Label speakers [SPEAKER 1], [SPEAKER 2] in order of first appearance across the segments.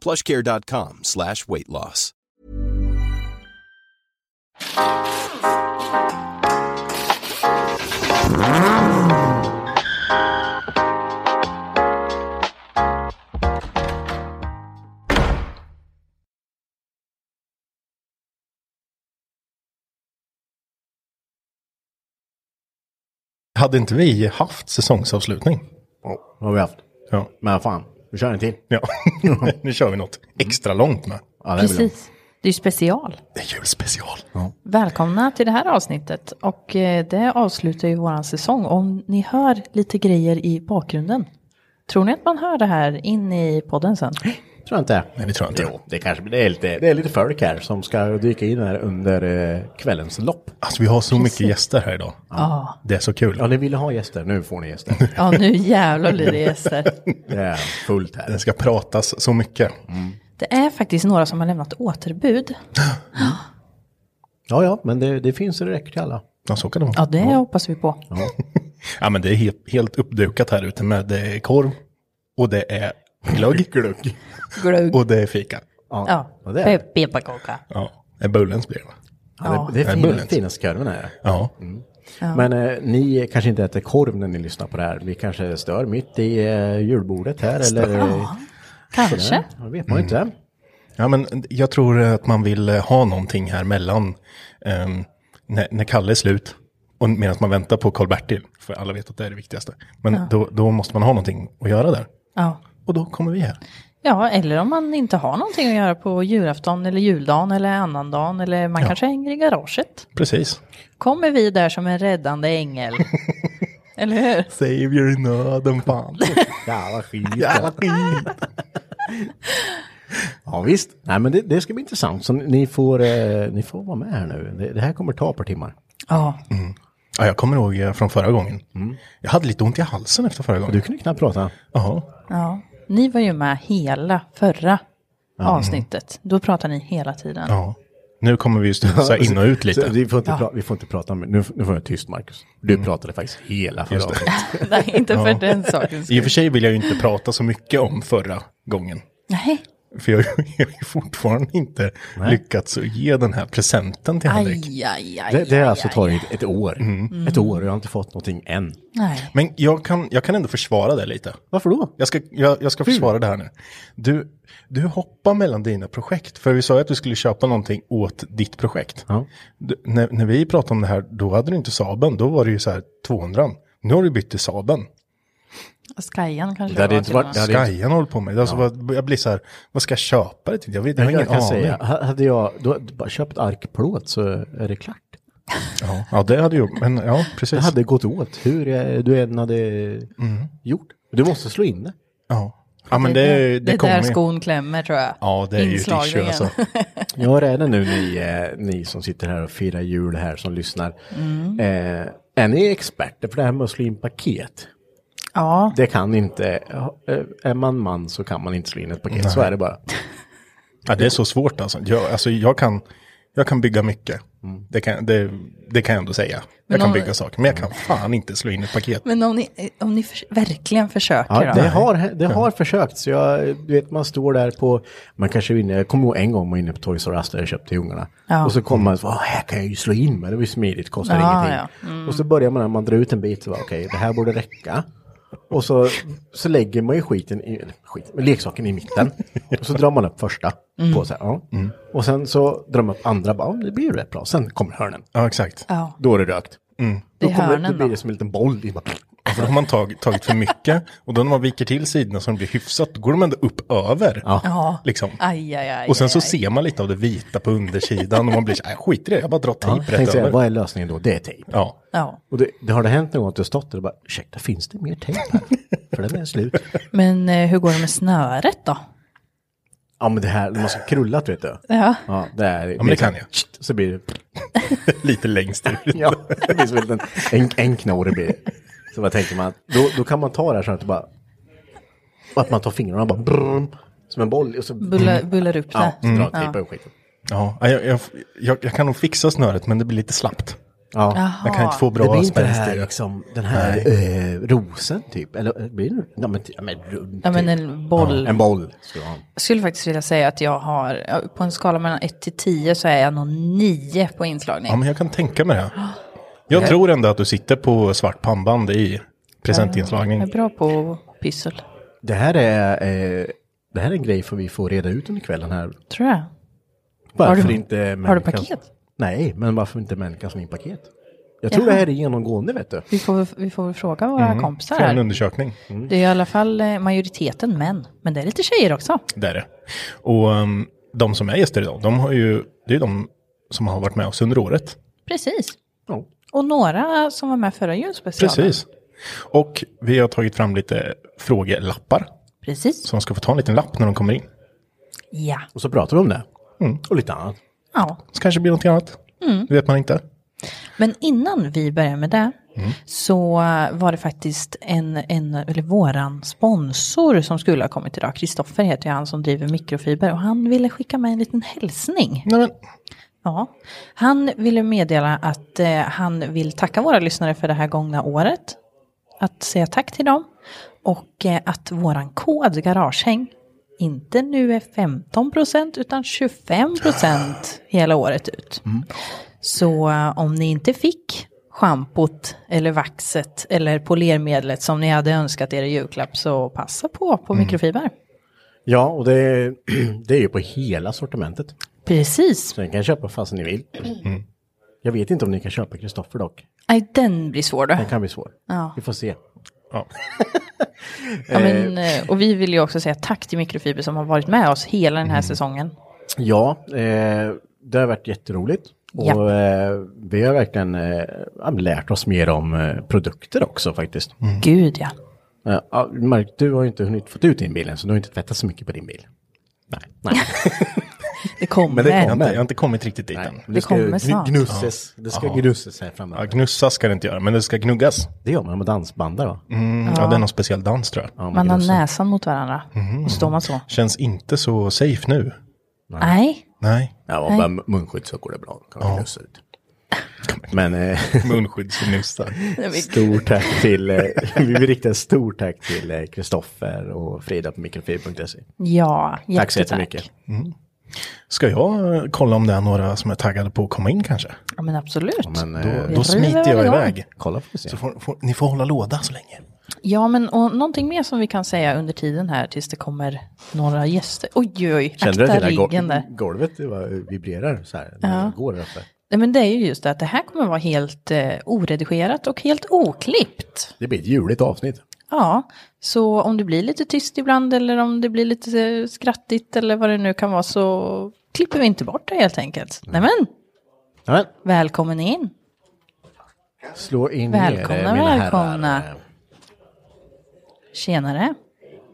[SPEAKER 1] plushcare.com slash weight loss.
[SPEAKER 2] Hade inte vi haft säsongsavslutning?
[SPEAKER 3] Ja, det har vi haft.
[SPEAKER 2] Ja.
[SPEAKER 3] Men fan, vi kör en till.
[SPEAKER 2] Ja, nu kör vi något extra långt med.
[SPEAKER 3] Ja, det är väl
[SPEAKER 4] Precis. Det är ju special.
[SPEAKER 2] Det är julspecial.
[SPEAKER 4] Välkomna till det här avsnittet. Och eh, det avslutar ju våran säsong. Om ni hör lite grejer i bakgrunden. Tror ni att man hör det här in i podden sen?
[SPEAKER 3] det. Tror jag inte.
[SPEAKER 2] Nej, det tror jag inte.
[SPEAKER 3] Jo, det kanske det är lite, det är lite folk här som ska dyka in här under eh, kvällens lopp.
[SPEAKER 2] Alltså vi har så mycket gäster här idag.
[SPEAKER 4] Ja,
[SPEAKER 2] Det är så kul.
[SPEAKER 3] Ja, ni ville ha gäster. Nu får ni gäster.
[SPEAKER 4] ja nu jävlar blir det gäster.
[SPEAKER 3] Det är fullt här. Mm.
[SPEAKER 2] Det ska pratas så mycket.
[SPEAKER 4] Det är faktiskt några som har lämnat återbud.
[SPEAKER 3] Ja, ja, men det, det finns det räcker till alla.
[SPEAKER 2] Ja, så kan det vara.
[SPEAKER 4] Ja, det hoppas vi på.
[SPEAKER 2] Ja, men det är helt, helt uppdukat här ute med det är korv och det är glögg. glögg.
[SPEAKER 4] Glögg.
[SPEAKER 2] Och det är fika.
[SPEAKER 4] Ja,
[SPEAKER 3] och det är det.
[SPEAKER 4] pe- pepparkaka.
[SPEAKER 2] Ja, det är bullens blir det va?
[SPEAKER 3] Ja, det, det är
[SPEAKER 2] det är
[SPEAKER 3] fina,
[SPEAKER 2] bullet.
[SPEAKER 3] finaste korven här. Mm.
[SPEAKER 2] Ja.
[SPEAKER 3] Men eh, ni kanske inte äter korv när ni lyssnar på det här. Vi kanske stör mitt i eh, julbordet här eller... eh,
[SPEAKER 4] Kanske.
[SPEAKER 3] sådär. Det vet man ju
[SPEAKER 2] Mm.
[SPEAKER 3] inte.
[SPEAKER 2] ja, men jag tror att man vill eh, ha någonting här mellan ehm, när, när Kalle är slut och medan man väntar på Karl-Bertil. För alla vet att det är det viktigaste. Men då, då måste man ha någonting att göra där.
[SPEAKER 4] Ja.
[SPEAKER 2] Och då kommer vi här.
[SPEAKER 4] Ja, eller om man inte har någonting att göra på julafton eller juldagen eller annandagen eller man kanske hänger i garaget.
[SPEAKER 2] Precis.
[SPEAKER 4] Kommer vi där som en räddande ängel. eller hur?
[SPEAKER 2] Savior i nöden fan.
[SPEAKER 3] Jävla skit. Jävla skit. ja visst. Nej men det, det ska bli intressant. Så ni får, eh, ni får vara med här nu. Det, det här kommer ta ett par timmar.
[SPEAKER 4] Ja,
[SPEAKER 2] Mm. Ja, jag kommer ihåg eh, från förra gången. Jag hade lite ont i halsen efter förra gången.
[SPEAKER 3] Mm. Du kunde knappt prata.
[SPEAKER 2] Jaha.
[SPEAKER 4] ja. Ni var ju med hela förra avsnittet. Då pratade ni hela tiden.
[SPEAKER 2] Ja. Nu kommer vi ju studsa in och ut
[SPEAKER 3] Så
[SPEAKER 2] lite. Mm.
[SPEAKER 3] Vi får inte, pra- vi får inte prata om nu, nu får jag tyst Marcus. Du pratade faktiskt hela förra
[SPEAKER 2] Just det.
[SPEAKER 3] avsnittet.
[SPEAKER 4] Nej, inte för den saken.
[SPEAKER 2] I och för sig vill jag ju inte prata så mycket om förra gången.
[SPEAKER 4] Nej,
[SPEAKER 2] För jag har ju- jag har ju fortfarande inte lyckats att ge den här presenten till Henrik. Mm.
[SPEAKER 4] aj, aj, aj.
[SPEAKER 3] Det, det har
[SPEAKER 4] aj,
[SPEAKER 3] alltså
[SPEAKER 4] aj.
[SPEAKER 3] tagit ett år. Ett år och jag har inte fått någonting än.
[SPEAKER 4] Nej.
[SPEAKER 2] Men jag kan, jag kan ändå försvara det lite.
[SPEAKER 3] Varför då?
[SPEAKER 2] Jag ska, jag, jag ska försvara det här nu. Du, du hoppar mellan dina projekt. För vi sa ju att du skulle köpa någonting åt ditt projekt.
[SPEAKER 3] Ja.
[SPEAKER 2] Du, när, när vi pratade om det här, då hade du inte Saben. Då var det ju så här 200. Nu har du bytt till Saben.
[SPEAKER 4] Skajan kanske
[SPEAKER 3] Det hade
[SPEAKER 4] var
[SPEAKER 3] inte
[SPEAKER 4] till
[SPEAKER 3] varit-
[SPEAKER 4] och
[SPEAKER 3] det
[SPEAKER 4] med.
[SPEAKER 3] hade- Ja, är-
[SPEAKER 2] Skajan håller på med. Alltså, vad- Jag blir så här, vad ska jag köpa det till? Jag, vet, jag har
[SPEAKER 3] Jag
[SPEAKER 2] ingen
[SPEAKER 3] kan
[SPEAKER 2] aning.
[SPEAKER 3] säga, ha- hade jag då, bara köpt arkplåt så är det klart.
[SPEAKER 2] Ja, ja, det hade ju, men ja, precis.
[SPEAKER 3] Det hade gått åt hur eh, du än hade gjort. Du måste slå in det.
[SPEAKER 2] Mm. Ja. ja, men det, det,
[SPEAKER 4] det är
[SPEAKER 2] kommer
[SPEAKER 4] där
[SPEAKER 2] ju.
[SPEAKER 4] skon klämmer tror jag.
[SPEAKER 2] Ja, det är ju ett issue
[SPEAKER 4] Inslagningen.
[SPEAKER 2] alltså.
[SPEAKER 3] Jag är redan nu ni, eh, ni som sitter här och firar jul här som lyssnar.
[SPEAKER 2] Mm.
[SPEAKER 3] Eh, är ni experter på det här med att slå in paket?
[SPEAKER 4] Ja,
[SPEAKER 3] Det kan inte, eh, är man man så kan man inte slå in ett paket, så är det bara.
[SPEAKER 2] Ja, det är så svårt alltså. Jag, alltså, jag, kan, jag kan bygga mycket.
[SPEAKER 3] Mm.
[SPEAKER 2] Det, kan, det, det kan jag ändå säga. jag kan
[SPEAKER 4] om-
[SPEAKER 2] bygga saker, men jag kan fan inte slå in ett paket.
[SPEAKER 4] Men om ni, om ni förs- verkligen försöker
[SPEAKER 3] Ja,
[SPEAKER 4] då?
[SPEAKER 3] det har, det har försökt. Så jag, du vet, man står där på, man kanske är inne, jag kommer ihåg en gång man var inne på Toys R Us där jag köpte till ungarna.
[SPEAKER 4] Ja.
[SPEAKER 3] Och så kommer man och så, "Åh, här kan jag ju slå in mig, det var ju smidigt, kostar
[SPEAKER 4] Ja, Mm.
[SPEAKER 3] ingenting. Och så börjar man, man drar ut en bit, så bara, okej, det här borde räcka. Och så, så lägger man ju skiten, i, eller skit, men leksaken i mitten. Och så drar man upp första
[SPEAKER 4] Mm.
[SPEAKER 3] på så här, ja. Och sen så drar man upp andra, bara, "Ja, det blir ju rätt bra. Sen kommer hörnen,
[SPEAKER 2] Ja, exakt.
[SPEAKER 4] Ja,
[SPEAKER 3] då är det rökt.
[SPEAKER 4] det är
[SPEAKER 3] Då, kommer,
[SPEAKER 4] hörnen
[SPEAKER 3] då blir
[SPEAKER 4] då.
[SPEAKER 3] det som en liten boll. Det är bara-
[SPEAKER 2] Ja, För Mm. Alltså, då har man tag, tagit för mycket och då när man viker till sidorna så de blir hyfsat, då går de ändå upp över.
[SPEAKER 4] Ja.
[SPEAKER 2] Liksom.
[SPEAKER 4] Aj, aj, aj,
[SPEAKER 2] Och sen så
[SPEAKER 4] aj, aj.
[SPEAKER 2] ser man lite av det vita på undersidan och man blir så här, "Äh, skit i det, jag bara drar
[SPEAKER 3] Ja,
[SPEAKER 2] tejp
[SPEAKER 3] tänk
[SPEAKER 2] rätt
[SPEAKER 3] så här,
[SPEAKER 2] över.
[SPEAKER 3] vad är lösningen då? Det är tejp.
[SPEAKER 2] Ja.
[SPEAKER 4] Ja.
[SPEAKER 3] Och det, det har det hänt någon gång att du har stått där och bara, ursäkta, finns det mer tejp här? För den är slut.
[SPEAKER 4] Men eh, hur går det med snöret då?
[SPEAKER 3] Ja, men det här, man ska krullat vet du.
[SPEAKER 4] Ja.
[SPEAKER 3] Ja, det här, ja,
[SPEAKER 2] men det kan jag.
[SPEAKER 3] Så blir det,
[SPEAKER 2] Lite längst ut.
[SPEAKER 3] ja, det blir som en, liten- en, en knorre blir det. Så vad tänker man, att då, då kan man ta det här så att det bara, och att man tar fingrarna och bara, brrm, som en boll. Och så, Mm.
[SPEAKER 4] Bullar, bullar upp det.
[SPEAKER 3] ja, så drar mm. tejpar upp skiten.
[SPEAKER 2] Ja, jag, jag, jag, jag kan nog fixa snöret men det blir lite slappt.
[SPEAKER 3] Ja.
[SPEAKER 2] Jag kan inte få
[SPEAKER 3] Det blir
[SPEAKER 2] bra
[SPEAKER 3] inte det
[SPEAKER 2] spänst i
[SPEAKER 3] här,
[SPEAKER 2] det.
[SPEAKER 3] liksom, den här eh, rosen typ, eller eh, blir det, ja men, ty- ja, men rund
[SPEAKER 4] Ja, men
[SPEAKER 3] typ.
[SPEAKER 4] en boll.
[SPEAKER 3] En boll ska du ha.
[SPEAKER 4] Jag skulle faktiskt vilja säga att jag har, ja, på en skala mellan 1 till 10 så är jag nog 9 på inslagning.
[SPEAKER 2] Ja, men jag kan tänka mig det. Jag tror ändå att du sitter på svart pannband i
[SPEAKER 4] Jag är
[SPEAKER 2] presentinslagning.
[SPEAKER 4] bra på pyssel,
[SPEAKER 3] Det här är, eh, det här är en grej för vi får reda ut under kvällen här.
[SPEAKER 4] tror jag.
[SPEAKER 3] Varför
[SPEAKER 4] du-
[SPEAKER 3] inte
[SPEAKER 4] Har du
[SPEAKER 3] människan-
[SPEAKER 4] paket?
[SPEAKER 3] Nej, men varför inte människan som in paket? Jag tror det här är genomgående vet du.
[SPEAKER 4] Vi får, väl- vi får väl fråga våra kompisar
[SPEAKER 2] För Mm. en
[SPEAKER 4] här.
[SPEAKER 2] undersökning.
[SPEAKER 3] Mm.
[SPEAKER 4] Det är i alla fall eh, majoriteten män, men det är lite tjejer också.
[SPEAKER 2] Där är det. Och um, de som är gäster idag, de har ju, det är de som har varit med oss under året.
[SPEAKER 4] Precis.
[SPEAKER 3] Ja.
[SPEAKER 4] Och några som var med förra julspecialen.
[SPEAKER 2] Precis. Och vi har tagit fram lite frågelappar.
[SPEAKER 4] Precis.
[SPEAKER 2] Så de ska få ta en liten lapp när de kommer in.
[SPEAKER 4] Ja.
[SPEAKER 3] Och så pratar vi om det. Och lite annat.
[SPEAKER 4] ja.
[SPEAKER 2] Mm.
[SPEAKER 4] Mm.
[SPEAKER 2] Så kanske det blir något annat. Det vet man inte.
[SPEAKER 4] Men innan vi börjar med det så var det faktiskt en, en, eller våran sponsor som skulle ha kommit idag. Kristoffer heter ju han som driver mikrofiber och han ville skicka med en liten hälsning.
[SPEAKER 2] Nej, men,
[SPEAKER 4] Ja, han ville meddela att eh, han vill tacka våra lyssnare för det här gångna året. Att säga tack till dem. Och eh, att våran kod Garagehäng inte nu är 15 procent utan 25 procent hela året ut. Så eh, om ni inte fick schampot eller vaxet eller polermedlet som ni hade önskat er i julklapp så passa på på mikrofiber.
[SPEAKER 3] Ja, och det, det är ju på hela sortimentet.
[SPEAKER 4] Precis.
[SPEAKER 3] Så ni kan köpa fast ni vill. Jag vet inte om ni kan köpa Kristoffer dock.
[SPEAKER 4] Nej, den blir svår då.
[SPEAKER 3] Den kan bli svår.
[SPEAKER 4] Ja.
[SPEAKER 3] Vi får se.
[SPEAKER 2] ja.
[SPEAKER 4] Ja, men, eh, och vi vill ju också säga tack till Mikrofiber som har varit med oss hela den här säsongen.
[SPEAKER 3] Ja, eh, det har varit jätteroligt. Och
[SPEAKER 4] Ja.
[SPEAKER 3] eh, vi har verkligen eh, ja, men lärt oss mer om eh, produkter också faktiskt.
[SPEAKER 4] Gud ja.
[SPEAKER 3] Eh, Ja, Mark, du har ju inte hunnit få ut din bil än, så du har inte tvättat så mycket på din bil. Nej. Nej.
[SPEAKER 4] Det kommer.
[SPEAKER 3] Men det
[SPEAKER 2] Jag, har inte,
[SPEAKER 3] kommer.
[SPEAKER 2] jag har inte kommit riktigt dit än.
[SPEAKER 3] Men
[SPEAKER 4] Det
[SPEAKER 3] ska ju
[SPEAKER 4] kommer
[SPEAKER 3] gn-
[SPEAKER 4] snart.
[SPEAKER 3] Gnusses. Det ska gnusses här
[SPEAKER 2] Ja,
[SPEAKER 3] framöver.
[SPEAKER 2] gnussa ska det inte göra, men det ska gnuggas.
[SPEAKER 3] Det gör man med dansbandar va?
[SPEAKER 2] Mm, ja. det är någon speciell dans tror jag.
[SPEAKER 3] Ja,
[SPEAKER 4] Man
[SPEAKER 3] man
[SPEAKER 4] har
[SPEAKER 3] gnussar.
[SPEAKER 4] näsan mot varandra. Och står man så.
[SPEAKER 2] Känns inte så safe nu.
[SPEAKER 4] Nej.
[SPEAKER 2] Nej.
[SPEAKER 3] Ja, och bara munskydd så går det bra. Kan man gnussa ut. Men eh,
[SPEAKER 2] Munskyddsgnussa.
[SPEAKER 3] stort tack till, eh, vi vill rikta ett stort tack till eh, Kristoffer och Frida på mikrofib.se.
[SPEAKER 4] Ja, jättetack.
[SPEAKER 3] Tack så jättemycket.
[SPEAKER 2] Ska jag eh, kolla om det är några som är taggade på att komma in kanske?
[SPEAKER 4] Ja, men absolut.
[SPEAKER 3] Men, eh,
[SPEAKER 2] Då,
[SPEAKER 4] river
[SPEAKER 2] då smiter
[SPEAKER 4] väl
[SPEAKER 2] jag
[SPEAKER 4] igång.
[SPEAKER 2] iväg.
[SPEAKER 3] kolla får vi se.
[SPEAKER 2] Så får, får, ni får hålla låda så länge.
[SPEAKER 4] Ja, men och någonting mer som vi kan säga under tiden här tills det kommer några gäster. Oj, oj,
[SPEAKER 3] Kände du
[SPEAKER 4] akta
[SPEAKER 3] att hela
[SPEAKER 4] ryggen där.
[SPEAKER 3] gol- golvet det var, vibrerar så här när det går där uppe?
[SPEAKER 4] Nej, men det är ju just det att det här kommer vara helt eh, oredigerat och helt oklippt.
[SPEAKER 3] Det blir ett juligt avsnitt.
[SPEAKER 4] Ja, så om det blir lite tyst ibland eller om det blir lite eh, skrattigt eller vad det nu kan vara så klipper vi inte bort det helt enkelt. Nej men,
[SPEAKER 3] Nämen,
[SPEAKER 4] välkommen in.
[SPEAKER 3] slå in
[SPEAKER 4] Välkomna,
[SPEAKER 3] er, eh, mina
[SPEAKER 4] välkomna.
[SPEAKER 3] herrar.
[SPEAKER 4] Tjenare.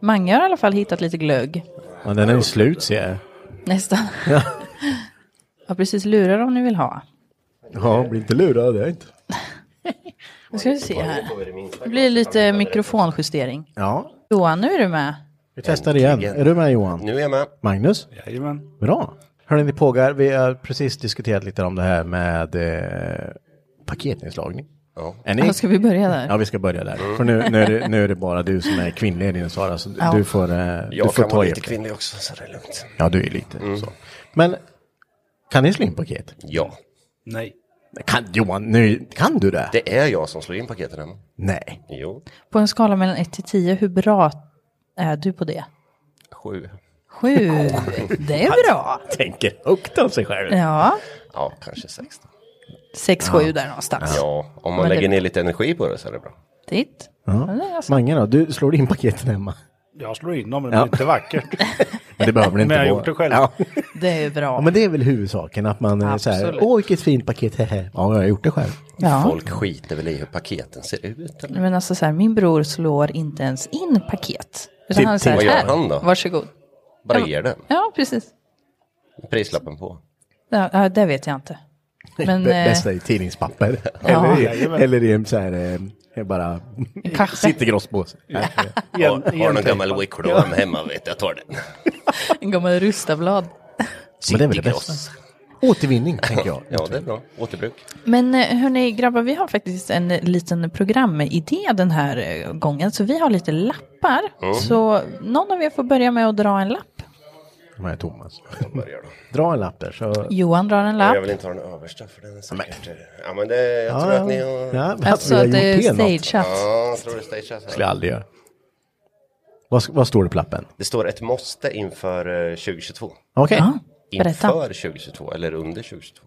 [SPEAKER 4] Mange har i alla fall hittat lite glögg.
[SPEAKER 3] Ja, den är ju slut ser jag.
[SPEAKER 4] Nästan. Ja, precis. Lurar om ni vill ha.
[SPEAKER 3] Ja, bli inte lurad, det är jag inte.
[SPEAKER 4] Nu ska vi se här. Det blir lite mikrofonjustering.
[SPEAKER 3] Ja,
[SPEAKER 4] Johan, nu är du med.
[SPEAKER 3] Vi testar igen.
[SPEAKER 5] Äntligen.
[SPEAKER 3] Är du med Johan?
[SPEAKER 5] Nu är jag med.
[SPEAKER 3] Magnus?
[SPEAKER 6] Jajamän.
[SPEAKER 3] Bra. Hörrni, det pågår. Vi har precis diskuterat lite om det här med eh, paketinslagning.
[SPEAKER 5] Ja.
[SPEAKER 3] Är
[SPEAKER 7] Ja,
[SPEAKER 3] ni?
[SPEAKER 7] ska vi börja där?
[SPEAKER 3] Ja, vi ska börja där. För nu, nu, är det, nu är det bara du som är kvinnlig i din Sara, så
[SPEAKER 7] Ja.
[SPEAKER 3] du får, eh, du
[SPEAKER 5] Jag
[SPEAKER 3] får
[SPEAKER 5] kan
[SPEAKER 3] ta
[SPEAKER 5] vara
[SPEAKER 3] hjälp.
[SPEAKER 5] lite kvinnlig också, så det är lugnt.
[SPEAKER 3] Ja, du är lite så. Men kan ni slå in paket?
[SPEAKER 5] Ja,
[SPEAKER 6] Nej.
[SPEAKER 3] Kan, Johan, nu, kan du det?
[SPEAKER 5] det är jag som slår in paketen hemma.
[SPEAKER 3] Äh. Nej.
[SPEAKER 5] Jo,
[SPEAKER 4] På en skala mellan 1 till 10, hur bra är du på det?
[SPEAKER 5] sju.
[SPEAKER 4] 7. Det är bra.
[SPEAKER 3] Tänker högt om sig själv.
[SPEAKER 4] Ja,
[SPEAKER 5] Ja, kanske sex. då.
[SPEAKER 4] 6, 7 där någonstans.
[SPEAKER 5] Ja, om man
[SPEAKER 4] Men det-
[SPEAKER 5] lägger ner lite energi på det så är det bra.
[SPEAKER 4] Titt. Ja. det är alltså-
[SPEAKER 3] Mange då, du slår in paketen hemma.
[SPEAKER 6] Jag slår in dem, men det blir inte vackert.
[SPEAKER 3] Men det behöver ni inte
[SPEAKER 6] Men jag har
[SPEAKER 3] vara.
[SPEAKER 6] gjort det själv.
[SPEAKER 3] Ja.
[SPEAKER 4] Det är ju
[SPEAKER 3] ja,
[SPEAKER 4] bra.
[SPEAKER 3] men det är väl huvudsaken att man är så här,
[SPEAKER 4] Absolut.
[SPEAKER 3] åh vilket fint paket, hehe. Ja, jag har gjort det själv.
[SPEAKER 4] Ja.
[SPEAKER 5] Folk skiter väl i hur paketen ser ut. Eller?
[SPEAKER 4] Men alltså så här, min bror slår inte ens in paket. Utan
[SPEAKER 3] Till-
[SPEAKER 4] han säger
[SPEAKER 5] till-
[SPEAKER 4] så
[SPEAKER 5] Typ vad gör
[SPEAKER 4] här,
[SPEAKER 5] han då?
[SPEAKER 4] varsågod.
[SPEAKER 5] Bara ger den.
[SPEAKER 4] Ja, precis.
[SPEAKER 5] Prislappen på.
[SPEAKER 4] Ja, ja, det vet jag inte. Men
[SPEAKER 3] B-
[SPEAKER 4] eh,
[SPEAKER 3] Bästa i tidningspapper.
[SPEAKER 4] Ja.
[SPEAKER 3] Eller, i, eller i en så här, eh, bara
[SPEAKER 4] kaffe,
[SPEAKER 3] citygrosspåse. Ja.
[SPEAKER 6] Igen,
[SPEAKER 5] Har, har någon gammal wicklån hemma, vet du, jag tar den.
[SPEAKER 4] eh, en gammal rustablad.
[SPEAKER 3] Men det är väl det bästa. Återvinning, tänker jag.
[SPEAKER 5] Ja, det är bra. Återbruk.
[SPEAKER 4] Men eh, hörni grabbar, vi har faktiskt en liten programidé den här eh, gången. Så vi har lite lappar. Så någon av er får börja med att dra en lapp.
[SPEAKER 3] De här Thomas. Dra en lapp där så...
[SPEAKER 4] Johan drar en
[SPEAKER 5] Jag
[SPEAKER 4] lapp.
[SPEAKER 5] vill inte ha den översta, för den är säkert... Ja, men det, jag tror att ni har...
[SPEAKER 3] Ja, men
[SPEAKER 4] Alltså
[SPEAKER 3] vi har
[SPEAKER 4] att det
[SPEAKER 3] gjort
[SPEAKER 4] är
[SPEAKER 3] fel något.
[SPEAKER 4] stageat.
[SPEAKER 5] Ja, jag tror det stageas
[SPEAKER 3] skulle jag
[SPEAKER 5] här.
[SPEAKER 3] aldrig göra. Vad, vad står det på lappen?
[SPEAKER 5] Det står ett måste inför eh, 2022.
[SPEAKER 3] Okej.
[SPEAKER 4] Ja,
[SPEAKER 5] Inför
[SPEAKER 4] berätta.
[SPEAKER 5] 2022, eller under 2022.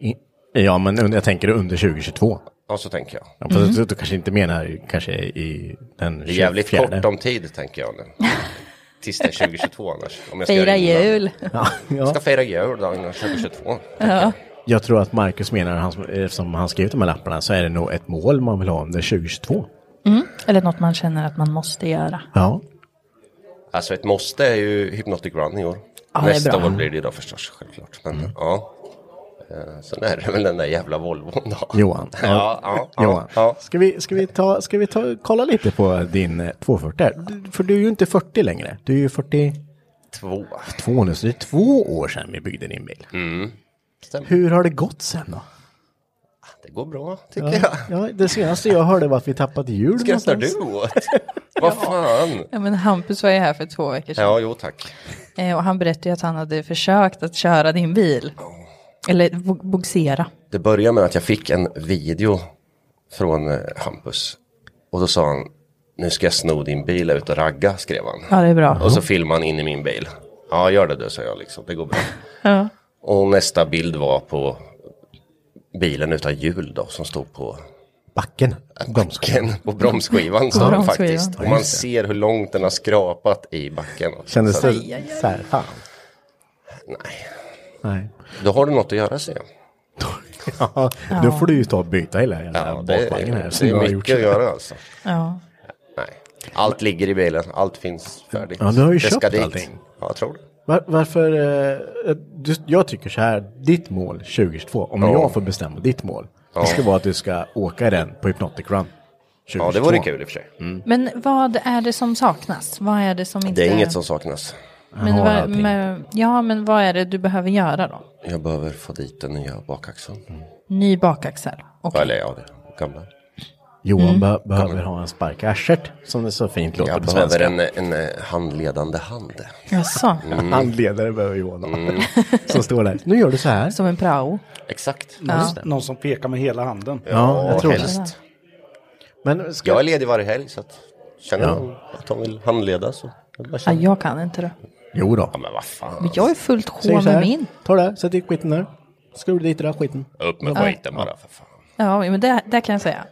[SPEAKER 3] I- Ja, men under- jag tänker under 2022.
[SPEAKER 5] Ja, så tänker jag.
[SPEAKER 3] Ja, fast du, du kanske inte menar kanske i den
[SPEAKER 5] Det är jävligt
[SPEAKER 3] 24.
[SPEAKER 5] kort om tid, tänker jag nu. Tills det är 2022 annars. Om jag ska
[SPEAKER 4] Fira
[SPEAKER 5] göra innan.
[SPEAKER 4] jul.
[SPEAKER 3] Ja,
[SPEAKER 5] Jag
[SPEAKER 3] ja.
[SPEAKER 5] ska fira jul då, innan 2022.
[SPEAKER 3] Jag tror att Marcus menar, han, som- eftersom han skrev de här lapparna, så är det nog ett mål man vill ha under 2022.
[SPEAKER 4] Mm. Eller något man känner att man måste göra.
[SPEAKER 3] Ja.
[SPEAKER 5] Alltså ett måste är ju Hypnotic Run i år.
[SPEAKER 4] Ja, det är
[SPEAKER 5] Nästa
[SPEAKER 4] bra.
[SPEAKER 5] år blir det då förstås, självklart. Men
[SPEAKER 3] Mm.
[SPEAKER 5] ja. Eh, Sen är det väl den där jävla Volvon då.
[SPEAKER 3] Johan.
[SPEAKER 5] Ja, ja, ja,
[SPEAKER 3] Johan.
[SPEAKER 5] ja.
[SPEAKER 3] Ska vi, ska vi, ta, ska vi ta, kolla lite på din eh, 240? här? Du- För du är ju inte 40 längre. Du är ju 42
[SPEAKER 5] Två.
[SPEAKER 3] nu, så det är två år sedan vi byggde din bil.
[SPEAKER 5] Stämmer.
[SPEAKER 3] Hur har det gått sen då?
[SPEAKER 5] Det går bra, tycker jag.
[SPEAKER 3] Ja, det senaste jag hörde var att vi tappat hjul
[SPEAKER 5] Skrattar
[SPEAKER 3] någonstans.
[SPEAKER 5] du åt? Vad fan?
[SPEAKER 4] Ja, men Hampus var ju här för två veckor sedan.
[SPEAKER 5] Ja, jo tack.
[SPEAKER 4] Eh, Och han berättade ju att han hade försökt att köra din bil. Eller bo- bogsera.
[SPEAKER 5] Det började med att jag fick en video från eh, Hampus. Och då sa han, nu ska jag sno din bil ut och ragga, skrev han.
[SPEAKER 4] Ja, det är bra.
[SPEAKER 5] Och så filmade han in i min bil. Ja, gör det du, sa jag liksom. Det går bra.
[SPEAKER 4] Ja.
[SPEAKER 5] Och nästa bild var på bilen utan hjul då, som stod på
[SPEAKER 3] Backen. Bromsken.
[SPEAKER 5] backen, på bromsskivan. Så
[SPEAKER 4] bromsskivan.
[SPEAKER 5] faktiskt. Och man ser hur långt den har skrapat i backen.
[SPEAKER 3] Kändes
[SPEAKER 5] Så
[SPEAKER 3] det
[SPEAKER 5] att,
[SPEAKER 3] så här, fan?
[SPEAKER 5] Nej,
[SPEAKER 3] Nej.
[SPEAKER 5] då har du något att göra, säger jag.
[SPEAKER 3] Ja, då får du ju ta och byta hela jävla
[SPEAKER 5] Ja, det,
[SPEAKER 3] bakvagnen här.
[SPEAKER 5] är-
[SPEAKER 3] som
[SPEAKER 5] det
[SPEAKER 3] du har
[SPEAKER 5] är
[SPEAKER 3] gjort.
[SPEAKER 5] mycket att göra alltså.
[SPEAKER 4] Ja.
[SPEAKER 5] Nej. Allt ligger i bilen, allt finns färdigt.
[SPEAKER 3] Ja, du har ju
[SPEAKER 5] Det
[SPEAKER 3] köpt
[SPEAKER 5] ska dit.
[SPEAKER 3] allting.
[SPEAKER 5] Ja, jag tror det.
[SPEAKER 3] Var, varför, eh, du, jag tycker så här, ditt mål 2022, om
[SPEAKER 5] Ja.
[SPEAKER 3] jag får bestämma ditt mål, det ska vara att du ska åka den på Hypnotic Run. Mm. 2022.
[SPEAKER 5] Ja, det vore kul i och för sig.
[SPEAKER 4] Men vad är det som saknas? Vad är det som inte...
[SPEAKER 5] Det är inget som saknas.
[SPEAKER 4] Men
[SPEAKER 3] har
[SPEAKER 4] vad,
[SPEAKER 3] allting.
[SPEAKER 4] men, ja, men vad är det du behöver göra då?
[SPEAKER 5] Jag behöver få dit den nya bakaxeln.
[SPEAKER 3] Mm.
[SPEAKER 4] Ny bakaxel. Okej.
[SPEAKER 5] Eller ja, det gamla.
[SPEAKER 3] Johan be- behöver ha en spark arslet, som det så fint låter
[SPEAKER 5] Jag
[SPEAKER 3] på
[SPEAKER 5] behöver
[SPEAKER 3] svenska.
[SPEAKER 5] en, en eh, handledande hand. Mm.
[SPEAKER 4] Jaså,
[SPEAKER 3] Handledare behöver Johan ha.
[SPEAKER 8] Mm.
[SPEAKER 3] Som står där, nu gör du så här.
[SPEAKER 4] som en prao.
[SPEAKER 5] Exakt.
[SPEAKER 6] Någon som pekar med hela handen.
[SPEAKER 3] Ja, jag tror det.
[SPEAKER 5] helst.
[SPEAKER 3] Men ska,
[SPEAKER 5] Jag är ledig varje helg så att känner de att de vill handleda så. jag bara
[SPEAKER 4] Ja,
[SPEAKER 5] känner-
[SPEAKER 4] jag kan inte det.
[SPEAKER 3] Jo då.
[SPEAKER 5] Ja, men vad fan.
[SPEAKER 4] Men jag är fullt sjå
[SPEAKER 3] Säger så
[SPEAKER 4] med
[SPEAKER 3] här,
[SPEAKER 4] min.
[SPEAKER 3] ta det, sätt dit skiten där. Skruva dit den där skiten.
[SPEAKER 5] Upp med skiten bara för fan.
[SPEAKER 4] Ja, men det, det kan jag säga.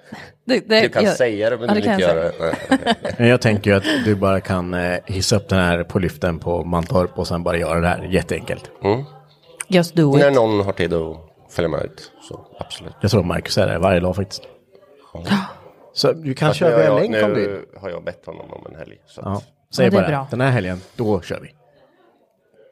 [SPEAKER 4] Det, det,
[SPEAKER 5] Du kan
[SPEAKER 4] jag,
[SPEAKER 5] säga det men
[SPEAKER 4] ja,
[SPEAKER 5] du vill
[SPEAKER 4] kan
[SPEAKER 5] inte
[SPEAKER 4] jag
[SPEAKER 5] göra
[SPEAKER 4] säga.
[SPEAKER 5] det. Nej, okej.
[SPEAKER 3] Men Jag tänker ju att du bara kan eh, hissa upp den här på lyften på Mantorp och sen bara göra det här jätteenkelt.
[SPEAKER 5] Mm.
[SPEAKER 4] Just do
[SPEAKER 5] När
[SPEAKER 4] it.
[SPEAKER 5] någon har tid att följa med ut så absolut.
[SPEAKER 3] Jag tror Marcus är där varje dag faktiskt. Så du kan köra
[SPEAKER 5] nu,
[SPEAKER 3] via
[SPEAKER 5] har jag,
[SPEAKER 3] länk om du vill.
[SPEAKER 5] nu har jag bett honom om en helg. Så att,
[SPEAKER 3] Ja, säg
[SPEAKER 4] Ja, det är
[SPEAKER 3] bara
[SPEAKER 4] bra.
[SPEAKER 3] den här helgen, då kör vi.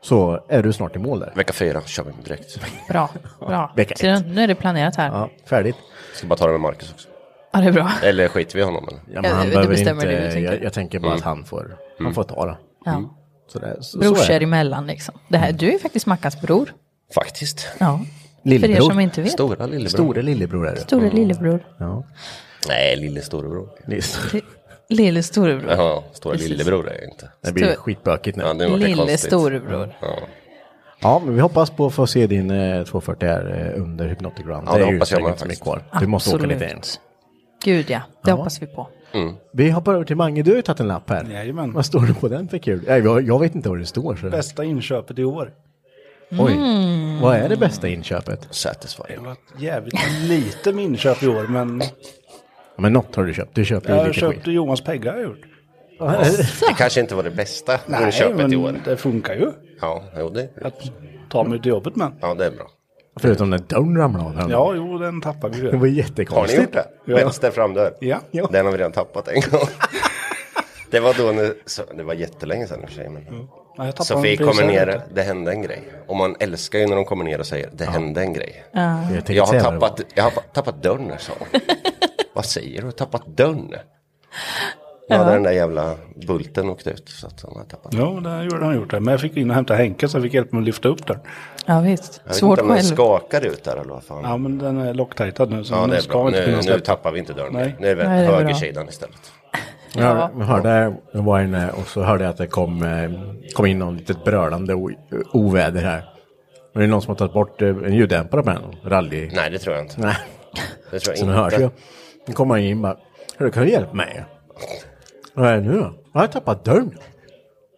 [SPEAKER 3] Så är du snart i mål där.
[SPEAKER 5] Vecka fyra kör vi direkt.
[SPEAKER 4] Bra, bra.
[SPEAKER 3] Vecka
[SPEAKER 4] Ser du, nu är det planerat här. Ja,
[SPEAKER 3] Ja, färdigt.
[SPEAKER 5] Ska bara ta det med Marcus också.
[SPEAKER 4] det är bra.
[SPEAKER 5] Eller Mm. skiter vi i honom eller?
[SPEAKER 3] Ja,
[SPEAKER 4] Ja,
[SPEAKER 3] men han
[SPEAKER 4] det
[SPEAKER 3] behöver
[SPEAKER 4] bestämmer
[SPEAKER 3] inte,
[SPEAKER 4] du, tänker jag.
[SPEAKER 3] jag, jag tänker bara att han får, han får ta det.
[SPEAKER 5] Mm.
[SPEAKER 4] Ja.
[SPEAKER 3] Så det, så, så är
[SPEAKER 4] Brorsor
[SPEAKER 3] det.
[SPEAKER 4] emellan liksom. Det här, du är faktiskt Mackans bror.
[SPEAKER 5] Faktiskt.
[SPEAKER 4] Ja. För er
[SPEAKER 3] Lillebror.
[SPEAKER 4] som inte vet.
[SPEAKER 5] Stora lillebror. Mm.
[SPEAKER 3] Store lillebror är du.
[SPEAKER 4] Store lillebror.
[SPEAKER 3] Ja.
[SPEAKER 5] Nej, lille storebror.
[SPEAKER 3] Det är-
[SPEAKER 4] Lille storebror.
[SPEAKER 5] Ja, stora lillebror är jag inte.
[SPEAKER 3] Det blir
[SPEAKER 4] Stor-
[SPEAKER 3] skitbökigt nu.
[SPEAKER 5] Ja, nu vart det
[SPEAKER 4] Lille
[SPEAKER 5] konstigt.
[SPEAKER 4] storebror.
[SPEAKER 5] Ja,
[SPEAKER 3] Ja, men vi hoppas på att få se din eh, 240 här eh, under Hypnotic Run.
[SPEAKER 5] Ja, det
[SPEAKER 3] är ju
[SPEAKER 5] hoppas jag
[SPEAKER 3] säkert
[SPEAKER 5] med
[SPEAKER 3] som är
[SPEAKER 5] faktiskt.
[SPEAKER 3] kvar. Du måste åka lite in.
[SPEAKER 4] Absolut. Gud ja, det hoppas vi på.
[SPEAKER 5] Mm.
[SPEAKER 3] Vi hoppar över till Mange, du har ju tagit en lapp här.
[SPEAKER 9] Jajamän.
[SPEAKER 3] Vad står det på den för kul? Nej, jag, jag vet inte vad det står. Så.
[SPEAKER 9] Bästa inköpet i år.
[SPEAKER 3] Oj,
[SPEAKER 4] Mm.
[SPEAKER 3] vad är det bästa inköpet?
[SPEAKER 5] satisfying.
[SPEAKER 9] Det var jävligt lite med inköp i år, men
[SPEAKER 3] Ja, men något har du köpt, du köper ju
[SPEAKER 9] jag
[SPEAKER 3] lite
[SPEAKER 9] köpte
[SPEAKER 3] skit.
[SPEAKER 9] Johans Pegga har jag gjort.
[SPEAKER 5] Det kanske inte var det bästa inköpet
[SPEAKER 9] men
[SPEAKER 5] i år.
[SPEAKER 9] det funkar ju
[SPEAKER 5] Ja, jo, det,
[SPEAKER 9] att ta mig till jobbet med.
[SPEAKER 5] ja, det är bra.
[SPEAKER 3] Förutom när dörren ramlade av den.
[SPEAKER 9] Ja, jo, den tappade vi
[SPEAKER 3] Det
[SPEAKER 9] ju.
[SPEAKER 3] var
[SPEAKER 5] Har ni
[SPEAKER 3] jättekonstigt.
[SPEAKER 5] gjort det? Vänster framdörr?
[SPEAKER 9] Ja. Ja.
[SPEAKER 5] Den har vi redan tappat en gång. det var då när, så, det var jättelänge sedan i och för sig. Men.
[SPEAKER 9] Mm. Ja, jag tappade
[SPEAKER 5] Sofie
[SPEAKER 9] den
[SPEAKER 5] kommer
[SPEAKER 9] precis här
[SPEAKER 5] ner,
[SPEAKER 9] ute.
[SPEAKER 5] det hände en grej. Och man älskar ju när de kommer ner och säger, det hände en grej.
[SPEAKER 3] tänkte
[SPEAKER 5] Jag har
[SPEAKER 3] säga det.
[SPEAKER 5] tappat, jag har tappat dörren, sa hon. Vad säger du? Tappat dörren? Ja, där den där jävla bulten åkte ut. Så att han har tappat.
[SPEAKER 9] Jo, det gjorde han gjort det. Men jag fick in och hämta Henke så jag fick hjälp med att lyfta upp den.
[SPEAKER 4] Ja visst,
[SPEAKER 5] Jag vet
[SPEAKER 4] svårt
[SPEAKER 5] inte om den
[SPEAKER 4] själv.
[SPEAKER 5] skakar ut där eller vad fan.
[SPEAKER 9] Ja,
[SPEAKER 5] Ja,
[SPEAKER 9] men den är locktajtad nu så den
[SPEAKER 5] det är
[SPEAKER 9] ska
[SPEAKER 5] bra.
[SPEAKER 9] inte kunna
[SPEAKER 5] Nu, nu
[SPEAKER 9] släppa.
[SPEAKER 5] tappar vi inte dörren.
[SPEAKER 9] Nej.
[SPEAKER 5] Nu är
[SPEAKER 4] Nej,
[SPEAKER 5] det väl
[SPEAKER 4] det är bra.
[SPEAKER 5] högersidan istället.
[SPEAKER 3] Ja, jag hörde jag var inne och så hörde jag att det kom, eh, kom in någon litet brölande o- oväder här. Men det är någon som har tagit bort eh, en ljuddämpare på den. Rally.
[SPEAKER 5] Nej, det tror jag inte.
[SPEAKER 3] Nej.
[SPEAKER 5] Det tror jag
[SPEAKER 3] Så nu
[SPEAKER 5] inte.
[SPEAKER 3] hörs ju. Nu kommer han in bara. Hörru, kan du hjälpa mig? Vad är det nu då? Jag har tappat dörren.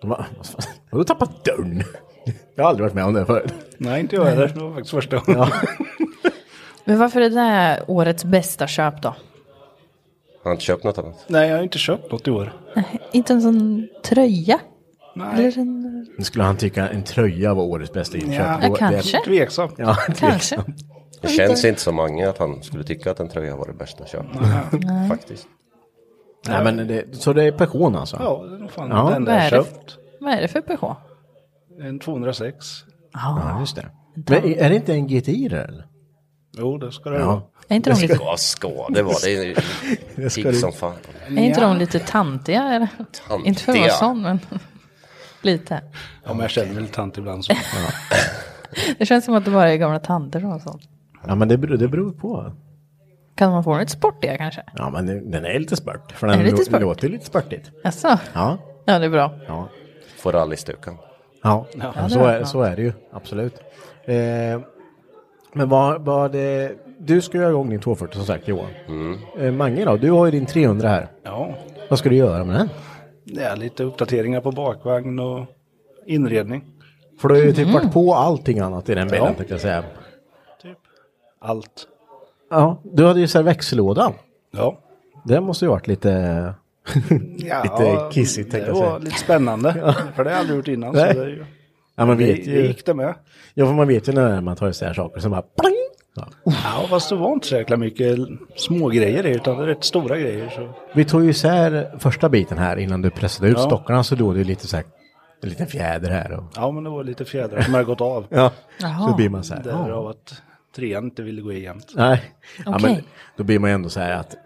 [SPEAKER 3] Jag bara, "Vad fan, Har du tappat dörren? Jag har aldrig varit med om det förut.
[SPEAKER 9] Nej, inte jag heller. Det var faktiskt första gången.
[SPEAKER 4] Men varför är det där årets bästa köp då?
[SPEAKER 5] Har inte köpt något annat?
[SPEAKER 9] Nej, jag har inte köpt något i år.
[SPEAKER 4] Inte en sån tröja?
[SPEAKER 9] Nej,
[SPEAKER 4] Eller en...
[SPEAKER 3] Nu skulle han tycka en tröja var årets bästa inköp.
[SPEAKER 9] Ja.
[SPEAKER 3] Då-
[SPEAKER 4] Ja, kanske.
[SPEAKER 9] tveksamt.
[SPEAKER 3] Ja,
[SPEAKER 4] Kanske.
[SPEAKER 5] Det känns inte som många att han skulle tycka att en tröja var det bästa köpet. Faktiskt.
[SPEAKER 3] Nej, men det, så det är passion alltså?
[SPEAKER 9] Ja, det är nog fan
[SPEAKER 3] Ja.
[SPEAKER 9] den
[SPEAKER 4] Vad
[SPEAKER 9] där
[SPEAKER 4] är det?
[SPEAKER 9] köpt.
[SPEAKER 4] Vad är det för PH?
[SPEAKER 9] En 206.
[SPEAKER 3] Ja, just det. Men är det inte en GTI där eller?
[SPEAKER 9] Jo, det ska det vara.
[SPEAKER 3] Ja.
[SPEAKER 4] Är inte de lite,
[SPEAKER 5] Ja, ska det var det. är-
[SPEAKER 3] Jag ska-
[SPEAKER 5] Gick som fan.
[SPEAKER 4] är inte de lite tantiga? Eller?
[SPEAKER 5] Tantiga.
[SPEAKER 4] Inte för att vara sån, men lite.
[SPEAKER 9] Ja, men jag känner väl tant ibland. Så.
[SPEAKER 4] Det känns som att det bara är gamla tanter som har sånt.
[SPEAKER 3] Ja, men det beror, det beror på.
[SPEAKER 4] Kan man få dem lite sportiga kanske?
[SPEAKER 3] Ja, men det- den är lite spört. För
[SPEAKER 4] Är
[SPEAKER 3] den
[SPEAKER 4] det lite
[SPEAKER 3] lå-
[SPEAKER 4] spört?
[SPEAKER 3] låter ju lite spörtigt.
[SPEAKER 4] Jaså?
[SPEAKER 3] Ja.
[SPEAKER 4] Ja, det är bra.
[SPEAKER 3] Ja,
[SPEAKER 5] Får rallystukan.
[SPEAKER 3] ja.
[SPEAKER 4] det
[SPEAKER 3] så,
[SPEAKER 4] var
[SPEAKER 3] är,
[SPEAKER 4] bra.
[SPEAKER 3] så är det ju. Absolut. Eh, men vad, vad det... Du ska göra igång din 240 som sagt Johan. Eh, Mange då, du har ju din 300 här.
[SPEAKER 9] Mm. Ja,
[SPEAKER 3] Vad ska du göra med den?
[SPEAKER 9] det är lite uppdateringar på bakvagn och inredning.
[SPEAKER 3] För du har ju typ varit på allting annat i den bilen
[SPEAKER 9] Mm. Ja.
[SPEAKER 3] tänkte jag säga.
[SPEAKER 9] Typ. Allt.
[SPEAKER 3] Ja, du hade ju så här växellådan.
[SPEAKER 9] Ja.
[SPEAKER 3] Den måste ju varit lite...
[SPEAKER 9] ja
[SPEAKER 3] Lite kissigt, tänkte
[SPEAKER 9] Det
[SPEAKER 3] jag
[SPEAKER 9] var
[SPEAKER 3] säga.
[SPEAKER 9] lite spännande. För det har jag aldrig gjort innan.
[SPEAKER 3] Nej.
[SPEAKER 9] Så det, är ju-
[SPEAKER 3] Ja, man
[SPEAKER 9] det
[SPEAKER 3] vet ju.
[SPEAKER 9] gick det med.
[SPEAKER 3] Ja, för man vet ju när man tar isär saker som bara pling! Ja.
[SPEAKER 9] Ja, fast det var inte så jäkla mycket små grejer utan det är rätt stora grejer. Så.
[SPEAKER 3] Vi tog ju isär första biten här innan du pressade ut
[SPEAKER 9] Ja.
[SPEAKER 3] stockarna så då var det ju lite så här, en liten fjäder här och...
[SPEAKER 9] Ja, men det var lite fjädrar som hade gått av.
[SPEAKER 3] Ja.
[SPEAKER 4] Jaha.
[SPEAKER 3] Så blir man så här, ja.
[SPEAKER 9] Därav att trean inte ville gå igenom.
[SPEAKER 3] Nej. Ja, men
[SPEAKER 4] Okej.
[SPEAKER 3] då blir man ju ändå så här att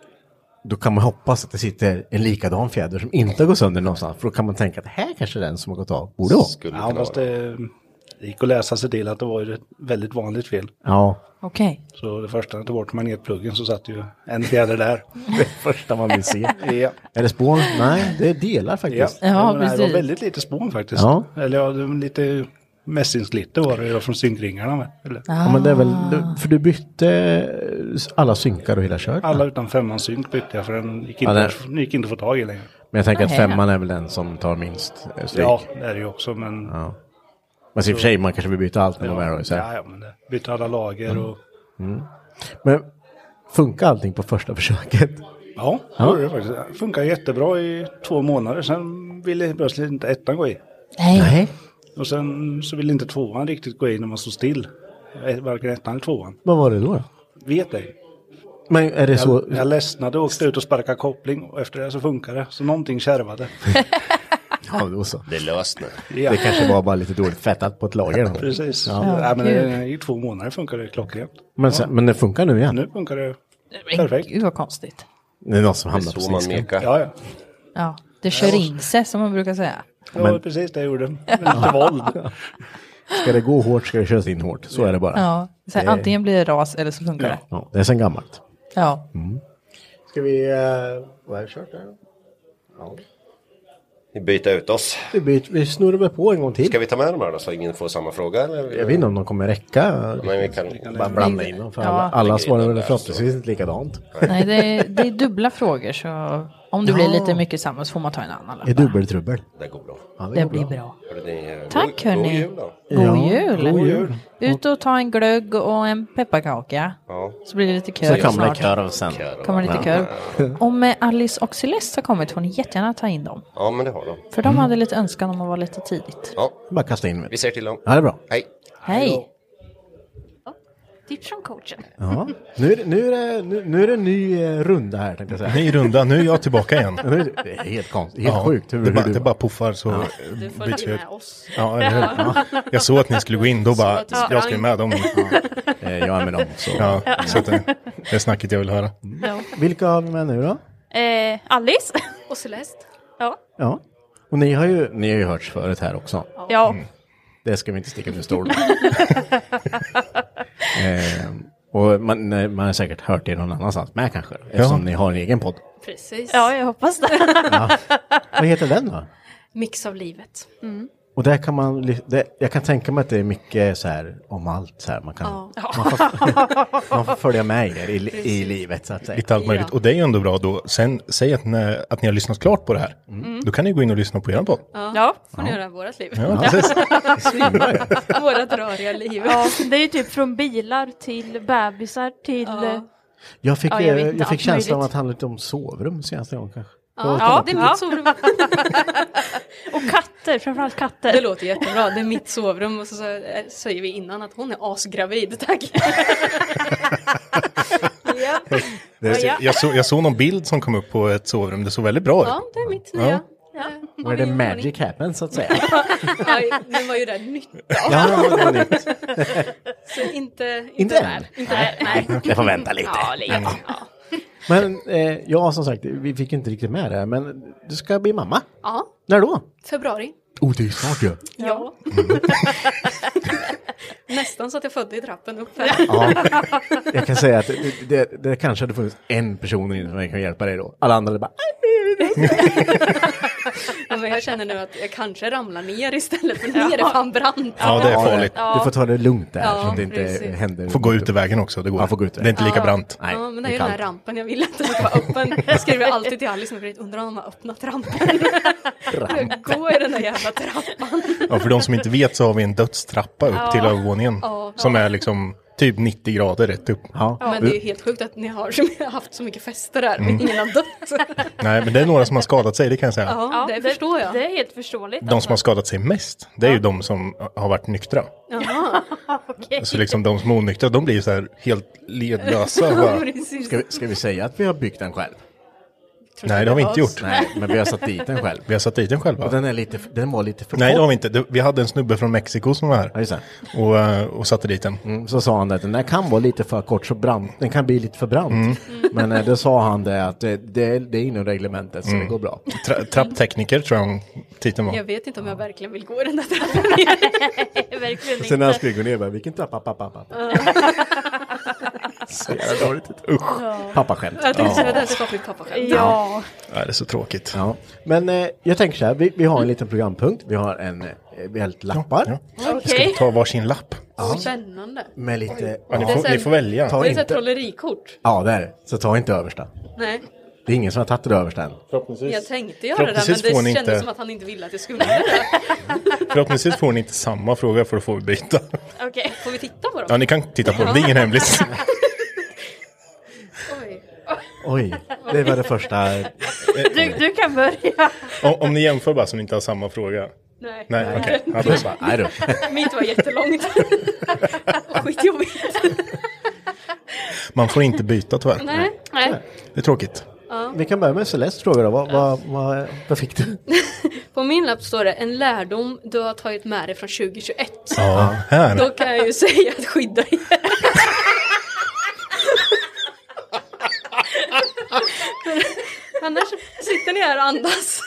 [SPEAKER 3] då kan man hoppas att det sitter en likadan fjäder som inte går sönder någonstans. För då kan man tänka att här kanske den som har gått av borde vara.
[SPEAKER 5] Skulle
[SPEAKER 9] Ja,
[SPEAKER 5] kunna
[SPEAKER 9] fast
[SPEAKER 5] vara.
[SPEAKER 9] det, det gick att läsa sig till att det var ju ett väldigt vanligt fel.
[SPEAKER 3] Ja,
[SPEAKER 4] Okej.
[SPEAKER 9] Så det första när jag tog bort magnetpluggen så satt ju en fjäder där.
[SPEAKER 3] det är första man vill se.
[SPEAKER 9] Ja.
[SPEAKER 3] Är det spån? Nej, det är delar
[SPEAKER 9] Ja,
[SPEAKER 3] faktiskt.
[SPEAKER 4] Ja,
[SPEAKER 9] men Det här
[SPEAKER 4] precis.
[SPEAKER 9] var väldigt lite spån faktiskt.
[SPEAKER 3] Ja.
[SPEAKER 9] Eller ja, det var lite mässingsglitter var det ju från synkringarna med. Eller?
[SPEAKER 3] Ja, men det är väl, för du bytte eh, alla synkar och hela köret.
[SPEAKER 9] Alla utan femman synk bytte jag för den gick
[SPEAKER 3] Ja,
[SPEAKER 9] inte,
[SPEAKER 3] det-
[SPEAKER 9] den gick inte att få tag i längre.
[SPEAKER 3] Men jag tänker att
[SPEAKER 4] Nej.
[SPEAKER 3] femman är väl den som tar minst eh, stryk.
[SPEAKER 9] Ja, det är det ju också men... Ja,
[SPEAKER 3] Men i och för sig, man kanske vill byta allt när man väl har isär.
[SPEAKER 9] ja, men det bytte alla lager
[SPEAKER 3] Mm.
[SPEAKER 9] och...
[SPEAKER 3] Men funkar allting på första försöket?
[SPEAKER 9] Ja, det gjorde det faktiskt. Det funkar jättebra i två månader. Sen ville plötsligt inte ettan gå i.
[SPEAKER 4] Nej.
[SPEAKER 9] Och sen så ville inte tvåan riktigt gå i när man stod still. Eh, Varken ettan eller tvåan.
[SPEAKER 3] Vad var det då?
[SPEAKER 9] Vet ej.
[SPEAKER 3] Men är det så?
[SPEAKER 9] Jag, jag ledsnade och åkte ut och sparkade koppling och efter det så funkade det. Så någonting kärvade.
[SPEAKER 3] Ja, då så.
[SPEAKER 5] Det är löst nu.
[SPEAKER 9] Ja,
[SPEAKER 3] Det kanske var bara lite dåligt fettat på ett lager.
[SPEAKER 9] precis.
[SPEAKER 3] Ja.
[SPEAKER 9] Ja. men det, I två månader funkade det klockrent.
[SPEAKER 3] Men, sen, men det funkar nu igen.
[SPEAKER 9] Nu funkar det.
[SPEAKER 4] Men
[SPEAKER 9] Perfekt.
[SPEAKER 4] gud vad konstigt.
[SPEAKER 3] Det är någon som
[SPEAKER 5] Det är
[SPEAKER 3] hamnar på
[SPEAKER 5] så man
[SPEAKER 3] sniskan.
[SPEAKER 5] mekar.
[SPEAKER 9] Ja, ja.
[SPEAKER 4] Ja, det kör in sig som man brukar säga.
[SPEAKER 6] Det var precis det jag gjorde. Med Lite våld.
[SPEAKER 3] Ska det gå hårt ska det köras in hårt. Så är det bara.
[SPEAKER 4] Ja, så här, antingen blir det ras eller så funkar det.
[SPEAKER 3] Ja, det är sen gammalt. Mm.
[SPEAKER 4] Ja.
[SPEAKER 3] Ska vi... eh, Vad har vi kört där? Ja.
[SPEAKER 5] Ni byter ut oss.
[SPEAKER 3] Vi, byter, vi snurrar väl på en gång till.
[SPEAKER 5] Ska vi ta med de här då så ingen får samma fråga? Eller?
[SPEAKER 3] Jag vet inte om de kommer räcka.
[SPEAKER 5] Nej, vi kan...
[SPEAKER 3] Bara blanda in dem. För
[SPEAKER 4] Ja.
[SPEAKER 3] alla, alla svarar
[SPEAKER 5] Lägger in
[SPEAKER 3] väl
[SPEAKER 5] den
[SPEAKER 3] förhoppningsvis inte likadant.
[SPEAKER 4] Nej, det är, det är dubbla frågor så om det blir lite mycket samma så får man ta en annan.
[SPEAKER 3] Det är dubbeltrubbel.
[SPEAKER 5] Det går bra.
[SPEAKER 3] Ja,
[SPEAKER 4] Det blir bra.
[SPEAKER 5] Hörrni, eh,
[SPEAKER 4] Tack,
[SPEAKER 5] god, god
[SPEAKER 4] hörni.
[SPEAKER 5] jul då.
[SPEAKER 4] God
[SPEAKER 3] Ja,
[SPEAKER 4] jul!
[SPEAKER 3] god jul.
[SPEAKER 4] Ut och ta en glögg och en pepparkaka.
[SPEAKER 5] Ja.
[SPEAKER 4] Så blir det lite
[SPEAKER 3] Så
[SPEAKER 4] kör
[SPEAKER 3] kommer det
[SPEAKER 4] snart.
[SPEAKER 3] korv sen.
[SPEAKER 4] Kommer lite kör. Om eh, Alice och Celeste har kommit får ni jättegärna ta in dem.
[SPEAKER 5] Ja, men det har de.
[SPEAKER 4] För de
[SPEAKER 3] Mm.
[SPEAKER 4] hade lite önskan om att vara lite tidigt.
[SPEAKER 5] Ja,
[SPEAKER 3] Bara kasta in.
[SPEAKER 5] vi ser till dem.
[SPEAKER 3] Ja, det är bra.
[SPEAKER 5] Hej.
[SPEAKER 4] Hej!
[SPEAKER 7] Tips från coachen.
[SPEAKER 3] Ja. Nu, är det- nu, är det, nu, nu är det en ny eh, runda här tänkte jag säga.
[SPEAKER 2] Ny runda, nu är jag tillbaka igen.
[SPEAKER 3] Nu är det- Det är helt konstigt, helt sjukt hur,
[SPEAKER 2] det, bara,
[SPEAKER 3] hur
[SPEAKER 2] det
[SPEAKER 3] du...
[SPEAKER 2] bara puffar så
[SPEAKER 7] Du får
[SPEAKER 2] byts
[SPEAKER 7] ta
[SPEAKER 2] vi ut.
[SPEAKER 7] med oss.
[SPEAKER 2] Ja, eller hur? Jag såg att ni skulle gå in, då bara,
[SPEAKER 7] att du sprang.
[SPEAKER 2] jag ska med dem.
[SPEAKER 3] Eh, Jag är med dem. Så.
[SPEAKER 2] Ja, så att det, det är snacket jag vill höra.
[SPEAKER 3] Vilka har vi med nu då?
[SPEAKER 7] Eh, Alice. Och Celeste. Ja.
[SPEAKER 3] Ja. Och ni har ju, ni har ju hörts förut här också.
[SPEAKER 7] Ja.
[SPEAKER 2] Mm.
[SPEAKER 3] Det ska vi inte sticka under stol med. eh, och man, nej, man har säkert hört det någon annanstans med kanske. Eftersom ni har en egen podd.
[SPEAKER 7] Precis. Ja, jag hoppas det.
[SPEAKER 3] Vad heter den då?
[SPEAKER 7] Mix av livet.
[SPEAKER 3] Och där kan man, ly- det, jag kan tänka mig att det är mycket så här om allt så här. Man kan, man, får, man får följa med er i, li- i livet så att säga.
[SPEAKER 2] Lite allt möjligt. Och det är ju ändå bra då. Sen, säg att ni, att ni har lyssnat klart på det här.
[SPEAKER 7] Mm.
[SPEAKER 2] Då kan ni gå in och lyssna på er podd.
[SPEAKER 7] Ja, får ni göra vårt liv.
[SPEAKER 2] Ja, precis.
[SPEAKER 7] Vårat röriga liv.
[SPEAKER 10] Ja, det är ju typ från bilar till bebisar till... eh,
[SPEAKER 3] Jag fick,
[SPEAKER 10] Ja, jag
[SPEAKER 3] eh,
[SPEAKER 10] vet
[SPEAKER 3] jag
[SPEAKER 10] inte,
[SPEAKER 3] fick
[SPEAKER 10] allt
[SPEAKER 3] känslan av
[SPEAKER 10] möjligt.
[SPEAKER 3] att det handlade om sovrum senaste gången kanske.
[SPEAKER 10] Ja, det är
[SPEAKER 7] Ja.
[SPEAKER 10] mitt sovrum. och katter, framförallt katter.
[SPEAKER 7] Det låter jättebra, det är mitt sovrum och så så- eh, säger vi innan att hon är asgravid, tack. ja.
[SPEAKER 2] Det, jag, såg, jag såg någon bild som kom upp på ett sovrum. Det såg väldigt bra ut.
[SPEAKER 7] ja, det är mitt nya. Eh,
[SPEAKER 3] Where the magic happens så att säga.
[SPEAKER 7] Ja, nu var ju det nytt,
[SPEAKER 3] ja, det var nytt.
[SPEAKER 7] så inte,
[SPEAKER 3] Inte
[SPEAKER 7] inte
[SPEAKER 3] än.
[SPEAKER 7] där. Inte där, nej.
[SPEAKER 3] Jag får vänta lite.
[SPEAKER 7] Ja, lite. Ja.
[SPEAKER 3] Men eh, ja, som sagt, vi fick inte riktigt med det här, men du ska bli mamma.
[SPEAKER 7] ja,
[SPEAKER 3] När då?
[SPEAKER 7] februari.
[SPEAKER 3] Oh, det är snart ju.
[SPEAKER 7] Ja. Nästan så att jag födde i trappen upp här.
[SPEAKER 3] Ja. Jag kan säga att det, det, det kanske hade funnits en person inne som kan hjälpa dig då. Alla andra hade bara, "Aj."
[SPEAKER 7] Ja, men jag känner nu att jag kanske ramlar ner istället, för ner är fan brant.
[SPEAKER 2] Ja, det är farligt.
[SPEAKER 3] du får ta det lugnt där
[SPEAKER 7] Ja,
[SPEAKER 3] så att det inte
[SPEAKER 7] precis.
[SPEAKER 3] händer.
[SPEAKER 2] Får gå ut i vägen också. Det går.
[SPEAKER 3] Ja, får gå ut i
[SPEAKER 2] det är inte lika brant.
[SPEAKER 3] Nej,
[SPEAKER 7] ja, men det
[SPEAKER 3] det
[SPEAKER 7] är ju
[SPEAKER 3] kan.
[SPEAKER 7] den här rampen jag vill att den ska vara öppen. Jag skriver alltid till Alice nu, undrar om de har öppnat rampen. Gå i den där jävla trappan.
[SPEAKER 2] Ja, för de som inte vet så har vi en dödstrappa upp till övervåningen. Som är liksom typ 90 grader rätt upp.
[SPEAKER 3] Ja.
[SPEAKER 7] Men det är ju helt sjukt att ni har som- haft så mycket fester där, men ingen har dött.
[SPEAKER 2] Nej, men det är några som har skadat sig, det kan jag säga.
[SPEAKER 7] Ja, det, förstår jag.
[SPEAKER 10] Det är helt förståeligt. alltså.
[SPEAKER 2] De som har skadat sig mest, det är ju de som har varit nyktra. Så liksom de som är onyktra, de blir ju så här helt ledlösa. Bara.
[SPEAKER 7] Precis.
[SPEAKER 3] Ska, vi, ska vi säga att vi har byggt den själv?
[SPEAKER 2] Nej, det har vi inte gjort.
[SPEAKER 3] Nej, men vi har satt dit den själv.
[SPEAKER 2] Vi har satt dit den
[SPEAKER 3] Och
[SPEAKER 2] själva.
[SPEAKER 3] den, är lite, den var lite för
[SPEAKER 2] Nej, det har
[SPEAKER 3] kort.
[SPEAKER 2] vi inte. Det- Vi hade en snubbe från Mexiko som var
[SPEAKER 3] Ja,
[SPEAKER 2] här
[SPEAKER 3] just det.
[SPEAKER 2] och, eh, och satte dit den.
[SPEAKER 3] Mm, Så sa han att den där kan vara lite för kort, så brant, den kan bli lite för brant.
[SPEAKER 2] Mm.
[SPEAKER 3] Men eh, då sa han det att det, det, det är inom reglementet så det går bra.
[SPEAKER 2] Mm. Tra- trapptekniker tror jag hon- titeln
[SPEAKER 7] Jag
[SPEAKER 2] var.
[SPEAKER 7] vet inte om jag verkligen vill gå i den där trappan.
[SPEAKER 10] Verkligen
[SPEAKER 3] Sen
[SPEAKER 10] inte.
[SPEAKER 3] när han skulle gå ner bara, vilken trappa, pappa, pappa. Så jävla dåligt. Usch. Pappaskämt.
[SPEAKER 7] Jag tänkte säga det där skapar ju pappa själv.
[SPEAKER 10] Ja,
[SPEAKER 2] Nej, det är så tråkigt.
[SPEAKER 3] Ja. Men eh, jag tänker så här, vi, vi har en liten programpunkt, vi har en, eh, vi har lite lappar
[SPEAKER 2] Ja.
[SPEAKER 10] okej.
[SPEAKER 2] Ta varsin lapp.
[SPEAKER 7] Så spännande.
[SPEAKER 3] med lite,
[SPEAKER 2] Ja, ni,
[SPEAKER 3] ja,
[SPEAKER 2] får, ni får välja.
[SPEAKER 3] ta
[SPEAKER 7] Det är ett sånt här
[SPEAKER 3] inte,
[SPEAKER 7] trollerikort.
[SPEAKER 3] ja det är det. Så ta inte översta.
[SPEAKER 7] Nej,
[SPEAKER 3] Det är ingen som har tagit det översta än.
[SPEAKER 7] jag tänkte göra det där, men
[SPEAKER 2] Förhoppningsvis
[SPEAKER 7] det
[SPEAKER 2] får ni
[SPEAKER 7] kändes
[SPEAKER 2] inte-
[SPEAKER 7] som att han inte ville att jag skulle göra det.
[SPEAKER 2] Förhoppningsvis får ni inte samma fråga för då får vi byta.
[SPEAKER 10] okej.
[SPEAKER 7] Får vi titta på dem?
[SPEAKER 2] Ja, ni kan titta på dem. Det är ingen hemlis.
[SPEAKER 7] Oj.
[SPEAKER 3] Oj, det var det första.
[SPEAKER 10] Du, du kan börja.
[SPEAKER 2] Eh, Om, om ni jämför bara så ni inte har samma fråga.
[SPEAKER 7] Nej.
[SPEAKER 2] Nej, okej. Ja, då så.
[SPEAKER 3] Nej då.
[SPEAKER 7] Mitt var jättelångt. Och Skitjobbigt.
[SPEAKER 2] Man får inte byta tyvärr.
[SPEAKER 7] Nej.
[SPEAKER 10] Nej.
[SPEAKER 2] Det är tråkigt.
[SPEAKER 3] Vi kan börja med Celeste fråga då. Vad, vad, vad, vad fick du?
[SPEAKER 7] På min lapp står det en lärdom du har tagit med dig från 2021.
[SPEAKER 2] Ja, här.
[SPEAKER 7] Då kan jag ju säga att skydda er. Annars sitter ni här och andas.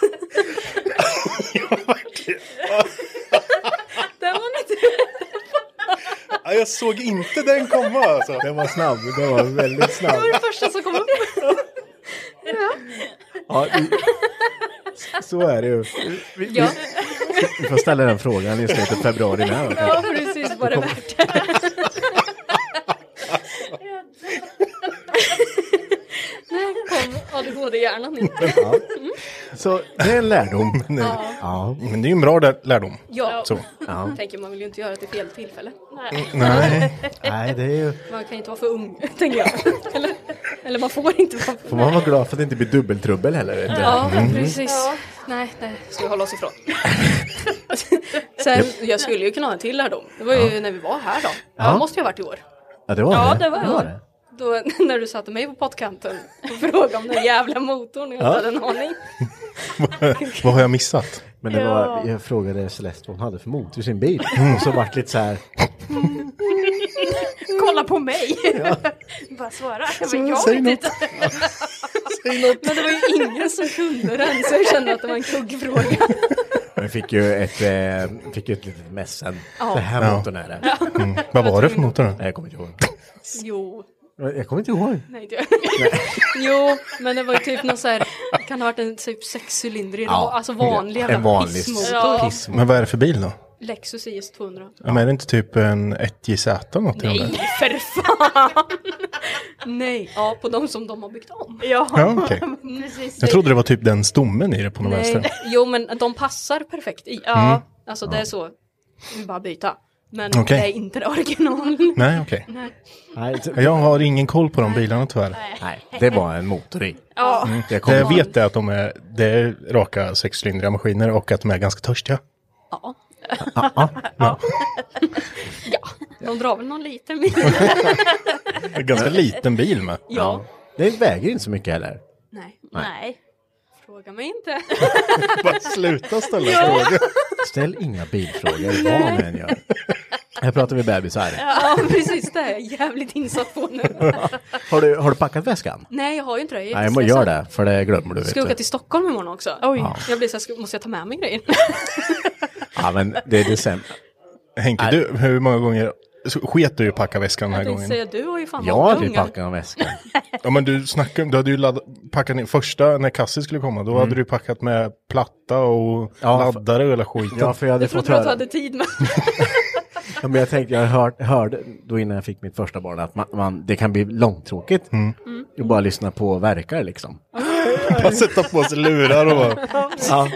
[SPEAKER 2] jag såg inte den komma alltså.
[SPEAKER 3] Den var snabb, den var väldigt snabb.
[SPEAKER 7] Det var det första som kom upp.
[SPEAKER 3] Ja, i, så är det ju. Vi, vi-
[SPEAKER 7] Ja,
[SPEAKER 3] vi får ställa den frågan i slutet av februari med. va?
[SPEAKER 7] ja precis. Var det värt det? Där kom ADHD-hjärnan in.
[SPEAKER 3] Så det är en lärdom.
[SPEAKER 2] Nu.
[SPEAKER 3] Ja.
[SPEAKER 2] Men det är ju en bra lär- lärdom.
[SPEAKER 7] Ja,
[SPEAKER 2] Så.
[SPEAKER 3] ja. Mm,
[SPEAKER 7] tänker man vill ju inte göra det till fel tillfälle.
[SPEAKER 2] Nej,
[SPEAKER 3] Nej, det är ju...
[SPEAKER 7] Man kan ju inte vara för ung, tänker jag. Eller, eller man får inte vara för
[SPEAKER 3] Får man vara glad för att det inte blir dubbeltrubbel heller. Vet du?
[SPEAKER 7] Ja,
[SPEAKER 2] Mm.
[SPEAKER 7] precis. Nej, det ska vi hålla oss ifrån. Sen, jag skulle ju kunna ha en till lärdom. Det var ju när vi var här då. Ja,
[SPEAKER 3] Ja.
[SPEAKER 7] måste ju ha varit i år.
[SPEAKER 3] Ja, det var
[SPEAKER 7] Ja,
[SPEAKER 3] det.
[SPEAKER 7] det var jag. Då, när du satte mig på pottkanten och frågade om den jävla motorn. Jag hade en aning.
[SPEAKER 2] vad har jag missat?
[SPEAKER 3] Men det var, jag frågade Celeste vad hon hade för motor i sin bil.
[SPEAKER 2] Mm.
[SPEAKER 3] Och så vart det lite så här...
[SPEAKER 10] Kolla på mig! Bara svara. Jag bara, jag
[SPEAKER 2] säg
[SPEAKER 10] vet inte.
[SPEAKER 7] Men det var ju ingen som kunde den så jag kände att det var en kuggfråga.
[SPEAKER 3] Jag fick ju ett, eh, fick ju ett litet mässen. Det här
[SPEAKER 2] Ja.
[SPEAKER 3] motorn är det.
[SPEAKER 2] Mm. Vad var det för motor då?
[SPEAKER 3] Nej, jag kommer inte ihåg.
[SPEAKER 7] Jo.
[SPEAKER 3] Jag kommer inte ihåg.
[SPEAKER 7] Nej, inte jag. Jo, men det var ju typ någon så här, kan ha varit en typ sexcylindrig, ja, alltså vanlig
[SPEAKER 3] En
[SPEAKER 7] jävla
[SPEAKER 3] vanlig
[SPEAKER 7] pissmotor.
[SPEAKER 3] pissmotor.
[SPEAKER 2] Men vad är det för bil då?
[SPEAKER 7] Lexus IS 200.
[SPEAKER 2] Ja. Men är det inte typ en 1JZ eller något? i de där?
[SPEAKER 7] Nej, för fan! Nej, ja, på de som de har byggt om.
[SPEAKER 10] Ja,
[SPEAKER 2] Ja, okej.
[SPEAKER 10] precis.
[SPEAKER 2] Jag trodde det var typ den stommen i det på något
[SPEAKER 7] Nej,
[SPEAKER 2] vänster. Mm.
[SPEAKER 7] jo, men de passar perfekt i. Ja, alltså det är så, vi bara byta. Men
[SPEAKER 2] Okej.
[SPEAKER 7] det är inte det original.
[SPEAKER 2] Nej, okej.
[SPEAKER 3] Nej, så-
[SPEAKER 2] Jag har ingen koll på de bilarna tyvärr.
[SPEAKER 3] nej, det var en motor i. Mm,
[SPEAKER 7] Ja,
[SPEAKER 3] Jag
[SPEAKER 2] Det
[SPEAKER 3] kommer
[SPEAKER 2] jag vet är att de är, det är raka sexcylindriga maskiner och att de är ganska törstiga.
[SPEAKER 7] ja.
[SPEAKER 3] ja.
[SPEAKER 7] de drar väl någon liten mil.
[SPEAKER 2] En ganska liten bil med.
[SPEAKER 7] Ja.
[SPEAKER 3] Det väger inte så mycket heller.
[SPEAKER 7] Nej,
[SPEAKER 10] Nej.
[SPEAKER 7] fråga mig inte.
[SPEAKER 2] Bara sluta ställa frågor.
[SPEAKER 3] Ställ inga bilfrågor, vad man än gör. Här pratar vi bebisar.
[SPEAKER 7] Ja, precis, det är jag jävligt insatt på nu.
[SPEAKER 3] Har du, har du packat väskan?
[SPEAKER 7] Nej, jag har ju inte det. Jag är
[SPEAKER 3] Nej, men
[SPEAKER 7] jättestressad.
[SPEAKER 3] gör det, för det glömmer du.
[SPEAKER 7] Ska jag åka
[SPEAKER 3] Vet du.
[SPEAKER 7] till Stockholm imorgon också. Oj. Jag blir så här, ska- måste jag ta med mig grejer?
[SPEAKER 3] Ja, men det är december.
[SPEAKER 2] Henke, du, hur många gånger så sket du i att packa väskan den här
[SPEAKER 7] Jag tänkte
[SPEAKER 2] gången?
[SPEAKER 7] säga, du har ju fan
[SPEAKER 3] Jag har
[SPEAKER 7] många
[SPEAKER 3] aldrig
[SPEAKER 7] ungar.
[SPEAKER 3] packat en väska.
[SPEAKER 2] Ja, men du snackade, du hade ju ladd, packat ner första när Cassie skulle komma. Då hade du packat med platta och
[SPEAKER 3] Mm. Ja,
[SPEAKER 2] laddare och hela skiten.
[SPEAKER 3] Ja, för jag hade
[SPEAKER 7] Jag
[SPEAKER 3] fått
[SPEAKER 7] trodde att du
[SPEAKER 3] höra.
[SPEAKER 7] hade tid med.
[SPEAKER 3] Ja, men jag tänkte, jag hört, hörde då innan jag fick mitt första barn att man, man, det kan bli långtråkigt. Och bara lyssna på verkar liksom.
[SPEAKER 2] Mm. Bara sätta på sig lurar och bara,
[SPEAKER 3] Ja.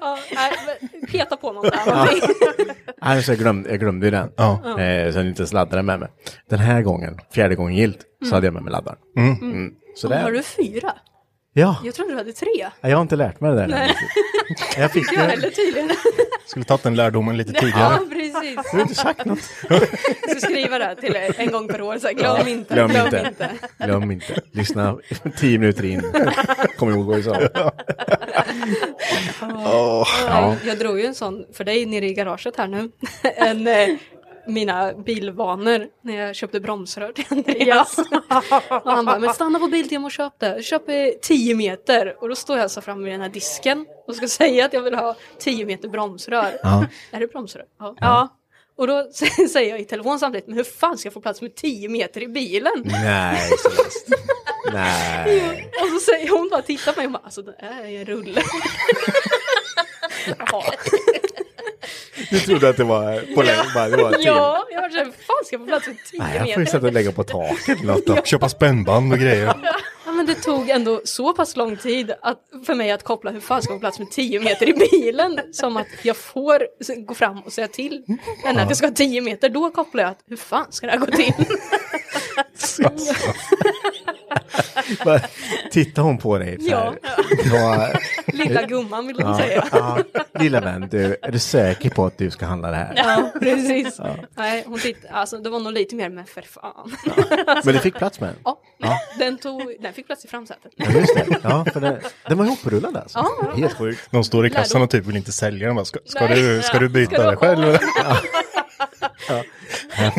[SPEAKER 7] Ja, nej, men peta på någon där.
[SPEAKER 3] Nej, så jag, glömde, jag glömde ju den.
[SPEAKER 2] Ja.
[SPEAKER 3] Eh, så jag inte ens laddade den med mig. Den här gången, fjärde gången gilt, så hade jag med mig laddaren. Mm. Så
[SPEAKER 7] Har
[SPEAKER 3] där.
[SPEAKER 7] du fyra?
[SPEAKER 3] Ja,
[SPEAKER 7] Jag trodde du hade tre.
[SPEAKER 3] jag har inte lärt mig det där. än. Jag fick
[SPEAKER 7] Jag
[SPEAKER 3] det.
[SPEAKER 7] heller tydligen.
[SPEAKER 2] skulle tagit den lärdomen lite tidigare.
[SPEAKER 7] Ja, precis.
[SPEAKER 3] Du har inte sagt något.
[SPEAKER 7] Jag ska skriva det här till er en gång per år. Så här, glöm inte.
[SPEAKER 3] Glöm inte. Glöm inte. Lyssna tio minuter in. Kom ihåg vad du sa.
[SPEAKER 7] Ja. Jag drog ju en sån för dig nere i garaget här nu. En, eh, mina bilvanor när jag köpte bromsrör till Andreas. Och han bara, men stanna på Biltema och köp det. Köp eh, 10 meter. Och då står jag så framme vid den här disken och ska säga att jag vill ha 10 meter bromsrör.
[SPEAKER 3] Ja.
[SPEAKER 7] Är det bromsrör? Ja. ja. Och då säger jag i telefon samtidigt, men hur fan ska jag få plats med 10 meter i bilen?
[SPEAKER 3] Nej, Celeste. Nej.
[SPEAKER 7] Och så säger hon bara, titta på mig och bara, alltså det är en rulle. ja.
[SPEAKER 3] Du trodde att det var på länge, bara, det var tio.
[SPEAKER 7] Ja, jag var såhär, fan ska jag få plats med 10
[SPEAKER 3] Nej, jag får ju
[SPEAKER 7] meter?
[SPEAKER 3] sätta och lägga på taket eller något. då.
[SPEAKER 2] Köpa spännband och grejer.
[SPEAKER 7] Ja, men det tog ändå så pass lång tid att, för mig att koppla hur fan ska jag få plats med 10 meter i bilen? Som att jag får s- gå fram och säga till henne att jag ska ha 10 meter. Då kopplar jag att hur fan ska det här gå till?
[SPEAKER 3] Alltså. Bara, Tittar hon på dig så här. Ja.
[SPEAKER 7] Lilla gumman vill hon säga.
[SPEAKER 3] Ja. Lilla vän, du, är du säker på att du ska handla det här?
[SPEAKER 7] Ja, precis. Nej, hon titt, alltså, det var nog lite mer, men för fan.
[SPEAKER 3] Men du fick plats med den?
[SPEAKER 7] Ja, Den, tog, den fick plats i framsätet.
[SPEAKER 3] Ja, just det. Ja, för den, den var ihoprullad alltså.
[SPEAKER 7] Ja.
[SPEAKER 3] Helt sjukt.
[SPEAKER 2] De står i kassan och typ vill inte sälja den. Bara, Ska, ska,
[SPEAKER 7] Nej.
[SPEAKER 2] du, ska du byta
[SPEAKER 7] Ska du
[SPEAKER 2] dig själv?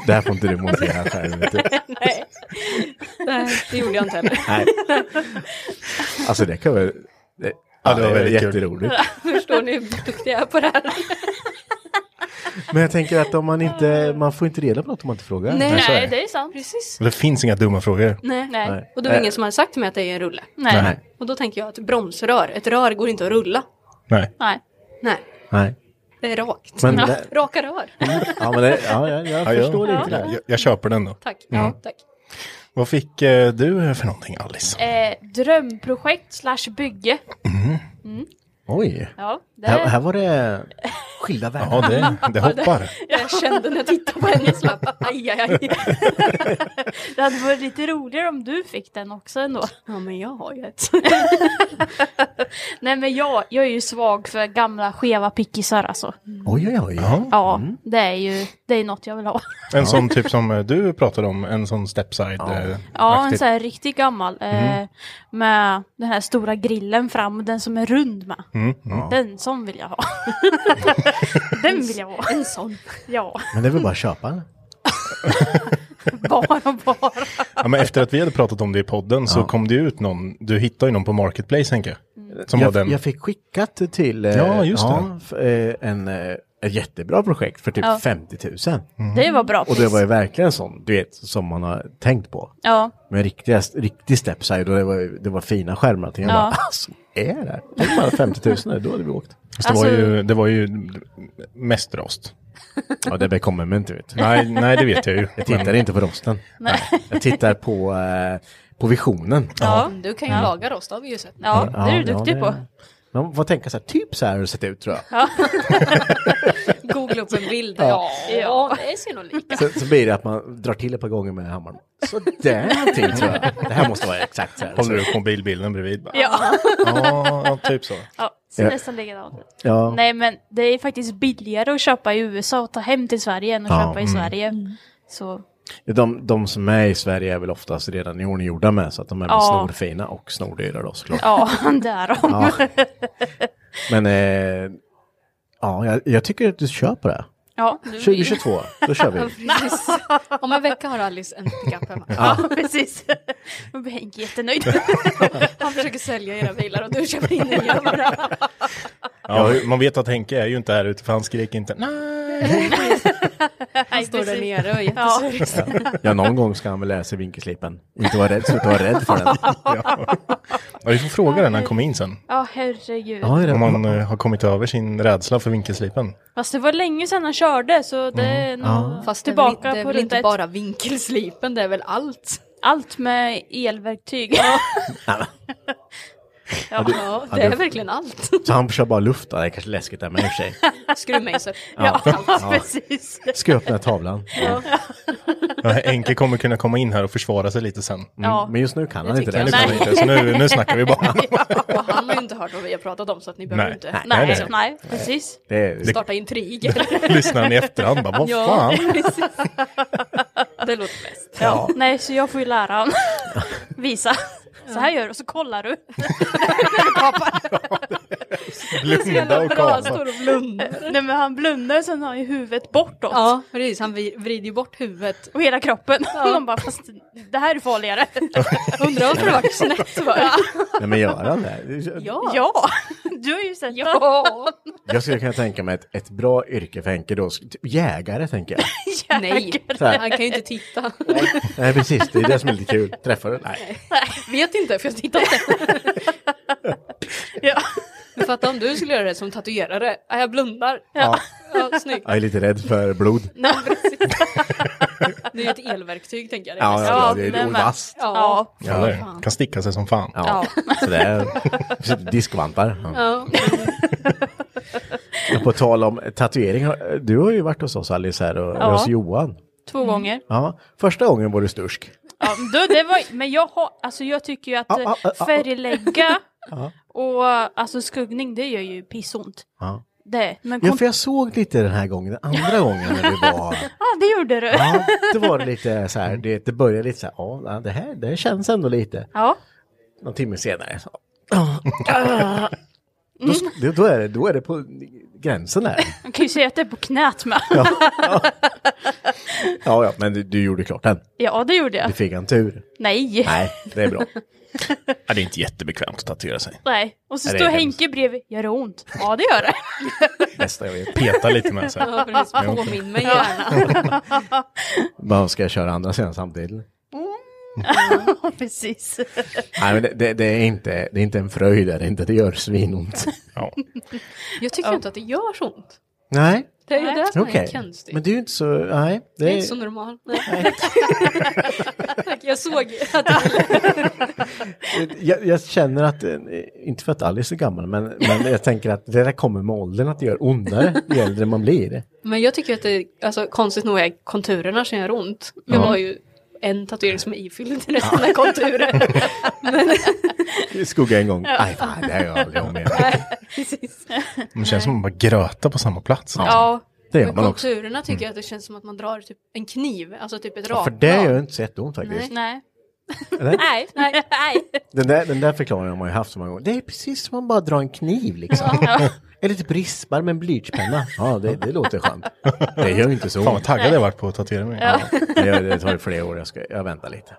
[SPEAKER 3] Det här får inte du montera själv. Vet du.
[SPEAKER 7] Nej. Nej, det gjorde jag inte heller.
[SPEAKER 3] Nej. Alltså det kan väl... det-
[SPEAKER 2] Ja, det var väldigt kul.
[SPEAKER 3] jätteroligt.
[SPEAKER 7] Förstår ni hur duktig jag är på det här?
[SPEAKER 3] Men jag tänker att om man inte, man får inte reda på något om man inte frågar.
[SPEAKER 10] Nej,
[SPEAKER 2] Nej, så är
[SPEAKER 10] nej,
[SPEAKER 2] det.
[SPEAKER 10] det är sant.
[SPEAKER 7] Precis.
[SPEAKER 2] Det finns inga dumma frågor.
[SPEAKER 7] Nej.
[SPEAKER 10] Nej.
[SPEAKER 7] Och det var
[SPEAKER 3] Nej. Äh, Eh.
[SPEAKER 7] ingen som hade sagt till mig att det är en rulle.
[SPEAKER 10] Nej. Nej.
[SPEAKER 7] Och då tänker jag att bromsrör, ett rör går inte att rulla.
[SPEAKER 2] Nej.
[SPEAKER 10] Nej.
[SPEAKER 7] Nej,
[SPEAKER 3] Nej.
[SPEAKER 7] det är rakt.
[SPEAKER 3] Men
[SPEAKER 7] Ja,
[SPEAKER 3] det- Mm,
[SPEAKER 7] Raka rör.
[SPEAKER 3] Ja, men det, ja, jag, jag
[SPEAKER 2] Ja, ja.
[SPEAKER 3] förstår Mm. inte det.
[SPEAKER 2] Jag, jag köper den då.
[SPEAKER 7] Tack. Ja, tack.
[SPEAKER 2] Vad fick eh, du för någonting Alice?
[SPEAKER 10] Eh, drömprojekt slash bygge.
[SPEAKER 2] Mm.
[SPEAKER 10] Mm.
[SPEAKER 3] Oj,
[SPEAKER 10] Ja, det
[SPEAKER 3] här, här var det skilda världar.
[SPEAKER 2] Ja, det, det hoppar.
[SPEAKER 7] Jag kände när jag tittade på henne så bara, aj, aj, aj.
[SPEAKER 10] Det hade varit lite roligare om du fick den också ändå.
[SPEAKER 7] Ja, men jag har ju ett.
[SPEAKER 10] Nej men jag, jag är ju svag för gamla skeva pickisar alltså.
[SPEAKER 7] Mm.
[SPEAKER 3] Oj, oj, oj.
[SPEAKER 2] Ja.
[SPEAKER 10] Ja, det är ju det är något jag vill ha.
[SPEAKER 2] En sån typ som eh, du pratade om, en sån stepside. eh,
[SPEAKER 10] Ja, en
[SPEAKER 2] aktigt.
[SPEAKER 10] sån här riktigt gammal.
[SPEAKER 2] Mhm.
[SPEAKER 10] Eh, med den här stora grillen fram, den som är rund med.
[SPEAKER 2] Mm, mm.
[SPEAKER 10] Den som vill jag ha. den vill jag ha.
[SPEAKER 7] En sån.
[SPEAKER 10] Ja,
[SPEAKER 3] Men det är väl bara att köpa den?
[SPEAKER 10] bara bara.
[SPEAKER 2] Ja, men efter att vi hade pratat om det i podden så kom det ju ut någon, du hittade ju någon på Marketplace Henke. Som var
[SPEAKER 3] Jag,
[SPEAKER 2] den.
[SPEAKER 3] jag fick skickat till eh,
[SPEAKER 2] Ja, just
[SPEAKER 3] f- eh, en, eh, ett jättebra projekt för typ
[SPEAKER 10] Ja. Mm.
[SPEAKER 3] 50 000.
[SPEAKER 10] Det var bra
[SPEAKER 3] Och
[SPEAKER 10] pris.
[SPEAKER 3] det var ju verkligen sån, du vet, som man har tänkt på.
[SPEAKER 10] Ja,
[SPEAKER 3] Med riktiga, riktig stepside och det var, ju- det var fina skärmar. Jag bara,
[SPEAKER 10] Ja.
[SPEAKER 3] alltså, är det? Tänk bara 50 000 där, då hade vi åkt.
[SPEAKER 2] Fast det, var
[SPEAKER 10] alltså-
[SPEAKER 2] ju, det var ju mest rost.
[SPEAKER 3] Ja, det kommer man inte ut.
[SPEAKER 2] Nej, nej, det vet jag ju.
[SPEAKER 3] Jag tittar inte på rosten. Nej. Jag tittar på, eh, på visionen.
[SPEAKER 10] ja,
[SPEAKER 7] Mm, Du kan ju laga rost, det har vi ju sett.
[SPEAKER 10] ja, det är du
[SPEAKER 3] ja,
[SPEAKER 10] duktig på.
[SPEAKER 3] Man får tänka så här, typ så här har det sett ut tror jag.
[SPEAKER 7] Googla upp en bild. Ja,
[SPEAKER 10] Ja.
[SPEAKER 7] ja det ser nog lika.
[SPEAKER 3] Sen så blir det att man drar till ett par gånger med hammaren. Så där någonting tror jag. Det här måste vara exakt så här. alltså.
[SPEAKER 2] Håller upp mobilbilden bredvid. bara.
[SPEAKER 10] Ja,
[SPEAKER 2] Ja, ja, typ så.
[SPEAKER 10] ja ser
[SPEAKER 3] Ja.
[SPEAKER 10] nästan likadant ut.
[SPEAKER 3] Ja.
[SPEAKER 10] Nej men det är faktiskt billigare att köpa i USA och ta hem till Sverige än att
[SPEAKER 3] Ja, mm.
[SPEAKER 10] köpa i Sverige.
[SPEAKER 7] Mm.
[SPEAKER 10] Så
[SPEAKER 3] De, de som är i Sverige är väl oftast redan i ordning gjorda med så att de är väl
[SPEAKER 10] Ja.
[SPEAKER 3] snorfina och snordyra då såklart.
[SPEAKER 10] ja, därom.
[SPEAKER 3] Ja. Men eh, ja, jag, jag tycker att du kör på det.
[SPEAKER 10] Ja,
[SPEAKER 3] 2022, då kör vi.
[SPEAKER 7] Precis. Om en vecka har Alice en pickup hemma.
[SPEAKER 10] ja precis. Då blir Henke jättenöjd.
[SPEAKER 7] Han försöker sälja era bilar och du köper in nya.
[SPEAKER 2] Ja, man vet att Henke är ju inte här ute för han skrek inte nej.
[SPEAKER 10] Han
[SPEAKER 7] Står där nere och är
[SPEAKER 10] Ja.
[SPEAKER 7] jättesuris.
[SPEAKER 3] Ja, någon gång ska han väl lära sig vinkelslipen. Inte vara rädd, sluta vara rädd för den.
[SPEAKER 2] Ja, vi får fråga den när han kommer in sen.
[SPEAKER 10] Ja, herregud.
[SPEAKER 3] Ja, är det,
[SPEAKER 2] Om han eh, har kommit över sin rädsla för vinkelslipen.
[SPEAKER 10] Fast det var länge sedan han körde så det är nog
[SPEAKER 7] Fast
[SPEAKER 10] tillbaka
[SPEAKER 7] det är väl, det är
[SPEAKER 10] på
[SPEAKER 7] väl
[SPEAKER 10] ruta
[SPEAKER 7] inte
[SPEAKER 10] ett.
[SPEAKER 7] bara vinkelslipen, det är väl allt.
[SPEAKER 10] Allt med elverktyg.
[SPEAKER 7] Ja, det är verkligen allt.
[SPEAKER 3] så han kör bara luft, Ja, det är kanske läskigt där men i och för sig.
[SPEAKER 7] Skruvmejsel.
[SPEAKER 10] Ja,
[SPEAKER 3] Ja.
[SPEAKER 10] precis.
[SPEAKER 3] Ska jag öppna tavlan? Ja.
[SPEAKER 2] Ja, Henke kommer kunna komma in här och försvara sig lite sen. Mm.
[SPEAKER 10] Ja.
[SPEAKER 3] Men just nu kan han inte
[SPEAKER 2] Men nu
[SPEAKER 3] det.
[SPEAKER 10] jag.
[SPEAKER 2] kommer han inte, så nu, nu snackar vi bara.
[SPEAKER 7] Och han har ju inte hört vad vi har pratat om så att ni behöver
[SPEAKER 2] Nej.
[SPEAKER 7] inte
[SPEAKER 10] Nej,
[SPEAKER 2] Nej,
[SPEAKER 10] nej,
[SPEAKER 2] nej.
[SPEAKER 10] precis.
[SPEAKER 3] det är,
[SPEAKER 7] starta intriger.
[SPEAKER 2] Lyssnar han i efterhand bara, vad fan.
[SPEAKER 7] precis. Det låter bäst.
[SPEAKER 3] ja.
[SPEAKER 10] Nej, så jag får ju lära han. Visa. Så här gör du, och så kollar du.
[SPEAKER 2] Blunda och kapa.
[SPEAKER 7] står och blundar.
[SPEAKER 10] Nej men han blundar sen har han ju huvudet bortåt.
[SPEAKER 7] Ja, precis. Han vri- vrider ju bort huvudet.
[SPEAKER 10] Och hela kroppen. Och man bara, fast det här är farligare.
[SPEAKER 7] Undrar om det var snett va?
[SPEAKER 3] Nej men gör han det?
[SPEAKER 7] Ja.
[SPEAKER 10] ja, du har ju sett ja.
[SPEAKER 7] Ja.
[SPEAKER 3] Jag skulle kunna tänka mig ett, ett bra yrke för Henke då. Typ Jägare tänker jag.
[SPEAKER 7] Nej,
[SPEAKER 3] Så här.
[SPEAKER 7] han kan ju inte titta.
[SPEAKER 3] Nej precis, det är det som är lite kul. Träffar du? Nej.
[SPEAKER 7] Vet inte, för jag tittar inte.
[SPEAKER 10] Ja.
[SPEAKER 7] Men fatta om du skulle göra det som tatuerare. Ja, jag blundar.
[SPEAKER 3] Ja.
[SPEAKER 7] Ja, snyggt.
[SPEAKER 3] Jag är lite rädd för blod.
[SPEAKER 7] Ja, precis. Det är ju ett elverktyg tänker jag.
[SPEAKER 3] Ja, ja, ja det är
[SPEAKER 10] nej,
[SPEAKER 3] och
[SPEAKER 10] men-
[SPEAKER 3] vasst.
[SPEAKER 10] Ja.
[SPEAKER 2] Eller, kan sticka sig som fan.
[SPEAKER 3] Ja. Så det är diskvantar. Ja.
[SPEAKER 7] Ja.
[SPEAKER 3] På tal om tatuering, har- du har ju varit hos oss Alice här och
[SPEAKER 10] Ja.
[SPEAKER 3] hos Johan.
[SPEAKER 10] Två gånger.
[SPEAKER 3] Ja, första gången var du stursk.
[SPEAKER 10] Mm. Ja, men då, det var, men jag, har, alltså, jag tycker ju att
[SPEAKER 3] Ah, ah, ah,
[SPEAKER 10] eh,
[SPEAKER 3] ah.
[SPEAKER 10] färglägga och alltså, skuggning det gör ju pissont.
[SPEAKER 3] Ja.
[SPEAKER 10] Det. Men
[SPEAKER 3] Ja,
[SPEAKER 10] kont-
[SPEAKER 3] för jag såg lite den här gången, den andra gången när vi var
[SPEAKER 10] ah, det gjorde du. Ja.
[SPEAKER 3] Ja, det var lite så här, det, det började lite så här, ja det här det här känns ändå lite. Någon timme senare. Så. Mm. Då,
[SPEAKER 10] Mm.
[SPEAKER 3] sk- det- då, är det, då är det på gränsen där.
[SPEAKER 10] Man kan ju säga att det är på knät med.
[SPEAKER 3] Ja, ja, men du, du gjorde klart den.
[SPEAKER 10] Ja, det gjorde jag.
[SPEAKER 3] Du fick en tur.
[SPEAKER 10] Nej.
[SPEAKER 3] Nej, det är bra.
[SPEAKER 2] Ja, det är inte jättebekvämt att tatuera sig.
[SPEAKER 10] Nej. Och så
[SPEAKER 3] Nej, det
[SPEAKER 10] står
[SPEAKER 3] är hemskt.
[SPEAKER 10] Henke bredvid. Gör det ont? Ja, det gör det.
[SPEAKER 3] Nästa jag vet.
[SPEAKER 2] Peta lite med sig.
[SPEAKER 7] Ja, precis. Påminn mig gärna.
[SPEAKER 3] Bara, ska jag köra andra sidan samtidigt?
[SPEAKER 7] Mm.
[SPEAKER 10] Ja, precis.
[SPEAKER 3] Nej, men det, det, det, är inte, det är inte en fröjd, det är inte. Det gör svinont.
[SPEAKER 2] Ja.
[SPEAKER 7] Jag tycker inte att det gör så ont.
[SPEAKER 3] Nej,
[SPEAKER 7] Det är ju det som
[SPEAKER 3] okej.
[SPEAKER 7] är konstigt.
[SPEAKER 3] Men det är ju inte så, nej.
[SPEAKER 7] Det är
[SPEAKER 3] är-
[SPEAKER 7] inte så normalt. Nej. Tack, jag såg att det
[SPEAKER 3] jag, jag känner att, eh, inte för att Alice är gammal, men, men jag tänker att det där kommer med åldern att det gör ondare ju äldre man blir.
[SPEAKER 7] Men jag tycker att det, alltså konstigt nog är konturerna som gör ont. Jag har ju en tatuering som är ifylld till resten av konturen.
[SPEAKER 3] Skugga en gång, nej fan, det här gör jag aldrig om igen.
[SPEAKER 7] Precis.
[SPEAKER 2] Det känns som att man bara gröta på samma plats.
[SPEAKER 7] Ja,
[SPEAKER 3] Det gör
[SPEAKER 7] men
[SPEAKER 3] man också. Mm.
[SPEAKER 7] konturerna tycker jag att det känns som att man drar typ en kniv, alltså typ ett
[SPEAKER 3] Ja,
[SPEAKER 7] rakblad.
[SPEAKER 3] för det gör inte så jätteont faktiskt.
[SPEAKER 10] Nej.
[SPEAKER 3] Eller?
[SPEAKER 10] Nej. Nej. Nej.
[SPEAKER 3] Den där, den där förklaringen har man ju haft så många gånger. Det är precis som att man bara drar en kniv liksom. Eller typ rispar med en blyertspenna. Ja, det, det låter skönt. Det gör ju inte så
[SPEAKER 2] Fan vad
[SPEAKER 3] ont.
[SPEAKER 2] taggad jag varit på att tatuera mig.
[SPEAKER 3] Det, gör- det tar ju flera år, jag, ska, jag väntar lite.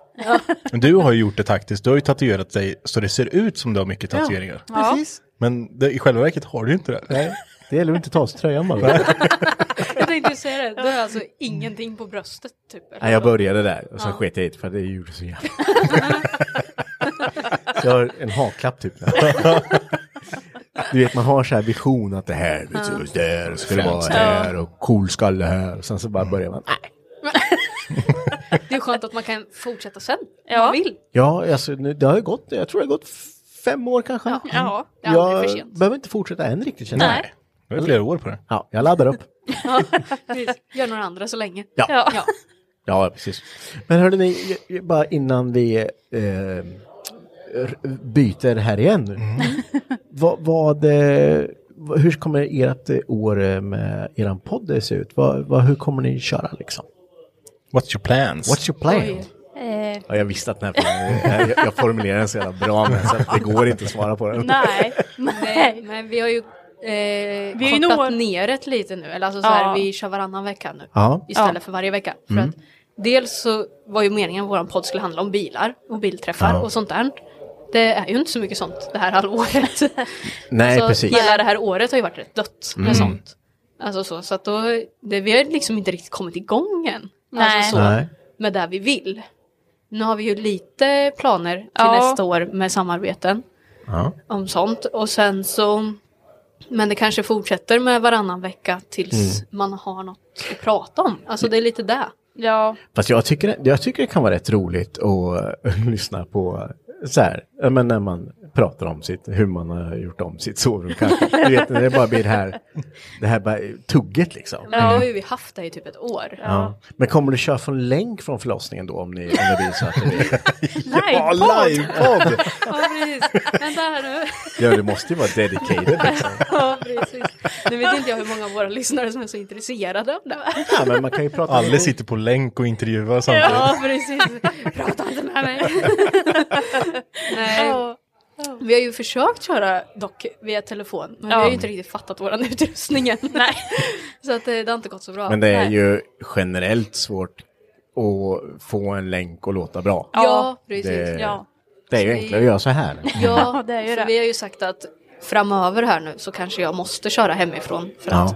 [SPEAKER 2] Men du har ju gjort det taktiskt. Du har ju tatuerat dig så det ser ut som du har mycket tatueringar.
[SPEAKER 3] Precis.
[SPEAKER 2] Men det, i själva verket har du ju inte det.
[SPEAKER 3] Nej, det gäller att inte ta av sig tröjan bara.
[SPEAKER 7] Jag tänkte ju säga det, du har alltså ingenting på bröstet typ. eller?
[SPEAKER 3] Nej, jag började där och sen sket jag i det för det gjorde så jävla... jag har en haklapp typ. du vet, man har så här vision att det här, vet du, det här ska det vara här och cool skalle här. Och sen så bara börjar man. Nej.
[SPEAKER 7] Det är skönt att man kan fortsätta sen, om
[SPEAKER 10] Ja.
[SPEAKER 7] man vill.
[SPEAKER 3] Ja, alltså, nu, det har ju gått, jag tror det har gått f- fem år kanske.
[SPEAKER 10] Ja.
[SPEAKER 7] Det är aldrig för
[SPEAKER 3] jag
[SPEAKER 7] sent.
[SPEAKER 3] behöver inte fortsätta än riktigt känner jag.
[SPEAKER 10] Nej.
[SPEAKER 2] Det är flera år på det.
[SPEAKER 3] Ja, jag laddar upp.
[SPEAKER 7] Precis. Gör några andra så länge.
[SPEAKER 3] Ja.
[SPEAKER 10] Ja.
[SPEAKER 7] Ja.
[SPEAKER 3] Ja, precis. Men hörde ni, jag- jag- bara innan vi eh, r- byter här igen.
[SPEAKER 2] Mm.
[SPEAKER 3] Vad, vad, eh, vad- hur kommer ert eh, år eh, med eran podd se ut? Vad, vad, hur kommer ni köra liksom?
[SPEAKER 2] What's your plans?
[SPEAKER 3] What's your plan?
[SPEAKER 7] Oj.
[SPEAKER 10] Eh,
[SPEAKER 3] Ja, jag visste att den här frågan, jag, jag formulerar den så jävla bra men så att det går inte att svara på den.
[SPEAKER 10] Nej.
[SPEAKER 7] Nej,
[SPEAKER 10] Nej.
[SPEAKER 7] men vi har ju eh,
[SPEAKER 10] Vi är ju
[SPEAKER 7] kortat
[SPEAKER 10] några-
[SPEAKER 7] ner det lite nu. Eller alltså så här,
[SPEAKER 10] Ja.
[SPEAKER 7] vi kör varannan vecka nu.
[SPEAKER 3] Ja. Mm.
[SPEAKER 7] Istället för varje vecka. För att dels så var ju meningen att vår podd skulle handla om bilar och bilträffar
[SPEAKER 3] Ja.
[SPEAKER 7] och sånt där. Det är ju inte så mycket sånt det här halvåret.
[SPEAKER 3] Nej,
[SPEAKER 7] så
[SPEAKER 3] precis. Mm.
[SPEAKER 7] hela det här året har ju varit rätt dött med sånt. Alltså så, så att då, det, vi har liksom inte riktigt kommit igång än.
[SPEAKER 10] Nej.
[SPEAKER 7] Alltså så,
[SPEAKER 3] Nej.
[SPEAKER 7] med det vi vill. Nu har vi ju lite planer till
[SPEAKER 10] Ja.
[SPEAKER 7] nästa år med samarbeten
[SPEAKER 3] Ja.
[SPEAKER 7] om sånt. Och sen så, men det kanske fortsätter med varannan vecka tills
[SPEAKER 3] Mm.
[SPEAKER 7] man har något att prata om. Alltså det är lite det.
[SPEAKER 10] Ja.
[SPEAKER 3] Fast jag tycker, jag tycker det kan vara rätt roligt att eh, lyssna på så här, ja, men när man pratar om sitt, hur man har gjort om sitt sovrum kanske. Du vet när det bara blir det här, det här bara tugget liksom.
[SPEAKER 7] Men nu har ju vi haft det i typ ett år.
[SPEAKER 3] Ja. Men kommer du köra från länk från förlossningen då om ni, om det blir så att det blir?
[SPEAKER 10] Live.
[SPEAKER 3] Ja, livepodd!
[SPEAKER 7] Ja, precis. Vänta här nu.
[SPEAKER 3] Ja, det måste ju vara dedicated liksom.
[SPEAKER 7] Ja, precis. Nu vet inte jag hur många av våra lyssnare som är så intresserade av det.
[SPEAKER 3] Ja, men man kan ju prata om-
[SPEAKER 2] Alla sitter på länk och intervjuar samtidigt.
[SPEAKER 7] Ja, precis. Prata inte med mig. Nej. Vi har ju försökt köra dock via telefon, men vi har ju inte riktigt fattat våran utrustning än. Nej. Så att eh, det har inte gått så bra.
[SPEAKER 3] Men det är ju generellt svårt att få en länk att låta bra.
[SPEAKER 7] Ja, precis.
[SPEAKER 3] Det-
[SPEAKER 10] Ja.
[SPEAKER 3] Det är ju enklare att göra så här.
[SPEAKER 7] Ja,
[SPEAKER 10] Ja, det är ju
[SPEAKER 7] för
[SPEAKER 10] det.
[SPEAKER 7] vi har ju sagt att framöver här nu så kanske jag måste köra hemifrån. För
[SPEAKER 3] Ja.
[SPEAKER 7] att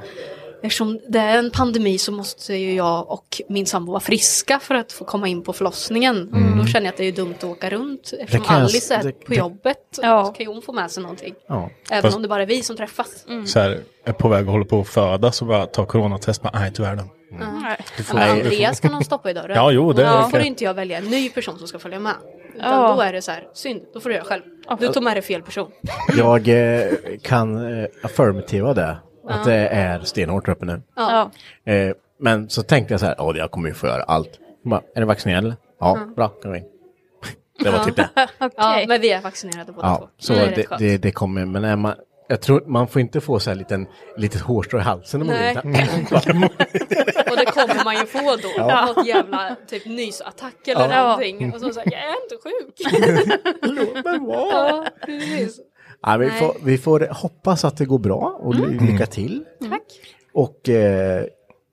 [SPEAKER 7] eftersom det är en pandemi så måste ju jag och min sambo vara friska för att få komma in på förlossningen. Då känner jag att det är ju dumt att åka runt. Eftersom
[SPEAKER 3] kan jag-
[SPEAKER 7] Alice är
[SPEAKER 3] det-
[SPEAKER 7] på
[SPEAKER 3] det-
[SPEAKER 7] jobbet
[SPEAKER 10] Ja.
[SPEAKER 7] så kan ju hon få med sig någonting.
[SPEAKER 3] Ja.
[SPEAKER 7] Även
[SPEAKER 2] Fast-
[SPEAKER 7] om det bara är vi som träffas.
[SPEAKER 10] Mm.
[SPEAKER 2] Så här, är på väg att hålla på att föda så bara ta coronatest. Bara, nej tyvärr. då. Mm.
[SPEAKER 10] Mm.
[SPEAKER 7] Ja, Men Andreas kan de stoppa i dörren.
[SPEAKER 2] Ja, jo, det
[SPEAKER 7] Då
[SPEAKER 2] ja.
[SPEAKER 7] får inte jag välja en ny person som ska följa med. Utan
[SPEAKER 10] Ja.
[SPEAKER 7] då är det så här, synd, då får du göra själv. Du tog med dig fel person.
[SPEAKER 3] Jag eh, kan eh, affirmativa det. Att det är stenhårt där uppe nu.
[SPEAKER 10] Ja.
[SPEAKER 3] Eh, men så tänkte jag så här, ja jag kommer ju få göra allt. Jag Bara, är du vaccinerad eller? Ja, bra, kan gå in. Det var typ det.
[SPEAKER 7] Ja,
[SPEAKER 10] Okej.
[SPEAKER 7] men vi är vaccinerade båda två.
[SPEAKER 3] Ja, så
[SPEAKER 7] det är
[SPEAKER 3] det,
[SPEAKER 7] rätt skönt.
[SPEAKER 3] det, det kommer, men när man, jag tror man får inte få så här liten, litet hårstrå i halsen. Om man
[SPEAKER 7] Nej.
[SPEAKER 3] vill.
[SPEAKER 7] Och det kommer man ju få då. Något jävla typ nysattack eller
[SPEAKER 10] Ja.
[SPEAKER 7] någonting. Och så säger jag är inte sjuk.
[SPEAKER 3] Låt mig vara.
[SPEAKER 7] Ja, precis.
[SPEAKER 3] Ja, vi,
[SPEAKER 7] Nej. Mm.
[SPEAKER 3] får, vi får hoppas att det går bra och ly- lycka till.
[SPEAKER 7] Tack.
[SPEAKER 3] Och eh,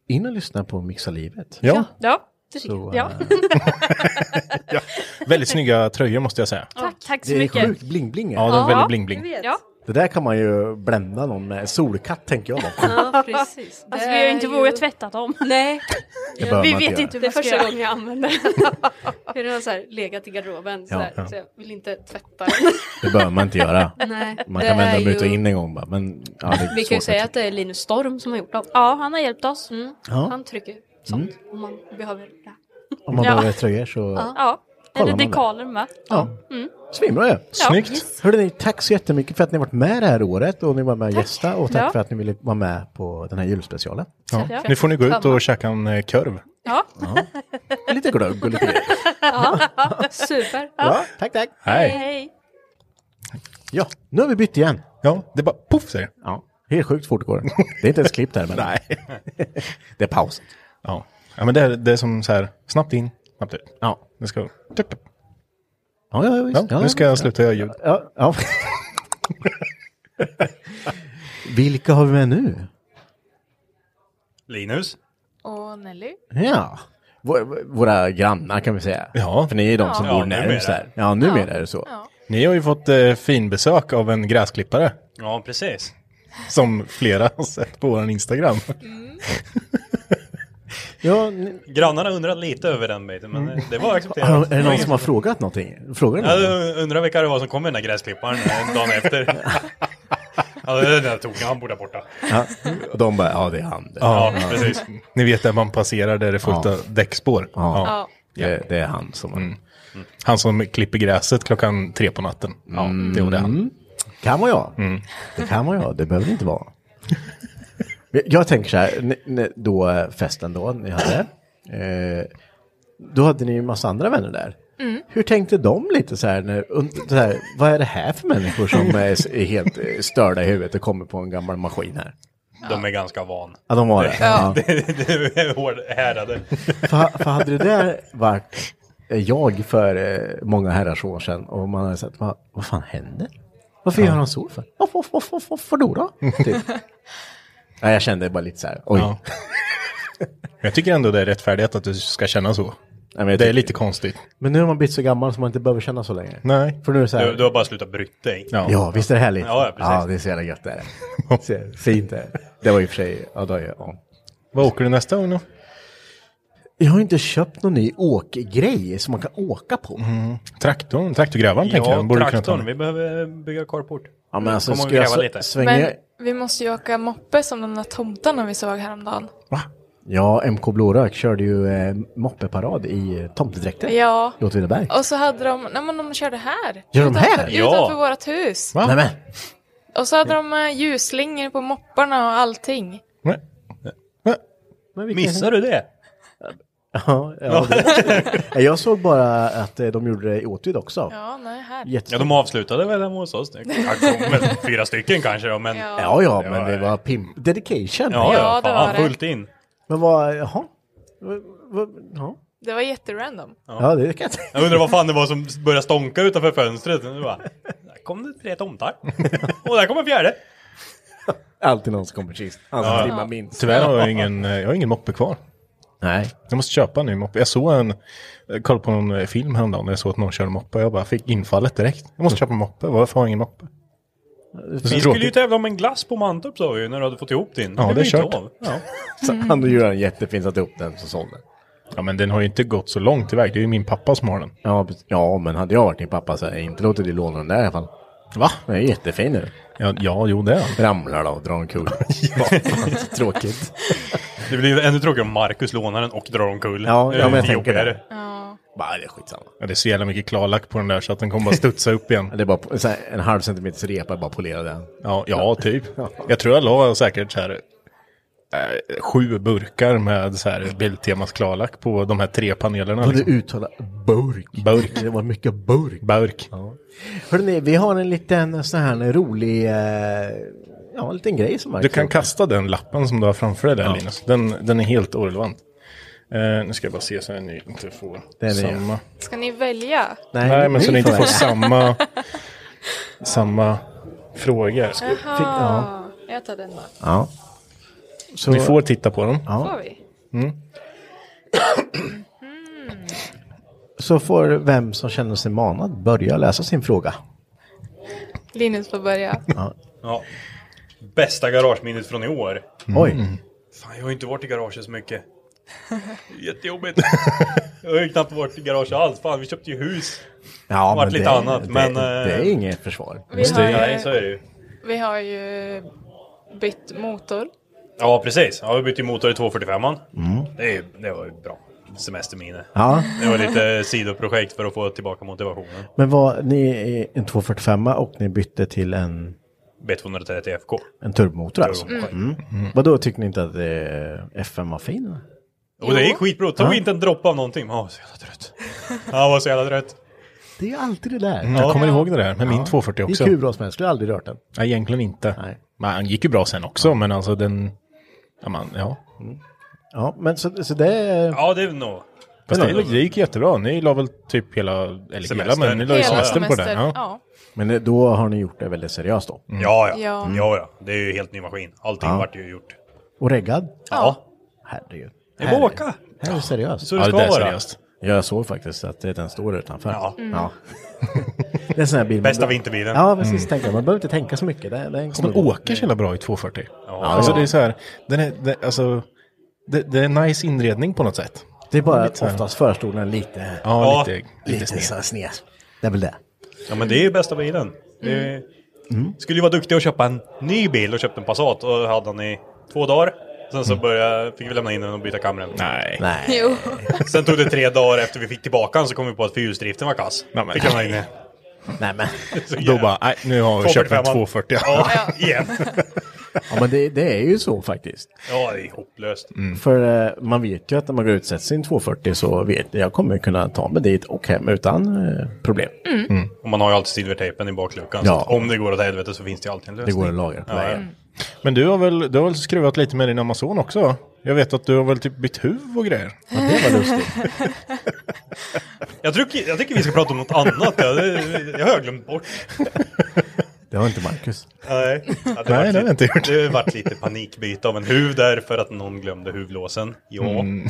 [SPEAKER 3] in och lyssna på Mixa livet.
[SPEAKER 2] Ja.
[SPEAKER 10] Ja, det tycker
[SPEAKER 3] Så,
[SPEAKER 10] jag. Ja.
[SPEAKER 3] eh,
[SPEAKER 2] ja. Väldigt snygga tröjor måste jag säga.
[SPEAKER 10] Tack, tack så
[SPEAKER 3] det är
[SPEAKER 10] mycket.
[SPEAKER 3] sjukt bling-bling.
[SPEAKER 2] Ja, de är väldigt bling-bling.
[SPEAKER 7] vet.
[SPEAKER 10] Ja.
[SPEAKER 3] Det där kan man ju blända någon med. Solkatt tänker jag då.
[SPEAKER 7] Ja, precis. Det
[SPEAKER 10] Alltså, vi har ju
[SPEAKER 7] är
[SPEAKER 10] inte vågat tvätta dem.
[SPEAKER 7] Nej,
[SPEAKER 3] Det behöver
[SPEAKER 10] Vi
[SPEAKER 3] man
[SPEAKER 10] vet
[SPEAKER 3] göra.
[SPEAKER 10] inte hur
[SPEAKER 7] det är
[SPEAKER 10] man ska
[SPEAKER 7] första
[SPEAKER 10] göra.
[SPEAKER 7] gången jag använder den. Jag har så här legat i garderoben så,
[SPEAKER 3] Ja,
[SPEAKER 7] där,
[SPEAKER 3] ja.
[SPEAKER 7] så jag vill inte tvätta den.
[SPEAKER 3] Det behöver man inte göra.
[SPEAKER 7] Nej,
[SPEAKER 3] Man
[SPEAKER 7] det
[SPEAKER 3] kan
[SPEAKER 7] är
[SPEAKER 3] vända dem ut och
[SPEAKER 7] ju-
[SPEAKER 3] in en gång bara. Men, ja, det är
[SPEAKER 7] Vi
[SPEAKER 3] svårt
[SPEAKER 7] kan ju
[SPEAKER 3] med
[SPEAKER 7] säga
[SPEAKER 3] tryck.
[SPEAKER 7] att det är Linus Storm som har gjort dem.
[SPEAKER 10] Ja, han har hjälpt oss.
[SPEAKER 7] Mm.
[SPEAKER 3] Ja.
[SPEAKER 7] Han trycker sånt om man behöver det.
[SPEAKER 3] Om man
[SPEAKER 10] Ja.
[SPEAKER 3] behöver tröjor så...
[SPEAKER 10] Ja,
[SPEAKER 3] Kollar
[SPEAKER 10] eller
[SPEAKER 3] man det?
[SPEAKER 10] dekaler med.
[SPEAKER 3] Ja. Svinbra ju!
[SPEAKER 2] Snyggt.
[SPEAKER 3] Hörde ni, tack så jättemycket för att ni har varit med det här året och ni var med och gästa och tack
[SPEAKER 10] Ja.
[SPEAKER 3] för att ni ville vara med på den här julspecialen.
[SPEAKER 2] Ja. Nu får ni gå ut och käka en eh, korv.
[SPEAKER 10] Ja,
[SPEAKER 3] Lite glögg och lite...
[SPEAKER 7] Super!
[SPEAKER 3] Ja, tack tack!
[SPEAKER 2] Hej.
[SPEAKER 10] hej.
[SPEAKER 3] Ja, nu har vi bytt igen.
[SPEAKER 2] Ja, det bara poff säger det.
[SPEAKER 3] Ja, helt sjukt fort går det. Det är inte ens klippt här men... Nej. det är paus.
[SPEAKER 2] Ja. ja, men det är, det är som så här, snabbt in, snabbt ut.
[SPEAKER 3] Ja.
[SPEAKER 2] Det ska, tup, tup.
[SPEAKER 3] Ja, ja, visst.
[SPEAKER 2] Ja, nu ska jag sluta göra ljud.
[SPEAKER 3] Ja, ja. Vilka har vi med nu?
[SPEAKER 2] Linus?
[SPEAKER 10] Och Nelly.
[SPEAKER 3] Ja, vå- våra grannar kan vi säga.
[SPEAKER 2] Ja.
[SPEAKER 3] För ni är de som
[SPEAKER 2] Ja,
[SPEAKER 3] bor
[SPEAKER 2] numera.
[SPEAKER 3] närmst där. Ja, numera är det så.
[SPEAKER 2] Ni har ju fått eh, finbesök av en gräsklippare. Ja, precis. Som flera har sett på vår Instagram.
[SPEAKER 3] Mm. Ja, ni-
[SPEAKER 11] Grannarna undrade lite över den biten, men det var
[SPEAKER 3] har-
[SPEAKER 11] accepterat.
[SPEAKER 3] Mm. är det någon som har frågat någonting? Frågar ni? någon?
[SPEAKER 11] Jag undrar vilka det var som kom med den där gräsklipparen eh, dagen efter. ja, den där tog jag, han bor där borta.
[SPEAKER 3] Ja. Och de bara, ja det är han. Det,
[SPEAKER 11] Ja, precis.
[SPEAKER 2] Ni vet där man passerar där det är fullt
[SPEAKER 3] Ja.
[SPEAKER 2] av däckspår.
[SPEAKER 3] Ja.
[SPEAKER 2] Ja. Mm.
[SPEAKER 3] det, det är han som...
[SPEAKER 2] Han som klipper gräset klockan tre på natten. Ja, det var det Mm. han.
[SPEAKER 3] Mm. Kan vara jag. Det kan vara jag, det behöver det inte vara. Men Jag tänker så här, ni- ni- då eh, festen då ni hade. Eh, då hade ni ju en massa andra vänner där. Hur tänkte de lite så här, när, und- så här, vad är det här för människor som är, s- är helt eh, störda i huvudet och kommer på en gammal maskin här?
[SPEAKER 11] De är ganska van.
[SPEAKER 3] Ja, de var det. Ja.
[SPEAKER 11] Det är hårdhärdade.
[SPEAKER 3] För, för hade det där varit eh, jag för eh, många herrars år sedan och man hade sagt, vad, vad fan händer? Varför gör han så för? Varför, varför, varför, varför då? då? Typ. ja, jag kände bara lite så här, oj.
[SPEAKER 2] Ja. Jag tycker ändå det är rättfärdigt att du ska känna så.
[SPEAKER 3] men jag
[SPEAKER 2] det är
[SPEAKER 3] tycker-
[SPEAKER 2] lite konstigt.
[SPEAKER 3] Men nu har man blivit så gammal så man inte behöver känna så länge.
[SPEAKER 2] Nej.
[SPEAKER 3] För nu är det så här,
[SPEAKER 11] Du, du har bara slutat bryta dig.
[SPEAKER 2] Ja.
[SPEAKER 3] ja visst är det härligt?
[SPEAKER 11] Ja, ja, precis.
[SPEAKER 3] det är så jävla gött det är. Se- Fint det är. Det var i och för sig, ja, då är jag, ja.
[SPEAKER 2] Vad åker du nästa gång då?
[SPEAKER 3] Jag har inte köpt någon ny åkgrej som man kan åka på.
[SPEAKER 2] Mm. Traktorn, traktorgrävaren tänker jag.
[SPEAKER 11] Ja,
[SPEAKER 2] Borde kunna ta
[SPEAKER 11] traktorn.
[SPEAKER 2] den.
[SPEAKER 11] Vi behöver bygga carport.
[SPEAKER 3] Ja, men alltså,
[SPEAKER 11] Kommer
[SPEAKER 3] ska jag
[SPEAKER 11] gräva
[SPEAKER 3] så-
[SPEAKER 11] lite.
[SPEAKER 3] svänga...
[SPEAKER 10] vi måste ju åka moppe som de där tomtarna vi såg häromdagen.
[SPEAKER 3] Ja, MK Blårök körde ju eh, moppeparad i eh, tomtedräkter.
[SPEAKER 10] Ja.
[SPEAKER 3] i Åtvidaberg.
[SPEAKER 10] Och så hade de, nej men de körde här.
[SPEAKER 3] Gör de här?
[SPEAKER 11] Ja. utanför
[SPEAKER 10] vårt hus.
[SPEAKER 2] Va?
[SPEAKER 3] Nej men,
[SPEAKER 10] Och så hade de eh, ljusslingor på mopparna och allting.
[SPEAKER 2] Nej. Nej.
[SPEAKER 3] men vilken...
[SPEAKER 11] Missar du det?
[SPEAKER 3] Ja, ja, det- Jag såg bara att eh, de gjorde det i Åtvid också.
[SPEAKER 10] Ja, nej, här.
[SPEAKER 11] Ja,
[SPEAKER 3] Jättestort.
[SPEAKER 11] de avslutade väl hemma hos oss. Det kom väl fyra stycken kanske då, men... Ja,
[SPEAKER 3] Ja, ja, men det var pimp... Dedication.
[SPEAKER 11] ja,
[SPEAKER 10] Ja, det
[SPEAKER 11] fan,
[SPEAKER 10] var det.
[SPEAKER 11] fullt in.
[SPEAKER 3] Men vad, jaha? Vad- vad- Ja.
[SPEAKER 10] Det var jätterandom.
[SPEAKER 3] ja, det kan jag säga.
[SPEAKER 11] Jag undrar vad fan det var som började stånka utanför fönstret. Det bara, där kom det tre tomtar. Och där kom en fjärde.
[SPEAKER 3] Alltid någon som kommer sist. Han som trimmar minst.
[SPEAKER 2] Tyvärr har jag ingen, eh, jag har ingen moppe kvar.
[SPEAKER 3] Nej.
[SPEAKER 2] Jag måste köpa en ny moppe. Jag såg en, jag kollade på någon eh, film häromdagen när jag såg att någon körde moppe. Jag bara fick infallet direkt. Jag måste köpa en moppe. Varför har jag ingen moppe? Det är så
[SPEAKER 11] Vi skulle ju
[SPEAKER 2] tråkigt.
[SPEAKER 11] tävla om en glass på Mantorp sa vi ju när du hade fått ihop din.
[SPEAKER 2] Ja, det är
[SPEAKER 11] blev ju
[SPEAKER 2] kört.
[SPEAKER 11] inte av. Ja.
[SPEAKER 3] Så han och Göran jättefint satte upp den så sålde.
[SPEAKER 2] Ja, men den har ju inte gått så långt iväg. Det är ju min pappa som har den.
[SPEAKER 3] Ja, precis. ja, men hade jag varit din pappa så hade jag inte låtit dig låna den där i alla fall. Va? Den är jättefin nu.
[SPEAKER 2] Ja, ja jo det är han.
[SPEAKER 3] Ramlar då och drar omkull. ja, fan, så tråkigt.
[SPEAKER 11] Det blir ju ännu tråkigare om Marcus lånar den och drar omkull.
[SPEAKER 3] Ja,
[SPEAKER 11] Det är
[SPEAKER 3] ja, men jag
[SPEAKER 11] lite
[SPEAKER 3] tänker
[SPEAKER 11] jobbigare.
[SPEAKER 3] det. Bara, det är skitsamma.
[SPEAKER 2] Ja, det är så jävla mycket klarlack på den där så att den kommer bara studsa upp igen.
[SPEAKER 3] Det är bara så här, en halv centimeters repa, bara polera den.
[SPEAKER 2] Ja, ja typ. Jag tror jag la säkert så här eh, sju burkar med så här Biltemas klarlack på de här tre panelerna.
[SPEAKER 3] Kan du
[SPEAKER 2] Liksom.
[SPEAKER 3] uttala burk?
[SPEAKER 2] Burk.
[SPEAKER 3] Det var mycket burk.
[SPEAKER 2] Burk.
[SPEAKER 3] Hörrni, vi har en liten sån här rolig, eh, ja, en liten grej som
[SPEAKER 2] Du kan kasta den lappen som du har framför dig där Linus. Den, den är helt orelevant. Eh, nu ska jag bara se så jag nu inte får
[SPEAKER 3] är det.
[SPEAKER 2] samma.
[SPEAKER 10] Ska ni välja?
[SPEAKER 2] Nej, men så ni inte får samma, samma frågor.
[SPEAKER 3] ja.
[SPEAKER 7] Jag tar den då.
[SPEAKER 3] ja. Så-
[SPEAKER 2] Ni får titta på dem.
[SPEAKER 3] Ja.
[SPEAKER 7] Får vi?
[SPEAKER 2] Mm.
[SPEAKER 10] Hmm.
[SPEAKER 3] Så får vem som känner sig manad börja läsa sin fråga.
[SPEAKER 7] Linus får börja.
[SPEAKER 3] Ja.
[SPEAKER 11] Ja. Bästa garageminnet från i år.
[SPEAKER 3] Mm. Oj.
[SPEAKER 11] Fan, jag har ju inte varit i garaget så mycket. Jättejobbigt. jag har ju knappt varit i garaget alls. Fan, vi köpte ju hus.
[SPEAKER 3] Ja,
[SPEAKER 11] Vart
[SPEAKER 3] men
[SPEAKER 11] lite
[SPEAKER 3] det-
[SPEAKER 11] annat,
[SPEAKER 3] det-
[SPEAKER 11] men... eh,
[SPEAKER 3] det är inget försvar.
[SPEAKER 12] Vi har ju-
[SPEAKER 11] Nej, så är det ju.
[SPEAKER 12] Vi har ju bytt motor.
[SPEAKER 11] Ja, precis. Ja, vi bytte ju motor i 245an.
[SPEAKER 3] Mm.
[SPEAKER 11] Det, är ju- det var ju bra. Semesterminne.
[SPEAKER 3] Ja.
[SPEAKER 11] Det var lite sidoprojekt för att få tillbaka motivationen.
[SPEAKER 3] Men vad, ni är en 245 och ni bytte till en,
[SPEAKER 11] B230 FK.
[SPEAKER 3] en turbomotor alltså?
[SPEAKER 11] Turbomotor.
[SPEAKER 3] Mm. Vadå, tyckte ni inte att eh, FM var fin?
[SPEAKER 11] Och det gick skitbra. Tog inte en droppe av någonting. Man var så jävla trött. Ja, var så jävla trött.
[SPEAKER 3] Det är alltid det där.
[SPEAKER 2] Mm, jag kommer ihåg det där med min 240
[SPEAKER 3] Det
[SPEAKER 2] också.
[SPEAKER 3] gick hur bra som helst, du har aldrig rört den.
[SPEAKER 2] Nej, egentligen inte.
[SPEAKER 3] Nej.
[SPEAKER 2] Men han gick ju bra sen också, men alltså den... Ja, man, ja.
[SPEAKER 3] Ja, men Mm. så, så det är...
[SPEAKER 11] Ja, det är nog...
[SPEAKER 2] Fast
[SPEAKER 11] Det
[SPEAKER 2] det,
[SPEAKER 11] är nog-
[SPEAKER 2] det gick jättebra. Ni la väl typ hela... Eller hela,
[SPEAKER 11] Semester.
[SPEAKER 2] men ni la ju
[SPEAKER 11] Hela
[SPEAKER 2] semestern på
[SPEAKER 11] semester,
[SPEAKER 2] den. Ja. Mm.
[SPEAKER 12] ja.
[SPEAKER 3] Men eh, då har ni gjort det väldigt seriöst då?
[SPEAKER 11] Ja, ja.
[SPEAKER 12] Ja.
[SPEAKER 11] Ja, ja. Det är ju helt ny maskin. Allting
[SPEAKER 3] Mm. Ja.
[SPEAKER 11] vart ju gjort.
[SPEAKER 3] Och reggad?
[SPEAKER 11] Ja.
[SPEAKER 3] Herregud.
[SPEAKER 11] Det är bara att åka.
[SPEAKER 3] Det här är seriöst.
[SPEAKER 11] Så det Ja, det ska där är vara. seriöst.
[SPEAKER 3] Jag såg faktiskt att det- den står utanför.
[SPEAKER 11] Ja. Mm.
[SPEAKER 3] det är en sån här bil. man
[SPEAKER 11] Bästa
[SPEAKER 3] be-
[SPEAKER 11] vinterbilen.
[SPEAKER 3] Ja, precis. Tänka. Man behöver inte tänka så mycket. Det, den
[SPEAKER 2] Mm. Fast den
[SPEAKER 3] kommer-
[SPEAKER 2] åker så jävla bra i 240.
[SPEAKER 3] Ja.
[SPEAKER 2] Alltså det är så här, den är, den, alltså, det, det är en nice inredning på något sätt.
[SPEAKER 3] Det är bara
[SPEAKER 2] Lite så här-
[SPEAKER 3] oftast förstolen är lite...
[SPEAKER 2] Ja, lite,
[SPEAKER 3] lite,
[SPEAKER 2] lite sned.
[SPEAKER 3] sned. sned. Det är väl det.
[SPEAKER 11] Ja, men det är ju bästa bilen. Det
[SPEAKER 12] Mm.
[SPEAKER 11] är...
[SPEAKER 3] Mm.
[SPEAKER 11] Skulle ju vara duktig att köpa en ny bil och köpte en Passat och hade den i två dagar. Sen så började, fick vi lämna in den och byta kameran.
[SPEAKER 2] Nej.
[SPEAKER 3] Mm. Nej.
[SPEAKER 12] Jo.
[SPEAKER 11] Sen tog det tre dagar efter vi fick tillbaka den så kom vi på att fyrhjulsdriften var kass.
[SPEAKER 2] men-
[SPEAKER 11] Fick lämna in den.
[SPEAKER 3] Nej, men.
[SPEAKER 11] Så
[SPEAKER 2] Då
[SPEAKER 11] jävla-
[SPEAKER 2] bara, nej, nu har vi köpt en 240.
[SPEAKER 11] Ja, igen.
[SPEAKER 3] Ja, men det, det är ju så faktiskt.
[SPEAKER 11] Ja, det är hopplöst.
[SPEAKER 2] Mm.
[SPEAKER 3] För eh, man vet ju att när man går ut och sätter sin 240 så vet jag kommer kunna ta mig dit och hem utan eh, problem.
[SPEAKER 7] Mm.
[SPEAKER 11] Och man har ju alltid silvertejpen i bakluckan.
[SPEAKER 3] Ja.
[SPEAKER 11] Så att om det går åt helvete så finns det ju alltid en
[SPEAKER 3] Det
[SPEAKER 11] lösning.
[SPEAKER 3] går att lagra på
[SPEAKER 11] Ja,
[SPEAKER 3] vägen.
[SPEAKER 2] Men du har, väl, du har väl skruvat lite med din Amazon också? va? Jag vet att du har väl typ bytt huv och grejer.
[SPEAKER 3] Ja, det var lustigt.
[SPEAKER 11] Jag, tycker, jag tycker vi ska prata om något annat. Jag, det- jag har glömt bort.
[SPEAKER 3] Det har inte Marcus.
[SPEAKER 11] Nej, ja, det,
[SPEAKER 2] Nej,
[SPEAKER 11] vart
[SPEAKER 2] det har jag inte gjort.
[SPEAKER 11] Det vart lite panikbyte av en huv där för att någon glömde huvlåsen. Ja,
[SPEAKER 3] Mm.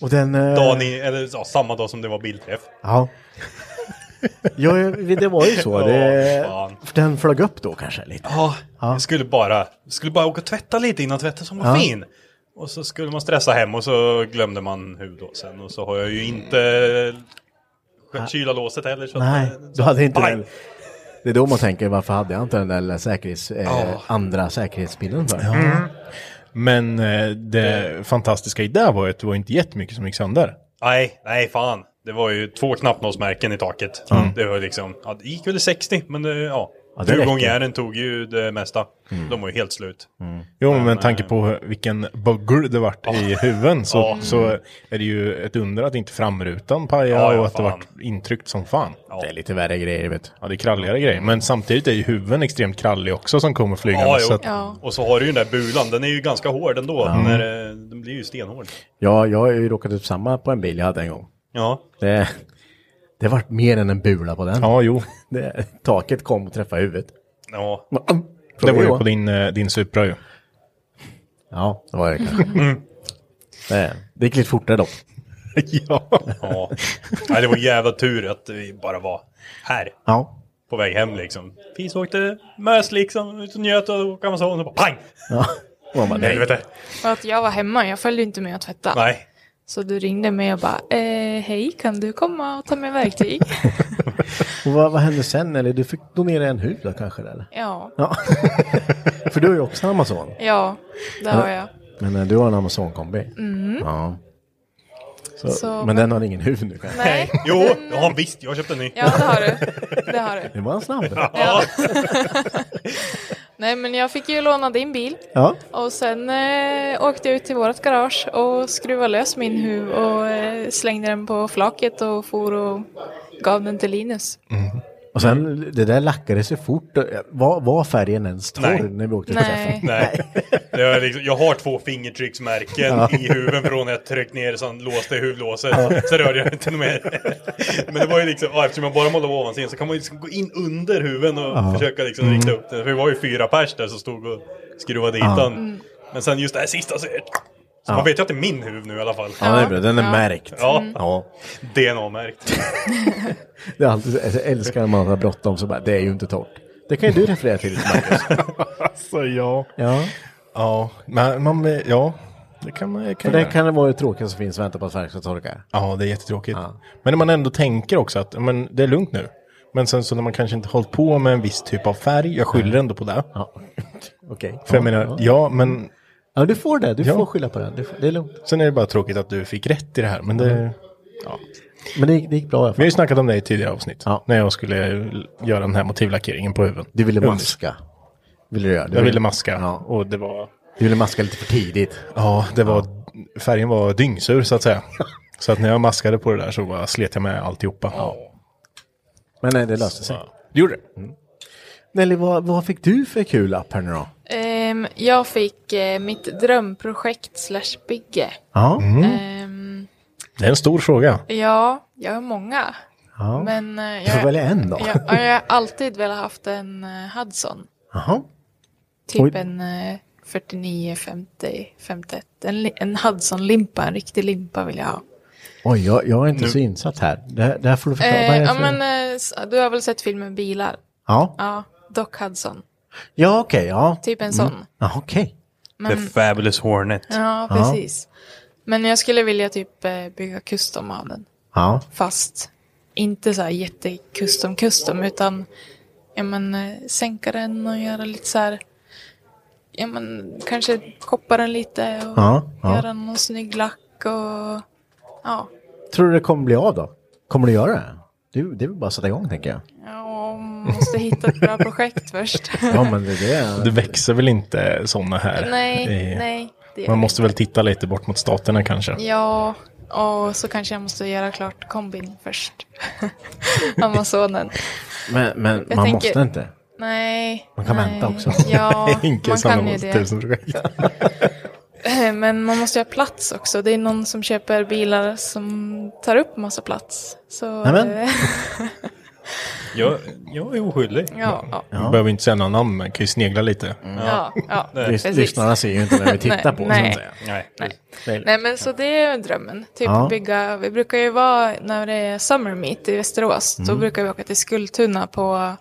[SPEAKER 3] Och den... eh,
[SPEAKER 11] dagen i, eller, ja, samma dag som det var bilträff.
[SPEAKER 3] Ja. ja, ja, det var ju så.
[SPEAKER 11] Ja,
[SPEAKER 3] Det,
[SPEAKER 11] fan. Ah.
[SPEAKER 3] för den flög upp då kanske lite.
[SPEAKER 11] Ja, jag skulle bara, skulle bara åka och tvätta lite innan tvätten som var
[SPEAKER 3] Ja.
[SPEAKER 11] fin. Och så skulle man stressa hem och så glömde man huvlåsen. Och så har jag ju inte skött kyla låset heller. Så
[SPEAKER 3] Nej,
[SPEAKER 11] att,
[SPEAKER 3] du hade inte
[SPEAKER 11] Aj.
[SPEAKER 3] den. Det är då man tänker varför hade jag inte den där lilla säkerhets, eh,
[SPEAKER 11] Ja.
[SPEAKER 3] andra säkerhetspinnen för?
[SPEAKER 11] Mm.
[SPEAKER 2] Men eh, det fantastiska i det var ju att det var inte jättemycket som gick sönder.
[SPEAKER 11] Nej, nej fan. Det var ju två knappnålsmärken i taket. Det var liksom, ja, det gick väl i 60, men det, ja.
[SPEAKER 3] Ja, det räcker. Mm.
[SPEAKER 11] Huvudgångjärnen tog ju det mesta. De var ju helt slut.
[SPEAKER 2] Jo, men med tanke på vilken bugger det vart i huven så, så är det ju ett under att inte framrutan pajade
[SPEAKER 11] Ja, ja,
[SPEAKER 2] och att det
[SPEAKER 11] fan.
[SPEAKER 2] vart intryckt som fan.
[SPEAKER 3] Det är lite värre grejer vet du.
[SPEAKER 2] Ja, det är kralligare grejer. Men samtidigt är ju huven extremt krallig också som kommer flygande.
[SPEAKER 11] Ja, jo.
[SPEAKER 2] så att,
[SPEAKER 12] Ja.
[SPEAKER 11] Och så har du ju den där bulan, den är ju ganska hård ändå. När, eh, den blir ju stenhård.
[SPEAKER 3] Ja, jag har ju råkat ut för samma på en bil jag hade en gång.
[SPEAKER 11] Ja,
[SPEAKER 3] Det, det vart mer än en bula på den.
[SPEAKER 2] ja jo.
[SPEAKER 3] Det, taket kom och träffade huvudet.
[SPEAKER 11] ja.
[SPEAKER 2] Det var ju
[SPEAKER 3] Ja.
[SPEAKER 2] på din, eh, din Supra ju.
[SPEAKER 3] Ja, det var det kanske.
[SPEAKER 11] Mm.
[SPEAKER 3] Det, det gick lite fortare dock.
[SPEAKER 2] ja.
[SPEAKER 11] ja. Nej, det var en jävla tur att vi bara var här.
[SPEAKER 3] Ja.
[SPEAKER 11] På väg hem liksom. Fis åkte mös liksom, ut och njöt och åkte Amazon och bara pang!
[SPEAKER 3] ja. Och man bara, nej.
[SPEAKER 11] Helvete!
[SPEAKER 12] För att jag var hemma, jag följde inte med att tvätta.
[SPEAKER 11] Nej.
[SPEAKER 12] Så du ringde mig och bara, eh, hej kan du komma och ta med verktyg?
[SPEAKER 3] Och vad, vad hände sen? Eller du fick donera en huv då kanske? Eller?
[SPEAKER 12] ja,
[SPEAKER 3] Ja. För du har ju också en Amazon.
[SPEAKER 12] ja, det har jag.
[SPEAKER 3] Men eh, du har en Amazon-kombi. Ja. Så,
[SPEAKER 12] Mhm. Så-
[SPEAKER 3] men,
[SPEAKER 12] men-
[SPEAKER 3] den har ingen huvud nu kanske.
[SPEAKER 12] Nej,
[SPEAKER 11] Jo, ja, visst, jag köpte en ny.
[SPEAKER 12] ja det har du. Det har du.
[SPEAKER 3] Det var en snabb.
[SPEAKER 12] Ja. Nej men jag fick ju låna din bil
[SPEAKER 3] Ja.
[SPEAKER 12] och sen eh, åkte jag ut till vårt garage och skruvade lös min huv och eh, slängde den på flaket och for och gav den till Linus.
[SPEAKER 3] Och sen det där lackades ju fort. Var, var färgen ens torr
[SPEAKER 11] Nej.
[SPEAKER 3] när vi åkte till
[SPEAKER 12] Nej.
[SPEAKER 3] träffen?
[SPEAKER 11] Nej. Det är liksom, jag har två fingertrycksmärken i huven från när jag tryckte ner så han låste huvudlåset. Så rörde jag inte mer. Men det var ju liksom, ja, eftersom jag bara målade ovansidan så kan man ju liksom gå in
[SPEAKER 3] Mm.
[SPEAKER 12] Mm.
[SPEAKER 11] under huven och försöka liksom rikta upp den. För vi var ju fyra pers där som stod och skruvade dit den. Men sen just det här sista så... Så
[SPEAKER 3] Ja.
[SPEAKER 11] man vet ju att det är min huv nu i alla fall.
[SPEAKER 3] Ja, det är bra. Den är Ja. märkt.
[SPEAKER 11] Ja.
[SPEAKER 3] Mm. Ja.
[SPEAKER 11] DNA-märkt.
[SPEAKER 3] Det är alltid, jag älskar när man har bråttom så bara, det är ju inte torrt. Det kan ju du referera till, Marcus.
[SPEAKER 2] alltså ja.
[SPEAKER 3] Ja.
[SPEAKER 2] Ja, men man, ja. Det kan man
[SPEAKER 3] För
[SPEAKER 2] kan
[SPEAKER 3] det
[SPEAKER 2] göra.
[SPEAKER 3] kan vara det tråkigaste som finns, vänta på att färg ska torka.
[SPEAKER 2] Ja, det är jättetråkigt. Men när man ändå tänker också att men, det är lugnt nu. Men sen så när man kanske inte hållit på med en viss typ av färg, jag skyller ändå på det.
[SPEAKER 3] Ja. Okej.
[SPEAKER 2] För jag
[SPEAKER 3] Ja,
[SPEAKER 2] menar,
[SPEAKER 3] ja.
[SPEAKER 2] ja, men...
[SPEAKER 3] Ja, du får det. Du får skylla på det. det är lugnt.
[SPEAKER 2] Sen är det bara tråkigt att du fick rätt i det här, men det...
[SPEAKER 3] Mm.
[SPEAKER 2] Ja.
[SPEAKER 3] Men det, det gick bra i alla fall.
[SPEAKER 2] Vi har ju snackat om det i tidigare avsnitt. När jag skulle göra den här motivlackeringen på huven.
[SPEAKER 3] Du ville
[SPEAKER 2] Under-
[SPEAKER 3] maska. Ville du göra? Du
[SPEAKER 2] jag
[SPEAKER 3] ville-
[SPEAKER 2] ville maska. Och det var...
[SPEAKER 3] Du ville maska lite för tidigt.
[SPEAKER 2] Ja, det var... Färgen var dyngsur så att säga. så att när jag maskade på det där så bara slet jag med alltihopa.
[SPEAKER 3] Men nej, det löste sig.
[SPEAKER 2] Det gjorde det.
[SPEAKER 3] Nelly, vad, vad fick du för kul app här nu då?
[SPEAKER 12] Ehm, jag fick eh, mitt drömprojekt slash bygge.
[SPEAKER 2] Ja. Mm.
[SPEAKER 12] Ehm,
[SPEAKER 2] Det är en stor fråga.
[SPEAKER 12] ja, jag har många.
[SPEAKER 2] Ja.
[SPEAKER 12] Men eh,
[SPEAKER 2] Du får välja en då.
[SPEAKER 12] Jag, ja, jag har alltid velat haft en eh, Hudson.
[SPEAKER 3] Jaha.
[SPEAKER 12] Typ
[SPEAKER 3] Oj.
[SPEAKER 12] en eh, 49, 50, 51. En, li- en Hudson-limpa, en riktig limpa vill jag ha.
[SPEAKER 3] Oj, jag, jag är inte
[SPEAKER 2] Nu-
[SPEAKER 3] så insatt här. Det, här- det här får du förklara. Vad
[SPEAKER 12] Eh,
[SPEAKER 3] är det
[SPEAKER 12] ja,
[SPEAKER 3] för-
[SPEAKER 12] men, eh, s- du har väl sett filmen Bilar?
[SPEAKER 3] ja.
[SPEAKER 12] Ja, Doc Hudson.
[SPEAKER 3] ja okej. ja.
[SPEAKER 12] Typ en
[SPEAKER 3] Mm.
[SPEAKER 12] sån.
[SPEAKER 3] Ja, okej.
[SPEAKER 12] Men- The
[SPEAKER 11] Fabulous Hornet.
[SPEAKER 12] Ja,
[SPEAKER 3] Ja.
[SPEAKER 12] precis. Men jag skulle vilja typ eh, bygga custom av den.
[SPEAKER 3] Ja.
[SPEAKER 12] Fast inte så här jättecustom custom utan ja, men, eh, sänka den och göra lite så här ja, men, kanske koppa den lite och
[SPEAKER 3] Ja, ja.
[SPEAKER 12] göra någon snygg lack och ja,
[SPEAKER 3] Tror du det kommer bli av då? Kommer du göra det? Du, det är väl bara att sätta igång tänker jag.
[SPEAKER 12] ja måste hitta ett bra projekt först.
[SPEAKER 2] Det växer väl inte sådana här?
[SPEAKER 12] Nej,
[SPEAKER 2] Eh,
[SPEAKER 12] nej, det gör
[SPEAKER 2] Man
[SPEAKER 12] det
[SPEAKER 2] måste väl titta lite bort mot staterna kanske.
[SPEAKER 12] Ja, och så kanske jag måste göra klart kombin först. Amazonen.
[SPEAKER 3] Men, men man
[SPEAKER 12] Jag
[SPEAKER 3] måste
[SPEAKER 12] tänker-
[SPEAKER 3] inte.
[SPEAKER 12] Nej.
[SPEAKER 3] Man kan
[SPEAKER 12] nej.
[SPEAKER 3] vänta också.
[SPEAKER 12] Ja, man kan ju det.
[SPEAKER 2] projekt.
[SPEAKER 12] Eh, Men man måste ju ha plats också. Det är någon som köper bilar som tar upp massa plats. Så,
[SPEAKER 2] Nämen.
[SPEAKER 12] eh,
[SPEAKER 2] Jag, jag är oskyldig.
[SPEAKER 12] Ja, ja.
[SPEAKER 2] Du behöver inte säga några namn, men kan ju snegla lite.
[SPEAKER 12] Mm. Ja, ja,
[SPEAKER 2] Nej.
[SPEAKER 12] precis.
[SPEAKER 2] Lyssnarna ser ju inte när vi tittar på, så att
[SPEAKER 12] Nej.
[SPEAKER 2] säga.
[SPEAKER 12] Nej. Nej.
[SPEAKER 2] Det är lugnt.
[SPEAKER 12] Nej, men så det är drömmen. Typ
[SPEAKER 2] Ja.
[SPEAKER 12] bygga, vi brukar ju vara, när det är summer meet i Västerås, då
[SPEAKER 2] Mm.
[SPEAKER 12] brukar vi åka till Skultuna på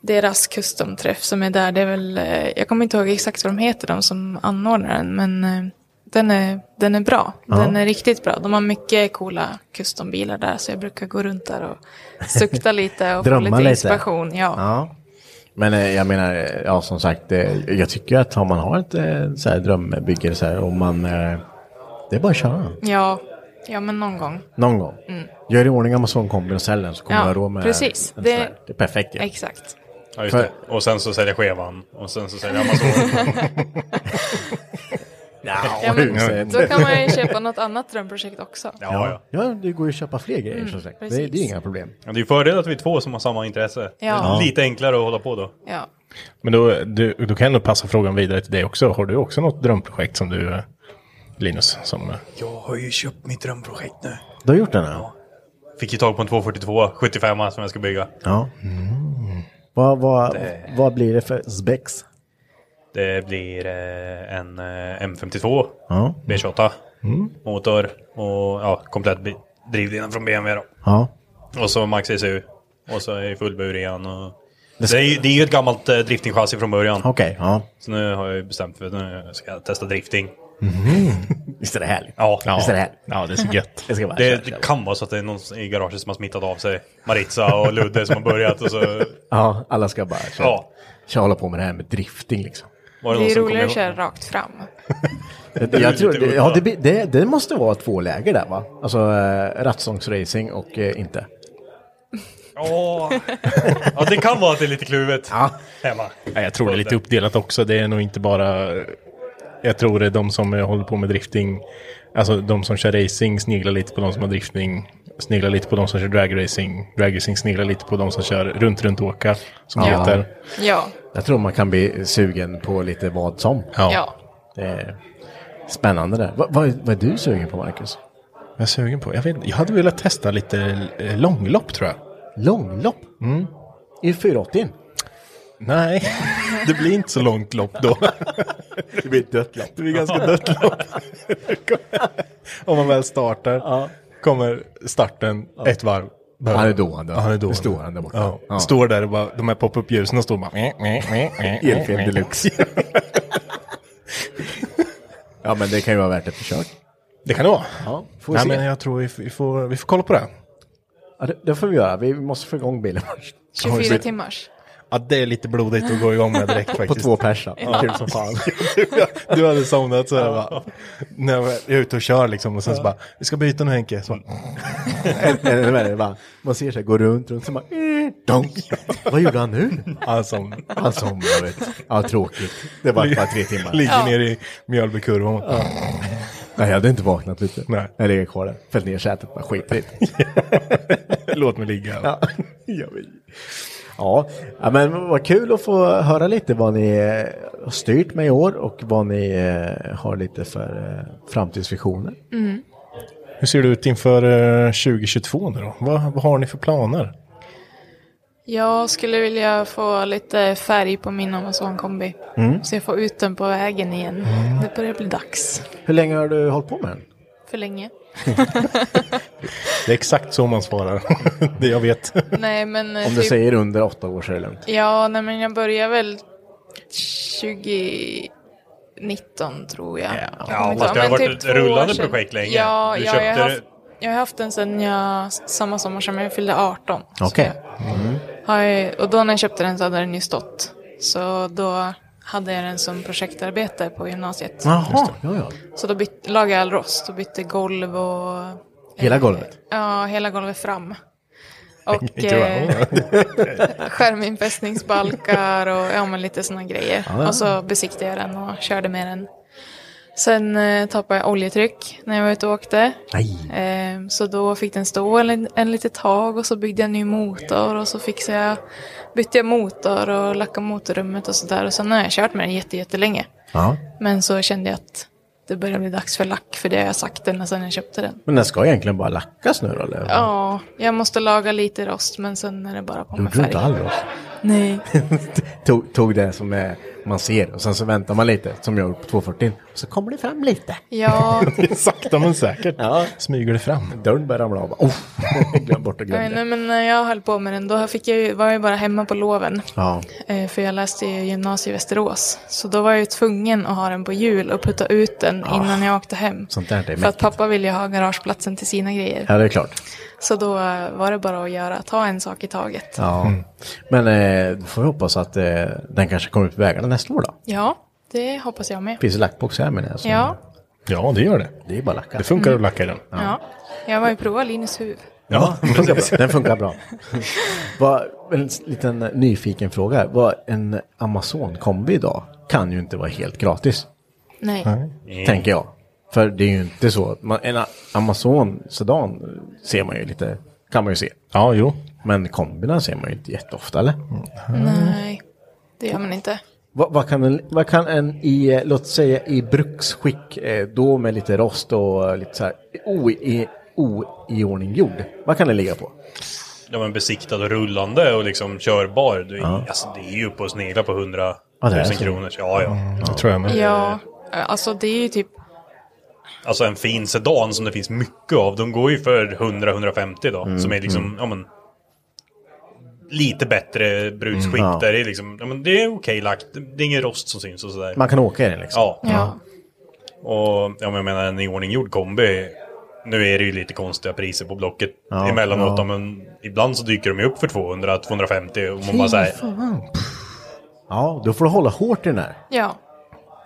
[SPEAKER 12] deras custom-träff som är där. Det är väl, eh, jag kommer inte ihåg exakt vad de heter, de som anordnar den, men eh, den är, den är bra.
[SPEAKER 10] Ja.
[SPEAKER 12] Den är riktigt bra. De har mycket coola custom-bilar där, så jag brukar gå runt där och sukta lite och få
[SPEAKER 3] Drömma
[SPEAKER 12] lite
[SPEAKER 3] lite.
[SPEAKER 12] inspiration. Ja.
[SPEAKER 3] Ja. Men eh, jag menar, eh, ja som sagt, eh, jag tycker att om man har ett eh, så här drömbygge så här, och man, eh, det är bara att köra.
[SPEAKER 12] Ja. ja, men någon gång.
[SPEAKER 3] Någon gång.
[SPEAKER 12] Mm.
[SPEAKER 3] Gör i ordning Amazon-kombin och sälj den så kommer
[SPEAKER 12] Ja,
[SPEAKER 3] jag ha råd med
[SPEAKER 12] precis.
[SPEAKER 3] en
[SPEAKER 12] Det-
[SPEAKER 3] sån här. Det är perfekt ju.
[SPEAKER 12] Exakt.
[SPEAKER 11] Ja, just det. Och sen så säljer skevan. Och sen så säljer Amazon.
[SPEAKER 12] Ja, men då kan man ju köpa något annat drömprojekt också.
[SPEAKER 3] Ja, ja. det går ju att köpa fler grejer
[SPEAKER 12] Mm,
[SPEAKER 3] som sagt. Det,
[SPEAKER 12] precis.
[SPEAKER 3] det är ju inga problem.
[SPEAKER 11] Ja, Det är ju fördel att vi är två som har samma intresse.
[SPEAKER 12] Ja.
[SPEAKER 11] Lite enklare att hålla på då.
[SPEAKER 12] Ja.
[SPEAKER 2] Men då, du, då kan jag nog passa frågan vidare till dig också. Har du också något drömprojekt som du, eh, Linus? Som, eh,
[SPEAKER 11] Jag har ju köpt mitt drömprojekt nu.
[SPEAKER 3] Du har gjort den här?
[SPEAKER 11] Fick ju tag på en 242 75 som jag ska bygga.
[SPEAKER 3] Ja. Vad, vad, vad blir det för spex?
[SPEAKER 11] Det blir eh, en eh, M52
[SPEAKER 3] Ja.
[SPEAKER 11] B28
[SPEAKER 3] Mm.
[SPEAKER 11] motor och ja, komplett bi- drivlina från BMW. Då.
[SPEAKER 3] Ja.
[SPEAKER 11] Och så Max SU och så är det fullbur igen. Och...
[SPEAKER 3] Det
[SPEAKER 11] Det,
[SPEAKER 3] ska-
[SPEAKER 11] är ju, det är ju ett gammalt eh, driftingchassi från början.
[SPEAKER 3] Okej, ja.
[SPEAKER 11] Så nu har jag ju bestämt för att nu ska jag testa drifting. Mm-hmm.
[SPEAKER 3] Visst är det härligt?
[SPEAKER 11] Ja.
[SPEAKER 3] Visst är det härligt?
[SPEAKER 2] Ja, det är så gött.
[SPEAKER 3] Jag ska bara
[SPEAKER 11] Det,
[SPEAKER 3] köra,
[SPEAKER 11] det
[SPEAKER 3] köra.
[SPEAKER 11] kan vara så att det är någon i garaget som har smittat av sig. Maritza och Ludde som har börjat och så
[SPEAKER 3] Ja, alla ska bara köra.
[SPEAKER 11] Alltså- Ja.
[SPEAKER 3] Köra hålla på med det här med drifting liksom.
[SPEAKER 11] var det,
[SPEAKER 12] Det
[SPEAKER 11] någon
[SPEAKER 12] är
[SPEAKER 11] som kom
[SPEAKER 12] roligare
[SPEAKER 11] ihåg.
[SPEAKER 12] att köra rakt fram.
[SPEAKER 3] Det, jag tror, det, ja, det, blir- det, det måste vara två läger där va? Alltså eh, rattstångsracing och eh, inte.
[SPEAKER 11] Ja.
[SPEAKER 13] Äh.
[SPEAKER 11] ja, det kan vara att det är lite kluvet hemma.
[SPEAKER 2] Ja, jag tror det är lite uppdelat också. Det är nog inte bara... Jag tror det är de som eh, håller på med drifting. Alltså de som kör racing sneglar lite på de som har drifting. Sneglar lite på de som kör dragracing. Dragracing sneglar lite på de som kör runt runt åka. Som det
[SPEAKER 3] Ja.
[SPEAKER 2] heter.
[SPEAKER 12] Ja.
[SPEAKER 3] Jag tror man kan bli sugen på lite vad som.
[SPEAKER 2] Ja. Ja.
[SPEAKER 3] Det är spännande där. Vad, vad, vad är du sugen på Marcus?
[SPEAKER 2] Vad är jag sugen på? Jag, vet, inte. jag hade velat testa lite eh, långlopp tror jag.
[SPEAKER 3] Långlopp?
[SPEAKER 2] Mm.
[SPEAKER 3] I 480?
[SPEAKER 2] Nej, det blir inte så långt lopp då.
[SPEAKER 3] Det blir ett dött lopp.
[SPEAKER 2] Det blir ganska dött lopp. Om man väl startar kommer starten ett varv.
[SPEAKER 3] Han är dående.
[SPEAKER 2] Ja, Han är
[SPEAKER 3] Det
[SPEAKER 2] dående.
[SPEAKER 3] står han där borta.
[SPEAKER 2] Ja.
[SPEAKER 3] Ja.
[SPEAKER 2] Står där och bara, de här pop-up ljusen och står bara... meh, meh, meh, meh,
[SPEAKER 3] Elfel
[SPEAKER 2] meh.
[SPEAKER 3] deluxe. ja, men det kan ju vara värt ett försök.
[SPEAKER 2] Det kan det vara.
[SPEAKER 3] Ja, får vi
[SPEAKER 2] Nej,
[SPEAKER 3] se.
[SPEAKER 2] men jag tror vi, vi, får, vi får kolla på det.
[SPEAKER 3] Ja, det, det får vi göra. Vi måste få igång bilen.
[SPEAKER 12] 24 timmars.
[SPEAKER 2] Ja, det är lite blodigt att gå igång med direkt faktiskt.
[SPEAKER 3] På två pers, ja.
[SPEAKER 2] Ja.
[SPEAKER 3] Kul som fan.
[SPEAKER 2] Du- Du hade somnat så här bara. När jag var- jag är ute och kör liksom och sen så bara, vi ska byta nu Henke. Så bara,
[SPEAKER 3] Eller vad är det, va? Man ser sig gå runt, runt, så bara...
[SPEAKER 2] Mm.
[SPEAKER 3] eh, Donk. Vad gjorde han nu?
[SPEAKER 2] Han somnade.
[SPEAKER 3] Han somnade, vet du. Ja, tråkigt. Det var bara tre timmar.
[SPEAKER 2] Ligger
[SPEAKER 3] Ja.
[SPEAKER 2] ner i Mjölbykurvan. Ja.
[SPEAKER 3] Nej, jag hade inte vaknat lite.
[SPEAKER 2] Nej.
[SPEAKER 3] Jag ligger kvar där. Fällt ner sätet, bara skitligt.
[SPEAKER 2] Låt mig ligga.
[SPEAKER 3] Ja. Jag vill. Ja. ja, men vad kul att få höra lite vad ni eh, har styrt med i år och vad ni eh, har lite för eh, framtidsvisioner.
[SPEAKER 12] Mm.
[SPEAKER 2] Hur ser det ut inför eh, 2022 nu då? Vad, vad har ni för planer?
[SPEAKER 12] Jag skulle vilja få lite färg på min Amazon-kombi.
[SPEAKER 2] Mm.
[SPEAKER 12] Så jag får ut den på vägen igen.
[SPEAKER 11] Mm.
[SPEAKER 12] Det börjar bli dags.
[SPEAKER 3] Hur länge har du hållit på med den?
[SPEAKER 12] För länge.
[SPEAKER 2] Det är exakt så man svarar. det jag vet.
[SPEAKER 12] Nej, men, eh,
[SPEAKER 3] Om du
[SPEAKER 12] typ-
[SPEAKER 3] säger under åtta år så är det lugnt.
[SPEAKER 12] Ja, nej men jag börjar väl 2019 tror jag. Ja,
[SPEAKER 11] fast det har
[SPEAKER 12] typ
[SPEAKER 11] varit ett rullande projekt länge.
[SPEAKER 12] Ja,
[SPEAKER 11] Du
[SPEAKER 12] ja jag,
[SPEAKER 11] köpte
[SPEAKER 12] har
[SPEAKER 11] det-
[SPEAKER 12] haft, jag har haft den sedan jag, samma sommar som jag fyllde 18. Så
[SPEAKER 3] Okej. Mm.
[SPEAKER 12] har jag, och då när jag köpte den så hade den ju stått. Så då hade jag den som projektarbete på gymnasiet.
[SPEAKER 3] Jaha, ja, ja.
[SPEAKER 12] Så då byt, lagade jag all rost och bytte golv och
[SPEAKER 3] Hela golvet?
[SPEAKER 12] ja, hela golvet fram. Och
[SPEAKER 3] Inte bara,
[SPEAKER 12] eh, skärminfästningsbalkar och ja, men lite sådana grejer.
[SPEAKER 3] Ja, ja.
[SPEAKER 12] Och så besiktade jag den och körde med den. Sen eh, tappade jag oljetryck när jag var ute och åkte. Eh, så då fick den stå en, en litet tag och så byggde jag en ny motor och så fixade jag, bytte jag motor och lackade motorrummet och sådär. Och sen har jag kört med den jätte, jättelänge.
[SPEAKER 3] Ja.
[SPEAKER 12] Men så kände jag att det börjar bli dags för lack för det har jag sagt den sedan jag köpte den.
[SPEAKER 3] Men den ska egentligen bara lackas nu då, eller?
[SPEAKER 12] Ja, jag måste laga lite rost men sen är det bara på med
[SPEAKER 3] Gjorde du
[SPEAKER 12] färg.
[SPEAKER 3] inte all rost?
[SPEAKER 12] Nej.
[SPEAKER 3] tog, tog det som eh, man ser och sen så väntar man lite, som jag gjorde på 240. Och så kommer det fram lite.
[SPEAKER 12] Ja,
[SPEAKER 2] Sakta men säkert smyger det fram.
[SPEAKER 3] Dörren börjar ramla av. Oh, glöm bort och glöm
[SPEAKER 12] nej,
[SPEAKER 3] det.
[SPEAKER 12] nej, men när jag höll på med den då fick jag ju, var jag ju bara hemma på loven.
[SPEAKER 3] Ja.
[SPEAKER 12] Eh, För jag läste ju gymnasiet i Västerås. Så då var jag ju tvungen att ha den på jul och putta ut den
[SPEAKER 3] Ah,
[SPEAKER 12] innan jag åkte hem.
[SPEAKER 3] sånt där, det är
[SPEAKER 12] För att pappa ville ju ha garageplatsen till sina grejer.
[SPEAKER 3] Ja, det är klart.
[SPEAKER 12] Så då eh, var det bara att göra, ta en sak i taget.
[SPEAKER 3] Ja.
[SPEAKER 2] Mm.
[SPEAKER 3] Men eh, då får vi hoppas att eh, den kanske kommer ut på vägarna nästa år då.
[SPEAKER 12] Ja, det hoppas jag med.
[SPEAKER 3] Finns det lackbox här menar jag. så-
[SPEAKER 12] Ja,
[SPEAKER 2] Ja, det gör det.
[SPEAKER 3] Det är bara lacka.
[SPEAKER 2] Det funkar att lacka den.
[SPEAKER 12] ja. Jag var ju prova Linus huvud.
[SPEAKER 3] Ja, den funkar bra. Den funkar bra. Vad- en liten nyfiken fråga. Vad en Amazon-kombi idag kan ju inte vara helt gratis.
[SPEAKER 12] Nej.
[SPEAKER 3] Tänker jag. För det är ju inte så. att Man, en Amazon sedan ser man ju lite. Kan man ju se.
[SPEAKER 2] Ja, jo.
[SPEAKER 3] Men kombina ser man ju inte jätteofta eller?
[SPEAKER 12] Nej, det gör man inte.
[SPEAKER 3] Vad, vad, kan en, vad kan en i, eh, låt säga i bruksskick, eh, då med lite rost och eh, lite så här o- i- oiordninggjord, vad kan den ligga på?
[SPEAKER 11] Ja men besiktad och rullande och liksom körbar. Det, är- alltså, det är ju uppe och sneglar på 100
[SPEAKER 3] Ja, det är
[SPEAKER 11] 000
[SPEAKER 3] så.
[SPEAKER 11] kronor. Ja, ja.
[SPEAKER 2] Det tror jag med.
[SPEAKER 12] Ja, eh, alltså det är ju typ
[SPEAKER 11] Alltså en fin sedan som det finns mycket av. De går ju för 100-150 då.
[SPEAKER 3] Mm,
[SPEAKER 11] Som är liksom,
[SPEAKER 3] mm.
[SPEAKER 11] ja men... Lite bättre bruksskick
[SPEAKER 3] Mm, ja.
[SPEAKER 11] där det är liksom, ja men det är okej lagt. Det är ingen rost som syns och sådär.
[SPEAKER 3] Man kan åka i den liksom.
[SPEAKER 11] Ja.
[SPEAKER 3] Ja.
[SPEAKER 11] Och ja, men jag menar en iordninggjord kombi. Nu är det ju lite konstiga priser på Blocket
[SPEAKER 3] Ja,
[SPEAKER 11] emellanåt.
[SPEAKER 3] ja.
[SPEAKER 11] Men ibland så dyker de ju upp för 200-250 och man bara
[SPEAKER 3] Fy
[SPEAKER 11] säger
[SPEAKER 3] fan. Ja, då får du hålla hårt i den här.
[SPEAKER 12] Ja,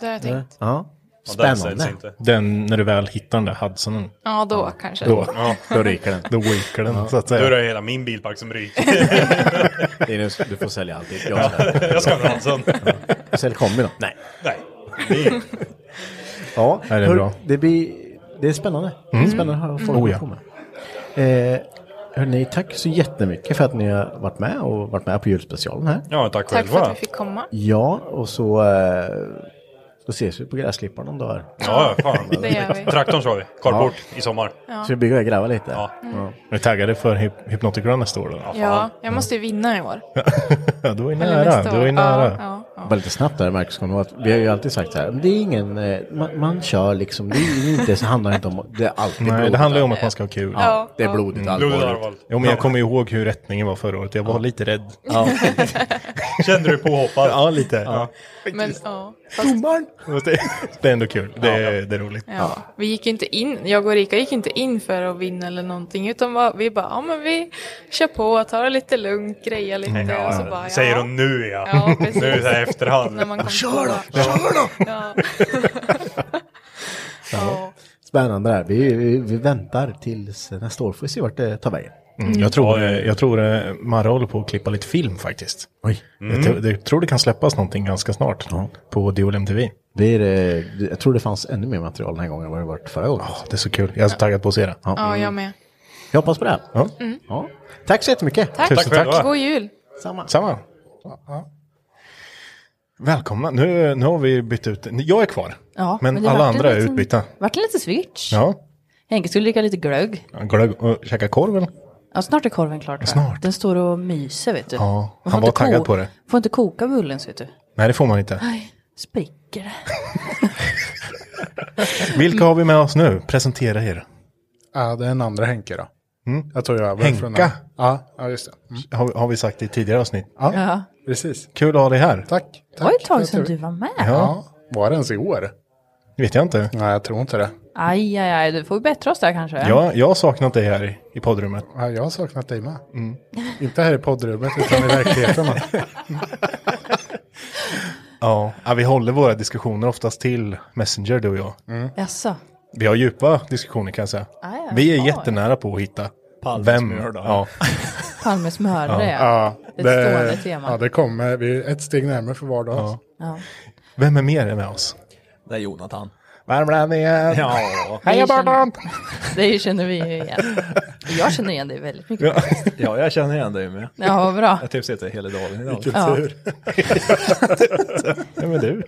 [SPEAKER 12] det har jag tänkt.
[SPEAKER 3] Ja.
[SPEAKER 11] Ja, den säljs
[SPEAKER 3] Spännande.
[SPEAKER 11] inte.
[SPEAKER 2] Den, när du väl hittar den där Hudsonen.
[SPEAKER 12] Ja, då kanske.
[SPEAKER 2] Då,
[SPEAKER 11] Ja.
[SPEAKER 3] Då ryker den.
[SPEAKER 2] Då ryker den,
[SPEAKER 3] Ja.
[SPEAKER 2] så att
[SPEAKER 11] Då "Mm, är
[SPEAKER 2] säga.
[SPEAKER 11] det hela min bilpark som ryker.
[SPEAKER 3] Linus, du får sälja allt. ditt. Jag
[SPEAKER 11] Ja,
[SPEAKER 3] säljer.
[SPEAKER 11] jag ska ha en sån.
[SPEAKER 3] Ja. Sälj kombi då? Nej.
[SPEAKER 11] Nej.
[SPEAKER 3] Ja,
[SPEAKER 2] Nej, det är
[SPEAKER 3] hör-
[SPEAKER 2] bra.
[SPEAKER 3] Det, blir, det är spännande. Det är
[SPEAKER 2] Mm.
[SPEAKER 3] spännande att få
[SPEAKER 2] Mm. Oh, ja.
[SPEAKER 3] på med. Eh, hörni, tack så jättemycket för att ni har varit med och varit med på julspecialen här.
[SPEAKER 11] Ja, tack
[SPEAKER 12] Tack för
[SPEAKER 11] själva.
[SPEAKER 12] att vi fick komma.
[SPEAKER 3] Ja, och så eh, Då ses vi på gräsklipparen om dagar.
[SPEAKER 11] Ja, ja, fan. Det gör vi. Traktorn kör vi. Carport i sommar.
[SPEAKER 3] Ja. Så vi bygger och gräva lite. Ja.
[SPEAKER 2] Är ni taggade för Hyp- Hypnotic Run nästa år då?
[SPEAKER 12] Mm. Ja, jag måste ju vinna i år.
[SPEAKER 2] Ja, du är
[SPEAKER 12] Eller
[SPEAKER 2] nära.
[SPEAKER 12] nästa
[SPEAKER 2] Du
[SPEAKER 12] år.
[SPEAKER 2] är
[SPEAKER 12] Ja,
[SPEAKER 2] nära.
[SPEAKER 12] ja,
[SPEAKER 3] Bara lite snabbt där Marcus, kommer jag ihåg att vi har ju alltid sagt så här, det är ingen, eh, man, man kör liksom, det är inte, så handlar det inte om, det är alltid
[SPEAKER 2] Nej,
[SPEAKER 3] blodigt
[SPEAKER 2] det handlar ju om att
[SPEAKER 3] allvar.
[SPEAKER 2] man ska ha kul. Mm.
[SPEAKER 3] Ja, det är blodigt allvar.
[SPEAKER 2] Jo, men jag kommer ju ihåg hur rättningen var förra året. Jag var lite rädd.
[SPEAKER 3] Ja.
[SPEAKER 11] Kände du påhoppad?
[SPEAKER 2] Ja, lite.
[SPEAKER 11] Ja.
[SPEAKER 2] Ja.
[SPEAKER 12] Men, ja,
[SPEAKER 3] Domaren!
[SPEAKER 2] Fast Det, det är ändå kul. Det, är- det är roligt.
[SPEAKER 12] Ja, vi gick ju inte in, jag och Rika gick inte in för att vinna eller någonting utan bara, vi bara, ja men vi kör på, tar det lite lugnt, grejar lite och så bara, ja.
[SPEAKER 11] Säger hon nu ja.
[SPEAKER 12] Ja, precis.
[SPEAKER 11] nu så här i efterhand.
[SPEAKER 12] När man kom
[SPEAKER 11] Kör
[SPEAKER 12] på.
[SPEAKER 11] då, kör då!
[SPEAKER 12] Ja.
[SPEAKER 3] Ja. Spännande det här, vi, vi, vi väntar tills nästa år, får vi se vart det tar vägen.
[SPEAKER 2] Mm. Jag tror, jag tror eh, Marra håller på att klippa lite film faktiskt.
[SPEAKER 3] Oj.
[SPEAKER 2] Jag, tror- jag tror det kan släppas någonting ganska snart på DLM TV.
[SPEAKER 3] Det är, eh, jag tror det fanns ännu mer material den här gången än vad det varit förra gången.
[SPEAKER 2] det är så kul, jag är så taggad på att se det.
[SPEAKER 12] ja, jag med.
[SPEAKER 3] Jag hoppas på det.
[SPEAKER 2] Ja.
[SPEAKER 12] Mm.
[SPEAKER 3] Ja. Tack så jättemycket.
[SPEAKER 12] Tack.
[SPEAKER 2] Tusen tack.
[SPEAKER 12] God jul!
[SPEAKER 3] Samma.
[SPEAKER 2] Samma. Välkomna, nu, nu har vi bytt ut, jag är kvar.
[SPEAKER 4] Ja,
[SPEAKER 2] men,
[SPEAKER 4] det
[SPEAKER 2] alla
[SPEAKER 4] vart en
[SPEAKER 2] andra är
[SPEAKER 4] liten-
[SPEAKER 2] utbytta.
[SPEAKER 4] Vart det lite switch?
[SPEAKER 2] Ja,
[SPEAKER 4] Henke skulle dricka lite glögg.
[SPEAKER 2] glögg och käka korv eller?
[SPEAKER 4] Ja, snart är korven klar. tror jag.
[SPEAKER 2] Snart.
[SPEAKER 4] Den står och myser vet du.
[SPEAKER 2] Ja,
[SPEAKER 4] Man får
[SPEAKER 2] han var
[SPEAKER 4] inte ko-
[SPEAKER 2] taggad på det.
[SPEAKER 4] Får inte koka bullen så vet du.
[SPEAKER 2] Nej, det får man inte.
[SPEAKER 4] Aj, spricker det.
[SPEAKER 2] Vilka har vi med oss nu? Presentera er.
[SPEAKER 14] Ja, det är en andra Henke då.
[SPEAKER 2] Mm.
[SPEAKER 14] Jag tog över
[SPEAKER 2] Henka?
[SPEAKER 14] från den. Ja, ja, just det. Mm.
[SPEAKER 2] Har, vi- har vi sagt i tidigare avsnitt.
[SPEAKER 14] Ja,
[SPEAKER 4] Ja.
[SPEAKER 14] precis.
[SPEAKER 2] Kul att ha dig här.
[SPEAKER 14] Tack.
[SPEAKER 4] Det var ett tag
[SPEAKER 14] Jag
[SPEAKER 4] sedan
[SPEAKER 14] tror-
[SPEAKER 4] du var med.
[SPEAKER 14] Ja. Var det ens i år?
[SPEAKER 2] vet jag inte.
[SPEAKER 14] Nej, jag tror inte det.
[SPEAKER 4] Aj, aj, aj. Du får ju bättra oss där kanske.
[SPEAKER 2] Jag, jag har saknat dig här i, i poddrummet.
[SPEAKER 14] Ja, jag har saknat dig med. Inte här i poddrummet, utan i verkligheten.
[SPEAKER 2] Ja. ja, vi håller våra diskussioner oftast till Messenger, du och jag.
[SPEAKER 4] Jaså?
[SPEAKER 2] Vi har djupa diskussioner kan jag säga.
[SPEAKER 4] Ah, ja.
[SPEAKER 2] Vi är
[SPEAKER 4] Ah,
[SPEAKER 2] jättenära på att hitta
[SPEAKER 14] Palmes smör då.
[SPEAKER 2] Ja.
[SPEAKER 4] Palmes mördare
[SPEAKER 14] ja.
[SPEAKER 4] Ett stående tema.
[SPEAKER 14] Ja, det kommer. Vi är ett steg närmare för var dag.
[SPEAKER 2] Ja.
[SPEAKER 4] Ja.
[SPEAKER 2] Vem är mer med oss?
[SPEAKER 15] Det är Jonathan.
[SPEAKER 2] Värmlänningen!
[SPEAKER 15] Ja.
[SPEAKER 2] Hej
[SPEAKER 4] Det känner-
[SPEAKER 2] Barton!
[SPEAKER 4] Det känner vi ju igen. Jag känner igen dig väldigt mycket.
[SPEAKER 15] Ja. ja, jag känner igen dig med.
[SPEAKER 4] Ja, vad bra.
[SPEAKER 15] Jag typ sitter hela dagen idag.
[SPEAKER 4] Vilken Ja. tur.
[SPEAKER 2] Nej, men du.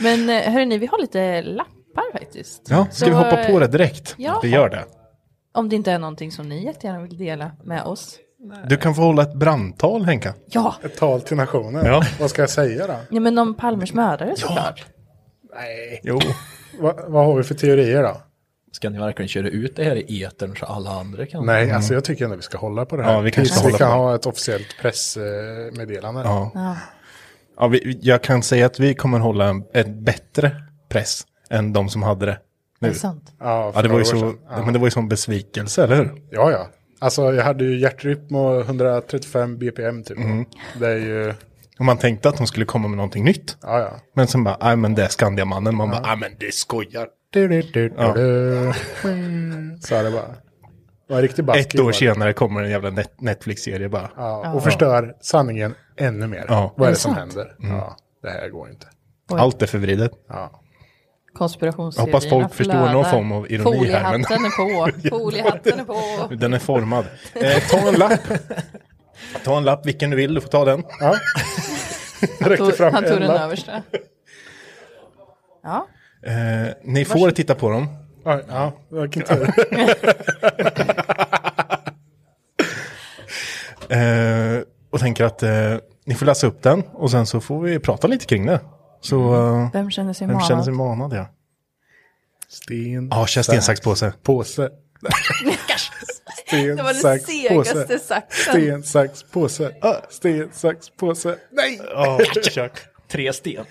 [SPEAKER 4] Men eh, hörrni, vi har lite lappar faktiskt.
[SPEAKER 2] Ja, ska
[SPEAKER 4] Så,
[SPEAKER 2] vi hoppa på det
[SPEAKER 4] eh,
[SPEAKER 2] direkt?
[SPEAKER 4] Ja.
[SPEAKER 2] Vi gör det.
[SPEAKER 4] Om det inte är någonting som ni jättegärna vill dela med oss.
[SPEAKER 2] Du kan få hålla ett brandtal Henka.
[SPEAKER 4] Ja.
[SPEAKER 14] Ett tal till nationen.
[SPEAKER 2] Ja.
[SPEAKER 14] Vad ska jag säga då?
[SPEAKER 4] Ja, men om Palmes mördare såklart.
[SPEAKER 14] Nej.
[SPEAKER 2] Jo.
[SPEAKER 14] Va, vad har vi för teorier då?
[SPEAKER 15] Ska ni verkligen köra ut det här i etern så alla andra kan?
[SPEAKER 14] Nej, alltså jag tycker ändå vi ska hålla på det här.
[SPEAKER 2] Mm. Ja, vi kanske
[SPEAKER 14] Tills
[SPEAKER 2] ska
[SPEAKER 14] vi
[SPEAKER 2] hålla
[SPEAKER 14] kan
[SPEAKER 2] på det.
[SPEAKER 14] ha ett officiellt pressmeddelande.
[SPEAKER 2] Ja. Ja, vi, jag kan säga att vi kommer hålla en, en bättre press än de som hade det. Nu.
[SPEAKER 14] Är det sant?
[SPEAKER 2] Ja,
[SPEAKER 14] Ja, för
[SPEAKER 2] det var ju
[SPEAKER 14] några år
[SPEAKER 2] så,
[SPEAKER 14] sedan. Ja.
[SPEAKER 2] men det var ju som besvikelse, eller hur?
[SPEAKER 14] Ja, ja. Alltså jag hade ju hjärtrytm och 135 BPM typ.
[SPEAKER 2] Mm.
[SPEAKER 14] Det är ju...
[SPEAKER 2] Och man tänkte att de skulle komma med någonting nytt.
[SPEAKER 14] Ja, ja.
[SPEAKER 2] Men sen bara, nej men det är Skandiamannen. Man bara, nej men det skojar.
[SPEAKER 14] Du, du, du,
[SPEAKER 2] Ja.
[SPEAKER 14] du. Mm. Så är det bara. Det var en riktig basker,
[SPEAKER 2] Ett år
[SPEAKER 14] var det.
[SPEAKER 2] senare kommer en jävla net- Netflix-serie bara.
[SPEAKER 14] Ja, och förstör sanningen ännu mer.
[SPEAKER 2] Ja.
[SPEAKER 14] Vad
[SPEAKER 2] Är
[SPEAKER 14] är
[SPEAKER 2] det
[SPEAKER 14] det som
[SPEAKER 2] sant?
[SPEAKER 14] händer?
[SPEAKER 2] Mm.
[SPEAKER 14] Ja, det här går inte.
[SPEAKER 4] Oj.
[SPEAKER 2] Allt är förvridet.
[SPEAKER 14] Ja.
[SPEAKER 4] Konspirationsteorierna
[SPEAKER 2] Hoppas folk förstår någon
[SPEAKER 4] flödar.
[SPEAKER 2] form av ironi här, men-
[SPEAKER 4] Foliehatten är på. Foliehatten är på.
[SPEAKER 2] Den är formad. Eh, ta en lapp. Ta en lapp vilken du vill, du får ta den.
[SPEAKER 14] Ja.
[SPEAKER 4] Han tog, han tog den översta. Ja.
[SPEAKER 2] Eh, ni får titta på dem.
[SPEAKER 14] Ja, ja vilken tur.
[SPEAKER 2] Eh, och tänker att eh, ni får läsa upp den och sen så får vi prata lite kring det. Så, eh,
[SPEAKER 4] Mm. Vem känner sig
[SPEAKER 2] vem
[SPEAKER 4] manad?
[SPEAKER 2] känner sig manad? Ja,
[SPEAKER 14] Sten.
[SPEAKER 2] ah, kör sten, sax, påse.
[SPEAKER 14] Påse. Sten,
[SPEAKER 4] Det var den
[SPEAKER 14] sax,
[SPEAKER 4] segaste
[SPEAKER 14] påse.
[SPEAKER 4] saxen.
[SPEAKER 14] Sten, sax, påse. Sten, sax, påse. Nej!
[SPEAKER 2] Ja, kör.
[SPEAKER 15] Tre sten.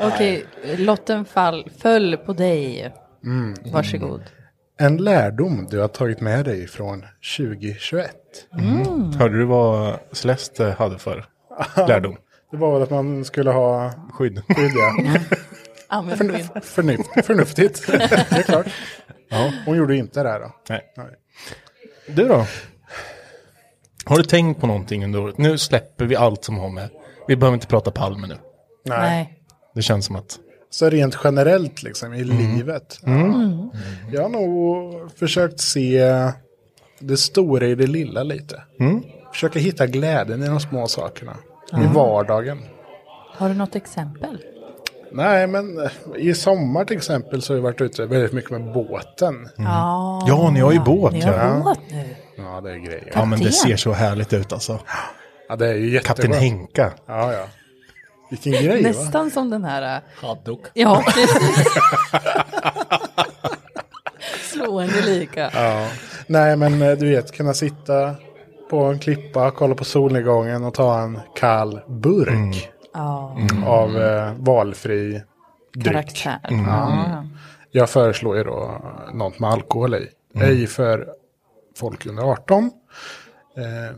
[SPEAKER 4] Okej, lotten fall, föll på dig.
[SPEAKER 14] Mm.
[SPEAKER 4] Varsågod.
[SPEAKER 14] En lärdom du har tagit med dig från 2021.
[SPEAKER 2] Mm. Hörde du vad Celeste hade för lärdom?
[SPEAKER 14] Det var väl att man skulle ha
[SPEAKER 2] Skydd.
[SPEAKER 14] skydd
[SPEAKER 4] Mm.
[SPEAKER 14] ja.
[SPEAKER 4] Använd
[SPEAKER 14] Förnuf, förnuf, förnuftigt, det är klart.
[SPEAKER 2] Ja.
[SPEAKER 14] Hon gjorde ju inte det här då.
[SPEAKER 2] Nej. Du då? Har du tänkt på någonting under året? Nu släpper vi allt som har med. Vi behöver inte prata Palme nu.
[SPEAKER 14] Nej.
[SPEAKER 2] Det känns som att...
[SPEAKER 14] Så rent generellt liksom i livet.
[SPEAKER 2] Mm.
[SPEAKER 14] Jag har nog försökt se det stora i det lilla lite.
[SPEAKER 2] Mm.
[SPEAKER 14] Försöka hitta glädjen i de små sakerna. I
[SPEAKER 4] Ja.
[SPEAKER 14] vardagen.
[SPEAKER 4] Har du något exempel?
[SPEAKER 14] Nej, men eh, i sommar till exempel så har vi varit ute väldigt mycket med båten.
[SPEAKER 2] Mm.
[SPEAKER 4] Ja. Ja, ni har ju båt, ni har ja. båt nu.
[SPEAKER 14] Ja, det är grejer.
[SPEAKER 2] Ja, men det ser så härligt ut alltså.
[SPEAKER 14] Ja, det är ju jättebra.
[SPEAKER 2] Kapten Henka.
[SPEAKER 14] Ja, ja. Vilken grej va?
[SPEAKER 4] Nästan som den här... äh,
[SPEAKER 15] Haddock.
[SPEAKER 4] Ja, precis. Slående lika.
[SPEAKER 14] Ja. Nej, men eh, du vet, kunna sitta på en klippa, kolla på solnedgången och ta en kall burk.
[SPEAKER 2] Mm.
[SPEAKER 4] Ja.
[SPEAKER 14] Av eh, valfri dryck.
[SPEAKER 4] Karaktär.
[SPEAKER 14] Mm.
[SPEAKER 4] Ja.
[SPEAKER 14] Jag föreslår ju då något med alkohol i.
[SPEAKER 2] Mm.
[SPEAKER 14] Ej för folk under 18. Eh,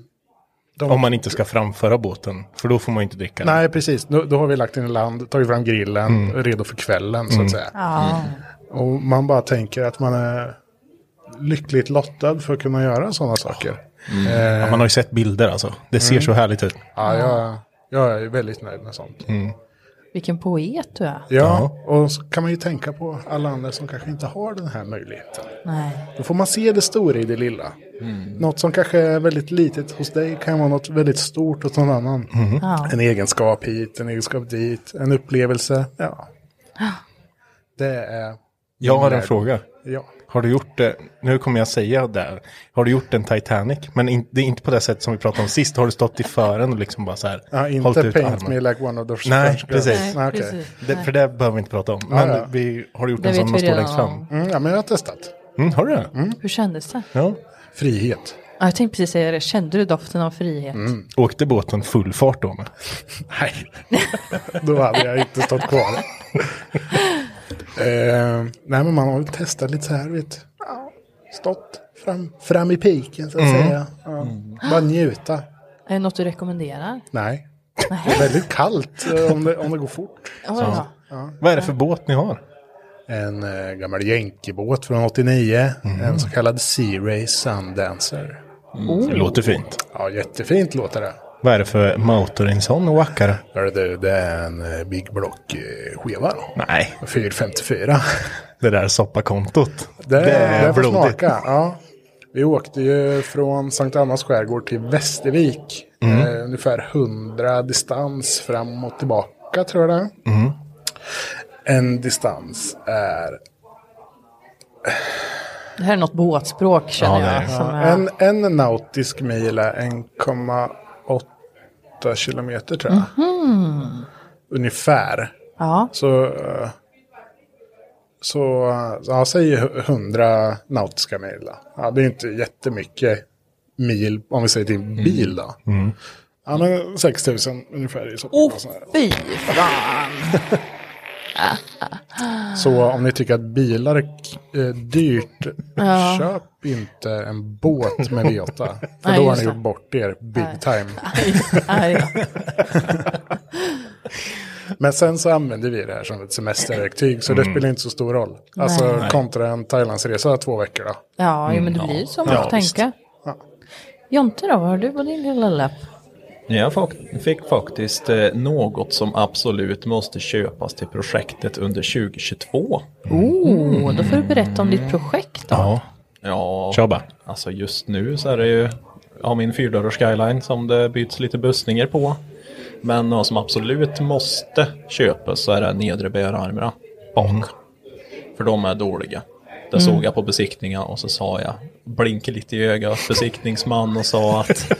[SPEAKER 14] de-
[SPEAKER 2] Om man inte ska framföra båten, för då får man ju inte dricka.
[SPEAKER 14] Nej, precis. Då, då har vi lagt in i land, tagit fram grillen,
[SPEAKER 2] Mm.
[SPEAKER 14] redo för kvällen så
[SPEAKER 2] Mm.
[SPEAKER 14] att säga.
[SPEAKER 2] Ja.
[SPEAKER 14] Och man bara tänker att man är lyckligt lottad för att kunna göra sådana saker. Eh,
[SPEAKER 2] Mm. Ja, man har ju sett bilder alltså. Det ser
[SPEAKER 14] Mm.
[SPEAKER 2] så härligt ut.
[SPEAKER 14] Ja, jag, jag är väldigt nöjd med sånt.
[SPEAKER 2] Mm.
[SPEAKER 4] Vilken poet du är.
[SPEAKER 14] Ja, och så kan man ju tänka på alla andra som kanske inte har den här möjligheten.
[SPEAKER 4] Nej.
[SPEAKER 14] Då får man se det stora i det lilla. Något som kanske är väldigt litet hos dig kan vara något väldigt stort hos någon annan.
[SPEAKER 2] Mhm.
[SPEAKER 4] Ja.
[SPEAKER 14] En egenskap hit, en egenskap dit, en upplevelse. Ja. Det är...
[SPEAKER 2] Jag har en
[SPEAKER 14] lärdom.
[SPEAKER 2] fråga.
[SPEAKER 14] Ja.
[SPEAKER 2] Har du gjort det? Nu kommer jag säga där. Har du gjort en Titanic? Men in, det är inte på det sätt som vi pratade om sist. Har du stått i fören och liksom bara så här.
[SPEAKER 14] Ja, inte
[SPEAKER 2] hållit ut
[SPEAKER 14] paint
[SPEAKER 2] armen?
[SPEAKER 14] me like one of those
[SPEAKER 2] Nej,
[SPEAKER 14] French girls.
[SPEAKER 2] precis.
[SPEAKER 14] Nej, okej. precis.
[SPEAKER 2] Det, för det behöver vi inte prata om.
[SPEAKER 14] Ja,
[SPEAKER 2] Men
[SPEAKER 14] ja.
[SPEAKER 2] Vi, har du gjort
[SPEAKER 4] Det
[SPEAKER 2] en
[SPEAKER 4] vet
[SPEAKER 2] sån som
[SPEAKER 4] vi
[SPEAKER 2] står
[SPEAKER 4] redan
[SPEAKER 2] längst fram?
[SPEAKER 14] Mm, ja, men jag har testat.
[SPEAKER 2] Mm, har du det?
[SPEAKER 4] Hur kändes det?
[SPEAKER 2] Ja.
[SPEAKER 14] Frihet.
[SPEAKER 4] Ja, jag tänkte precis säga det. Kände du doften av frihet?
[SPEAKER 14] Mm.
[SPEAKER 2] Åkte båten full fart då? Med?
[SPEAKER 14] Nej. Då hade jag inte stått kvar. eh, nej, men man har väl testat lite så här, vet ja, Stått fram, fram i piken, så att
[SPEAKER 4] Mm.
[SPEAKER 14] säga. Ja. Bara njuta.
[SPEAKER 4] Är det något du rekommenderar?
[SPEAKER 14] Nej. Det är väldigt kallt eh, om det, om det går fort.
[SPEAKER 4] Ja, ja.
[SPEAKER 2] Vad är det för båt ni har?
[SPEAKER 14] En eh, gammal jänkebåt från 89. En så kallad Sea Ray Sundancer.
[SPEAKER 2] Mm. Det låter fint.
[SPEAKER 14] Ja, jättefint låter det.
[SPEAKER 2] Vad är det för Motorinson och Wackare?
[SPEAKER 14] Hörru du, det är en eh, Big Block eh, skiva då.
[SPEAKER 2] Nej.
[SPEAKER 14] 454.
[SPEAKER 2] Det där soppakontot.
[SPEAKER 14] Det, det är blodigt. Smaka, ja. Vi åkte ju från Sankt Annas skärgård till Västervik.
[SPEAKER 2] Mm.
[SPEAKER 14] Eh, ungefär 100 distans fram och tillbaka tror jag det är.
[SPEAKER 2] Mm.
[SPEAKER 14] En distans är...
[SPEAKER 4] Det här är något båtspråk känner jag. Som
[SPEAKER 14] Ja,
[SPEAKER 4] är...
[SPEAKER 14] en, en nautisk mil är 1,8 kilometer tror jag.
[SPEAKER 4] Mhm.
[SPEAKER 14] Ungefär.
[SPEAKER 4] Ja.
[SPEAKER 14] Så... eh, Så, eh, ja, säg 100 nautiska mil då. Ja, det är ju inte jättemycket mil, om vi säger till bil då.
[SPEAKER 2] Mm.
[SPEAKER 14] Ja, men 6 000 ungefär i så
[SPEAKER 4] Åh, fy
[SPEAKER 14] Alltså,
[SPEAKER 4] fan!
[SPEAKER 16] 啊
[SPEAKER 4] Ah.
[SPEAKER 14] Så om ni tycker att bilar är k- är dyrt,
[SPEAKER 4] Ja.
[SPEAKER 14] köp inte en båt med V8. För
[SPEAKER 4] Nej,
[SPEAKER 14] då har
[SPEAKER 4] just
[SPEAKER 14] ni
[SPEAKER 4] det.
[SPEAKER 14] gjort bort er big
[SPEAKER 4] Nej.
[SPEAKER 14] time.
[SPEAKER 4] Aj, aj.
[SPEAKER 14] Men sen så använder vi det här som ett semesterverktyg, så det
[SPEAKER 2] Mm.
[SPEAKER 14] spelar inte så stor roll. Alltså
[SPEAKER 4] Nej.
[SPEAKER 14] kontra en Thailandsresa två veckor då. Mm.
[SPEAKER 4] Ja, jo, men
[SPEAKER 15] Mm,
[SPEAKER 4] det blir ju så man
[SPEAKER 14] Ja,
[SPEAKER 4] får tänka. Jonte då, vad har du på din lilla lapp?
[SPEAKER 15] Jag fak- fick faktiskt eh, något som absolut måste köpas till projektet under 2022.
[SPEAKER 4] Oh, då får du berätta om ditt projekt.
[SPEAKER 2] Ja.
[SPEAKER 15] Ja,
[SPEAKER 2] Kör bara.
[SPEAKER 15] alltså just nu så är det ju ja, min fyrdörrars skyline som det byts lite bussningar på. Men något som absolut måste köpas så är det nedre bärarmarna bak. För de är dåliga. Det
[SPEAKER 11] Mm.
[SPEAKER 15] såg jag på besiktningen och så sa jag, blinkade lite i ögat, besiktningsman och sa att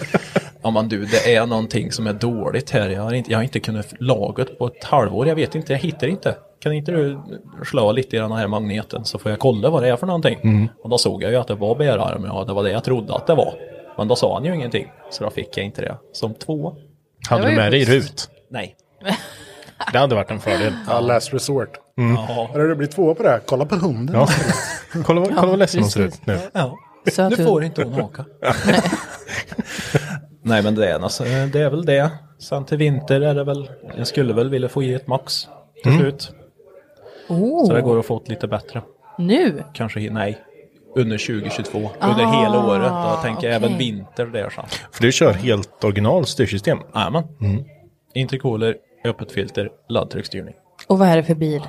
[SPEAKER 15] ja men du det är någonting som är dåligt här. Jag har inte, jag har inte kunnat laga det på ett halvår, jag vet inte, jag hittar inte. Kan inte du slå lite i den här magneten så får jag kolla vad det är för någonting.
[SPEAKER 2] Mm.
[SPEAKER 15] Och då såg jag ju att det var bärarm, ja det var det jag trodde att det var. Men då sa han ju ingenting, så då fick jag inte det som två.
[SPEAKER 2] Hade du med dig RUT?
[SPEAKER 15] Nej.
[SPEAKER 2] Det hade varit en fördel.
[SPEAKER 14] Ja, last resort.
[SPEAKER 2] Mm.
[SPEAKER 14] Hörru, det blir två på det här. Kolla på hunden.
[SPEAKER 2] Ja. kolla, vad- kolla vad ledsen hon ser
[SPEAKER 15] precis.
[SPEAKER 2] ut nu.
[SPEAKER 15] Ja.
[SPEAKER 4] Så att
[SPEAKER 15] nu
[SPEAKER 4] du-
[SPEAKER 15] får inte hon åka. Nej men det är, alltså, det är väl det. Sen till vinter är det väl, jag skulle väl vilja få i ett max till
[SPEAKER 2] Mm.
[SPEAKER 15] slut.
[SPEAKER 4] Oh.
[SPEAKER 15] Så det går att få ett lite bättre.
[SPEAKER 4] Nu?
[SPEAKER 15] Kanske, hi- nej, under 2022.
[SPEAKER 4] Ah,
[SPEAKER 15] under hela året. Då tänker jag
[SPEAKER 4] okej.
[SPEAKER 15] även vinter där sen.
[SPEAKER 2] För du kör helt original styrsystem? Mm.
[SPEAKER 15] Jajamän. Intercooler, öppet filter, laddtrycksstyrning.
[SPEAKER 4] Och vad är det för bil?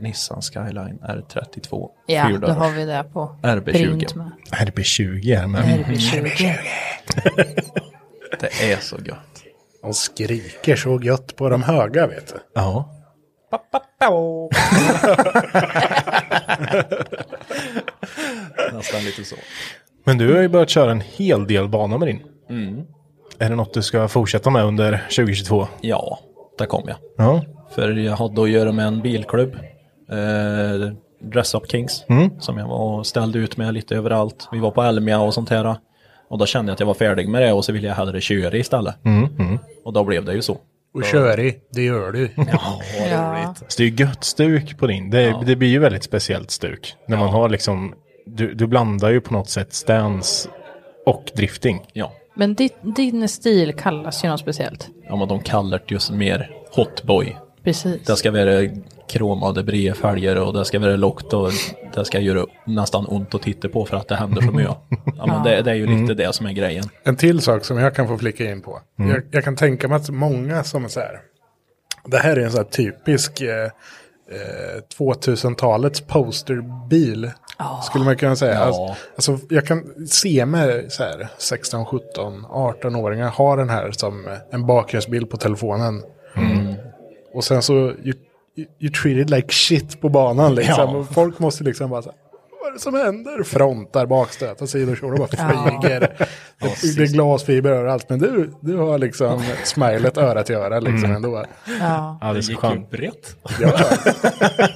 [SPEAKER 15] Nissan Skyline R32.
[SPEAKER 4] Ja, då
[SPEAKER 15] fyrdörrars.
[SPEAKER 4] har vi det på
[SPEAKER 15] RB20.
[SPEAKER 4] print med.
[SPEAKER 15] Mm.
[SPEAKER 2] RB20 är med.
[SPEAKER 4] RB20.
[SPEAKER 15] Det är så gött.
[SPEAKER 14] Mm. De skriker så gött på de höga, vet du.
[SPEAKER 15] Ja. Nästan lite så.
[SPEAKER 2] Men du har ju börjat köra en hel del banor med din.
[SPEAKER 15] Mm.
[SPEAKER 2] Är det något du ska fortsätta med under 2022?
[SPEAKER 15] Ja, där kom jag.
[SPEAKER 2] Ja.
[SPEAKER 15] För jag hade att göra med en bilklubb. Eh, Dress Up Kings.
[SPEAKER 2] Mm.
[SPEAKER 15] Som jag var och ställde ut med lite överallt. Vi var på Elmia och sånt här. Och då kände jag att jag var färdig med det och så ville jag hellre köra istället.
[SPEAKER 2] Mm, mm.
[SPEAKER 15] Och då blev det ju så.
[SPEAKER 14] Och kör i, det gör du.
[SPEAKER 15] Ja,
[SPEAKER 2] Ja. Så det är ju gött stuk på din. Det, det blir ju väldigt speciellt stuk. När man har liksom, du, du blandar ju på något sätt stance och drifting.
[SPEAKER 15] Ja.
[SPEAKER 4] Men ditt, din stil kallas ju något speciellt.
[SPEAKER 15] Ja, men de kallar det just mer hotboy.
[SPEAKER 4] Precis.
[SPEAKER 15] Det ska vara kromade breda fälgar och det ska vara lockt och det ska göra nästan ont att titta på för att det händer så mycket. Ja, men det, det är ju lite
[SPEAKER 2] Mm.
[SPEAKER 15] det som är grejen.
[SPEAKER 14] En till sak som jag kan få flicka in på.
[SPEAKER 15] Mm.
[SPEAKER 14] Jag, jag kan tänka mig att många som är så här. Det här är en så här typisk eh, eh, 2000-talets posterbil. Skulle man kunna säga.
[SPEAKER 15] Ja.
[SPEAKER 14] Alltså, alltså, jag kan se mig så här 16, 17, 18-åringar ha den här som en bakgrundsbild på telefonen.
[SPEAKER 2] Mm.
[SPEAKER 14] Och sen så you, you, you treat it like shit på banan liksom.
[SPEAKER 2] Ja.
[SPEAKER 14] Och folk måste liksom bara så här, vad är det som händer? Frontar, bakstötar, sidokjolar bara flyger.
[SPEAKER 2] Ja,
[SPEAKER 14] Det, det är glasfiber överallt. Men du, du har liksom smilet öra till öra liksom
[SPEAKER 2] Mm.
[SPEAKER 14] ändå.
[SPEAKER 4] Ja.
[SPEAKER 2] Ja, det är så skönt.
[SPEAKER 15] brett.
[SPEAKER 14] Ja.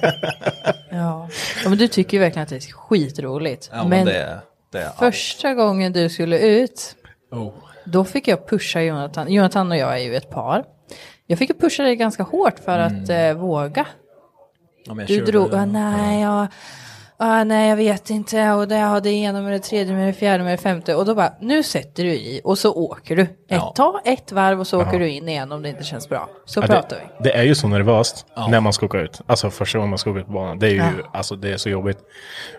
[SPEAKER 4] Ja. ja, men du tycker ju verkligen att det är skitroligt.
[SPEAKER 15] Ja, men det- det är allt.
[SPEAKER 4] första gången du skulle ut,
[SPEAKER 15] Oh.
[SPEAKER 4] då fick jag pusha Jonathan. Jonathan och jag är ju ett par. Jag fick ju pusha dig ganska hårt för att
[SPEAKER 2] Mm.
[SPEAKER 4] eh, våga.
[SPEAKER 15] Ja, men jag
[SPEAKER 4] Du
[SPEAKER 15] körde-
[SPEAKER 4] drog, ah, nej, jag, ah, nej jag vet inte, och det, ja, det ena med det tredje med det fjärde med det femte. Och då bara, nu sätter du i och så åker du. Ett,
[SPEAKER 2] Ja.
[SPEAKER 4] Ta ett varv och så
[SPEAKER 2] Ja.
[SPEAKER 4] åker du in igen om det inte känns bra. Så
[SPEAKER 2] Ja,
[SPEAKER 4] pratar vi.
[SPEAKER 2] det, det är ju så nervöst när man ska åka ut. Alltså första gången man ska åka ut på banan. Det är ju
[SPEAKER 4] Ja.
[SPEAKER 2] alltså, det är så jobbigt.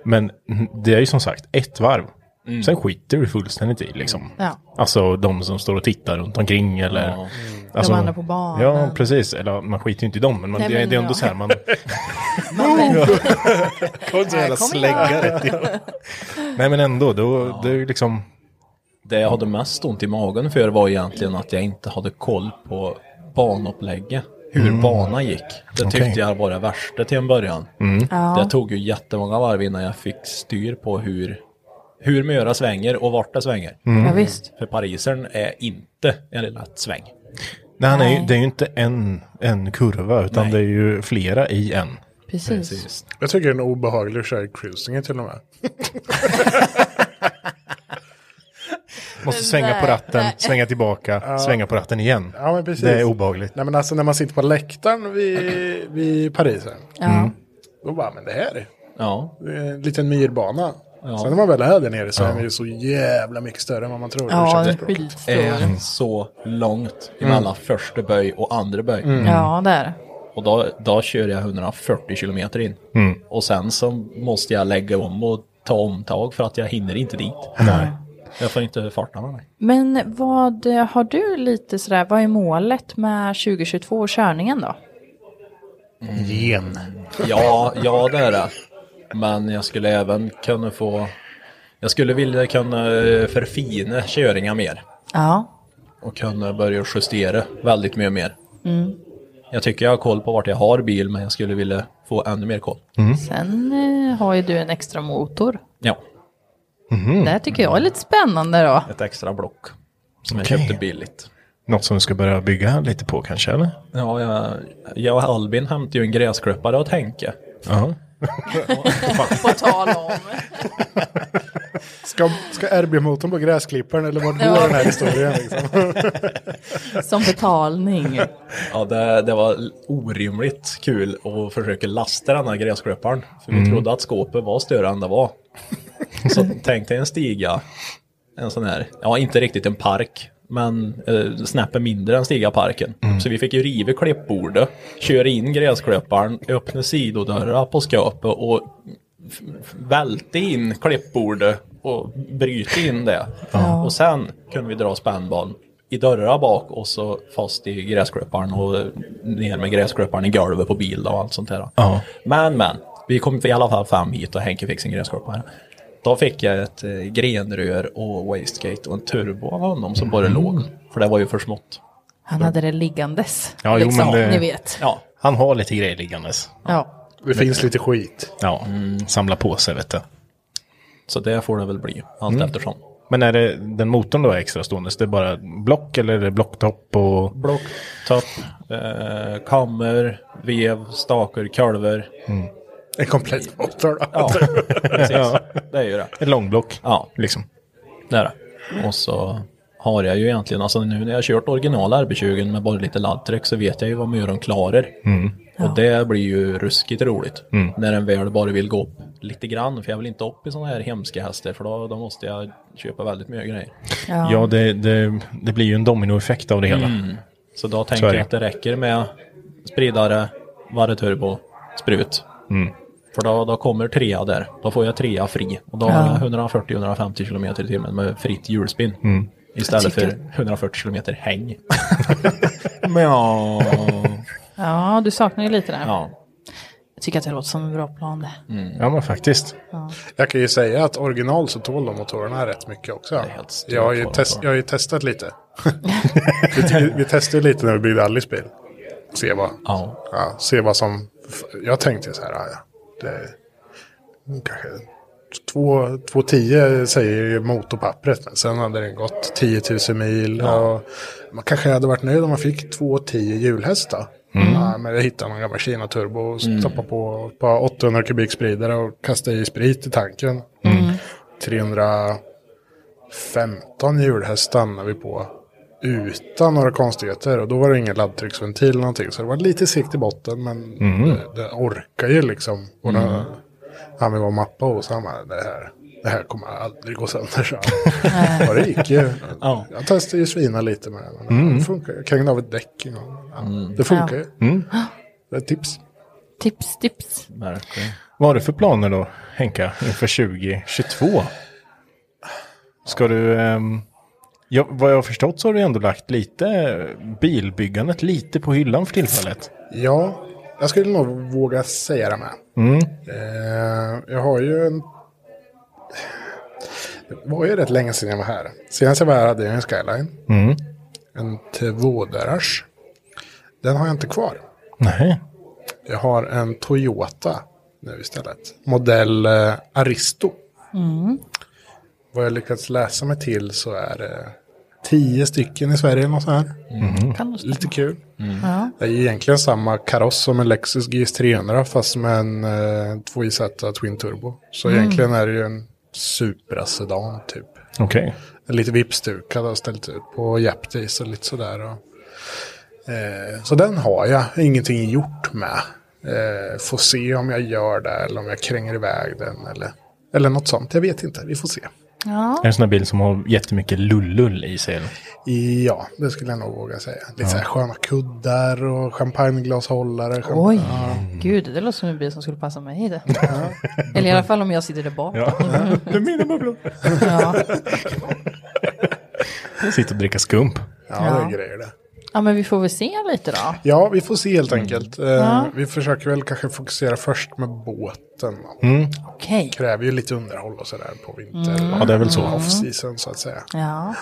[SPEAKER 2] Men mm, det är ju som sagt ett varv.
[SPEAKER 15] Mm.
[SPEAKER 2] Sen skiter du fullständigt i liksom.
[SPEAKER 4] Ja.
[SPEAKER 2] Alltså de som står och tittar runt omkring eller...
[SPEAKER 15] Ja. Mm.
[SPEAKER 2] Alltså,
[SPEAKER 4] De andra på banan.
[SPEAKER 2] Ja, precis. Eller man skiter ju inte i dem, men, man,
[SPEAKER 4] Nej,
[SPEAKER 2] det,
[SPEAKER 4] men
[SPEAKER 2] det är ändå
[SPEAKER 4] ja.
[SPEAKER 2] så här man...
[SPEAKER 14] Kom så jävla slägga rätt igenom.
[SPEAKER 2] Nej, men ändå, då, det är ju liksom...
[SPEAKER 15] Det jag hade mest ont i magen för var egentligen att jag inte hade koll på banupplägget. Hur
[SPEAKER 2] Mm.
[SPEAKER 15] banan gick. Det tyckte
[SPEAKER 2] Okej.
[SPEAKER 15] jag var det värsta till en början.
[SPEAKER 2] Mm.
[SPEAKER 4] Ja.
[SPEAKER 15] Det tog ju jättemånga varv innan jag fick styr på hur, hur Möra svänger och vart det svänger.
[SPEAKER 2] Mm. Ja,
[SPEAKER 4] visst.
[SPEAKER 15] För parisern är inte en lätt sväng.
[SPEAKER 2] Nej, han är ju,
[SPEAKER 15] Nej.
[SPEAKER 2] det är ju inte en, en kurva, utan det är ju flera i en.
[SPEAKER 4] Precis.
[SPEAKER 14] Jag tycker den är obehaglig att köra i cruisingen till och med.
[SPEAKER 2] Måste
[SPEAKER 14] Men
[SPEAKER 2] svänga på
[SPEAKER 14] där-
[SPEAKER 2] ratten,
[SPEAKER 14] nej.
[SPEAKER 2] svänga tillbaka,
[SPEAKER 14] Ja.
[SPEAKER 2] svänga på ratten igen.
[SPEAKER 14] Ja, men precis.
[SPEAKER 2] Det är obehagligt.
[SPEAKER 14] Nej men alltså när man sitter på läktaren vid, vid Parisen.
[SPEAKER 4] Ja. Mm.
[SPEAKER 14] Då bara, men det här är
[SPEAKER 15] Ja.
[SPEAKER 14] det är en liten myrbana.
[SPEAKER 15] Ja.
[SPEAKER 14] Sen när man väl är där nere så
[SPEAKER 15] Ja.
[SPEAKER 14] är den ju så jävla mycket större än vad man tror.
[SPEAKER 4] Ja,
[SPEAKER 14] Det känns
[SPEAKER 4] den är
[SPEAKER 14] bra.
[SPEAKER 4] skitstor.
[SPEAKER 15] är Eh, så långt
[SPEAKER 2] Mm.
[SPEAKER 15] mellan första böj och andra böj.
[SPEAKER 4] Mm. Ja, det är det.
[SPEAKER 15] Och då, då kör jag 140 kilometer in.
[SPEAKER 2] Mm.
[SPEAKER 15] Och sen så måste jag lägga om och ta omtag för att jag hinner inte dit.
[SPEAKER 2] Nej.
[SPEAKER 15] Jag får inte farten av mig.
[SPEAKER 4] Men vad eh, har du lite sådär, vad är målet med 2022 och körningen då?
[SPEAKER 2] Mm.
[SPEAKER 14] Gen.
[SPEAKER 15] Ja, ja det är det. Men jag skulle även kunna få... Jag skulle vilja kunna eh, förfina köringar mer.
[SPEAKER 4] Ja.
[SPEAKER 15] Och kunna börja justera väldigt mycket mer.
[SPEAKER 4] Mm.
[SPEAKER 15] Jag tycker jag har koll på vart jag har bil men jag skulle vilja få ännu mer koll.
[SPEAKER 2] Mm.
[SPEAKER 4] Sen eh, har ju du en extra motor.
[SPEAKER 15] Ja.
[SPEAKER 2] Mm-hmm. Mm.
[SPEAKER 4] Det här tycker jag är lite spännande då.
[SPEAKER 15] Ett extra block. Som
[SPEAKER 2] Okej.
[SPEAKER 15] jag köpte billigt.
[SPEAKER 2] Något som du ska börja bygga lite på kanske, eller?
[SPEAKER 15] Ja, jag, jag och Albin hämtade ju en gräsklippare åt Henke.
[SPEAKER 2] Ja.
[SPEAKER 4] På tal om.
[SPEAKER 14] Ska, ska RB-motorn på gräsklipparen eller vart går
[SPEAKER 4] Ja.
[SPEAKER 14] den här historien? Liksom?
[SPEAKER 4] Som betalning.
[SPEAKER 15] Ja, det, det var orimligt kul att försöka lasta den här gräsklipparen. För vi
[SPEAKER 2] Mm.
[SPEAKER 15] trodde att skåpet var större än det var. Så tänk dig en stiga, en sån här, ja inte riktigt en park, men eh, snäppet mindre än stigaparken. Så vi fick ju riva klippbordet, köra in gräsklipparen, öppna sidodörrar på skåpet och f- f- välte in klippbordet och bryta in det.
[SPEAKER 2] Ja.
[SPEAKER 15] Och sen kunde vi dra spännband i dörrar bak och så fast i gräsklipparen och ner med gräsklipparen i golvet på bilen och allt sånt där.
[SPEAKER 2] Ja.
[SPEAKER 15] Men men, vi kom i alla fall fram hit och Henke fick sin gräsklippare. Då fick jag ett eh, grenrör och wastegate och en turbo av honom som bara
[SPEAKER 2] Mm.
[SPEAKER 15] låg. För det var ju för smått.
[SPEAKER 4] Han hade det liggandes. liksom, Ni vet.
[SPEAKER 2] Ja. Han har lite grejer liggandes.
[SPEAKER 4] Ja.
[SPEAKER 14] Det finns lite skit.
[SPEAKER 2] Ja, samla på sig vet du. Mm.
[SPEAKER 15] Så det får det väl bli, allt eftersom.
[SPEAKER 2] Men är det den motorn då är extra stående? Så det är bara block eller är det blocktopp och...
[SPEAKER 15] Block, topp, eh, kammer, vev, staker, kolver.
[SPEAKER 2] Mm.
[SPEAKER 14] En komplett motor då.
[SPEAKER 15] Ja, precis. Det är ju det.
[SPEAKER 2] Ett långblock.
[SPEAKER 15] Ja.
[SPEAKER 2] Liksom.
[SPEAKER 15] Det är det. Och så har jag ju egentligen, alltså nu när jag har kört original RB20 med bara lite laddtryck så vet jag ju vad myran klarar.
[SPEAKER 2] Mm.
[SPEAKER 15] Och det blir ju ruskigt roligt.
[SPEAKER 2] Mm.
[SPEAKER 15] När den väl bara vill gå upp lite grann. För jag vill inte upp i sådana här hemska hästar för då, då måste jag köpa väldigt mycket grejer.
[SPEAKER 2] Ja, det, det, det blir ju en dominoeffekt av det hela.
[SPEAKER 15] Mm. Så då
[SPEAKER 2] Så
[SPEAKER 15] tänker
[SPEAKER 2] är
[SPEAKER 15] jag
[SPEAKER 2] det.
[SPEAKER 15] att det räcker med spridare, varvturbo, sprut.
[SPEAKER 2] Mm.
[SPEAKER 15] För då, då kommer trea där. Då får jag trea fri. Och då
[SPEAKER 2] Ja.
[SPEAKER 15] har jag 140-150 km i timmen med fritt hjulspinn.
[SPEAKER 2] Mm.
[SPEAKER 15] Istället
[SPEAKER 4] Jag
[SPEAKER 15] för
[SPEAKER 4] tycker-
[SPEAKER 15] 140 km häng. Men ja.
[SPEAKER 4] ja, du saknar ju lite där.
[SPEAKER 15] Ja.
[SPEAKER 4] Jag tycker att det låter som en bra plan det.
[SPEAKER 14] Mm.
[SPEAKER 2] Ja, men faktiskt.
[SPEAKER 14] Jag kan ju säga att original så tål de motorerna rätt mycket också. Jag har ju, test, jag har ju testat lite. vi, vi testade lite när vi byggde Alice bil. Se vad,
[SPEAKER 15] ja.
[SPEAKER 14] se vad som... Jag tänkte så här, ja, ja, det, kanske 2,10 säger ju motorpappret. Men sen hade den gått 10 000 mil. Och man kanske hade varit nöjd om man fick 2,10 hjulhästar.
[SPEAKER 2] Mm.
[SPEAKER 14] Ja, men jag hittade någon gammal Kina-turbo och
[SPEAKER 2] Mm.
[SPEAKER 14] stoppade på ett par 800 kubik spridare och kastade i sprit i tanken.
[SPEAKER 2] Mm.
[SPEAKER 14] 315 hjulhästar hamnade vi på utan några konstigheter. Och då var det ingen laddtrycksventil eller någonting. Så det var lite sikt i botten men
[SPEAKER 2] Mm.
[SPEAKER 14] det, det orkar ju liksom. Och
[SPEAKER 2] Mm.
[SPEAKER 14] då, han vill vara mappa och så han bara, det här, det här kommer aldrig gå sönder. Så. ja, det gick ju.
[SPEAKER 15] Ja.
[SPEAKER 14] Jag testade ju svina lite med det. Men
[SPEAKER 2] Mm.
[SPEAKER 14] det funkar. Jag krängde av ett däck en gång. Ja,
[SPEAKER 15] Mm.
[SPEAKER 14] Det funkar ju.
[SPEAKER 2] Ja. Mm.
[SPEAKER 14] Det är ett tips.
[SPEAKER 4] Tips, tips.
[SPEAKER 2] Vad har du för planer då, Henka, inför 2022? Ska du... ehm, ja, vad jag har förstått så har du ändå lagt lite bilbyggandet lite på hyllan för tillfället.
[SPEAKER 14] Ja, jag skulle nog våga säga det med.
[SPEAKER 2] Mm.
[SPEAKER 14] Eh, jag har ju en... Det var ju rätt länge sedan jag var här. Senast jag var här hade jag en skyline.
[SPEAKER 2] Mm.
[SPEAKER 14] En tvådörrars. Den har jag inte kvar.
[SPEAKER 2] Nej.
[SPEAKER 14] Jag har en Toyota nu istället. Modell eh, Aristo.
[SPEAKER 4] Mm.
[SPEAKER 14] Vad jag lyckats läsa mig till så är eh, det tio stycken i Sverige. Något sånt här.
[SPEAKER 2] Mhm. Mm.
[SPEAKER 4] Kan nog stämma.
[SPEAKER 14] Lite kul.
[SPEAKER 4] Ja.
[SPEAKER 14] Det är egentligen samma kaross som en Lexus GS300 fast med en eh, 2JZ Twin Turbo. Så
[SPEAKER 2] Mm.
[SPEAKER 14] egentligen är det ju en Supra Sedan typ.
[SPEAKER 2] Okej.
[SPEAKER 14] En Lite vippstukad och ställt ut på Japtis och lite sådär. Och, eh, så den har jag ingenting gjort med. Eh, får se om jag gör det eller om jag kränger iväg den eller, eller något sånt. Jag vet inte, vi får se.
[SPEAKER 4] Ja.
[SPEAKER 2] Är det en sån där bil som har jättemycket lullull i sig? eller?
[SPEAKER 14] Ja, det skulle jag nog våga säga. Lite
[SPEAKER 2] Ja.
[SPEAKER 14] så här sköna kuddar och champagneglasshållare. champ-
[SPEAKER 4] Oj,
[SPEAKER 14] Ja.
[SPEAKER 4] gud, det låter som en bil som skulle passa mig i det. Eller i alla fall om jag sitter där bak.
[SPEAKER 2] Ja. Det är mina bubblor.
[SPEAKER 4] Ja.
[SPEAKER 2] Sitta och dricka skump.
[SPEAKER 14] Ja, det är grejer det.
[SPEAKER 4] ja, men vi får väl se lite då.
[SPEAKER 14] Ja, vi får se
[SPEAKER 4] Mm.
[SPEAKER 14] helt enkelt. Eh,
[SPEAKER 4] Ja.
[SPEAKER 14] Vi försöker väl kanske fokusera först med båten.
[SPEAKER 2] Mm.
[SPEAKER 4] Okej.
[SPEAKER 14] Kräver ju lite underhåll och sådär på vinter.
[SPEAKER 4] Mm. Ja, det är väl så.
[SPEAKER 14] Off-season så att säga.
[SPEAKER 4] Ja.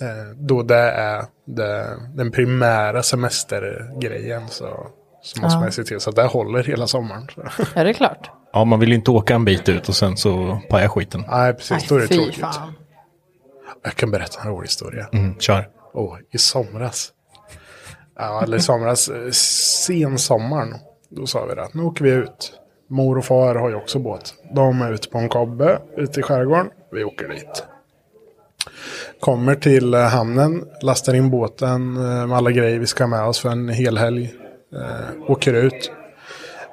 [SPEAKER 14] Eh, då det är det, den primära semestergrejen så, så måste
[SPEAKER 4] Ja.
[SPEAKER 14] man ju se till så att det håller hela sommaren. Så.
[SPEAKER 4] Ja, det är klart.
[SPEAKER 2] Ja, man vill ju inte åka en bit ut och sen så paja skiten.
[SPEAKER 14] Nej, precis. Då är det
[SPEAKER 4] Fy
[SPEAKER 14] tråkigt.
[SPEAKER 4] fan.
[SPEAKER 14] Jag kan berätta en rolig historia.
[SPEAKER 2] Mm, kör.
[SPEAKER 14] Och i somras. Ja, eller i somras, eh, sensommaren. Då sa vi det, att nu åker vi ut. Mor och far har ju också båt. De är ute på en kobbe ute i skärgården. Vi åker dit. Kommer till eh, hamnen, lastar in båten eh, med alla grejer vi ska ha med oss för en hel helg. Eh, åker ut.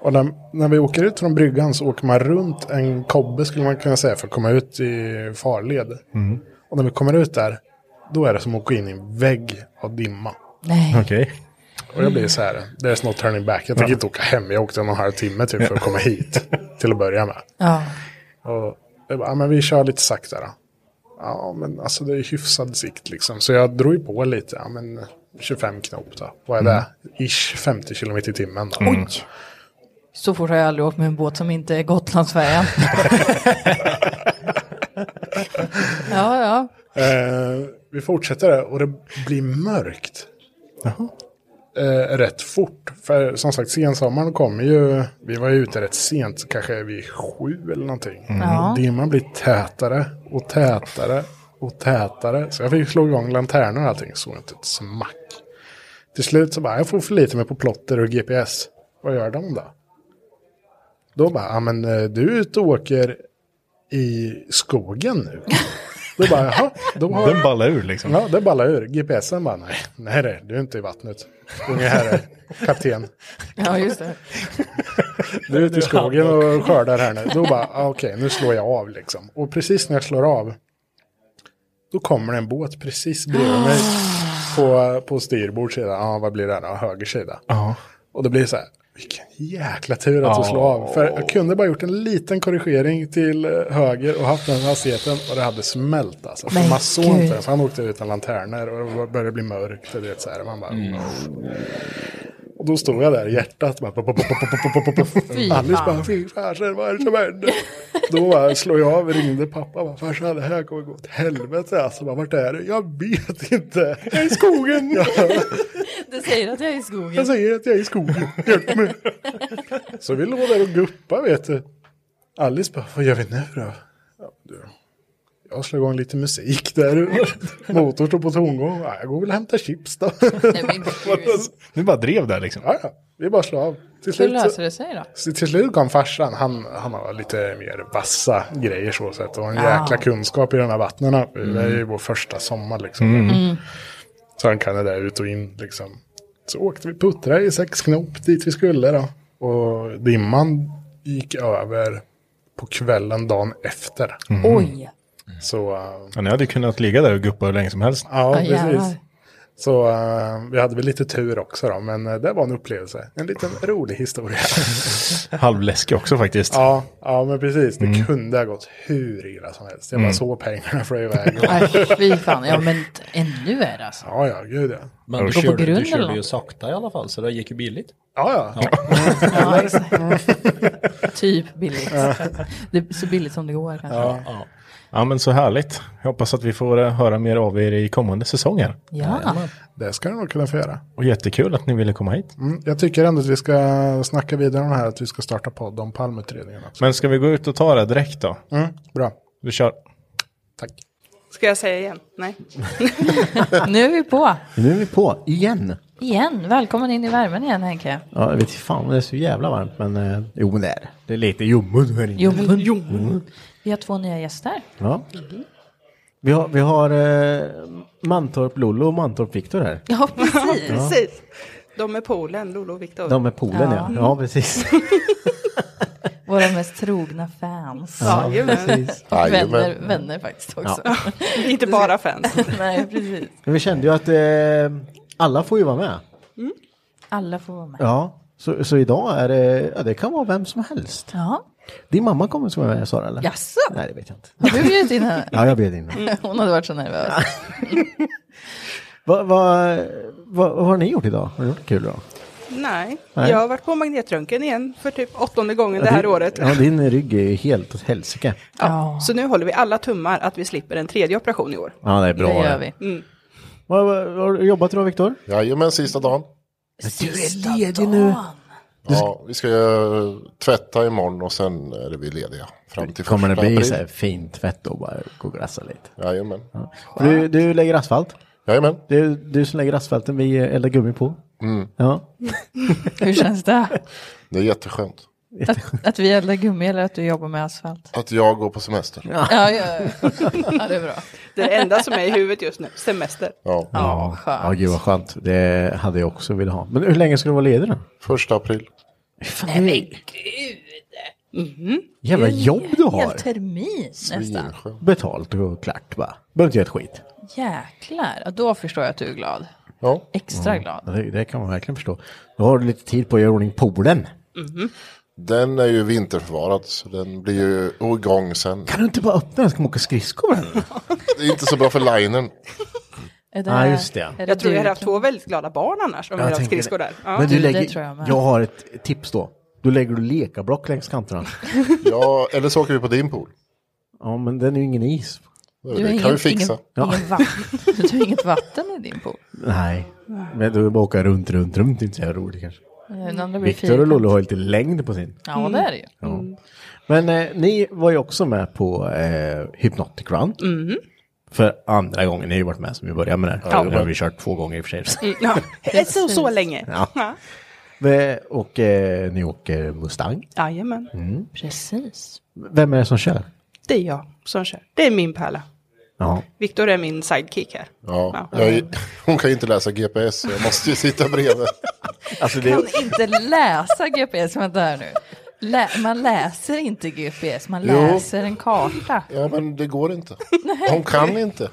[SPEAKER 14] Och när, när vi åker ut från bryggan så åker man runt en kobbe skulle man kunna säga för att komma ut i farled.
[SPEAKER 2] Mm.
[SPEAKER 14] Och när vi kommer ut där, då är det som att gå in i en vägg av dimma.
[SPEAKER 4] Nej.
[SPEAKER 2] Okej.
[SPEAKER 14] Och jag blir så här, there's no turning back. Jag tänker inte åka hem, jag åkte en och en halv timme typ för att komma hit. Till att börja med.
[SPEAKER 4] Ja.
[SPEAKER 14] Och jag bara, ja, men vi kör lite sakta då. Ja, men alltså det är hyfsad sikt liksom. Så jag drog ju på lite, ja men 25 knop då. Vad är
[SPEAKER 4] Mm.
[SPEAKER 14] det? Ish 50 kilometer i timmen då.
[SPEAKER 4] Oj. Så fort har jag aldrig åkt med en båt som inte är Gotlandsfärjan. Ja, ja.
[SPEAKER 14] Eh, vi fortsätter och det blir mörkt. Eh, rätt fort. För som sagt, sensommaren kommer ju. Vi var ju ute rätt sent, kanske vid sju eller någonting.
[SPEAKER 9] Mm. Ja.
[SPEAKER 14] Dimman blir tätare och tätare och tätare. Så jag fick slå igång lanternor och allting. Såg inte ett smack. Till slut så bara, jag får förlita mig på plotter och GPS. Vad gör de då? Då bara, ja men eh, du är ute och åker i skogen nu. Då bara, jaha. Då har...
[SPEAKER 2] Den ballar ur liksom.
[SPEAKER 14] Ja, den ballar ur. GPSen bara, nej, nej, nej, du är inte i vattnet. Unge herre, kapten.
[SPEAKER 9] Ja, just det.
[SPEAKER 14] Du är ute i skogen och skördar här nu. Då bara, ah, okej, nu slår jag av liksom. Och precis när jag slår av, då kommer det en båt precis bredvid mig. På, på styrbord sida, ja, vad blir det då? Höger sida.
[SPEAKER 2] Ja.
[SPEAKER 14] Och det blir så här, vilken jäkla tur att du slår av. För jag kunde bara gjort en liten korrigering till eh, höger och haft den hastigheten och det hade smält alltså. För
[SPEAKER 9] Men
[SPEAKER 14] man såg inte
[SPEAKER 9] gud.
[SPEAKER 14] den, för han åkte utan lanterner och det började bli mörkt och du vet så här. Man bara, Och då stod jag där, hjärtat bara... pop, pop, pop, pop, pop, pop, pop, pop.
[SPEAKER 9] Fy
[SPEAKER 14] Alice
[SPEAKER 9] fan.
[SPEAKER 14] bara, fy farsan, vad är det som händer? Då bara slår jag av, ringde pappa, bara, farsan det här kommer gå åt helvete. Alltså, bara, vart är du? Jag vet inte. Jag är i skogen.
[SPEAKER 9] Du säger att jag är i skogen.
[SPEAKER 14] Jag säger att jag är i skogen. Hjälp mig. Så vi låg där och guppa vet du. Alice bara, vad gör vi nu då? Ja, du. Jag slår igång lite musik där. Motorn står på tomgång. Ja, jag går väl och hämtar chips då.
[SPEAKER 2] Ni bara drev där liksom?
[SPEAKER 14] Ja, ja. Vi bara slår av. Till
[SPEAKER 4] Hur
[SPEAKER 14] slut,
[SPEAKER 4] löser
[SPEAKER 14] så,
[SPEAKER 4] det sig då?
[SPEAKER 14] så till slut kom farsan. Han, han har lite mer vassa grejer så sett. Och en
[SPEAKER 4] Ah.
[SPEAKER 14] jäkla kunskap i de här vattnen. Det är ju
[SPEAKER 2] Mm.
[SPEAKER 14] vår första sommar liksom.
[SPEAKER 9] Mm. Mm.
[SPEAKER 14] Så han kan det där ut och in liksom. Så åkte vi puttra i sex knop dit vi skulle då. Och dimman gick över på kvällen dagen efter.
[SPEAKER 2] Mhm. Oj.
[SPEAKER 14] Så eh,
[SPEAKER 2] Ja, ni hade ju kunnat ligga där och guppa hur länge som helst.
[SPEAKER 14] Ja,
[SPEAKER 9] jävlar.
[SPEAKER 14] precis. Så eh, vi hade väl lite tur också då, men eh, det var en upplevelse. En liten rolig historia.
[SPEAKER 2] Halvläskig också faktiskt.
[SPEAKER 14] ja, ja, men precis. Det
[SPEAKER 2] Mm.
[SPEAKER 14] kunde ha gått hur illa som helst. Jag bara
[SPEAKER 2] Mm.
[SPEAKER 14] såg pengarna flög iväg.
[SPEAKER 4] Nej, fy fan. Ja, men t- ännu är det alltså.
[SPEAKER 14] Ja, ja, gud ja.
[SPEAKER 15] Men du
[SPEAKER 4] Gå på
[SPEAKER 15] körde,
[SPEAKER 4] grund
[SPEAKER 15] du
[SPEAKER 4] eller
[SPEAKER 15] körde
[SPEAKER 4] något?
[SPEAKER 15] ju sakta i alla fall, så det gick ju billigt.
[SPEAKER 14] Ja,
[SPEAKER 15] ja.
[SPEAKER 4] Ja, exakt. typ billigt.
[SPEAKER 2] Ja.
[SPEAKER 4] Det, så billigt som det går kanske.
[SPEAKER 2] Ja. ja, men så härligt. Jag hoppas att vi får eh, höra mer av er i kommande säsonger.
[SPEAKER 4] Ja. Jajamän.
[SPEAKER 14] Det ska du nog kunna få göra.
[SPEAKER 2] Och jättekul att ni ville komma hit.
[SPEAKER 14] Mm, jag tycker ändå att vi ska snacka vidare om det här, att vi ska starta podd om palmutredningen också.
[SPEAKER 2] Men ska vi gå ut och ta det direkt då?
[SPEAKER 14] Mm, bra.
[SPEAKER 2] Vi kör.
[SPEAKER 17] Ska jag säga igen? Nej.
[SPEAKER 4] Nu är vi på.
[SPEAKER 3] Nu är vi på, igen.
[SPEAKER 4] Igen. Välkommen in i värmen igen Henke.
[SPEAKER 3] Ja, jag vet inte fan om det är så jävla varmt, men eh, jo, men det är det. Det är lite ljummen här inne.
[SPEAKER 4] Ljummen.
[SPEAKER 3] Mm.
[SPEAKER 4] Vi har två nya gäster.
[SPEAKER 3] Ja. Vi har, vi har eh, Mantorp Lollo och Mantorp Viktor här.
[SPEAKER 17] Ja, precis.
[SPEAKER 3] Ja.
[SPEAKER 17] precis. De är Polen, Lolo och Viktor.
[SPEAKER 3] De är polen ja. Ja, precis.
[SPEAKER 4] Våra mest trogna fans.
[SPEAKER 17] Ja, Ja, precis.
[SPEAKER 4] Och vänner,
[SPEAKER 3] Jajamän.
[SPEAKER 4] vänner faktiskt också.
[SPEAKER 3] Ja.
[SPEAKER 17] Inte bara fans.
[SPEAKER 4] Nej, precis.
[SPEAKER 3] Men vi kände ju att eh, alla får ju vara med.
[SPEAKER 4] Alla får vara med.
[SPEAKER 3] Ja. Så, så idag är det, ja, det kan vara vem som helst.
[SPEAKER 4] Ja.
[SPEAKER 3] Din mamma kommer som är med Sara eller?
[SPEAKER 4] Jaså?
[SPEAKER 3] Nej, det vet jag inte.
[SPEAKER 4] Har du bjudit in henne?
[SPEAKER 3] Ja, jag bjöd in henne.
[SPEAKER 4] Hon hade varit så nervös.
[SPEAKER 3] Vad vad- vad- vad har ni gjort idag? Har ni gjort något kul idag?
[SPEAKER 17] Nej.
[SPEAKER 3] Nej.
[SPEAKER 17] jag har varit på magnetröntgen igen för typ åttonde gången det här
[SPEAKER 3] Din-
[SPEAKER 17] året.
[SPEAKER 3] Ja, din rygg är ju helt åt helsike.
[SPEAKER 17] Ja. Så nu håller vi alla tummar att vi slipper en tredje operation i år.
[SPEAKER 3] Ja, det är bra. Det gör vi.
[SPEAKER 17] Mm.
[SPEAKER 3] Vad vad- vad har du jobbat idag Viktor?
[SPEAKER 18] Jajamän, sista dagen.
[SPEAKER 3] Sista ledig nu.
[SPEAKER 18] Ja, vi ska eh, tvätta imorgon och sen är vi lediga fram till
[SPEAKER 3] Kommer det
[SPEAKER 18] första
[SPEAKER 3] bli
[SPEAKER 18] april.
[SPEAKER 3] så här fin tvätt och bara gå och grassa lite?
[SPEAKER 18] Jajamän.
[SPEAKER 3] För Du, du lägger asfalt?
[SPEAKER 18] Jajamän.
[SPEAKER 3] Du, du som lägger asfalten vi eldar gummi på?
[SPEAKER 18] Mm.
[SPEAKER 3] Ja.
[SPEAKER 4] Hur känns det?
[SPEAKER 18] Det är jätteskönt
[SPEAKER 4] Att, att vi eldar gummi eller att du jobbar med asfalt?
[SPEAKER 18] att jag går på semester.
[SPEAKER 4] Ja, ja, ja. ja det är bra.
[SPEAKER 17] Det är det enda som är i huvudet just nu, semester.
[SPEAKER 18] Ja,
[SPEAKER 3] Ja, ja gud vad skönt. Det hade jag också velat ha. Men hur länge ska du vara ledig då?
[SPEAKER 18] Första april.
[SPEAKER 3] Nej men Mm.
[SPEAKER 4] gud!
[SPEAKER 3] Jävla jobb du har.
[SPEAKER 4] Helt termin nästan.
[SPEAKER 3] Betalt och klart bara. Behöver inte göra ett skit.
[SPEAKER 4] Jäklar, ja, då förstår jag att du är glad.
[SPEAKER 18] Ja.
[SPEAKER 4] Extra
[SPEAKER 3] Mm.
[SPEAKER 4] glad.
[SPEAKER 3] Ja, Det, det kan man verkligen förstå. Då har du lite tid på att göra i ordning poolen.
[SPEAKER 18] Den är ju vinterförvarad så den blir ju igång sen.
[SPEAKER 3] Kan du inte bara öppna den så kan man åka skridskor med den?
[SPEAKER 18] Det är inte så bra för linern.
[SPEAKER 4] Är
[SPEAKER 3] Ja, just det.
[SPEAKER 4] är
[SPEAKER 17] Jag tror jag
[SPEAKER 4] du-
[SPEAKER 17] hade haft två väldigt glada barn annars om vi hade
[SPEAKER 3] Jag
[SPEAKER 17] haft
[SPEAKER 3] tänker det.
[SPEAKER 17] skridskor där. Ja.
[SPEAKER 3] Men du lägger, jag, har ett tips då. Då lägger du lekablock längs kanterna.
[SPEAKER 18] Ja, eller så åker vi på din pool.
[SPEAKER 3] Ja, men den är ju ingen is.
[SPEAKER 18] Det, det kan vi fixa.
[SPEAKER 4] Ingen, ingen vatten. Du har inget vatten i din pool.
[SPEAKER 3] Nej, men då bara åka runt, runt, runt. Det är inte så jävla roligt kanske.
[SPEAKER 4] Den andra blir
[SPEAKER 3] Viktor och
[SPEAKER 4] fyrkant.
[SPEAKER 3] Lollo har lite längd på sin.
[SPEAKER 4] Ja, det är det ju.
[SPEAKER 3] Ja. Men eh, ni var ju också med på eh, Hypnotic Run.
[SPEAKER 4] Mm-hmm.
[SPEAKER 17] Mhm.
[SPEAKER 3] För andra gången, ni har ju varit med som vi började med det här.
[SPEAKER 17] Ja.
[SPEAKER 3] Nu har vi kört två gånger i och för sig.
[SPEAKER 17] Mm, ja. så, så länge.
[SPEAKER 3] Ja.
[SPEAKER 17] Ja.
[SPEAKER 3] Ve- Och eh, ni åker Mustang.
[SPEAKER 17] Jajamän.
[SPEAKER 3] Mm.
[SPEAKER 17] Precis.
[SPEAKER 3] Vem är det som kör?
[SPEAKER 17] Det är jag som kör. Det är min pärla.
[SPEAKER 3] Ja.
[SPEAKER 17] Viktor är min sidekick här.
[SPEAKER 18] Ja. Jag, hon kan ju inte läsa GPS, så jag måste ju sitta bredvid.
[SPEAKER 3] alltså,
[SPEAKER 4] Kan inte läsa GPS. Vänta här nu. Lä, man läser inte GPS, man
[SPEAKER 18] Jo.
[SPEAKER 4] läser en karta.
[SPEAKER 18] Ja, men det går inte. Hon kan inte.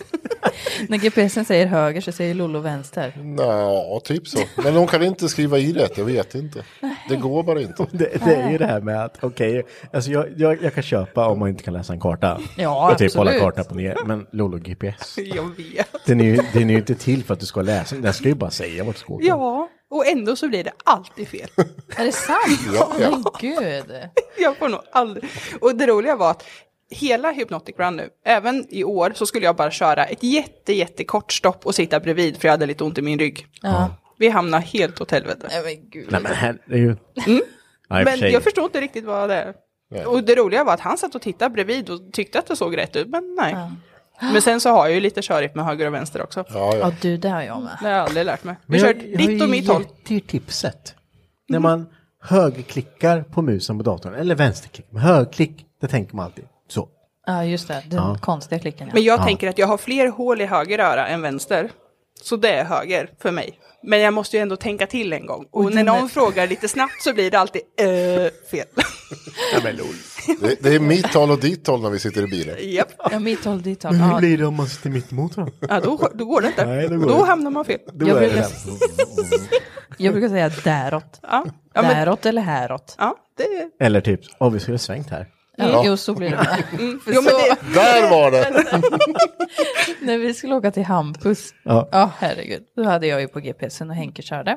[SPEAKER 4] När GPSen säger höger så säger Lollo vänster.
[SPEAKER 18] Ja, typ så. Men hon kan inte skriva i rätt, jag vet inte. Det går bara inte.
[SPEAKER 3] Det, det är ju det här med att, okej, alltså jag, jag, jag kan köpa om man inte kan läsa en karta.
[SPEAKER 17] Ja,
[SPEAKER 3] och typ hålla
[SPEAKER 17] absolut.
[SPEAKER 3] kartan på ner. Men Lollo GPS,
[SPEAKER 17] Jag vet.
[SPEAKER 3] den är, ju, den är ju inte till för att du ska läsa den. Den ska ju bara säga vart du ska åka.
[SPEAKER 17] Ja, och ändå så blir det alltid fel.
[SPEAKER 4] Är det sant?
[SPEAKER 3] Ja, ja.
[SPEAKER 4] Men gud.
[SPEAKER 17] Jag får nog aldrig... Och det roliga var att hela Hypnotic Run nu, även i år, så skulle jag bara köra ett jätte, jättekort stopp och sitta bredvid för jag hade lite ont i min rygg.
[SPEAKER 4] Ja.
[SPEAKER 17] Vi hamnar helt åt helvete.
[SPEAKER 4] Nej men gud.
[SPEAKER 3] Nej men här är ju...
[SPEAKER 17] Mm.
[SPEAKER 3] Ja, i och för
[SPEAKER 17] Men
[SPEAKER 3] sig.
[SPEAKER 17] jag förstår inte riktigt vad det är.
[SPEAKER 3] Nej.
[SPEAKER 17] Och det roliga var att han satt och tittade bredvid och tyckte att det såg rätt ut, men nej. Men sen så har jag ju lite körigt med höger och vänster också.
[SPEAKER 18] Ja,
[SPEAKER 4] Ja, du, det har jag med.
[SPEAKER 17] Det har jag aldrig lärt mig. Vi
[SPEAKER 3] Men
[SPEAKER 17] kör
[SPEAKER 3] jag- jag har
[SPEAKER 17] ditt
[SPEAKER 3] ju
[SPEAKER 17] och mitt håll.
[SPEAKER 3] gett er tipset. När man högerklickar på musen på datorn, eller vänsterklick, men högerklick, det tänker man alltid så.
[SPEAKER 4] Ja, just det. Den
[SPEAKER 3] Ja.
[SPEAKER 4] konstiga klicken. Ja.
[SPEAKER 17] Men jag
[SPEAKER 3] Ja.
[SPEAKER 17] tänker att jag har fler hål i höger öra än vänster. Så det är höger för mig. Men jag måste ju ändå tänka till en gång. Och
[SPEAKER 4] Och
[SPEAKER 17] när
[SPEAKER 4] den är-
[SPEAKER 17] någon frågar lite snabbt så blir det alltid eh, fel.
[SPEAKER 18] Det, det är mitt håll och ditt håll när vi sitter i bilen.
[SPEAKER 17] Japp.
[SPEAKER 4] Ja, mitt håll, ditt håll.
[SPEAKER 3] Men hur
[SPEAKER 4] Ja.
[SPEAKER 3] blir det om man sitter mitt emot varandra?
[SPEAKER 17] Ja, då, då går det inte.
[SPEAKER 3] Nej, då
[SPEAKER 17] då
[SPEAKER 3] går det.
[SPEAKER 17] hamnar man fel.
[SPEAKER 3] Då
[SPEAKER 4] Jag
[SPEAKER 3] är
[SPEAKER 4] brukar-
[SPEAKER 3] det
[SPEAKER 4] Jag brukar säga däråt.
[SPEAKER 17] Ja. Ja, men-
[SPEAKER 4] Däråt eller häråt.
[SPEAKER 17] Ja, det...
[SPEAKER 3] Eller typ, åh vi skulle ha svängt här.
[SPEAKER 4] Ja. Jo, så blir det.
[SPEAKER 17] Mm.
[SPEAKER 4] För
[SPEAKER 17] Jo, men
[SPEAKER 4] så-
[SPEAKER 17] det-
[SPEAKER 18] Där var det!
[SPEAKER 4] När vi skulle åka till Hampus,
[SPEAKER 3] Ja.
[SPEAKER 4] ja herregud, då hade jag ju på GPSen och Henke körde.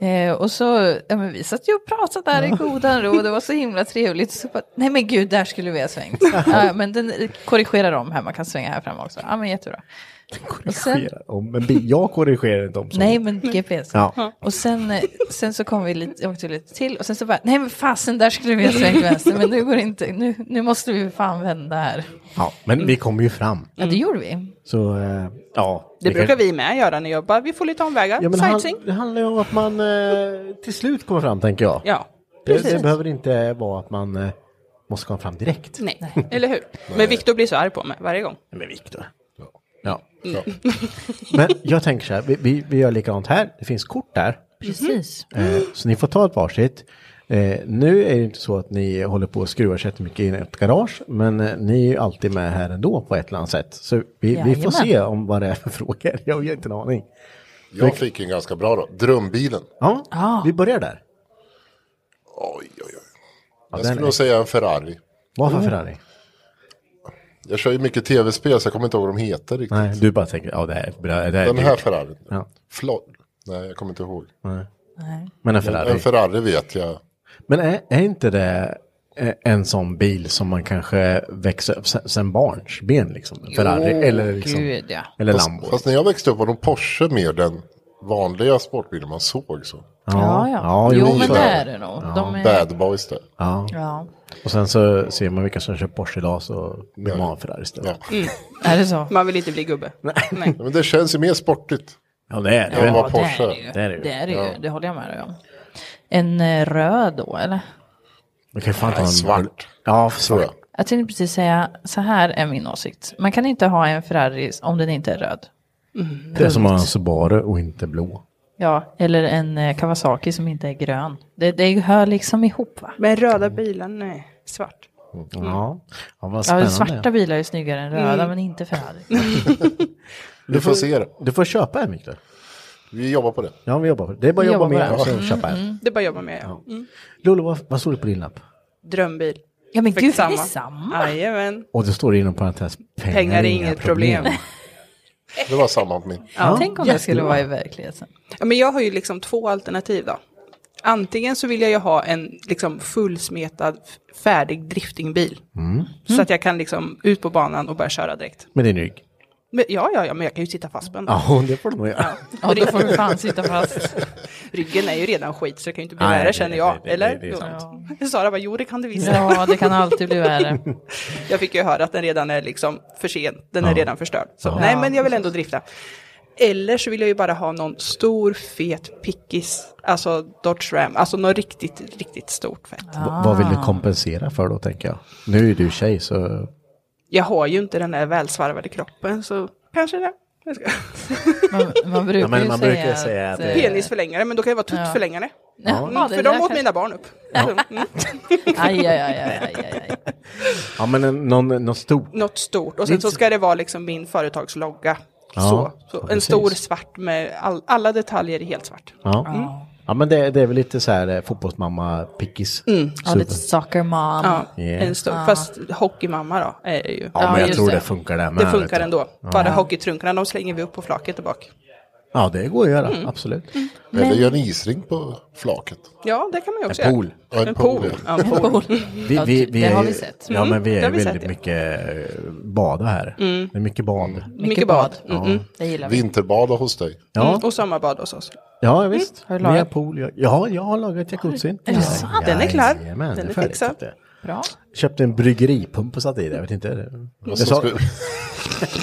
[SPEAKER 4] Eh, och så, ja men vi satt ju och pratade där i godan ro, det var så himla trevligt. Så bara, nej men gud, där skulle vi ha svängt. ja, men den korrigerar om här, man kan svänga här framme också. Ja men jättebra. Och sen,
[SPEAKER 3] Korrigera om, men bi- jag korrigerar inte om så.
[SPEAKER 4] nej men GPS.
[SPEAKER 3] Ja.
[SPEAKER 4] Och sen, eh, sen så kom vi lite, åkte lite till och sen så bara, nej men fasen där skulle vi ha svängt vänster, men nu går det inte, nu, nu måste vi fan vända här.
[SPEAKER 3] ja, men vi kommer ju fram.
[SPEAKER 4] Ja det gjorde vi.
[SPEAKER 3] Så, eh, ja.
[SPEAKER 17] Det brukar
[SPEAKER 3] kan-
[SPEAKER 17] vi med göra när jag bara, vi får lite omvägar.
[SPEAKER 3] Ja, men han,
[SPEAKER 17] Sightseeing.
[SPEAKER 3] det handlar ju om att man eh, till slut kommer fram, tänker jag.
[SPEAKER 17] Ja,
[SPEAKER 3] det,
[SPEAKER 17] precis.
[SPEAKER 3] det behöver inte vara att man eh, måste komma fram direkt.
[SPEAKER 17] Nej, eller hur? Men Viktor blir så arg på mig varje gång.
[SPEAKER 3] Men Viktor. Ja. Mm. Men jag tänker så här, vi, vi, vi gör likadant här. Det finns kort där.
[SPEAKER 4] Precis.
[SPEAKER 3] Eh, så ni får ta ett varsitt. Eh, nu är det inte så att ni håller på och skruvar så mycket i ett garage, men eh, ni är ju alltid med här ändå på ett eller annat sätt. Så vi, vi
[SPEAKER 4] Jajamän.
[SPEAKER 3] får se om vad det är för frågor. Jag har ju inte en aning.
[SPEAKER 18] Jag fick en ganska bra då. Drömbilen.
[SPEAKER 3] Ja, vi börjar där.
[SPEAKER 18] Oj, oj, oj. Jag
[SPEAKER 3] Ja, den
[SPEAKER 18] skulle
[SPEAKER 3] är-
[SPEAKER 18] nog säga en Ferrari.
[SPEAKER 3] Varför Ferrari?
[SPEAKER 18] Jag kör ju mycket tv-spel så jag kommer inte ihåg vad de heter riktigt.
[SPEAKER 3] Nej, du bara tänker, ja det här, det här är
[SPEAKER 18] Den här
[SPEAKER 3] dyrt.
[SPEAKER 18] Ferrarin.
[SPEAKER 3] Ja.
[SPEAKER 18] Flott. Nej, jag kommer inte ihåg.
[SPEAKER 3] Nej.
[SPEAKER 4] Nej.
[SPEAKER 3] Men en Ferrari.
[SPEAKER 18] En Ferrari vet jag.
[SPEAKER 3] Men är, är inte det eh, en sån bil som man kanske växer upp sen, sen barnsben liksom? En Ferrari
[SPEAKER 18] Jo,
[SPEAKER 3] eller liksom,
[SPEAKER 4] gud, ja.
[SPEAKER 3] eller
[SPEAKER 18] fast,
[SPEAKER 3] Lambo.
[SPEAKER 18] Fast när jag växte upp var nog Porsche mer den vanliga sportbilen man såg. Så.
[SPEAKER 4] Ja, ja. jo, men det är det nog. De är...
[SPEAKER 18] Bad boys där.
[SPEAKER 3] Ja.
[SPEAKER 4] Ja.
[SPEAKER 3] Och sen så ser man vilka som kör Porsche idag så blir man av en Ferrari istället. Ja.
[SPEAKER 17] Mm.
[SPEAKER 4] Är det så?
[SPEAKER 17] Man vill inte bli gubbe. Nej.
[SPEAKER 18] Men det känns ju mer sportigt.
[SPEAKER 3] det är det.
[SPEAKER 18] Ja,
[SPEAKER 3] ju.
[SPEAKER 18] det var Porsche.
[SPEAKER 4] Det är det ju. Det, är det, ju.
[SPEAKER 18] Ja.
[SPEAKER 4] det håller jag med dig om. En eh, röd då, eller?
[SPEAKER 3] Man kan ju fan ta en...
[SPEAKER 18] Nej, svart.
[SPEAKER 3] Ja, svart.
[SPEAKER 4] Jag tänkte precis säga, så här är min åsikt. Man kan inte ha en Ferrari om den inte är röd.
[SPEAKER 17] Mm.
[SPEAKER 3] Det är som att ha en Subaru och inte blå.
[SPEAKER 4] Ja, eller en eh, Kawasaki som inte är grön. Det, det hör liksom ihop va?
[SPEAKER 17] Men röda bilen, nej, svart.
[SPEAKER 18] Mm.
[SPEAKER 3] Ja, ja vad
[SPEAKER 4] Ja,
[SPEAKER 3] spännande.
[SPEAKER 4] svarta bilar är snyggare än röda,
[SPEAKER 17] Mm.
[SPEAKER 4] men inte Ferrari.
[SPEAKER 18] Vi får se det.
[SPEAKER 3] Du får köpa en Viktor.
[SPEAKER 18] Vi jobbar på det.
[SPEAKER 3] Ja, vi jobbar på det. Det är bara att
[SPEAKER 4] Vi
[SPEAKER 3] jobba
[SPEAKER 4] jobbar
[SPEAKER 3] med
[SPEAKER 4] på
[SPEAKER 3] och sen
[SPEAKER 4] det. Mm.
[SPEAKER 3] köpa en.
[SPEAKER 17] Det är bara att jobba med, ja. Mm.
[SPEAKER 3] Lolo, vad, vad står det på din lapp?
[SPEAKER 17] Drömbil.
[SPEAKER 4] Ja men
[SPEAKER 17] Fick
[SPEAKER 4] gud,
[SPEAKER 17] samma.
[SPEAKER 4] är det samma?
[SPEAKER 17] Jajamän.
[SPEAKER 3] Och det står inom parentes, pengar,
[SPEAKER 17] Pengar är inget problem.
[SPEAKER 18] Det var samma på min.
[SPEAKER 4] Tänk om det skulle vara i verkligheten.
[SPEAKER 17] Ja, men jag har ju liksom två alternativ då. antingen så vill jag ju ha en liksom fullsmetad, färdig driftingbil.
[SPEAKER 3] Mm.
[SPEAKER 17] Så att jag kan liksom ut på banan och börja köra direkt.
[SPEAKER 3] Med din rygg.
[SPEAKER 17] Men, ja, ja, ja, men jag kan ju sitta fastbänd.
[SPEAKER 3] Ja, det får du nog göra.
[SPEAKER 9] Ja, då får du fan sitta fast.
[SPEAKER 17] Ryggen är ju redan skit så det kan ju inte bli
[SPEAKER 3] Nej, det-
[SPEAKER 17] värre känner jag.
[SPEAKER 3] det- det-
[SPEAKER 17] eller?
[SPEAKER 3] det- det är sant.
[SPEAKER 17] Jo. Sara bara, jo det kan det visst.
[SPEAKER 9] Ja, det kan alltid bli värre.
[SPEAKER 17] Jag fick ju höra att den redan är liksom för sen, den är
[SPEAKER 9] Ja.
[SPEAKER 17] redan förstörd. Så
[SPEAKER 9] Ja.
[SPEAKER 17] nej,
[SPEAKER 9] Ja,
[SPEAKER 17] men jag vill ändå drifta. Eller så vill jag ju bara ha någon stor fet pickis, alltså Dodge Ram, alltså något riktigt, riktigt stort fett.
[SPEAKER 3] Va- Vad
[SPEAKER 17] Ah.
[SPEAKER 3] vill du kompensera för då, tänker jag? Nu är du tjej, så...
[SPEAKER 17] Jag har ju inte den där välsvarvade kroppen så kanske det. Jag ska-
[SPEAKER 9] Man, man brukar
[SPEAKER 3] Ja, men
[SPEAKER 9] ju
[SPEAKER 3] man
[SPEAKER 9] säga,
[SPEAKER 3] brukar säga att-
[SPEAKER 9] eh,
[SPEAKER 17] Penisförlängare, men då kan det vara
[SPEAKER 9] Ja.
[SPEAKER 17] tuttförlängare.
[SPEAKER 9] Ja. Ja,
[SPEAKER 17] Mm,
[SPEAKER 9] det
[SPEAKER 17] för
[SPEAKER 9] där
[SPEAKER 17] de åt
[SPEAKER 9] kanske-
[SPEAKER 17] mina barn upp.
[SPEAKER 9] Ja.
[SPEAKER 17] Mm.
[SPEAKER 9] Aj, aj, aj, aj, aj, aj.
[SPEAKER 3] Ja, men en, någon, någon stor.
[SPEAKER 17] Något stort. Och sen så ska det vara liksom min företagslogga.
[SPEAKER 3] Ja,
[SPEAKER 17] så.
[SPEAKER 3] ja,
[SPEAKER 17] så en
[SPEAKER 3] precis.
[SPEAKER 17] stor svart med all, alla detaljer i helt svart.
[SPEAKER 3] Ja.
[SPEAKER 17] Mm.
[SPEAKER 3] Ja, men det, det är väl lite så här eh, fotbollsmamma-pickis.
[SPEAKER 17] Mm.
[SPEAKER 9] Ja, lite soccer mom.
[SPEAKER 17] Ja,
[SPEAKER 3] Yeah.
[SPEAKER 17] en stor.
[SPEAKER 9] Ja.
[SPEAKER 17] Fast hockeymamma då är det ju.
[SPEAKER 3] Ja, men jag tror det. funkar där med.
[SPEAKER 17] Det
[SPEAKER 3] vet
[SPEAKER 17] funkar
[SPEAKER 3] du.
[SPEAKER 17] ändå.
[SPEAKER 3] Ja.
[SPEAKER 17] Bara hockeytrunkorna, de slänger vi upp på flaket och bak.
[SPEAKER 3] Ja, det går att göra,
[SPEAKER 17] Mm.
[SPEAKER 3] absolut.
[SPEAKER 17] Mm.
[SPEAKER 18] Eller
[SPEAKER 17] Men-
[SPEAKER 18] gör en isring på flaket.
[SPEAKER 17] Ja, det kan man ju också
[SPEAKER 3] En pool.
[SPEAKER 18] Ja, en
[SPEAKER 17] En pool.
[SPEAKER 18] pool.
[SPEAKER 17] Ja, en pool.
[SPEAKER 3] Vi, vi, vi är, Ja,
[SPEAKER 17] Mm,
[SPEAKER 3] men vi
[SPEAKER 17] det
[SPEAKER 3] är
[SPEAKER 17] har
[SPEAKER 3] ju
[SPEAKER 17] sett,
[SPEAKER 3] väldigt
[SPEAKER 17] ja.
[SPEAKER 3] mycket eh, bada här.
[SPEAKER 17] Mm.
[SPEAKER 3] Det är mycket bad.
[SPEAKER 17] Mycket bad. Mm, mm. Det
[SPEAKER 3] Ja.
[SPEAKER 17] gillar vi.
[SPEAKER 18] Vinterbada hos dig.
[SPEAKER 3] Ja.
[SPEAKER 17] Mm, och sommarbad hos oss.
[SPEAKER 3] Ja, ja, visst.
[SPEAKER 17] Mm.
[SPEAKER 3] Har du lagat? Pool, jag, ja, jag har lagat jacuzzin.
[SPEAKER 17] Är det sant? Den är klar.
[SPEAKER 3] Jajamän,
[SPEAKER 17] Den
[SPEAKER 3] det
[SPEAKER 17] är
[SPEAKER 3] färdigt.
[SPEAKER 17] fixad.
[SPEAKER 9] Bra.
[SPEAKER 3] Köpte en bryggeripump och satte i det. Jag vet inte. Jag,
[SPEAKER 9] så
[SPEAKER 3] sa,
[SPEAKER 9] skulle-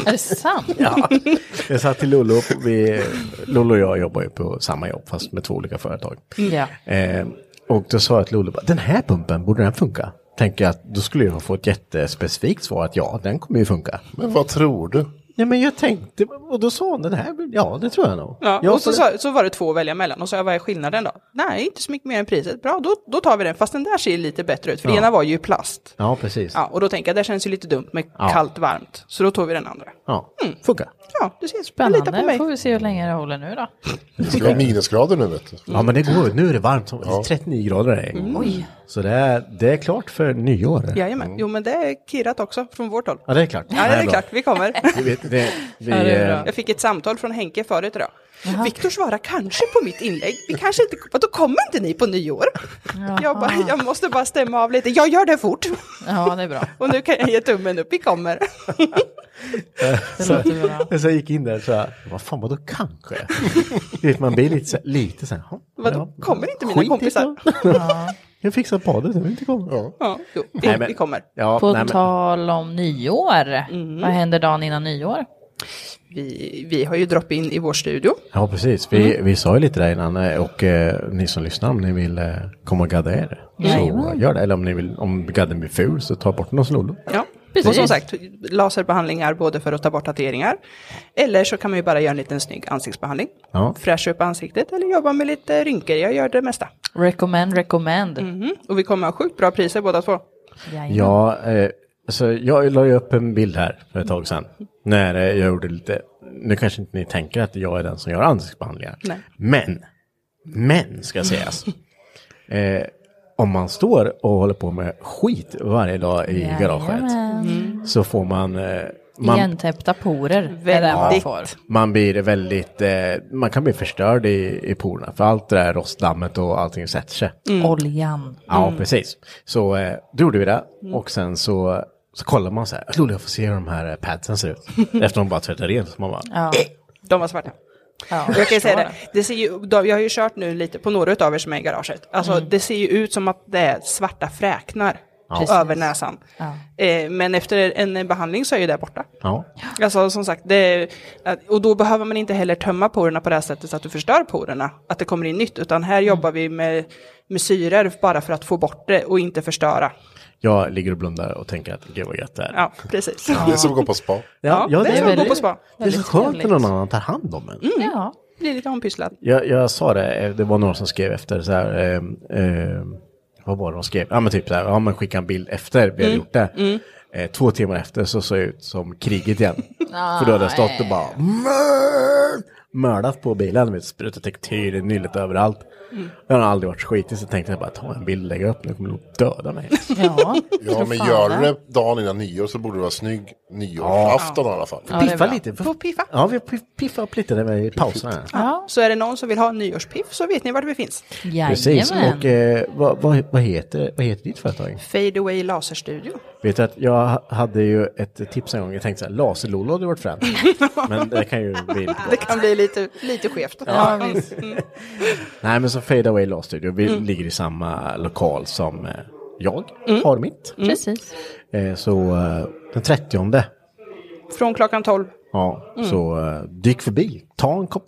[SPEAKER 9] Är det sant?
[SPEAKER 3] Ja. jag sa till Lollo, vi, Lollo och jag jobbar ju på samma jobb fast med två olika företag.
[SPEAKER 9] Ja.
[SPEAKER 3] Eh, och då sa jag till Lollo, bara, den här pumpen, borde den funka? Tänker jag att då skulle jag få ett jättespecifikt svar att ja, den kommer ju funka.
[SPEAKER 18] Men vad tror du?
[SPEAKER 3] Nej men jag tänkte, och då sa hon den här, ja det tror jag nog.
[SPEAKER 17] Ja,
[SPEAKER 3] Jag
[SPEAKER 17] och så,
[SPEAKER 3] får-
[SPEAKER 17] sa- så var det två att välja mellan och så jag, vad är skillnaden då? Nej, inte så mycket mer än priset. Bra, då, då tar vi den. Fast den där ser lite bättre ut, för
[SPEAKER 3] Ja.
[SPEAKER 17] ena var ju i plast.
[SPEAKER 3] Ja, precis.
[SPEAKER 17] Ja, och då tänker jag, det känns ju lite dumt med
[SPEAKER 3] Ja.
[SPEAKER 17] kallt varmt. Så då tog vi den andra.
[SPEAKER 3] Ja, funkar.
[SPEAKER 17] Ja, du ser.
[SPEAKER 9] Spännande.
[SPEAKER 17] Lita på mig.
[SPEAKER 9] får vi se hur länge det håller nu då.
[SPEAKER 18] Det ska vara minusgrader nu vet du.
[SPEAKER 3] Ja men det går, nu är det varmt, som- 39 grader är det.
[SPEAKER 17] Mm. Oj.
[SPEAKER 3] Så det är, det är klart för nyår.
[SPEAKER 17] Jajamän. Jo, men det är kirrat också från vårt håll.
[SPEAKER 3] Ja det är klart.
[SPEAKER 17] Ja, det är klart. Vi kommer.
[SPEAKER 3] Vi vet, det, vi,
[SPEAKER 17] Ja, det är bra.
[SPEAKER 3] eh,
[SPEAKER 17] Jag fick ett samtal från Henke förut idag. Viktor svarar kanske på mitt inlägg. Vi kanske inte, då kommer inte ni på nyår. Jag, bara, jag måste bara stämma av lite. Jag gör det fort.
[SPEAKER 9] Ja, det är bra.
[SPEAKER 17] Och nu kan jag ge tummen upp. Vi kommer.
[SPEAKER 3] så,
[SPEAKER 9] låter bra.
[SPEAKER 3] så jag gick in där och sa, vad fan vadå kanske? Du vet, man blir lite så här, lite så här, "Ha,
[SPEAKER 17] Vadå, kommer inte mina
[SPEAKER 3] skit i
[SPEAKER 17] kompisar?
[SPEAKER 3] det." Jag fixar badet, jag vill inte komma.
[SPEAKER 17] Ja, jo, vi,
[SPEAKER 3] Nej, men-
[SPEAKER 17] vi kommer.
[SPEAKER 3] Ja,
[SPEAKER 9] På
[SPEAKER 3] nej, men-
[SPEAKER 9] tal om nyår.
[SPEAKER 17] Mm.
[SPEAKER 9] Vad händer dagen innan nyår?
[SPEAKER 17] Vi, vi har ju drop-in i vår studio.
[SPEAKER 3] Ja precis, vi,
[SPEAKER 17] Mm.
[SPEAKER 3] vi sa ju lite där innan eh, och eh, ni som lyssnar om ni vill eh, komma och gadda er så
[SPEAKER 17] Jajamän.
[SPEAKER 3] gör det. Eller om ni vill, om gadden blir ful så ta bort den hos Lollo.
[SPEAKER 17] Ja.
[SPEAKER 9] Precis.
[SPEAKER 17] Och som sagt, laserbehandlingar både för att ta bort tatueringar. Eller så kan man ju bara göra en liten snygg ansiktsbehandling.
[SPEAKER 3] Ja.
[SPEAKER 17] Fräscha upp ansiktet eller jobba med lite rynkor. Jag gör det mesta.
[SPEAKER 9] Recommend, recommend.
[SPEAKER 17] Mhm. Och vi kommer ha sjukt bra priser båda två.
[SPEAKER 3] Ja, eh, alltså jag la ju upp en bild här för ett tag sedan. När eh, jag gjorde lite, nu kanske inte ni tänker att jag är den som gör ansiktsbehandlingar.
[SPEAKER 17] Nej.
[SPEAKER 3] Men, men ska sägas. eh, om man står och håller på med skit varje dag i garaget
[SPEAKER 9] Jajamän.
[SPEAKER 3] så får man... Eh, man
[SPEAKER 9] Igentäppta porer. är det man får.
[SPEAKER 3] man blir väldigt, eh, man kan bli förstörd i, i porerna för allt det där rostdammet och allting sätter sig.
[SPEAKER 9] Oljan.
[SPEAKER 3] Ja,
[SPEAKER 9] Mm.
[SPEAKER 3] precis. Så eh, då gjorde vi det
[SPEAKER 9] Mm.
[SPEAKER 3] och sen så, så kollar man så här, Lollo jag får se hur de här eh, padsen ser ut. Efter de bara tvättar rent så man bara,
[SPEAKER 9] Ja.
[SPEAKER 17] Eh, De var svarta.
[SPEAKER 9] Ja,
[SPEAKER 17] jag kan ju säga
[SPEAKER 9] förstår
[SPEAKER 17] det. det ser ju, de- jag har ju kört nu lite på några av er som är i garaget. Alltså
[SPEAKER 9] Mm.
[SPEAKER 17] det ser ju ut som att det är svarta fräknar
[SPEAKER 3] Ja. Precis.
[SPEAKER 17] över näsan.
[SPEAKER 9] Ja.
[SPEAKER 17] Eh, men efter en eh, behandling så är ju det borta.
[SPEAKER 3] ja.
[SPEAKER 17] Alltså som sagt, det är, att- och då behöver man inte heller tömma porerna på det här sättet så att du förstör porerna, att det kommer in nytt, utan här jobbar vi med, med syror bara för att få bort det och inte förstöra.
[SPEAKER 3] Jag ligger och blundar och tänker att gud vad gött det är.
[SPEAKER 17] Ja, precis.
[SPEAKER 18] Det är som att gå på spa.
[SPEAKER 3] Ja,
[SPEAKER 17] Ja,
[SPEAKER 3] ja,
[SPEAKER 17] det är som att gå på
[SPEAKER 3] väldigt-
[SPEAKER 17] spa.
[SPEAKER 3] Det är så
[SPEAKER 17] Väldigt
[SPEAKER 3] skönt när
[SPEAKER 17] trevligt.
[SPEAKER 3] någon annan tar hand om en.
[SPEAKER 17] Mm.
[SPEAKER 9] Ja.
[SPEAKER 17] Blir lite ompysslad.
[SPEAKER 3] Jag, jag sa det, eh, det var några som skrev efter så här, eh, eh, vad var det de skrev? Ja men typ så här, ja men skicka en bild efter vi har
[SPEAKER 17] Mm,
[SPEAKER 3] gjort det.
[SPEAKER 17] mm.
[SPEAKER 3] Eh, två timmar efter så såg jag ut som kriget igen. För då hade jag stått och bara, "Mm." mördat på bilen. Vet, sprutat tektyr, nyllet överallt.
[SPEAKER 18] Mm.
[SPEAKER 3] Den har aldrig varit så skitig så tänkte jag bara ta en bild, lägga upp, nu kommer de döda mig.
[SPEAKER 4] Ja,
[SPEAKER 18] Ja, men gör du det dagen innan nyår så borde det vara snygg nyårsafton i alla fall.
[SPEAKER 3] Ja, det är Piffa bra. lite.
[SPEAKER 17] Får piffa.
[SPEAKER 3] Ja, vi piffar upp lite där i pausen här.
[SPEAKER 17] Ja. Så är det någon som vill ha en nyårspiff så vet ni vart vi finns.
[SPEAKER 3] Precis, och eh, vad, vad, vad, heter, vad heter ditt företag?
[SPEAKER 17] Fade Away Laserstudio.
[SPEAKER 3] Vet du att jag ha- hade ju ett tips en gång, jag tänkte så här, laser-Lolo hade varit fränt. Men det kan ju bli lite
[SPEAKER 17] Det kan bli lite, lite skevt.
[SPEAKER 3] Ja,
[SPEAKER 17] Mm.
[SPEAKER 3] visst.
[SPEAKER 17] Mm.
[SPEAKER 3] Nej men så Fade Away Law Studio, vi
[SPEAKER 17] Mm.
[SPEAKER 3] ligger i samma lokal som eh, jag Mm. har mitt.
[SPEAKER 17] Mm.
[SPEAKER 4] Precis.
[SPEAKER 3] Eh, Så eh, den 30
[SPEAKER 17] Från klockan 12.
[SPEAKER 3] ja,
[SPEAKER 17] Mm.
[SPEAKER 3] så eh, dyk förbi, ta en kopp,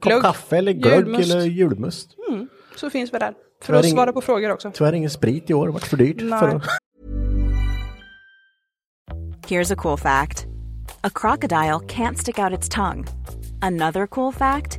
[SPEAKER 3] kopp kaffe eller glögg
[SPEAKER 17] julmust.
[SPEAKER 3] eller julmust.
[SPEAKER 17] Mm. Så finns vi där. För
[SPEAKER 3] Tyvärr
[SPEAKER 17] att
[SPEAKER 3] ingen-
[SPEAKER 17] svara på frågor också.
[SPEAKER 3] Tyvärr ingen sprit i år, det vart för dyrt.
[SPEAKER 17] Nej.
[SPEAKER 3] För att...
[SPEAKER 16] Here's a cool fact a crocodile can't stick out its tongue. Another cool fact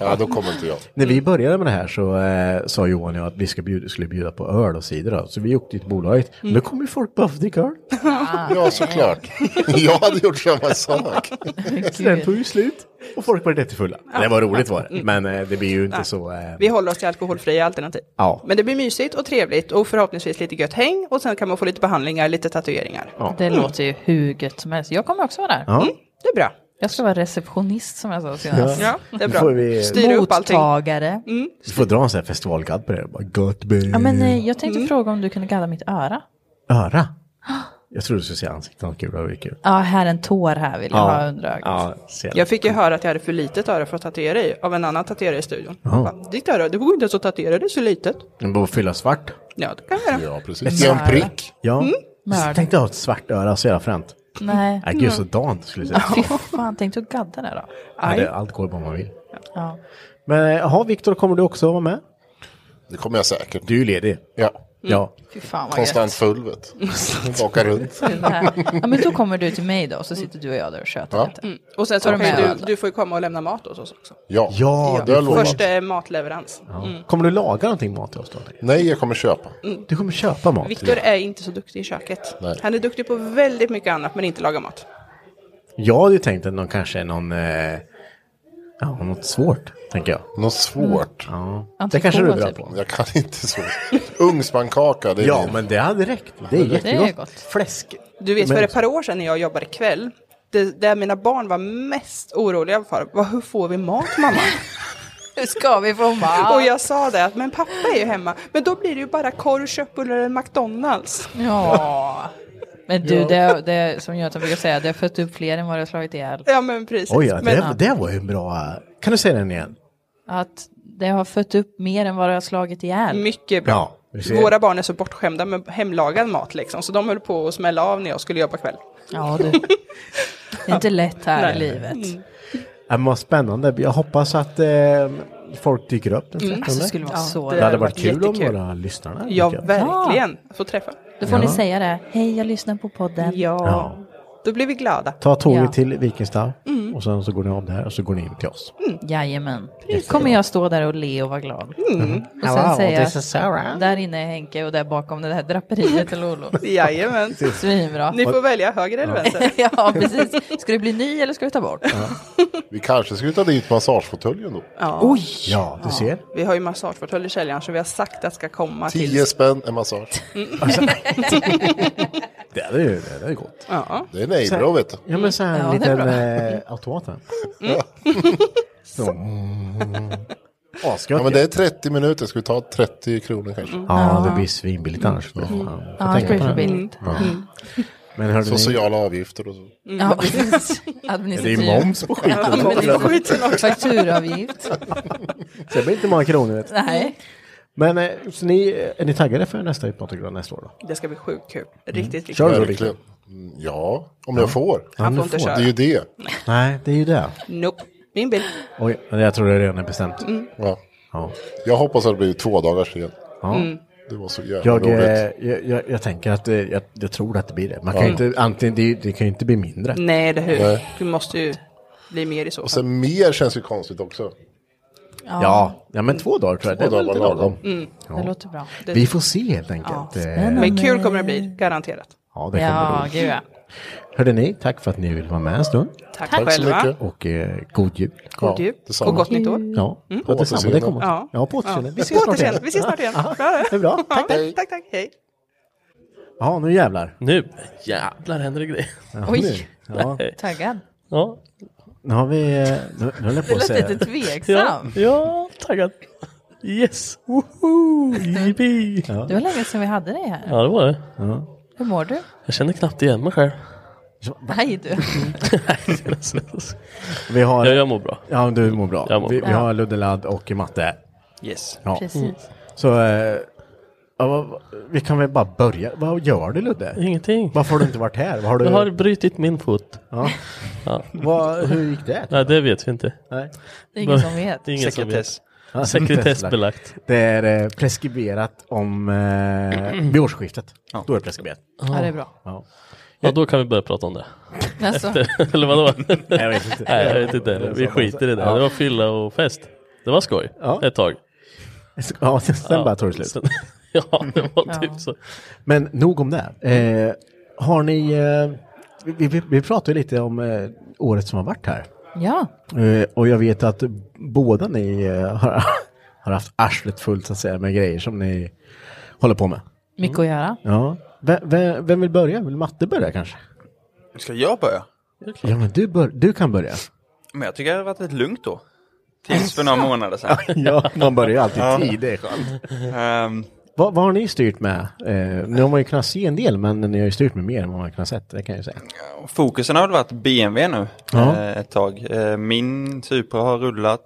[SPEAKER 18] Ja, då kommer inte jag.
[SPEAKER 3] När vi började med det här så eh, sa Johan och jag att vi ska bjuda, skulle bjuda på öl och cider. då. Så vi åkte till bolaget.
[SPEAKER 18] Mm.
[SPEAKER 3] Då kom ju folk bara för att dricka öl.
[SPEAKER 18] Ja, såklart. Jag hade gjort samma sak.
[SPEAKER 3] Så den tog ju slut. Och folk var jättefulla. Det var roligt var
[SPEAKER 4] Mm.
[SPEAKER 3] det. Men eh, det blir ju inte
[SPEAKER 17] Nej.
[SPEAKER 3] så... Eh,
[SPEAKER 17] Vi håller oss till alkoholfria alternativ.
[SPEAKER 3] ja.
[SPEAKER 17] Men det blir mysigt och trevligt och förhoppningsvis lite gött häng och sen kan man få lite behandlingar, lite tatueringar.
[SPEAKER 4] Det låter ju hur gött som helst. Jag kommer också vara där.
[SPEAKER 3] Ja. Mm,
[SPEAKER 17] det är bra.
[SPEAKER 4] Jag ska vara receptionist som jag sa senast.
[SPEAKER 17] Ja, det är
[SPEAKER 3] bra. Då får vi- Styra upp allting.
[SPEAKER 4] Mottagare.
[SPEAKER 3] Du får dra en sån här festivalgadd på det. Bara, Gött be.
[SPEAKER 4] Ja, men eh, jag tänkte fråga om du kunde gadda mitt öra.
[SPEAKER 3] Öra. Jag trodde du skulle säga ansiktet. Vad kul, det var ju kul.
[SPEAKER 4] Ja, här är en tår här vill jag ha under ögat.
[SPEAKER 3] Ja, ser
[SPEAKER 17] Jag fick ju höra att jag hade för litet öra för att tatuera i av en annan tatuerare i studion.
[SPEAKER 3] Ja.
[SPEAKER 17] Jag bara, Ditt öra, det går inte ens att tatuera, det är så litet.
[SPEAKER 3] Den borde fylla svart.
[SPEAKER 17] Ja, det kan jag göra.
[SPEAKER 18] Ja,
[SPEAKER 3] Ett
[SPEAKER 18] Ge en
[SPEAKER 3] svart-
[SPEAKER 18] prick.
[SPEAKER 3] Ja.
[SPEAKER 17] Mm.
[SPEAKER 3] Jag tänkte ha ett svart öra, så jävla fränt.
[SPEAKER 4] Nej. Mm.
[SPEAKER 3] Nej, gud så dant skulle jag säga.
[SPEAKER 4] Fy fan, tänkte du gadda det då?
[SPEAKER 3] Ja, det, allt går bara man vill.
[SPEAKER 4] Ja.
[SPEAKER 3] Men eh, jaha, Viktor, kommer du också vara med?
[SPEAKER 18] Det kommer jag säkert.
[SPEAKER 3] Du är ju ledig. Mm.
[SPEAKER 18] Ja.
[SPEAKER 3] Ja.
[SPEAKER 4] Fy fan vad
[SPEAKER 18] Konstant
[SPEAKER 4] gött.
[SPEAKER 18] full, vet du. Åka runt.
[SPEAKER 4] Den här. Ja, men då kommer du till mig då, så sitter du och jag där och tjötar
[SPEAKER 18] Ja.
[SPEAKER 4] lite.
[SPEAKER 17] Mm. Och sen så
[SPEAKER 4] Har du
[SPEAKER 17] kan
[SPEAKER 4] med
[SPEAKER 17] ju
[SPEAKER 4] öl
[SPEAKER 17] du,
[SPEAKER 4] då?
[SPEAKER 17] du får ju komma och lämna mat åt oss också.
[SPEAKER 18] Ja,
[SPEAKER 3] ja det har jag lovat.
[SPEAKER 17] Först eh, matleverans.
[SPEAKER 3] Ja.
[SPEAKER 17] Mm.
[SPEAKER 3] Kommer du laga någonting mat till oss då?
[SPEAKER 18] Nej, jag kommer köpa.
[SPEAKER 17] Mm.
[SPEAKER 3] Du kommer köpa mat?
[SPEAKER 17] Viktor är inte så duktig i köket.
[SPEAKER 3] Nej.
[SPEAKER 17] Han är duktig på väldigt mycket annat men inte laga mat.
[SPEAKER 3] Jag hade ju tänkt att någon kanske är någon... Eh, ja, något svårt, tänker jag.
[SPEAKER 18] Något svårt?
[SPEAKER 3] Ja. Det kanske du är bra på.
[SPEAKER 18] Jag kan inte så. Ugnspannkaka, det är
[SPEAKER 3] Ja,
[SPEAKER 18] min.
[SPEAKER 3] men det hade räckt. Det är jättegott. Fläsk.
[SPEAKER 17] Du vet,
[SPEAKER 3] Men-
[SPEAKER 17] för ett par år sedan när jag jobbade kväll, det, det mina barn var mest oroliga för var hur får vi mat mamma?
[SPEAKER 4] Hur ska vi få mat?
[SPEAKER 17] Och jag sa det att men pappa är ju hemma, men då blir det ju bara korv, köttbullar eller McDonalds.
[SPEAKER 4] Ja. Men du, det, det som jag brukar säga, det har fött upp fler än vad det har slagit ihjäl.
[SPEAKER 17] Ja men precis.
[SPEAKER 3] Oj, ja,
[SPEAKER 17] men,
[SPEAKER 3] det, det var ju en bra... Kan du säga den igen?
[SPEAKER 4] Att det har fött upp mer än vad det har slagit ihjäl.
[SPEAKER 17] Mycket bra.
[SPEAKER 3] Ja, vi ser.
[SPEAKER 17] Våra barn är så bortskämda med hemlagad mat liksom, så de höll på att smälla av när jag skulle jobba kväll.
[SPEAKER 4] Ja, du. Det är inte lätt här i
[SPEAKER 17] Nej.
[SPEAKER 4] livet.
[SPEAKER 17] Mm.
[SPEAKER 3] Ja, men vad spännande. Jag hoppas att eh, folk dyker upp den 13.
[SPEAKER 17] Mm. Alltså, det skulle vara så
[SPEAKER 3] det hade
[SPEAKER 17] roligt.
[SPEAKER 3] varit kul om
[SPEAKER 17] Jättekul.
[SPEAKER 3] våra lyssnarna
[SPEAKER 17] Ja,
[SPEAKER 3] dyker upp.
[SPEAKER 17] verkligen. Få träffa.
[SPEAKER 4] Då får ni
[SPEAKER 3] Ja.
[SPEAKER 4] säga det. Hej, jag lyssnar på podden.
[SPEAKER 3] Ja.
[SPEAKER 17] Då blir vi glada.
[SPEAKER 3] Ta tåget
[SPEAKER 4] Ja.
[SPEAKER 3] till Vikingstad
[SPEAKER 4] Mm.
[SPEAKER 3] och sen så går ni om där och så går ni in till oss.
[SPEAKER 4] Jajamän. kommer jag stå där och le och vara glad.
[SPEAKER 3] Mm.
[SPEAKER 4] Och sen
[SPEAKER 3] Hello,
[SPEAKER 4] säga,
[SPEAKER 3] this is Sarah.
[SPEAKER 4] där inne är Henke och där bakom det här draperiet är Lolo.
[SPEAKER 17] Jajamän.
[SPEAKER 4] Svinbra.
[SPEAKER 17] Ni får välja höger eller vänster.
[SPEAKER 4] ja, precis. Ska det bli ny eller ska vi ta bort?
[SPEAKER 18] Vi kanske skulle ta dit massagefåtöljen då.
[SPEAKER 17] Ja.
[SPEAKER 3] Ja, du ser.
[SPEAKER 17] Vi har ju massagefåtölj i källaren som vi har sagt att ska komma
[SPEAKER 18] Tio
[SPEAKER 17] till.
[SPEAKER 18] spänn en massage.
[SPEAKER 3] Det är ju det är ju gott.
[SPEAKER 17] Ja.
[SPEAKER 18] Det är en Abro, vet du.
[SPEAKER 3] Ja, men så här en
[SPEAKER 18] Ja, det är
[SPEAKER 3] liten
[SPEAKER 18] bra.
[SPEAKER 3] eh, automat här.
[SPEAKER 18] Mm.
[SPEAKER 3] Så. Mm. Asgött.
[SPEAKER 18] Ja, men det är 30 minuter, ska vi ta 30 kronor kanske?
[SPEAKER 3] Ja, det blir svinbilligt annars. Mm. Ja, får
[SPEAKER 4] Ja, det
[SPEAKER 3] tänka
[SPEAKER 4] blir
[SPEAKER 3] på
[SPEAKER 4] för
[SPEAKER 3] det.
[SPEAKER 4] billigt.
[SPEAKER 3] Ja.
[SPEAKER 4] Mm.
[SPEAKER 3] Men hörde ni-
[SPEAKER 18] Sociala avgifter och så.
[SPEAKER 4] Ja, precis. Administrativ.
[SPEAKER 3] Det är moms på skiten.
[SPEAKER 4] Ja, men det är skiten också. Fakturavgift.
[SPEAKER 3] Så det blir inte många kronor. Vet. du.
[SPEAKER 4] Nej.
[SPEAKER 3] Men eh, så ni, är ni taggade för nästa hypnotogram nästa år då?
[SPEAKER 17] Det ska bli sjukt kul. Riktigt, riktigt
[SPEAKER 3] Mm. Kör du
[SPEAKER 17] kul.
[SPEAKER 3] Rickard?
[SPEAKER 18] Mm, Ja, om jag får.
[SPEAKER 3] Ja,
[SPEAKER 17] Han
[SPEAKER 3] du
[SPEAKER 17] får inte köra.
[SPEAKER 18] Det är ju det.
[SPEAKER 3] Nej, det är ju det.
[SPEAKER 17] Nope. Min bil.
[SPEAKER 3] Oj, men jag tror det redan är bestämt.
[SPEAKER 17] Mm.
[SPEAKER 18] Ja.
[SPEAKER 3] Ja.
[SPEAKER 18] Jag hoppas att det blir två dagar sen.
[SPEAKER 3] Ja. Mm.
[SPEAKER 18] Det var så jävla
[SPEAKER 3] Jag, eh,
[SPEAKER 18] roligt.
[SPEAKER 3] jag, jag, jag tänker att eh, jag, jag tror att det blir det. Man kan
[SPEAKER 18] Ja.
[SPEAKER 3] ju inte, antingen, det, det kan ju inte bli mindre.
[SPEAKER 17] Nej, eller hur?
[SPEAKER 3] Nej.
[SPEAKER 17] Du måste ju bli mer i så fall.
[SPEAKER 18] Och sen mer känns ju konstigt också.
[SPEAKER 3] Ja, ja men två dagar tror jag.
[SPEAKER 18] Två
[SPEAKER 3] det är väl
[SPEAKER 18] dagar
[SPEAKER 3] lite
[SPEAKER 18] lagom.
[SPEAKER 3] lagom.
[SPEAKER 17] Mm.
[SPEAKER 3] Ja.
[SPEAKER 17] Det låter bra. Det-
[SPEAKER 3] Vi får se helt enkelt. Eh,
[SPEAKER 17] Men kul kommer det bli, garanterat.
[SPEAKER 3] Ja, det kommer det bli. Hörde ni, tack för att ni ville vara med en stund.
[SPEAKER 17] Tack Tack så själva. mycket.
[SPEAKER 3] Och eh, god jul.
[SPEAKER 17] God jul.
[SPEAKER 3] detsamma.
[SPEAKER 17] Och gott nytt år.
[SPEAKER 3] Ja,
[SPEAKER 17] Mm.
[SPEAKER 3] ja detsamma. Det kommer.
[SPEAKER 17] Ja.
[SPEAKER 3] ja på återseende.
[SPEAKER 17] Ja.
[SPEAKER 3] Vi ses snart igen.
[SPEAKER 17] Vi ses snart igen. Bra
[SPEAKER 3] det. Är bra.
[SPEAKER 17] Tack, tack, tack, tack. Hej.
[SPEAKER 3] Ja, nu jävlar.
[SPEAKER 19] Nu jävlar händer det grejer.
[SPEAKER 3] Ja,
[SPEAKER 4] Oj.
[SPEAKER 3] nu. Ja.
[SPEAKER 4] Taggad.
[SPEAKER 19] Ja.
[SPEAKER 3] Nu har vi... eh, Nu, nu höll jag
[SPEAKER 4] Det
[SPEAKER 3] på att
[SPEAKER 4] lät
[SPEAKER 3] säga...
[SPEAKER 4] lite tveksam.
[SPEAKER 19] Ja, ja taggad. Yes. Woho! Yippee!
[SPEAKER 3] Ja.
[SPEAKER 4] Det var länge sedan vi hade dig här.
[SPEAKER 19] ja, det var det.
[SPEAKER 4] Hur mår du?
[SPEAKER 19] Jag känner knappt igen mig själv.
[SPEAKER 4] Nej du.
[SPEAKER 3] Vi har...
[SPEAKER 19] Jag, jag mår bra.
[SPEAKER 3] Ja, du mår bra.
[SPEAKER 19] Jag mår
[SPEAKER 3] vi,
[SPEAKER 19] bra.
[SPEAKER 3] vi har Luddeladd och matte.
[SPEAKER 19] Yes.
[SPEAKER 3] Ja.
[SPEAKER 19] Precis.
[SPEAKER 3] Mm. Så... eh, Ja, vad, vi kan väl bara börja. Vad gör du Ludde?
[SPEAKER 19] Ingenting.
[SPEAKER 3] Varför har du inte varit här? Vad har du...
[SPEAKER 19] Jag har brutit min fot.
[SPEAKER 3] Ja. Vad- hur gick det?
[SPEAKER 19] Nej, det vet vi inte.
[SPEAKER 3] Nej.
[SPEAKER 4] Det är ingen som vet.
[SPEAKER 19] Det är ingen
[SPEAKER 4] Sekretess.
[SPEAKER 19] som vet. Sekretessbelagt.
[SPEAKER 3] Det är eh, preskriberat om eh, vid årsskiftet. Då är det preskriberat.
[SPEAKER 4] Ja, det är bra.
[SPEAKER 3] Ja.
[SPEAKER 19] Ja, då kan vi börja prata om det.
[SPEAKER 4] Alltså.
[SPEAKER 19] Efter, eller vadå?
[SPEAKER 3] Nej, jag vet inte.
[SPEAKER 19] Nej, jag vet inte. Vi skiter i det. Det var fylla och fest. Det var skoj ett tag.
[SPEAKER 3] Ja, sen
[SPEAKER 19] Ja.
[SPEAKER 3] bara tog det slut.
[SPEAKER 19] Sen- ja, det var typ så.
[SPEAKER 3] Men nog om det. Eh, har ni... Eh, vi, vi, vi pratade ju lite om eh, året som har varit här.
[SPEAKER 4] Ja.
[SPEAKER 3] Eh, och jag vet att båda ni eh, har, har haft arslet fullt så att säga med grejer som ni håller på med.
[SPEAKER 4] Mycket att göra.
[SPEAKER 3] Ja. Vem, vem, vem vill börja? Vill matte börja kanske?
[SPEAKER 20] Ska jag börja?
[SPEAKER 3] Ja, men du, bör, du kan börja.
[SPEAKER 20] Men jag tycker det har varit ett lugnt då. Tills för några månader sedan.
[SPEAKER 3] Ja, man börjar ju alltid i tid, det är skönt.
[SPEAKER 20] Ehm,
[SPEAKER 3] Vad, vad har ni styrt med? Eh, nu har man ju kunnat se en del, men ni har ju styrt med mer än vad man har kunnat sett, det kan jag ju säga.
[SPEAKER 20] fokusen har väl varit BMW nu
[SPEAKER 3] Ja.
[SPEAKER 20] eh, ett tag. Eh, min Supra har rullat,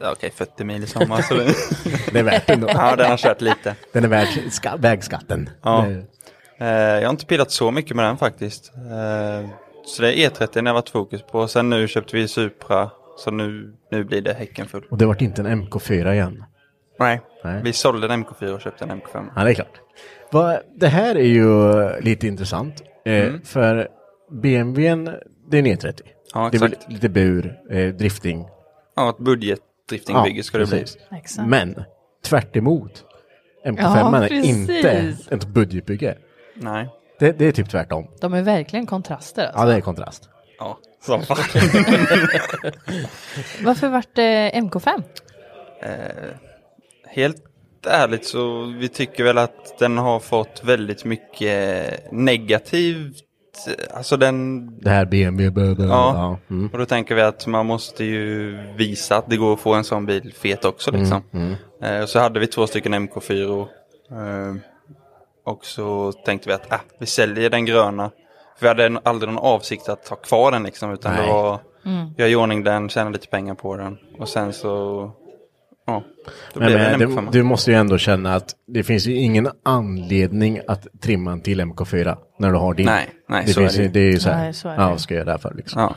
[SPEAKER 20] ja, okej 40 mil i sommar. Så det...
[SPEAKER 3] Det är värt det ändå.
[SPEAKER 20] Ja, den har kört lite.
[SPEAKER 3] Den är värd ska, vägskatten.
[SPEAKER 20] Ja.
[SPEAKER 3] Det-
[SPEAKER 20] Eh, jag har inte pillat så mycket med den faktiskt. Eh, så det är E30 jag har varit fokus på. Sen nu köpte vi Supra. Så nu, nu blir det häcken full.
[SPEAKER 3] Och det vart inte en MK4 igen.
[SPEAKER 20] Nej.
[SPEAKER 3] Nej.
[SPEAKER 20] vi sålde en MK4 och köpte en MK5.
[SPEAKER 3] Ja, det är klart. Va, det här är ju eh, lite intressant. Eh,
[SPEAKER 20] Mm.
[SPEAKER 3] För BMWn, det är en E30.
[SPEAKER 20] Ja,
[SPEAKER 3] det är väl
[SPEAKER 20] exakt.
[SPEAKER 3] lite bur, eh, drifting.
[SPEAKER 20] Ja, ett budgetdriftingbygge ska det bli.
[SPEAKER 3] precis. Men tvärt emot. MK5
[SPEAKER 4] Ja,
[SPEAKER 3] är inte
[SPEAKER 4] precis.
[SPEAKER 3] ett budgetbygge.
[SPEAKER 20] Nej.
[SPEAKER 3] Det, det är typ tvärtom.
[SPEAKER 4] De är verkligen kontraster. Alltså.
[SPEAKER 3] Ja, det är kontrast.
[SPEAKER 20] Ja, som fan.
[SPEAKER 4] Varför vart det MK5?
[SPEAKER 20] Eh, helt ärligt så vi tycker väl att den har fått väldigt mycket negativt. Alltså den...
[SPEAKER 3] Det här BMW... bö- bö-
[SPEAKER 20] Ja,
[SPEAKER 3] ja. Mm.
[SPEAKER 20] och då tänker vi att man måste ju visa att det går att få en sån bil fet också
[SPEAKER 3] Mm,
[SPEAKER 20] liksom.
[SPEAKER 3] mm.
[SPEAKER 20] Eh, så hade vi två stycken MK4 eh, och så tänkte vi att ah, vi säljer den gröna. För vi hade en- aldrig någon avsikt att ha kvar den liksom utan
[SPEAKER 3] Nej.
[SPEAKER 20] det var
[SPEAKER 3] Mm.
[SPEAKER 20] göra i ordning den, tjäna lite pengar på den och sen så ja, då
[SPEAKER 3] Men,
[SPEAKER 20] blev det
[SPEAKER 3] men,
[SPEAKER 20] en
[SPEAKER 3] du,
[SPEAKER 20] MK5.
[SPEAKER 3] du måste ju ändå känna att det finns ju ingen anledning att trimma en till MK4 när du har din.
[SPEAKER 20] Nej, nej,
[SPEAKER 3] det
[SPEAKER 20] så
[SPEAKER 3] finns
[SPEAKER 20] är det
[SPEAKER 3] ju.
[SPEAKER 20] ju.
[SPEAKER 3] Det är ju så här,
[SPEAKER 20] Nej, så är
[SPEAKER 3] ja,
[SPEAKER 20] det.
[SPEAKER 3] vad ska jag göra därför liksom.
[SPEAKER 20] Ja.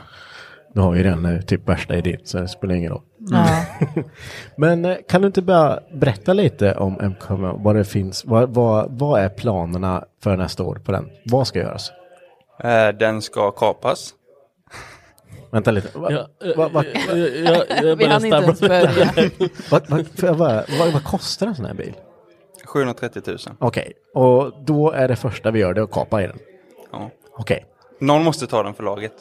[SPEAKER 3] Du har ju den eh, typ värsta idén så det spelar ingen roll.
[SPEAKER 4] Ja.
[SPEAKER 3] men eh, kan du inte bara berätta lite om MK4, vad det finns, vad, vad, vad är planerna för nästa år på den? Vad ska göras?
[SPEAKER 20] Eh, den ska kapas.
[SPEAKER 3] Vänta lite. Va,
[SPEAKER 20] Ja,
[SPEAKER 3] va, va,
[SPEAKER 20] eh, jag- jag- jag Vi bara hann inte ens stabbade. börja.
[SPEAKER 3] va, va, för jag bara- vad, vad kostar en sån här bil?
[SPEAKER 20] 730 000.
[SPEAKER 3] Okej, och då är det första vi gör det att kapa i den.
[SPEAKER 20] Ja.
[SPEAKER 3] Okej.
[SPEAKER 20] Någon måste ta den för laget.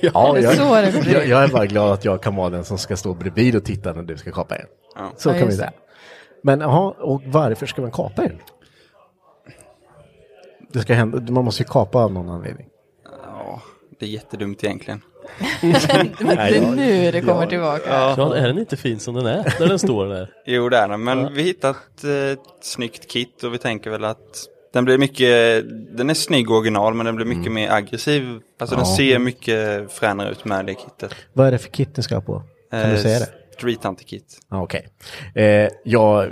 [SPEAKER 3] Ja, jag,
[SPEAKER 20] så det blir.
[SPEAKER 3] jag, jag är bara glad att jag kan vara den som ska stå bredvid och titta när du ska kapa en.
[SPEAKER 20] Ja.
[SPEAKER 3] Så
[SPEAKER 20] Ja,
[SPEAKER 3] kan vi
[SPEAKER 20] just
[SPEAKER 3] säga.
[SPEAKER 20] det.
[SPEAKER 3] Men jaha, och varför ska man kapa en? Det ska hända, man måste ju kapa av någon anledning.
[SPEAKER 20] Ja, det är jättedumt egentligen.
[SPEAKER 4] det är nu det kommer tillbaka.
[SPEAKER 19] Ja, är den inte fin som den är, när den står där?
[SPEAKER 20] Jo, det är den. Men vi hittat eh, ett snyggt kit och vi tänker väl att den blir mycket, den är snygg original men den blir
[SPEAKER 19] Mm.
[SPEAKER 20] mycket mer aggressiv. Alltså den
[SPEAKER 3] Ja.
[SPEAKER 20] ser mycket fränare ut med det kittet.
[SPEAKER 3] Vad är det för kit ni ska ha på? Kan du
[SPEAKER 20] Eh,
[SPEAKER 3] säga det?
[SPEAKER 20] Street Hunter Kit.
[SPEAKER 3] Ja, Okej. Eh, jag,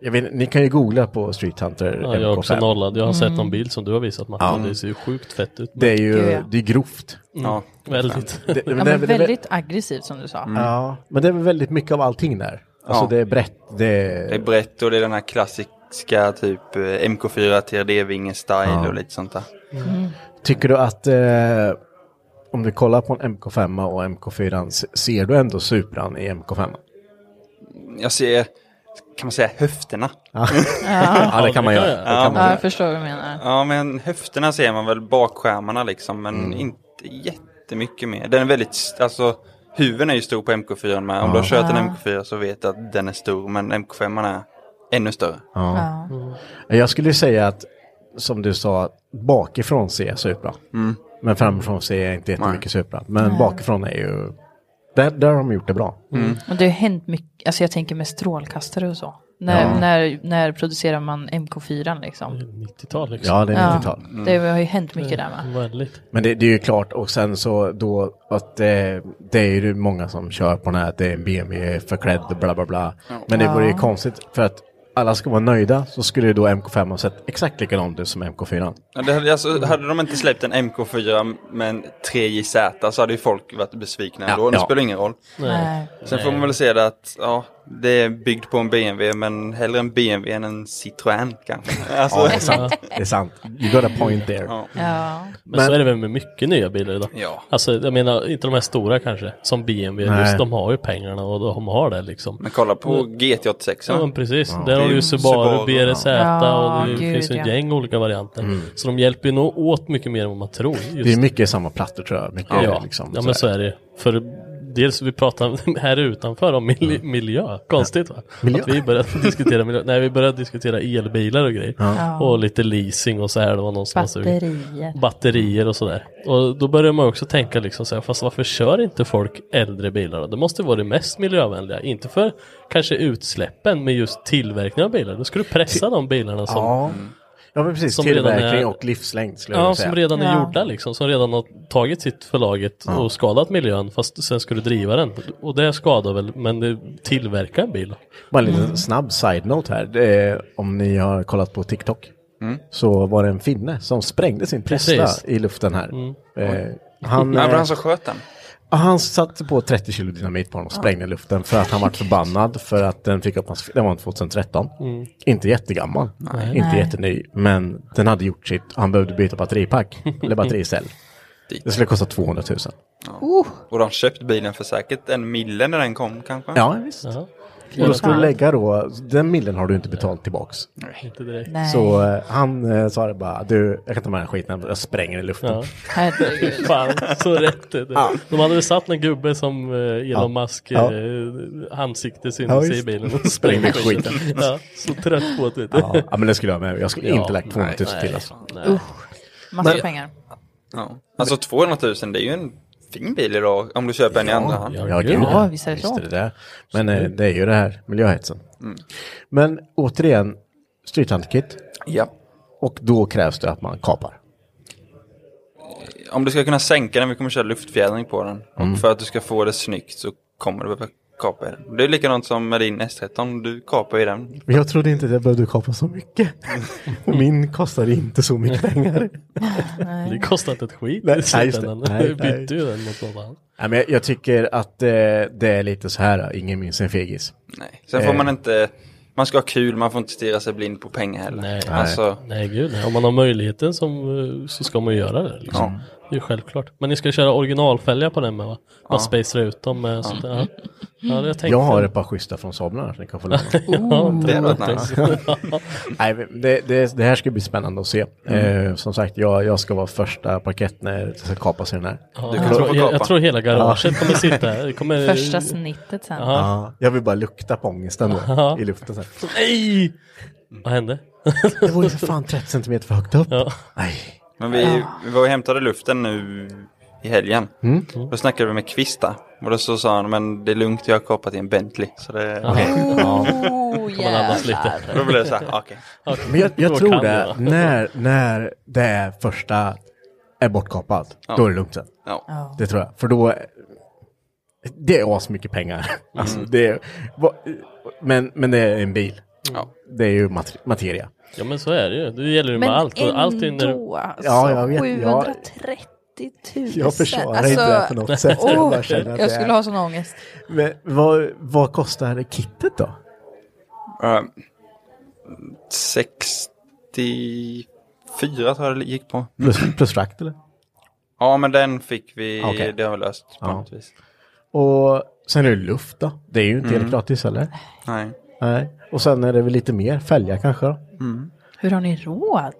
[SPEAKER 3] jag vet, ni kan ju googla på Street Hunter
[SPEAKER 19] Ja, jag är också
[SPEAKER 3] MK5.
[SPEAKER 19] nollad. Jag har sett någon
[SPEAKER 3] Mm.
[SPEAKER 19] bild som du har visat Martin.
[SPEAKER 3] Ja.
[SPEAKER 19] Det ser ju sjukt fett ut.
[SPEAKER 3] Det är ju
[SPEAKER 19] Gud, ja.
[SPEAKER 3] det är grovt.
[SPEAKER 19] Mm. Ja. Väldigt.
[SPEAKER 3] Det-
[SPEAKER 4] Ja,
[SPEAKER 3] det-
[SPEAKER 4] men
[SPEAKER 3] det-
[SPEAKER 4] väldigt aggressivt som du sa.
[SPEAKER 3] Ja, men det är väl väldigt mycket av allting där. Alltså
[SPEAKER 20] Ja.
[SPEAKER 3] det är brett, det är...
[SPEAKER 20] Det är brett och det är den här klassiska typ eh, MK4 TRD-vinge style och lite sånt där.
[SPEAKER 3] Tycker du att eh, om du kollar på en MK5 och MK4 se- ser du ändå Supran i MK5?
[SPEAKER 20] Jag ser, kan man säga höfterna?
[SPEAKER 3] Ja. Ja, det kan man göra. Det kan man
[SPEAKER 4] göra. Ja, jag förstår vad du menar.
[SPEAKER 20] Ja, men höfterna ser man väl bakskärmarna liksom, men
[SPEAKER 3] Mm.
[SPEAKER 20] inte jättemycket mer. Den är väldigt, alltså huven är ju stor på MK4 med. Om du har
[SPEAKER 3] Ja.
[SPEAKER 20] kört en
[SPEAKER 3] Ja.
[SPEAKER 20] MK4 så vet du att den är stor, men MK5 är ännu större.
[SPEAKER 3] Ja. Mm. Jag skulle ju säga att som du sa, bakifrån ser jag Supra.
[SPEAKER 20] Mm.
[SPEAKER 3] Men framifrån ser jag inte jättemycket Supra. Men
[SPEAKER 4] Nej.
[SPEAKER 3] bakifrån är ju... Där, där har de gjort det bra.
[SPEAKER 4] Och det har hänt mycket, alltså jag tänker med strålkastare och så. När,
[SPEAKER 3] Ja.
[SPEAKER 4] när, när producerar man MK4 liksom?
[SPEAKER 19] 90-tal
[SPEAKER 3] liksom. Ja, det är 90-tal. Mm.
[SPEAKER 4] Det har ju hänt mycket där
[SPEAKER 19] Mm.
[SPEAKER 4] med.
[SPEAKER 19] Väldigt.
[SPEAKER 3] Men det, det är ju klart och sen så då att eh, det är ju många som kör på den här att det är en BMW förklädd och bla bla bla. Men det vore ju
[SPEAKER 4] Ja.
[SPEAKER 3] konstigt för att alla ska vara nöjda så skulle ju då MK5 ha sett exakt likadant ut som MK4.
[SPEAKER 20] Ja, det hade, alltså, hade de inte släppt en MK4 med en 3JZ så hade ju folk varit besvikna
[SPEAKER 3] Ja,
[SPEAKER 20] ändå. Det
[SPEAKER 3] ja.
[SPEAKER 20] spelar ingen roll.
[SPEAKER 3] Nej.
[SPEAKER 20] Sen får
[SPEAKER 3] Nej.
[SPEAKER 20] man väl se det att ja, det är byggt på en BMW men hellre en BMW än en Citroën kanske.
[SPEAKER 3] Ja, det är sant. Det är sant. You got a point there.
[SPEAKER 20] Alltså- Ja.
[SPEAKER 4] Ja.
[SPEAKER 19] Men, så är det väl med mycket nya bilar idag.
[SPEAKER 20] Ja.
[SPEAKER 19] Alltså jag menar, inte de här stora kanske. Som BMW,
[SPEAKER 20] Nej.
[SPEAKER 19] just de har ju pengarna och de har det liksom.
[SPEAKER 20] Men kolla på GT86.
[SPEAKER 19] Ja, men precis. Där har du ju Subaru, BRZ
[SPEAKER 4] Ja,
[SPEAKER 19] och det
[SPEAKER 4] gud,
[SPEAKER 19] finns ju ett
[SPEAKER 4] ja.
[SPEAKER 19] gäng olika varianter. Så de hjälper ju nog åt mycket mer än vad man tror. Just
[SPEAKER 3] Mm. Det är mycket samma plattor tror jag. Mycket,
[SPEAKER 19] Ja,
[SPEAKER 3] liksom,
[SPEAKER 19] ja men så är det ju. För dels vi pratar här utanför om mil- miljö, konstigt va?
[SPEAKER 3] Mm. Miljö.
[SPEAKER 19] Att vi började diskutera miljö, nej vi började diskutera elbilar och grejer.
[SPEAKER 3] Ja.
[SPEAKER 4] Ja.
[SPEAKER 19] Och lite leasing och så här, det var någon som var sugen.
[SPEAKER 4] Batterier.
[SPEAKER 19] Batterier och sådär. Och då börjar man också tänka liksom så här, fast varför kör inte folk äldre bilar då? Det måste vara det mest miljövänliga, inte för kanske utsläppen men just tillverkningen av bilar. Då skulle du pressa de bilarna som
[SPEAKER 3] Ja. Ja men precis,
[SPEAKER 19] som redan
[SPEAKER 3] tillverkning
[SPEAKER 19] är-
[SPEAKER 3] och livslängd skulle jag
[SPEAKER 19] Ja,
[SPEAKER 3] vilja
[SPEAKER 19] som
[SPEAKER 3] säga.
[SPEAKER 19] redan är
[SPEAKER 3] Ja.
[SPEAKER 19] gjorda liksom, som redan har tagit sitt förlaget
[SPEAKER 3] Ja.
[SPEAKER 19] och skadat miljön fast sen ska du driva den. Och det skadar väl, men det tillverkar en bil.
[SPEAKER 3] Bara en
[SPEAKER 20] Mm.
[SPEAKER 4] Mm.
[SPEAKER 3] liten snabb side-note här. Det är, om ni har kollat på TikTok så var det en finne som sprängde sin Tesla
[SPEAKER 20] Mm. Precis.
[SPEAKER 3] i luften här.
[SPEAKER 20] Mm.
[SPEAKER 3] Eh,
[SPEAKER 20] Han, ja,
[SPEAKER 3] eh,
[SPEAKER 20] men han som sköt den.
[SPEAKER 3] Ja, han satte på 30 kilo dynamit på honom och sprängde i luften för att han var förbannad för att den fick upp hans... Den var 2013.
[SPEAKER 19] Mm.
[SPEAKER 3] Inte jättegammal,
[SPEAKER 19] Nej.
[SPEAKER 3] inte
[SPEAKER 19] Nej.
[SPEAKER 3] jätteny, men den hade gjort sitt. Han behövde byta batteripack, eller battericell. Det skulle kosta 200 000.
[SPEAKER 20] Och de köpte bilen för säkert en mille när den kom kanske.
[SPEAKER 3] Ja, visst. Och då skulle du lägga då, den millen har du inte betalt tillbaks.
[SPEAKER 19] Inte direkt.
[SPEAKER 4] Nej.
[SPEAKER 3] Så eh, han eh, sa det bara, du, jag kan ta med den här skiten, jag spränger den i luften.
[SPEAKER 19] Ja.
[SPEAKER 4] Herregud.
[SPEAKER 19] Fan, så rätt det.
[SPEAKER 3] Ja.
[SPEAKER 19] De hade väl satt en gubbe som eh, Elon
[SPEAKER 3] Ja.
[SPEAKER 19] Musk
[SPEAKER 3] Ja.
[SPEAKER 19] eh, ansikte
[SPEAKER 3] Ja,
[SPEAKER 19] syntes i
[SPEAKER 3] visst.
[SPEAKER 19] bilen och sprängde
[SPEAKER 3] Sprängde
[SPEAKER 19] skiten.
[SPEAKER 3] skiten.
[SPEAKER 19] Ja, så trött på det. vet du.
[SPEAKER 3] Ja, ja, men det skulle jag med. Jag skulle
[SPEAKER 19] Ja,
[SPEAKER 3] inte lagt 200 000
[SPEAKER 19] nej,
[SPEAKER 3] till
[SPEAKER 19] nej.
[SPEAKER 3] alltså.
[SPEAKER 19] Nej.
[SPEAKER 4] Massa
[SPEAKER 20] Men-
[SPEAKER 4] pengar.
[SPEAKER 20] Ja. Alltså 200 000 det är ju en fin bil idag om du köper en i andra hand.
[SPEAKER 3] Ja, gud.
[SPEAKER 4] Ja, visst är det så.
[SPEAKER 3] det där. Men eh, det är ju det här miljöhetsen.
[SPEAKER 19] Mm.
[SPEAKER 3] Men återigen, Street Hunter Kit.
[SPEAKER 20] Ja.
[SPEAKER 3] Och då krävs det att man kapar.
[SPEAKER 20] Om du ska kunna sänka den, vi kommer köra luftfjädring på den.
[SPEAKER 3] Mm.
[SPEAKER 20] Och för att du ska få det snyggt så kommer du behöva kapa i den. Det är likadant som med din S13, du kapar i den.
[SPEAKER 3] Men jag trodde inte att jag behövde kapa så mycket. Och min kostade inte så mycket pengar.
[SPEAKER 19] Nej. Det kostar inte ett skit i
[SPEAKER 3] nej, just det.
[SPEAKER 19] slutändan.
[SPEAKER 3] Nej,
[SPEAKER 19] Du
[SPEAKER 3] nej.
[SPEAKER 19] bytte ju den mot något annat.
[SPEAKER 3] Nej, men jag, jag tycker att eh, det är lite så här, ingen minns en fegis.
[SPEAKER 20] Nej. Sen får
[SPEAKER 3] Eh,
[SPEAKER 20] man inte, man ska ha kul, man får inte stirra sig blind på pengar heller.
[SPEAKER 19] Nej,
[SPEAKER 20] Alltså,
[SPEAKER 19] nej gud, nej. om man har möjligheten som, eh, så ska man ju göra det. Liksom.
[SPEAKER 20] Ja.
[SPEAKER 19] Det är ju självklart. Men ni ska köra originalfälgar på den med va?
[SPEAKER 3] Ja.
[SPEAKER 19] Man Eh, spacear ut dem med ja. sånt där. ja. Ja, det jag, tänkte.
[SPEAKER 3] jag har ett par schyssta från Saab annars, ni kan få låna.
[SPEAKER 19] Ja, det hade varit nice.
[SPEAKER 3] Nej, men det, det, det här ska bli spännande att se.
[SPEAKER 19] Mm.
[SPEAKER 3] Eh, som sagt, jag, jag ska vara första parkett när det ska kapas i den här.
[SPEAKER 19] Ja, Du kanske jag- får jag- kapa. jag tror hela garaget kommer sitta här. Det kommer- Första snittet sen.
[SPEAKER 3] Ja. jag vill bara lukta på ångesten då,
[SPEAKER 19] Ja.
[SPEAKER 3] i luften. Så här.
[SPEAKER 19] Nej! Vad hände?
[SPEAKER 3] Det var ju för fan 30 centimeter för högt upp.
[SPEAKER 19] Ja.
[SPEAKER 3] Nej.
[SPEAKER 20] men vi, vi var och hämtade luften nu i helgen.
[SPEAKER 3] Mm.
[SPEAKER 20] Då snackade vi med Kvista. Och då så sa han, men det är lugnt, jag har kopplat i en Bentley. Så det...
[SPEAKER 19] man andas lite.
[SPEAKER 20] Då blev det så här, okej.
[SPEAKER 3] Men jag, jag tror det, när, när det är första är bortkapat,
[SPEAKER 20] Ja.
[SPEAKER 3] då är det lugnt sen.
[SPEAKER 20] Ja. Ja.
[SPEAKER 3] Det tror jag, för då... Det är asmycket pengar.
[SPEAKER 20] Mm.
[SPEAKER 3] Alltså, det är, va- men, men det är en bil. Det är ju mater- materia.
[SPEAKER 19] Ja men så är det ju. Det gäller ju med allt. och allt är ju när du...
[SPEAKER 9] alltså,
[SPEAKER 3] Ja, jag vet. Jag-
[SPEAKER 9] 730 000.
[SPEAKER 3] Jag försvarar inte det på något sätt. Jag
[SPEAKER 9] åh,
[SPEAKER 3] bara
[SPEAKER 9] Alltså, oh, jag,
[SPEAKER 3] känner att det är-
[SPEAKER 9] skulle ha sån ångest.
[SPEAKER 3] Men vad, vad kostar kittet då?
[SPEAKER 20] Ehm, 64 tror jag det gick på.
[SPEAKER 3] Plus, plus frakt eller?
[SPEAKER 20] Ja, men den fick vi,
[SPEAKER 3] Okej.
[SPEAKER 20] det har vi löst på
[SPEAKER 3] Ja.
[SPEAKER 20] något vis.
[SPEAKER 3] Och sen är det luft då. Det är ju inte
[SPEAKER 20] Mm.
[SPEAKER 3] helt gratis eller?
[SPEAKER 20] Nej.
[SPEAKER 3] Nej. Och sen är det väl lite mer fälgar kanske då?
[SPEAKER 9] Hur har ni råd?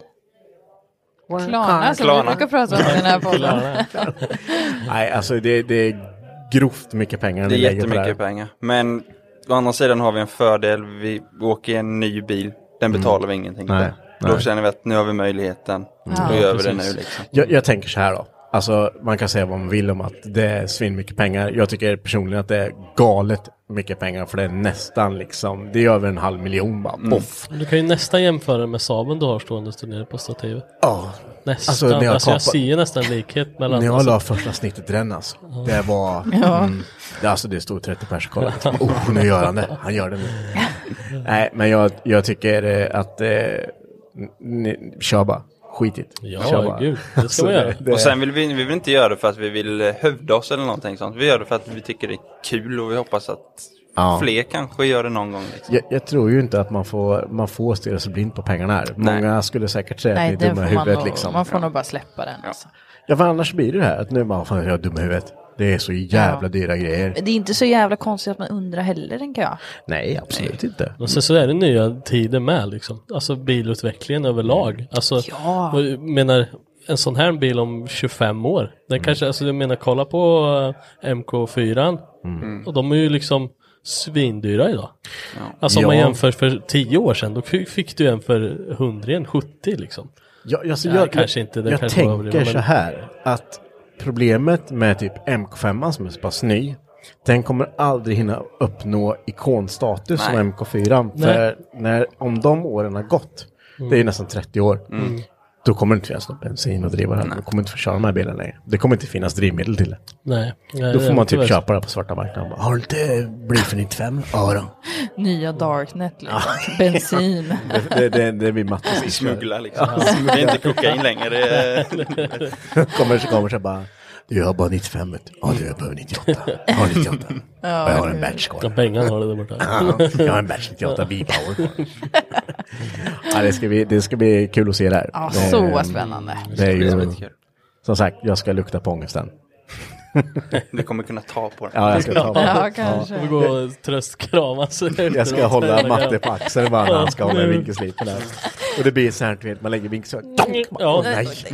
[SPEAKER 9] Klarna som
[SPEAKER 3] Klarna.
[SPEAKER 9] vi brukar prata om i den här podden.
[SPEAKER 3] Klarna. Nej, alltså det, det är grovt mycket pengar
[SPEAKER 20] Det
[SPEAKER 3] ni
[SPEAKER 20] är
[SPEAKER 3] lägger på det här.
[SPEAKER 20] jättemycket pengar. Men å andra sidan har vi en fördel. Vi åker i en ny bil. Den
[SPEAKER 3] Mm.
[SPEAKER 20] betalar vi ingenting
[SPEAKER 3] Nej,
[SPEAKER 20] för. Då
[SPEAKER 3] nej.
[SPEAKER 20] känner vi att nu har vi möjligheten.
[SPEAKER 3] Mm.
[SPEAKER 20] Då
[SPEAKER 3] Ja,
[SPEAKER 20] gör vi det
[SPEAKER 3] precis.
[SPEAKER 20] nu liksom.
[SPEAKER 3] Jag, jag tänker så här då. Alltså man kan säga vad man vill om att det är svin mycket pengar. Jag tycker personligen att det är galet mycket pengar för det är nästan liksom, det är över en halv miljon bara.
[SPEAKER 20] Mm.
[SPEAKER 3] Poff!
[SPEAKER 19] Du kan ju nästan jämföra det med Saben du har stående nere på stativet.
[SPEAKER 3] Ja.
[SPEAKER 19] Nästan.
[SPEAKER 3] Alltså,
[SPEAKER 19] Alltså,
[SPEAKER 3] när jag
[SPEAKER 19] jag,
[SPEAKER 3] kapar-
[SPEAKER 19] jag ser ju nästan likhet mellan...
[SPEAKER 3] När jag
[SPEAKER 19] alltså-
[SPEAKER 3] la första snittet i den alltså.
[SPEAKER 19] Ja.
[SPEAKER 3] Det var,
[SPEAKER 19] Ja.
[SPEAKER 3] mm, det, alltså det stod 30 pers och kollade. Oh, nu gör han det. Han gör det nu. Nej, men jag, jag tycker eh, att, eh, n- ni, kör bara. Skit i det.
[SPEAKER 19] Ja,
[SPEAKER 3] Kör bara.
[SPEAKER 19] gud, det ska
[SPEAKER 3] Alltså,
[SPEAKER 19] man göra.
[SPEAKER 3] det-
[SPEAKER 20] Och sen vill vi, vi vill inte göra det för att vi vill eh, hävda oss eller någonting sånt. Vi gör det för att vi tycker det är kul och vi hoppas att
[SPEAKER 3] Ja.
[SPEAKER 20] fler kanske gör det någon gång. Liksom.
[SPEAKER 3] Jag, jag tror ju inte att man får, man får stirra sig blind på pengarna här.
[SPEAKER 20] Nej.
[SPEAKER 3] Många skulle säkert säga
[SPEAKER 9] Nej,
[SPEAKER 3] att ni är
[SPEAKER 9] den
[SPEAKER 3] dumma i
[SPEAKER 9] får man,
[SPEAKER 3] huvudet
[SPEAKER 9] nog,
[SPEAKER 3] liksom.
[SPEAKER 9] man får nog bara släppa den. Alltså.
[SPEAKER 3] Ja, för annars blir det det här att nu bara, fan jag är dum i huvudet. Det är så jävla
[SPEAKER 9] Ja.
[SPEAKER 3] dyra grejer.
[SPEAKER 9] Men Det är inte så jävla konstigt att man undrar heller, tänker jag.
[SPEAKER 3] Nej, absolut inte.
[SPEAKER 19] Och sen så är det nya tider med liksom. Alltså bilutvecklingen överlag. Alltså,
[SPEAKER 9] Ja.
[SPEAKER 19] och jag menar en sån här bil om 25 år. Den
[SPEAKER 3] Mm.
[SPEAKER 19] kanske, alltså jag menar kolla på eh, MK4.
[SPEAKER 11] Mm.
[SPEAKER 19] Och de är ju liksom svindyra idag. Alltså om man
[SPEAKER 3] Ja.
[SPEAKER 19] jämför för 10 år sedan, då fick fick du en för 100, 70 liksom.
[SPEAKER 3] Ja, alltså,
[SPEAKER 19] Ja, kanske inte, det
[SPEAKER 3] jag
[SPEAKER 19] kanske var
[SPEAKER 3] tänker
[SPEAKER 19] överdrivet,
[SPEAKER 3] så
[SPEAKER 19] men-
[SPEAKER 3] här att problemet med typ MK5 som är så pass ny, den kommer aldrig hinna uppnå ikonstatus som
[SPEAKER 19] Nej.
[SPEAKER 3] MK4.
[SPEAKER 19] Nej.
[SPEAKER 3] För när, om de åren har gått,
[SPEAKER 19] Mm.
[SPEAKER 3] det är ju nästan 30 år,
[SPEAKER 19] Mm.
[SPEAKER 3] då kommer det inte finnas någon bensin att driva den. Du kommer inte få köra de här bilarna längre. Det kommer inte finnas drivmedel till det.
[SPEAKER 19] Nej. Nej,
[SPEAKER 3] då
[SPEAKER 19] det
[SPEAKER 3] får
[SPEAKER 19] är
[SPEAKER 3] man typ
[SPEAKER 19] tyvärr så.
[SPEAKER 3] köpa det på svarta marknaden. Bara, Har du inte Bliffer 95? Ja då.
[SPEAKER 9] Nya Darknet, liksom. bensin.
[SPEAKER 3] Det, det, det blir Mattis ish.
[SPEAKER 20] Smuggla liksom. Det är inte kokain längre. Det är...
[SPEAKER 3] kommer så kommer så bara. Du har bara 95 vet du. Ja du, jag behöver 98. Jag har 98. Och
[SPEAKER 19] Ja,
[SPEAKER 3] jag har en
[SPEAKER 19] hur?
[SPEAKER 3] batch kvar.
[SPEAKER 19] Ja, Bengan har det där borta.
[SPEAKER 3] Ja, jag har en batch 98 B-power kvar. ja, det, ska bli, det ska bli kul att se det här.
[SPEAKER 9] Ja,
[SPEAKER 3] Det-
[SPEAKER 9] så spännande.
[SPEAKER 3] Det är
[SPEAKER 20] Det ska bli
[SPEAKER 3] ju,
[SPEAKER 20] skitkul.
[SPEAKER 3] som sagt, jag ska lukta på ångesten.
[SPEAKER 20] Du kommer kunna ta på den.
[SPEAKER 3] Ja, jag ska ta på den. Ja,
[SPEAKER 19] Vi får gå och tröstkramas.
[SPEAKER 3] Jag ska hålla Matte på axeln bara när han ska hålla
[SPEAKER 19] Ja, Mm. nu.
[SPEAKER 3] vinkelslipen här. Och det blir så här, du vet, man lägger vinkelslipen. Donk! bara,
[SPEAKER 19] Mm. Ja.
[SPEAKER 3] Åh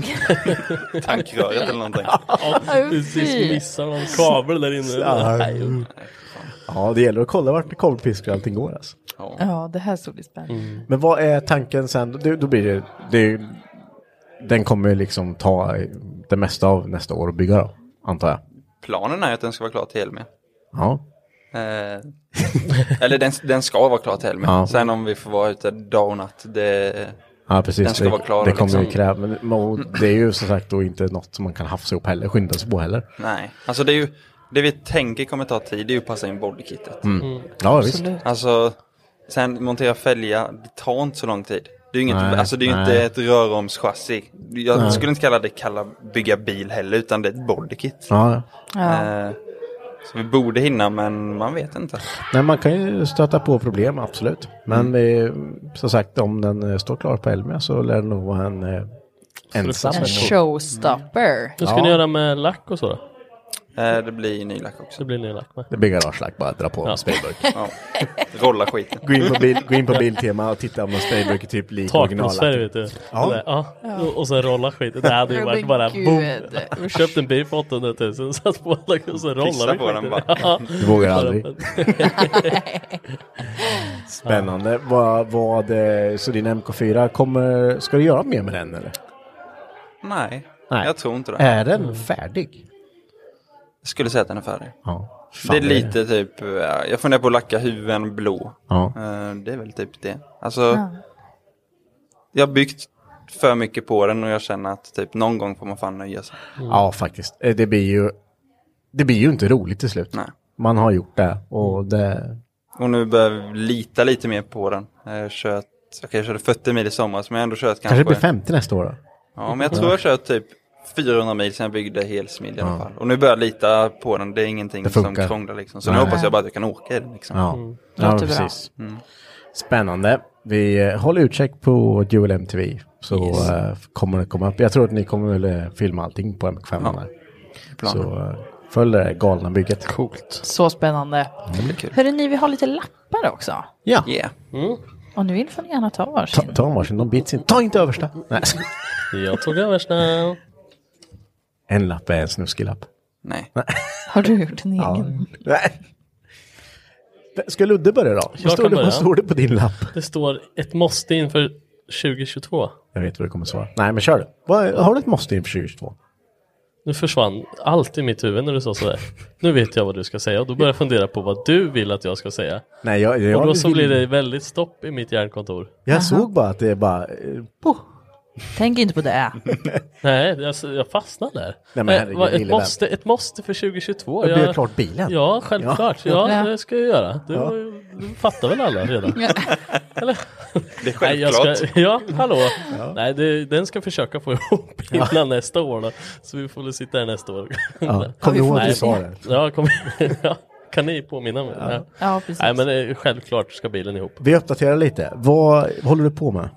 [SPEAKER 3] nej!
[SPEAKER 20] Tankröret eller någonting.
[SPEAKER 19] Ja, precis, missar någon kabel där inne.
[SPEAKER 3] Ja,
[SPEAKER 19] Nej,
[SPEAKER 3] mm. ja, det gäller att kolla vart kolvpiskor och allting går alltså.
[SPEAKER 9] Ja, det här såg bli
[SPEAKER 19] Mm.
[SPEAKER 9] spännande.
[SPEAKER 3] Men vad är tanken sen? Då, då blir det, det är, ju- den kommer ju liksom ta det mesta av nästa år att bygga då, antar jag.
[SPEAKER 20] Planen är att den ska vara klar till Helmia.
[SPEAKER 3] Ja.
[SPEAKER 20] Eh, eller den, den ska vara klar till Helmia.
[SPEAKER 3] Ja.
[SPEAKER 20] Sen om vi får vara ute dag och natt, det,
[SPEAKER 3] Ja, precis.
[SPEAKER 20] den ska
[SPEAKER 3] det,
[SPEAKER 20] vara klar.
[SPEAKER 3] det kommer ju
[SPEAKER 20] liksom.
[SPEAKER 3] kräva, men- men och det är ju som sagt då inte något som man kan hafsa ihop heller, skynda sig på heller.
[SPEAKER 20] Nej, alltså det är ju det vi tänker kommer ta tid, det är ju att passa in bodykittet.
[SPEAKER 3] Mm. Mm. Ja, visst.
[SPEAKER 9] Absolut.
[SPEAKER 20] Alltså, sen montera fälja, det tar inte så lång tid. Det är ju, inget,
[SPEAKER 3] Nej,
[SPEAKER 20] alltså det är ju
[SPEAKER 3] nej.
[SPEAKER 20] inte ett röromschassi. Jag
[SPEAKER 3] Nej.
[SPEAKER 20] skulle inte kalla det kalla bygga bil heller, utan det är ett bodykit.
[SPEAKER 3] Ja.
[SPEAKER 9] Ja.
[SPEAKER 20] Eh, så vi borde hinna, men man vet inte.
[SPEAKER 3] Nej, man kan ju stöta på problem, absolut.
[SPEAKER 20] Mm.
[SPEAKER 3] Men eh, som sagt, om den eh, står klar på Elmia så lär det nog vara en eh, ensam.
[SPEAKER 9] En showstopper.
[SPEAKER 19] Hur ska ni göra med lack och så då?
[SPEAKER 20] Eh, det blir ny lack också.
[SPEAKER 19] Det blir ny lack med.
[SPEAKER 3] Det blir garagelag, bara dra på en sprayburk.
[SPEAKER 20] Ja. Rolla skiten.
[SPEAKER 3] Gå in, på bil, gå in på Biltema och titta om en sprayburk är typ lik
[SPEAKER 19] Takblåsfärg
[SPEAKER 3] originalet.
[SPEAKER 19] vet du.
[SPEAKER 3] Ja.
[SPEAKER 19] Ja. ja. Och- Och sen rolla skiten. Det hade ju
[SPEAKER 3] Ja,
[SPEAKER 19] varit
[SPEAKER 3] men
[SPEAKER 19] bara
[SPEAKER 3] gud.
[SPEAKER 19] boom. Köpt en bil för 800 000, satt på alla och sen rollade
[SPEAKER 20] Pissa
[SPEAKER 19] vi
[SPEAKER 20] på den
[SPEAKER 19] skiten.
[SPEAKER 20] bara.
[SPEAKER 19] Ja.
[SPEAKER 3] Du vågar aldrig.
[SPEAKER 19] Ja.
[SPEAKER 3] Spännande. Vad, vad, eh, så din MK4 kommer, ska du göra mer med den eller?
[SPEAKER 20] Nej,
[SPEAKER 3] Nej.
[SPEAKER 20] jag tror inte det.
[SPEAKER 3] Är den färdig?
[SPEAKER 20] Jag skulle säga att den är färdig.
[SPEAKER 3] Ja.
[SPEAKER 20] det är
[SPEAKER 3] Fan, det är-
[SPEAKER 20] lite typ, eh, jag funderar på att lacka huven blå.
[SPEAKER 3] Ja.
[SPEAKER 20] Eh, Det är väl typ det. Alltså,
[SPEAKER 9] Ja.
[SPEAKER 20] jag har byggt för mycket på den och jag känner att typ någon gång får man fan nöja sig.
[SPEAKER 3] Ja, faktiskt. Eh, Det blir ju, det blir ju inte roligt till slut. Man har gjort det och det...
[SPEAKER 20] Och nu börjar jag lita lite mer på den. Jag, kört, okay, jag körde 40 mil i somras men jag har ändå kört kanske...
[SPEAKER 3] Kanske blir 50 nästa år då?
[SPEAKER 20] Ja, men jag tror jag har kört typ 400 mil sen jag byggde helsmid i alla fall. Och nu börjar jag lita på den. Det är ingenting
[SPEAKER 3] Det
[SPEAKER 20] som
[SPEAKER 3] funkar.
[SPEAKER 20] krånglar liksom. Så
[SPEAKER 3] Nej.
[SPEAKER 20] nu hoppas jag bara att jag kan åka i den liksom. Mm.
[SPEAKER 3] Ja,
[SPEAKER 4] Mm.
[SPEAKER 3] ja precis. Spännande. Vi eh, håller utkik på Dual MTV så
[SPEAKER 20] Yes.
[SPEAKER 3] eh, kommer det komma upp. Jag tror att ni kommer väl eh, filma allting på MK5.
[SPEAKER 20] Ja.
[SPEAKER 3] där.
[SPEAKER 20] Plan.
[SPEAKER 3] Så eh, följ det här galna bygget. Coolt.
[SPEAKER 4] Så spännande.
[SPEAKER 3] Det blir kul.
[SPEAKER 4] Hörrni, vi har lite lappar också.
[SPEAKER 3] Ja.
[SPEAKER 4] Om ni vill får ni gärna ta varsin.
[SPEAKER 3] Ta, ta en varsin, de bits inte. Ta inte översta. Nej.
[SPEAKER 19] Jag tog översta.
[SPEAKER 3] En lapp är en snuskilapp.
[SPEAKER 20] Nej.
[SPEAKER 4] Har du gjort en
[SPEAKER 3] Ja.
[SPEAKER 4] egen?
[SPEAKER 3] Nej. Ska Ludde börja då?
[SPEAKER 19] Jag
[SPEAKER 3] Vad står,
[SPEAKER 19] kan
[SPEAKER 3] det,
[SPEAKER 19] börja.
[SPEAKER 3] vad står det på din lapp?
[SPEAKER 19] Det står ett måste inför 2022.
[SPEAKER 3] Jag vet vad du kommer svara. Nej, men kör du. Vad, har du ett måste inför 2022?
[SPEAKER 19] Nu försvann allt i mitt huvud när du sa sådär. Nu vet jag vad du ska säga och då börjar jag fundera på vad du vill att jag ska säga.
[SPEAKER 3] Nej, jag- jag
[SPEAKER 19] och då så
[SPEAKER 3] vill-
[SPEAKER 19] blir det väldigt stopp i mitt hjärnkontor.
[SPEAKER 3] Jag såg bara att det är bara... eh,
[SPEAKER 4] Tänk inte på det.
[SPEAKER 19] Nej, alltså, jag fastnade där.
[SPEAKER 3] men
[SPEAKER 19] Eh,
[SPEAKER 3] herregud,
[SPEAKER 19] vad- ett,
[SPEAKER 3] lille vän.
[SPEAKER 19] måste, ett måste för 2022.
[SPEAKER 3] Då blir det klart bilen.
[SPEAKER 19] Ja, självklart. Ja,
[SPEAKER 3] Ja.
[SPEAKER 19] det ska jag göra. Du,
[SPEAKER 3] Ja.
[SPEAKER 19] du fattar väl alla redan? Eller?
[SPEAKER 20] Det är
[SPEAKER 19] Nej, jag
[SPEAKER 20] självklart.
[SPEAKER 19] ska, ja, hallå.
[SPEAKER 20] Ja.
[SPEAKER 19] Nej, det, den ska försöka få ihop innan nästa år då. Så vi får väl sitta här nästa år.
[SPEAKER 3] Ja, kom ihåg att du sa det.
[SPEAKER 19] Ja, kom, ja, kan ni påminna mig? Ja,
[SPEAKER 4] Ja, precis.
[SPEAKER 19] Nej, men eh, självklart ska bilen ihop.
[SPEAKER 3] Vi uppdaterar lite. Vad håller du på med?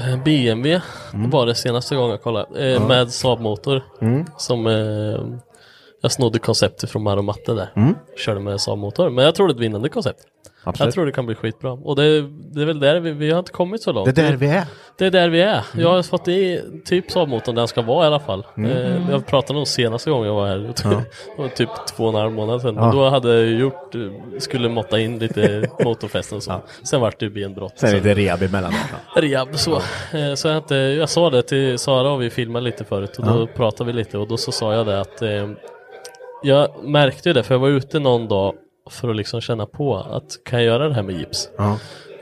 [SPEAKER 19] Eh, BMW var det senaste gången jag kollade. Eh,
[SPEAKER 3] Mm. Ja.
[SPEAKER 19] Med Saab-motor.
[SPEAKER 3] Mm.
[SPEAKER 19] Som eh, jag snodde konceptet från Maro Matte där.
[SPEAKER 3] Mm.
[SPEAKER 19] Körde med Saab-motor. Men jag tror det är ett vinnande koncept.
[SPEAKER 3] Absolut.
[SPEAKER 19] Jag tror det kan bli skitbra. Och det, det är väl där vi, vi har inte kommit så långt.
[SPEAKER 3] Det är där vi är.
[SPEAKER 19] Det är där vi är. Jag har fått i typ Saab-motorn där den ska vara i alla fall.
[SPEAKER 3] Mm.
[SPEAKER 19] Eh, jag pratade nog senaste gången jag var här.
[SPEAKER 3] Ja.
[SPEAKER 19] Det var typ två och en halv månad sedan.
[SPEAKER 3] Ja.
[SPEAKER 19] Men då hade jag ju gjort, eh, skulle måtta in lite motorfesten och så. Sen vart det ju benbrott.
[SPEAKER 3] Sen är det rehab emellan.
[SPEAKER 19] Rehab så. Eh, så jag, inte, jag sa det till Sara och vi filmade lite förut och då
[SPEAKER 3] Ja.
[SPEAKER 19] pratade vi lite och då så sa jag det att eh, jag märkte ju det för jag var ute någon dag för att liksom känna på att kan jag göra det här med gips?
[SPEAKER 3] Ja.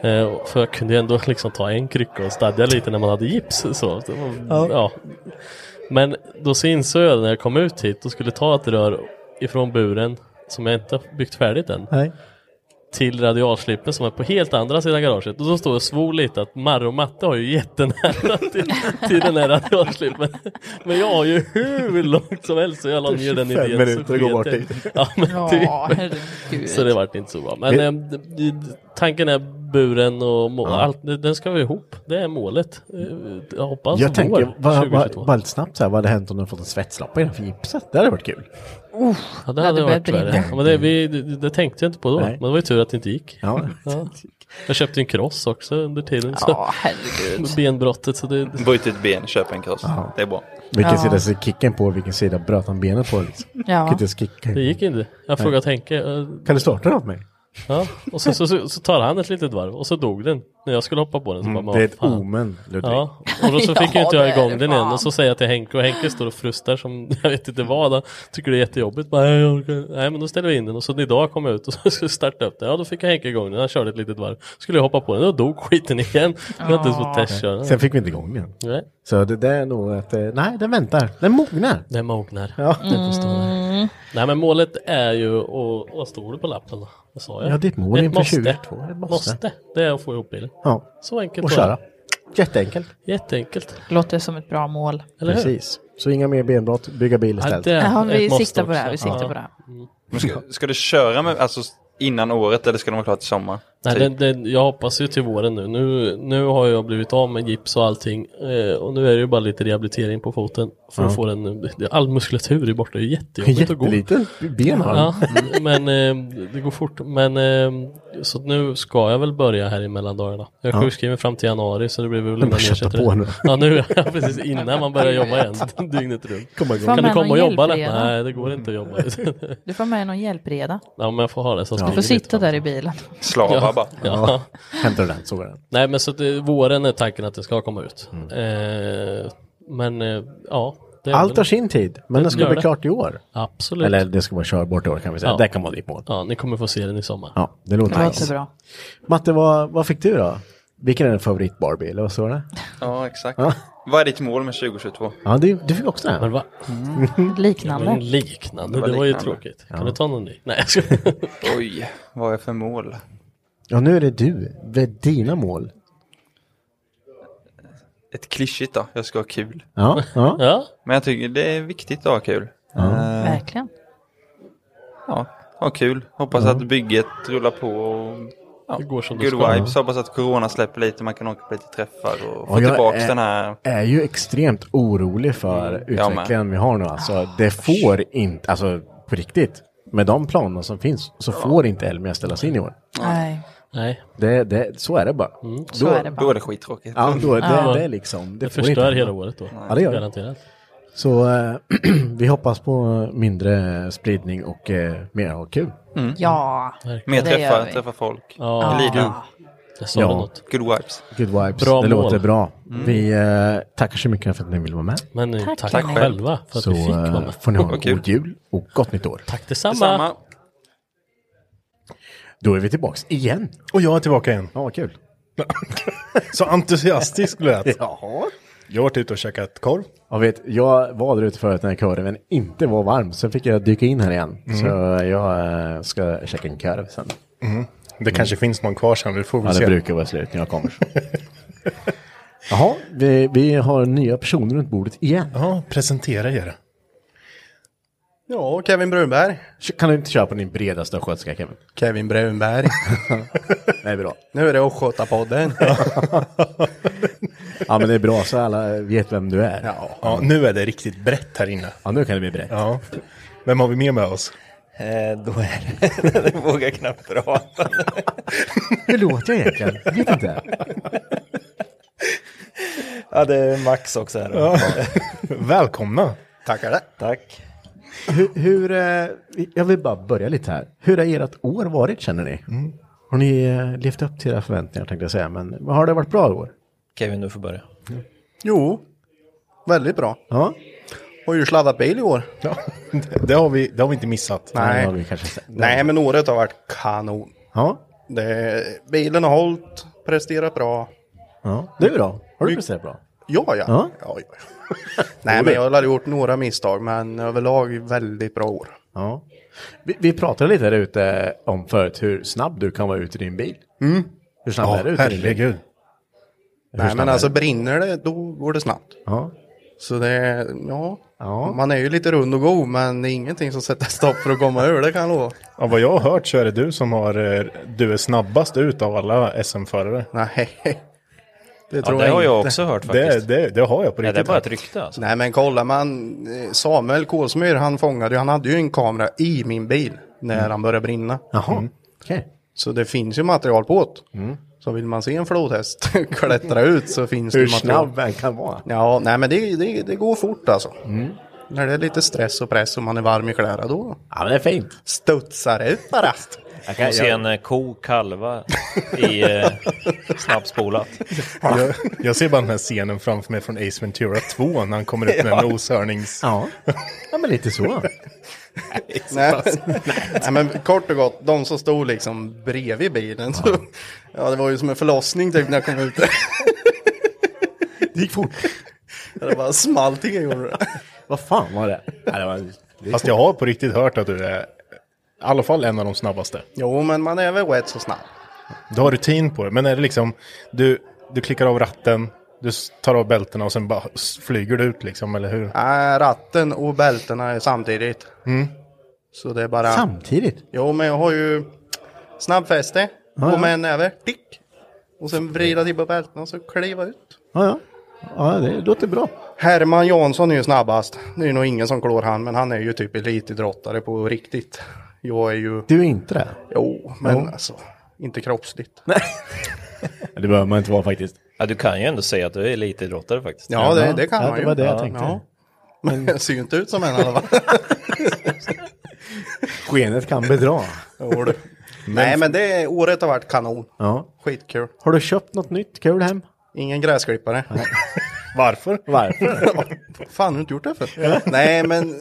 [SPEAKER 19] Eh, och för jag kunde ju ändå liksom ta en krycka och stadga lite när man hade gips. Så. Det var-
[SPEAKER 3] Ja.
[SPEAKER 19] Ja. Men då så insåg jag när jag kom ut hit och skulle ta ett rör ifrån buren som jag inte har byggt färdigt än
[SPEAKER 3] Nej.
[SPEAKER 19] till radialslippen som är på helt andra sidan garaget. Och då står jag och svor lite att Marre och Matte har ju jättenära till, till den här radialslippen. Men jag har ju hur långt som helst så jag la ner den
[SPEAKER 3] 25
[SPEAKER 19] idén.
[SPEAKER 3] minuter
[SPEAKER 19] så
[SPEAKER 3] att gå bort
[SPEAKER 19] sket
[SPEAKER 3] dit.
[SPEAKER 19] jag. Ja, men
[SPEAKER 3] Ja,
[SPEAKER 19] typ.
[SPEAKER 3] herregud.
[SPEAKER 19] Så det vart inte så bra. Men
[SPEAKER 3] Vi-
[SPEAKER 19] eh, d- d- tanken är buren och må-
[SPEAKER 3] Ja.
[SPEAKER 19] allt, den ska vara ihop. Det är målet. Eh, Jag hoppas
[SPEAKER 3] jag tänker,
[SPEAKER 19] vår
[SPEAKER 3] bara,
[SPEAKER 19] 2022.
[SPEAKER 3] bara, bara lite snabbt så här, vad hade hänt om du hade fått en svetslapp innanför gipset? Det hade varit kul.
[SPEAKER 19] Ja, det hade
[SPEAKER 3] hade börjat
[SPEAKER 19] varit värre.
[SPEAKER 3] brinna.
[SPEAKER 19] Ja, men det, vi, det, det tänkte jag inte på då.
[SPEAKER 3] Nej.
[SPEAKER 19] Men det var ju tur att det inte gick.
[SPEAKER 3] Ja.
[SPEAKER 19] Jag köpte ju en kross också under tiden. Så.
[SPEAKER 20] Ja, herregud.
[SPEAKER 19] Med Benbrottet. Så det...
[SPEAKER 20] Byt ut ben, köp en kross.
[SPEAKER 3] Ja.
[SPEAKER 20] Det är bra.
[SPEAKER 3] Vilken
[SPEAKER 19] Ja.
[SPEAKER 3] sida ser kicken på och vilken sida bröt han benet på? Liksom.
[SPEAKER 19] Ja.
[SPEAKER 3] Kan inte ens kicka.
[SPEAKER 19] det gick inte. Jag
[SPEAKER 3] Nej.
[SPEAKER 19] frågade Henke. eh,
[SPEAKER 3] Kan du starta den åt mig?
[SPEAKER 19] Ja, och så, så, så, så tar han ett litet varv och så dog den. När jag skulle hoppa på den så
[SPEAKER 3] Mm,
[SPEAKER 19] bara, men
[SPEAKER 3] det är
[SPEAKER 19] vad
[SPEAKER 3] ett
[SPEAKER 19] fan.
[SPEAKER 3] omen, Ludvig.
[SPEAKER 19] Ja, och då så fick
[SPEAKER 3] Ja,
[SPEAKER 19] ju inte
[SPEAKER 3] det
[SPEAKER 19] jag
[SPEAKER 3] är
[SPEAKER 19] igång
[SPEAKER 3] det
[SPEAKER 19] den igen
[SPEAKER 3] fan.
[SPEAKER 19] och så säger jag till Henke och Henke står och frustar som jag vet inte vad. Han tycker det är jättejobbigt. Bara, "Nej, jag orkar. Nej men då ställer vi in den och så idag kom jag ut och så skulle jag starta upp den. Ja då fick jag Henke igång den, han körde ett litet varv. Skulle jag hoppa på den, då dog skiten igen. Jag har inte ens
[SPEAKER 4] Ah,
[SPEAKER 19] fått testköra den.
[SPEAKER 3] Sen fick vi inte igång den.
[SPEAKER 19] Nej.
[SPEAKER 3] Så det där är nog att, eh, nej den väntar. Den mognar.
[SPEAKER 19] Den mognar.
[SPEAKER 3] Ja.
[SPEAKER 19] Den får stå där. Nej men målet är ju, och vad står det på lappen då? Vad sa jag?
[SPEAKER 3] Ja, ditt mål
[SPEAKER 19] Ett
[SPEAKER 3] inför
[SPEAKER 19] måste.
[SPEAKER 3] 2022, ett måste.
[SPEAKER 19] måste. Det är att få ihop bilen.
[SPEAKER 3] Ja.
[SPEAKER 19] Så enkelt
[SPEAKER 3] Och
[SPEAKER 19] var det.
[SPEAKER 3] köra. Jätteenkelt.
[SPEAKER 19] Jätteenkelt.
[SPEAKER 4] Låter som ett bra mål.
[SPEAKER 19] Eller hur?
[SPEAKER 3] Precis. Så inga mer benbrott, bygga bil
[SPEAKER 19] Ja,
[SPEAKER 3] istället.
[SPEAKER 19] det är
[SPEAKER 4] Ja, vi
[SPEAKER 19] ett måste
[SPEAKER 4] siktar på det här, vi
[SPEAKER 19] också.
[SPEAKER 4] siktar
[SPEAKER 19] Ja.
[SPEAKER 4] på det här.
[SPEAKER 20] Mm. Men ska, ska du köra med, alltså, innan året eller ska de vara klara till sommar?
[SPEAKER 19] Nej,
[SPEAKER 20] Typ.
[SPEAKER 19] den, den, jag hoppas ju till våren nu. nu. Nu har jag blivit av med gips och allting eh, och nu är det ju bara lite rehabilitering på foten för att
[SPEAKER 3] Ja.
[SPEAKER 19] få den. All muskulatur är borta, det är jättejobbigt att gå.
[SPEAKER 3] Jätteliten ben har
[SPEAKER 19] Ja,
[SPEAKER 3] han.
[SPEAKER 19] men eh, det går fort. Men eh, så att nu ska jag väl börja här i mellandagarna. Jag är
[SPEAKER 3] Ja.
[SPEAKER 19] sjukskriven fram till januari så det blir väl
[SPEAKER 3] Men bara kötta på nu.
[SPEAKER 19] Ja, nu, ja, precis innan man börjar jobba igen dygnet runt.
[SPEAKER 3] Komma
[SPEAKER 4] igång. Får
[SPEAKER 19] Kan du
[SPEAKER 4] man
[SPEAKER 19] komma
[SPEAKER 4] någon
[SPEAKER 19] och jobba?
[SPEAKER 4] hjälp
[SPEAKER 19] eller?
[SPEAKER 4] redan?
[SPEAKER 19] Nej, det går inte att jobba.
[SPEAKER 4] Du får med någon hjälpreda.
[SPEAKER 19] ja, men jag får ha det. Så
[SPEAKER 4] Du
[SPEAKER 19] springer
[SPEAKER 4] får
[SPEAKER 19] vi
[SPEAKER 4] sitta där i bilen.
[SPEAKER 19] Ja. Ja.
[SPEAKER 3] Hämtar du den, sågar den.
[SPEAKER 19] Nej
[SPEAKER 3] Mm.
[SPEAKER 19] men så att det, våren är tanken att det ska komma ut. Eh, men eh, ja, Det är
[SPEAKER 3] Allt
[SPEAKER 19] väl-
[SPEAKER 3] har sin tid, men den ska
[SPEAKER 19] gör
[SPEAKER 3] bli
[SPEAKER 19] det.
[SPEAKER 3] klart i år.
[SPEAKER 19] Absolut.
[SPEAKER 3] Eller det ska vara körbart i år kan vi säga.
[SPEAKER 19] Ja.
[SPEAKER 3] Det kan vara ditt mål.
[SPEAKER 19] Ja, ni kommer få se den i sommar.
[SPEAKER 3] Ja, det låter,
[SPEAKER 19] Det
[SPEAKER 3] bra.
[SPEAKER 19] låter bra.
[SPEAKER 3] Matte, vad, vad fick du då? Vilken är din favorit Barbie? Eller vad står det?
[SPEAKER 20] Ja, exakt.
[SPEAKER 3] Ja.
[SPEAKER 20] Vad är ditt mål med 2022?
[SPEAKER 3] Ja, du, du fick också det.
[SPEAKER 19] Men va?
[SPEAKER 3] Mm.
[SPEAKER 4] Liknande.
[SPEAKER 19] Det var liknande, det var, ju tråkigt. Kan du ta någon ny? Nej, jag skojar.
[SPEAKER 20] Oj, vad är jag för mål?
[SPEAKER 3] Ja, nu är det du. Vad är dina mål?
[SPEAKER 20] Ett klyschigt då, jag ska ha kul.
[SPEAKER 3] Ja, ja.
[SPEAKER 19] Ja.
[SPEAKER 20] Men jag tycker det är viktigt att ha kul.
[SPEAKER 3] Ja.
[SPEAKER 20] Eh,
[SPEAKER 4] Verkligen.
[SPEAKER 20] Ja, ha kul. Hoppas
[SPEAKER 19] Ja.
[SPEAKER 20] att bygget rullar på och ja,
[SPEAKER 19] Det går som det
[SPEAKER 20] good
[SPEAKER 19] ska.
[SPEAKER 20] vibes. Hoppas att corona släpper lite, man kan åka på lite träffar och få
[SPEAKER 3] Och jag
[SPEAKER 20] tillbaka
[SPEAKER 3] är,
[SPEAKER 20] den här.
[SPEAKER 3] är ju extremt orolig för
[SPEAKER 19] Mm.
[SPEAKER 20] jag
[SPEAKER 3] utvecklingen vi har nu. Alltså, det får inte, alltså på riktigt, med de planer som finns så får inte Elmia ställas in i år.
[SPEAKER 4] Nej.
[SPEAKER 19] Nej. Mm.
[SPEAKER 3] Det, det, så är det bara.
[SPEAKER 19] Så är det bara. Då är det skittråkigt.
[SPEAKER 3] Mm, Ja, då är det,
[SPEAKER 19] Ja.
[SPEAKER 3] det är liksom.
[SPEAKER 19] Det
[SPEAKER 3] får
[SPEAKER 19] förstör
[SPEAKER 3] inte
[SPEAKER 19] hela
[SPEAKER 3] hända.
[SPEAKER 19] året då.
[SPEAKER 3] Ja, det gör det.
[SPEAKER 19] Garanterat.
[SPEAKER 3] Så eh, vi hoppas på eh, mindre spridning och eh, mer ha kul.
[SPEAKER 20] Mm.
[SPEAKER 4] Ja,
[SPEAKER 20] Mer
[SPEAKER 4] det gör
[SPEAKER 20] träffar,
[SPEAKER 4] vi.
[SPEAKER 20] träffa folk.
[SPEAKER 19] Ja.
[SPEAKER 20] Lida.
[SPEAKER 19] Jag sa det något.
[SPEAKER 20] Good vibes.
[SPEAKER 3] Good vibes.
[SPEAKER 19] Bra
[SPEAKER 3] det
[SPEAKER 19] mål.
[SPEAKER 3] låter bra.
[SPEAKER 19] Mm.
[SPEAKER 3] Vi eh, tackar så mycket för att ni ville vara med.
[SPEAKER 19] Men ni Tack. tackar Tack själv. själva för att
[SPEAKER 3] så
[SPEAKER 19] vi fick vara
[SPEAKER 3] eh,
[SPEAKER 19] med.
[SPEAKER 3] får ni ha en
[SPEAKER 19] Vad kul.
[SPEAKER 3] god jul och gott nytt år.
[SPEAKER 19] Tack detsamma.
[SPEAKER 20] Detsamma.
[SPEAKER 3] Då är vi tillbaks igen.
[SPEAKER 2] Och jag är tillbaka igen.
[SPEAKER 3] Ja, vad kul.
[SPEAKER 2] Så entusiastisk lät.
[SPEAKER 3] Jaha.
[SPEAKER 2] Jag har varit ute och käkat korv.
[SPEAKER 3] Jag, vet, jag var där ute förut när korven inte var varm. Sen fick jag dyka in här igen.
[SPEAKER 2] Mm.
[SPEAKER 3] Så jag eh, ska käka en korv sen.
[SPEAKER 2] Mm. Det kanske finns någon kvar sen, vi får väl
[SPEAKER 3] Ja,
[SPEAKER 2] se.
[SPEAKER 3] det brukar vara slut när jag kommer. Jaha, vi, vi har nya personer runt bordet igen.
[SPEAKER 2] Ja, presentera er. Ja, Kevin Brunberg.
[SPEAKER 3] Kan du inte köra på din bredaste östgötska Kevin?
[SPEAKER 8] Kevin Brunberg.
[SPEAKER 3] det är bra.
[SPEAKER 8] Nu är det Östgötapodden.
[SPEAKER 3] Ja men det är bra så alla vet vem du är.
[SPEAKER 2] Ja, ja, nu är det riktigt brett här inne.
[SPEAKER 3] Ja, nu kan det bli brett.
[SPEAKER 2] Ja. Vem har vi med med oss?
[SPEAKER 8] Eh, då är det... Jag vågar knappt prata.
[SPEAKER 3] Hur låter jag egentligen? Jag vet inte.
[SPEAKER 8] Ja, det är Max också här.
[SPEAKER 2] Ja. Välkomna.
[SPEAKER 8] Tackar. Tack.
[SPEAKER 3] Hur, hur, eh, jag vill bara börja lite här. Hur har ert år varit känner ni? Har ni eh, levt upp till era förväntningar tänkte jag säga, men har det varit bra i år?
[SPEAKER 8] Kevin, du får börja.
[SPEAKER 3] Jo.
[SPEAKER 8] Väldigt bra.
[SPEAKER 3] Ja.
[SPEAKER 8] Har ju sladdat bil i år.
[SPEAKER 2] Ja, det, det, har vi, det har vi inte missat.
[SPEAKER 8] Nej.
[SPEAKER 2] Det
[SPEAKER 3] har vi kanske sett.
[SPEAKER 8] Nej, men året har varit kanon.
[SPEAKER 3] Ja.
[SPEAKER 8] Det, bilen har hållit, presterat bra.
[SPEAKER 3] Ja, det är bra. Har du presterat bra?
[SPEAKER 8] Ja, ja.
[SPEAKER 3] Ja.
[SPEAKER 8] ja. ja, Nej, men jag har väl gjort några misstag, men överlag väldigt bra år.
[SPEAKER 3] Ja. Vi, vi pratade lite där ute om förut hur snabb du kan vara ute i din bil.
[SPEAKER 8] Mm.
[SPEAKER 3] Hur snabb
[SPEAKER 8] Ja,
[SPEAKER 3] är du ute i din bil?
[SPEAKER 8] herregud.
[SPEAKER 3] Hur
[SPEAKER 8] Nej,
[SPEAKER 3] snabb
[SPEAKER 8] men
[SPEAKER 3] är
[SPEAKER 8] alltså
[SPEAKER 3] du?
[SPEAKER 8] brinner det, då går det snabbt.
[SPEAKER 3] Ja.
[SPEAKER 8] Så det, ja. Man är ju lite rund och god, men det är ingenting som sätter stopp för att komma ur, det kan jag lova.
[SPEAKER 2] Ja, vad jag har hört så är det du som har, eh, du är snabbast ut av alla SM-förare.
[SPEAKER 8] Nej.
[SPEAKER 2] Det
[SPEAKER 8] tror det jag har jag inte. också hört faktiskt.
[SPEAKER 2] Det, det, det har jag på riktigt. hört.
[SPEAKER 3] alltså.
[SPEAKER 8] Nej, men kolla man, eh, Samuel Kolsmyr, han fångade ju, han hade ju en kamera i min bil när
[SPEAKER 3] Mm.
[SPEAKER 8] han började brinna.
[SPEAKER 3] Jaha,
[SPEAKER 8] Mm.
[SPEAKER 3] okej.
[SPEAKER 8] Så det finns ju material på det.
[SPEAKER 3] Mm.
[SPEAKER 8] Så vill man se en flodhäst klättra ut så finns
[SPEAKER 3] Hur
[SPEAKER 8] det material.
[SPEAKER 3] snabb den kan vara.
[SPEAKER 8] Ja, nej men det, det, det går fort alltså.
[SPEAKER 3] Mm.
[SPEAKER 8] När det är lite stress och press och man är varm i kläderna då.
[SPEAKER 3] Ja, men det är fint.
[SPEAKER 8] Studsar ut bara.
[SPEAKER 21] Jag kan se en eh, ko kalva i eh, snabbspolat.
[SPEAKER 2] Jag, jag ser bara den här scenen framför mig från Ace Ventura 2 när han kommer upp med
[SPEAKER 8] Ja.
[SPEAKER 2] en noshörnings...
[SPEAKER 3] Ja. ja, men lite så.
[SPEAKER 8] Nej, men- nej men kort och gott, de som stod liksom bredvid bilen. Så, ja, det var ju som en förlossning typ när jag kom ut.
[SPEAKER 3] Det gick fort.
[SPEAKER 8] Det bara small till jag gjorde det.
[SPEAKER 3] Vad fan var det? det var,
[SPEAKER 2] Fast jag har på riktigt hört att du är i alla fall en av de snabbaste.
[SPEAKER 8] Jo, men man är väl rätt så snabb.
[SPEAKER 2] Du har rutin på det, men är det liksom du, du klickar av ratten, du tar av bältena och sen bara s- flyger du ut liksom, eller hur?
[SPEAKER 8] Nej, ratten och bältena är samtidigt.
[SPEAKER 2] Mm.
[SPEAKER 8] Så det är bara...
[SPEAKER 3] Samtidigt?
[SPEAKER 8] Jo, men jag har ju snabbfäste
[SPEAKER 3] Ja, ja.
[SPEAKER 8] och med en näve, tick. Och sen vrida till på bältena och så kliva ut.
[SPEAKER 3] Ja, ja. ja, det låter bra.
[SPEAKER 8] Herman Jansson är ju snabbast. Det är nog ingen som klår han, men han är ju typ elitidrottare på riktigt. Jag är ju...
[SPEAKER 3] Du är inte det?
[SPEAKER 8] Jo, men
[SPEAKER 3] Jo.
[SPEAKER 8] alltså, inte kroppsligt.
[SPEAKER 3] Det behöver man inte vara faktiskt.
[SPEAKER 21] Ja, du kan ju ändå säga att du är elitidrottare faktiskt.
[SPEAKER 8] Ja, det, det kan
[SPEAKER 3] ja,
[SPEAKER 8] man
[SPEAKER 3] det
[SPEAKER 8] ju.
[SPEAKER 3] var det jag
[SPEAKER 8] Ja,
[SPEAKER 3] tänkte.
[SPEAKER 8] ja. Men jag ser ju inte ut som en i alla fall.
[SPEAKER 3] Skenet kan bedra.
[SPEAKER 8] Jo, du. Nej, men det året har varit kanon.
[SPEAKER 3] Ja.
[SPEAKER 8] Skitkul.
[SPEAKER 3] Har du köpt något nytt kul hem?
[SPEAKER 8] Ingen gräsklippare.
[SPEAKER 2] Varför?
[SPEAKER 3] Varför?
[SPEAKER 8] Fan, har du inte gjort det för? Nej, men...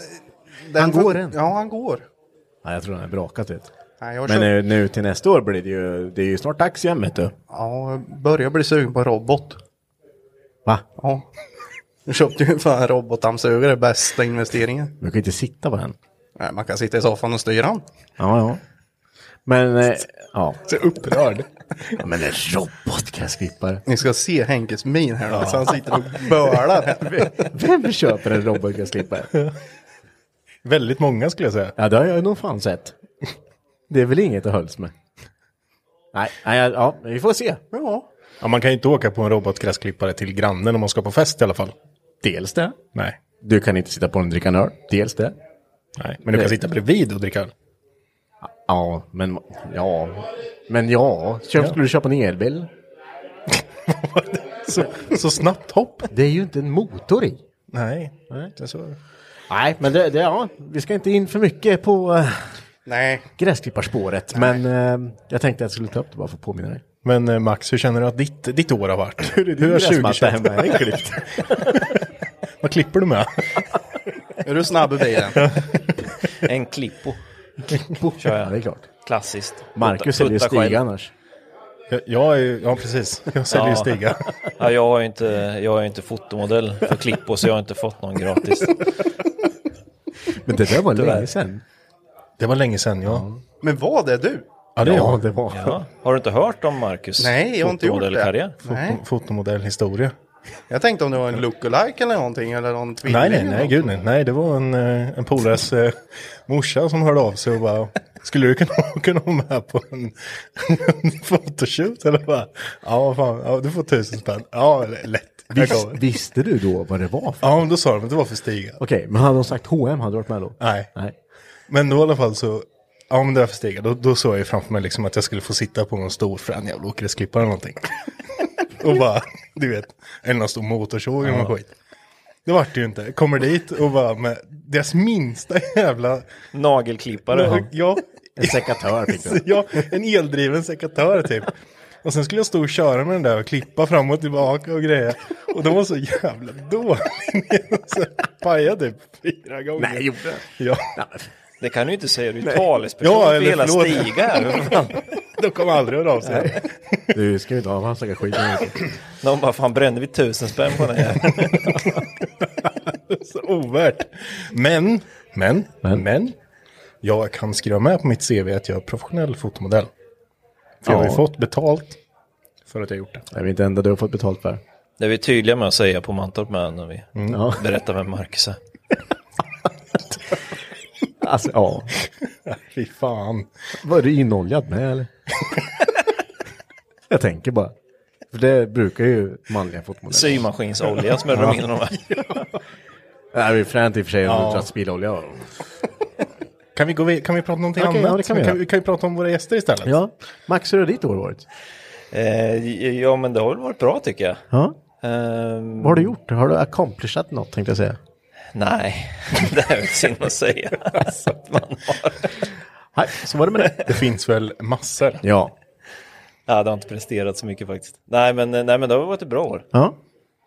[SPEAKER 8] den
[SPEAKER 3] Han
[SPEAKER 8] får-
[SPEAKER 3] går än.
[SPEAKER 8] Ja, han går.
[SPEAKER 3] Nej, jag tror den är brakat ut.
[SPEAKER 8] Nej, jag har
[SPEAKER 3] Men
[SPEAKER 8] kört-
[SPEAKER 3] nu, nu till nästa år blir det ju, det är ju snart dags igen vet du.
[SPEAKER 8] Ja, jag börjar bli sugen på robot.
[SPEAKER 3] Va?
[SPEAKER 8] Ja. Jag köpte ju fan en robotdammsugare, bästa investeringen.
[SPEAKER 3] Du kan ju inte sitta på den.
[SPEAKER 8] Nej, man kan sitta i soffan och styra den.
[SPEAKER 3] Ja, ja. Men, eh, ja.
[SPEAKER 8] Så upprörd.
[SPEAKER 3] Ja, Men en robot kan jag skippa det.
[SPEAKER 8] Ni ska se Henkes min här nu,
[SPEAKER 3] Ja.
[SPEAKER 8] så han sitter och bölar här.
[SPEAKER 3] Vem köper en robot kan jag skippa det?
[SPEAKER 2] Väldigt många skulle jag säga.
[SPEAKER 3] Ja, det har jag nog fan sett. Det är väl inget att hölls med. Nej, nej ja, men vi får se. Ja.
[SPEAKER 2] Ja, man kan ju inte åka på en robotgräsklippare till grannen om man ska på fest i alla fall.
[SPEAKER 3] Dels det.
[SPEAKER 2] Nej.
[SPEAKER 3] Du kan inte sitta på den och dricka en öl. Dels det.
[SPEAKER 2] Nej, men du kan sitta bredvid och dricka öl.
[SPEAKER 3] Ja, men ja. Men ja, köp,
[SPEAKER 2] Ja.
[SPEAKER 3] skulle du köpa en elbil?
[SPEAKER 2] så, så snabbt hopp.
[SPEAKER 3] Det är ju inte en motor i.
[SPEAKER 2] Nej, nej. Det är så.
[SPEAKER 3] Nej, men det, det ja, vi ska inte in för mycket på eh,
[SPEAKER 8] Nej.
[SPEAKER 3] gräsklipparspåret. Men eh, jag tänkte att jag skulle ta upp det bara för att påminna dig.
[SPEAKER 2] Men eh, Max, hur känner du att ditt, ditt år har varit? Hur,
[SPEAKER 3] din gräsmatta hemma?
[SPEAKER 2] Jag har klippt. Vad klipper du med?
[SPEAKER 8] Är du snabb i bilen?
[SPEAKER 21] En klippo.
[SPEAKER 3] Klippo.
[SPEAKER 21] Kör jag.
[SPEAKER 3] Ja, det är klart.
[SPEAKER 21] Klassiskt.
[SPEAKER 3] Marcus
[SPEAKER 21] Putta-
[SPEAKER 3] säljer
[SPEAKER 21] putta
[SPEAKER 3] Stiga
[SPEAKER 21] själv.
[SPEAKER 3] annars.
[SPEAKER 2] Jag, jag är, ja, precis. Jag säljer ju Stiga.
[SPEAKER 21] Ja, jag är ju inte, jag är inte fotomodell för klippo så jag har inte fått någon gratis.
[SPEAKER 3] Men det där var
[SPEAKER 21] Tyvärr.
[SPEAKER 3] länge sedan.
[SPEAKER 2] Det var länge sedan, ja.
[SPEAKER 8] Men vad är du?
[SPEAKER 2] Ja, det,
[SPEAKER 21] Ja,
[SPEAKER 3] det var.
[SPEAKER 21] Ja. Har du inte hört om Marcus?
[SPEAKER 8] Nej, jag har inte gjort det.
[SPEAKER 21] fotomodellkarriär?
[SPEAKER 8] Nej.
[SPEAKER 2] Foto, fotomodellhistoria.
[SPEAKER 8] Jag tänkte om det var en lookalike eller någonting, eller någon tvilling.
[SPEAKER 2] Nej, nej,
[SPEAKER 8] eller
[SPEAKER 2] nej,
[SPEAKER 8] något.
[SPEAKER 2] gud nej. nej det var en, eh, en polares eh, morsa som hörde av sig och bara, skulle du kunna, kunna vara med på en, en fotoshoot? Eller bara, ja, fan, ja, du får tusen spänn. Ja, l- lätt. Jag
[SPEAKER 3] Vis,
[SPEAKER 2] kommer.
[SPEAKER 3] visste du då vad det var? för?
[SPEAKER 2] Ja, men då sa de att det var för Stiga.
[SPEAKER 3] Okej, men hade de sagt H&M hade du varit med då?
[SPEAKER 2] Nej. Men då i alla fall så, ja men det var för Stiga, då, då såg jag ju framför mig liksom att jag skulle få sitta på någon stor frän jävla åkersklippare eller någonting. och bara, du vet, en någon stor motorsåg eller
[SPEAKER 21] Ja.
[SPEAKER 2] något skit. Det vart det ju inte. Kommer dit och bara med deras minsta jävla...
[SPEAKER 21] Nagelklippare.
[SPEAKER 2] Ja.
[SPEAKER 3] En sekatör
[SPEAKER 2] fick du. Ja, en eldriven sekatör typ. Och sen skulle jag stå och köra med den där och klippa fram och tillbaka och grejer. Och den var så jävla dålig. Så pajade typ fyra gånger.
[SPEAKER 21] Nej, gjorde
[SPEAKER 2] Ja.
[SPEAKER 21] Det kan du inte säga, du är
[SPEAKER 2] Nej.
[SPEAKER 21] talesperson
[SPEAKER 2] Ja,
[SPEAKER 21] för
[SPEAKER 2] eller
[SPEAKER 21] hela
[SPEAKER 2] förlåt.
[SPEAKER 21] Stiga. här.
[SPEAKER 2] De kommer aldrig höra av sig.
[SPEAKER 3] Du ska ju inte ha en massa skit.
[SPEAKER 21] De bara, fan brände vi tusen spänn på den här?
[SPEAKER 2] så ovärt. Men, men, men, Jag kan skriva med på mitt CV att jag är professionell fotomodell. För jag har ju
[SPEAKER 21] Ja.
[SPEAKER 2] fått betalt för att jag gjort det.
[SPEAKER 3] Det är väl inte det enda du har fått betalt för.
[SPEAKER 21] Det är vi tydliga med att säga på Mantorp med när vi
[SPEAKER 3] Mm. Ja.
[SPEAKER 21] berättar vem Marcus är.
[SPEAKER 3] Alltså, ja.
[SPEAKER 2] Fy fan.
[SPEAKER 3] Var du inoljad med eller? jag tänker bara. För det brukar ju manliga fotmodeller.
[SPEAKER 21] Symaskinsolja smörjer de in honom med.
[SPEAKER 3] Det är ju fränt i och för sig om
[SPEAKER 2] Ja.
[SPEAKER 3] du drar spillolja.
[SPEAKER 2] Kan vi, gå vid, kan vi prata om någonting
[SPEAKER 3] Okej,
[SPEAKER 2] annat?
[SPEAKER 3] ja, det kan vi göra.
[SPEAKER 2] kan, ju prata om våra gäster istället.
[SPEAKER 3] Ja. Max, hur har ditt år varit?
[SPEAKER 21] Eh, ja, men det har väl varit bra tycker jag.
[SPEAKER 3] Ja.
[SPEAKER 21] Ehm,
[SPEAKER 3] Vad har du gjort? Har du accomplishat något tänkte jag säga.
[SPEAKER 21] Nej, det är väl synd att säga. Alltså, att man har.
[SPEAKER 3] Nej, så var det med det.
[SPEAKER 2] Det finns väl massor.
[SPEAKER 3] Ja.
[SPEAKER 21] Ja, det har inte presterat så mycket faktiskt. Nej, men, nej, men det har varit ett bra år.
[SPEAKER 3] Ja.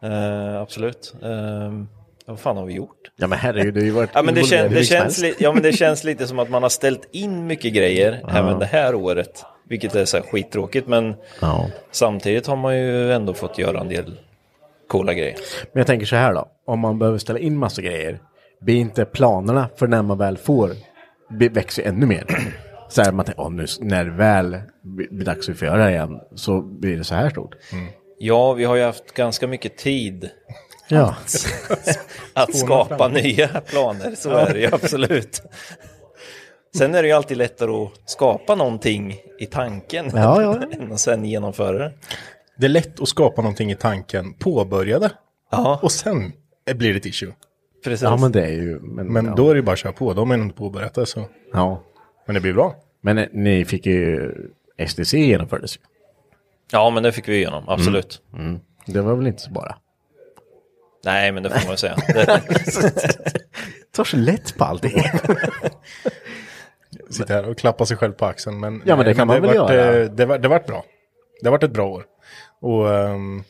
[SPEAKER 21] Eh, absolut. Ehm, vad fan har vi gjort?
[SPEAKER 3] Ja men herregud, du har ju varit
[SPEAKER 21] Ja men, det
[SPEAKER 3] involverad
[SPEAKER 21] kän,
[SPEAKER 3] i
[SPEAKER 21] det
[SPEAKER 3] hur som
[SPEAKER 21] känns
[SPEAKER 3] helst.
[SPEAKER 21] li, ja, men det känns lite som att man har ställt in mycket grejer
[SPEAKER 3] Ja.
[SPEAKER 21] även det här året. Vilket är så här skittråkigt, men
[SPEAKER 3] Ja.
[SPEAKER 21] samtidigt har man ju ändå fått göra en del coola grejer.
[SPEAKER 3] Men jag tänker så här då, om man behöver ställa in massa grejer, blir inte planerna för när man väl får, be- växer ju ännu mer. Så här, man tänker, åh, nu, när det väl blir blir dags att få göra det igen, så blir det så här stort.
[SPEAKER 21] Ja, vi har ju haft ganska mycket tid
[SPEAKER 3] Ja.
[SPEAKER 21] att, att skapa
[SPEAKER 3] fram.
[SPEAKER 21] nya planer, så
[SPEAKER 3] Ja.
[SPEAKER 21] är det ju absolut. Sen är det ju alltid lättare att skapa någonting i tanken
[SPEAKER 2] Ja, ja,
[SPEAKER 21] än att sen genomföra det.
[SPEAKER 2] Det är lätt att skapa någonting i tanken, påbörja det. Och sen blir det ett issue.
[SPEAKER 21] Precis.
[SPEAKER 3] Ja men det är ju... Men,
[SPEAKER 2] Men
[SPEAKER 3] ja.
[SPEAKER 2] då är det ju bara att köra på. De har ju inte påbörjat det så.
[SPEAKER 3] Ja.
[SPEAKER 2] Men det blir bra.
[SPEAKER 3] Men eh, ni fick ju, SDC genomfördes ju.
[SPEAKER 21] Ja, men det fick vi igenom, absolut.
[SPEAKER 3] Mm. Mm. Det var väl inte så bara.
[SPEAKER 21] Nej, men det får man ju säga. Det-
[SPEAKER 3] Tar så lätt på allting.
[SPEAKER 2] Sitter här och klappar sig själv på axeln. Men,
[SPEAKER 3] Ja, men det kan man väl
[SPEAKER 2] vart,
[SPEAKER 3] göra.
[SPEAKER 2] eh, Det, var, det vart bra. Det vart ett bra år. Och ehm,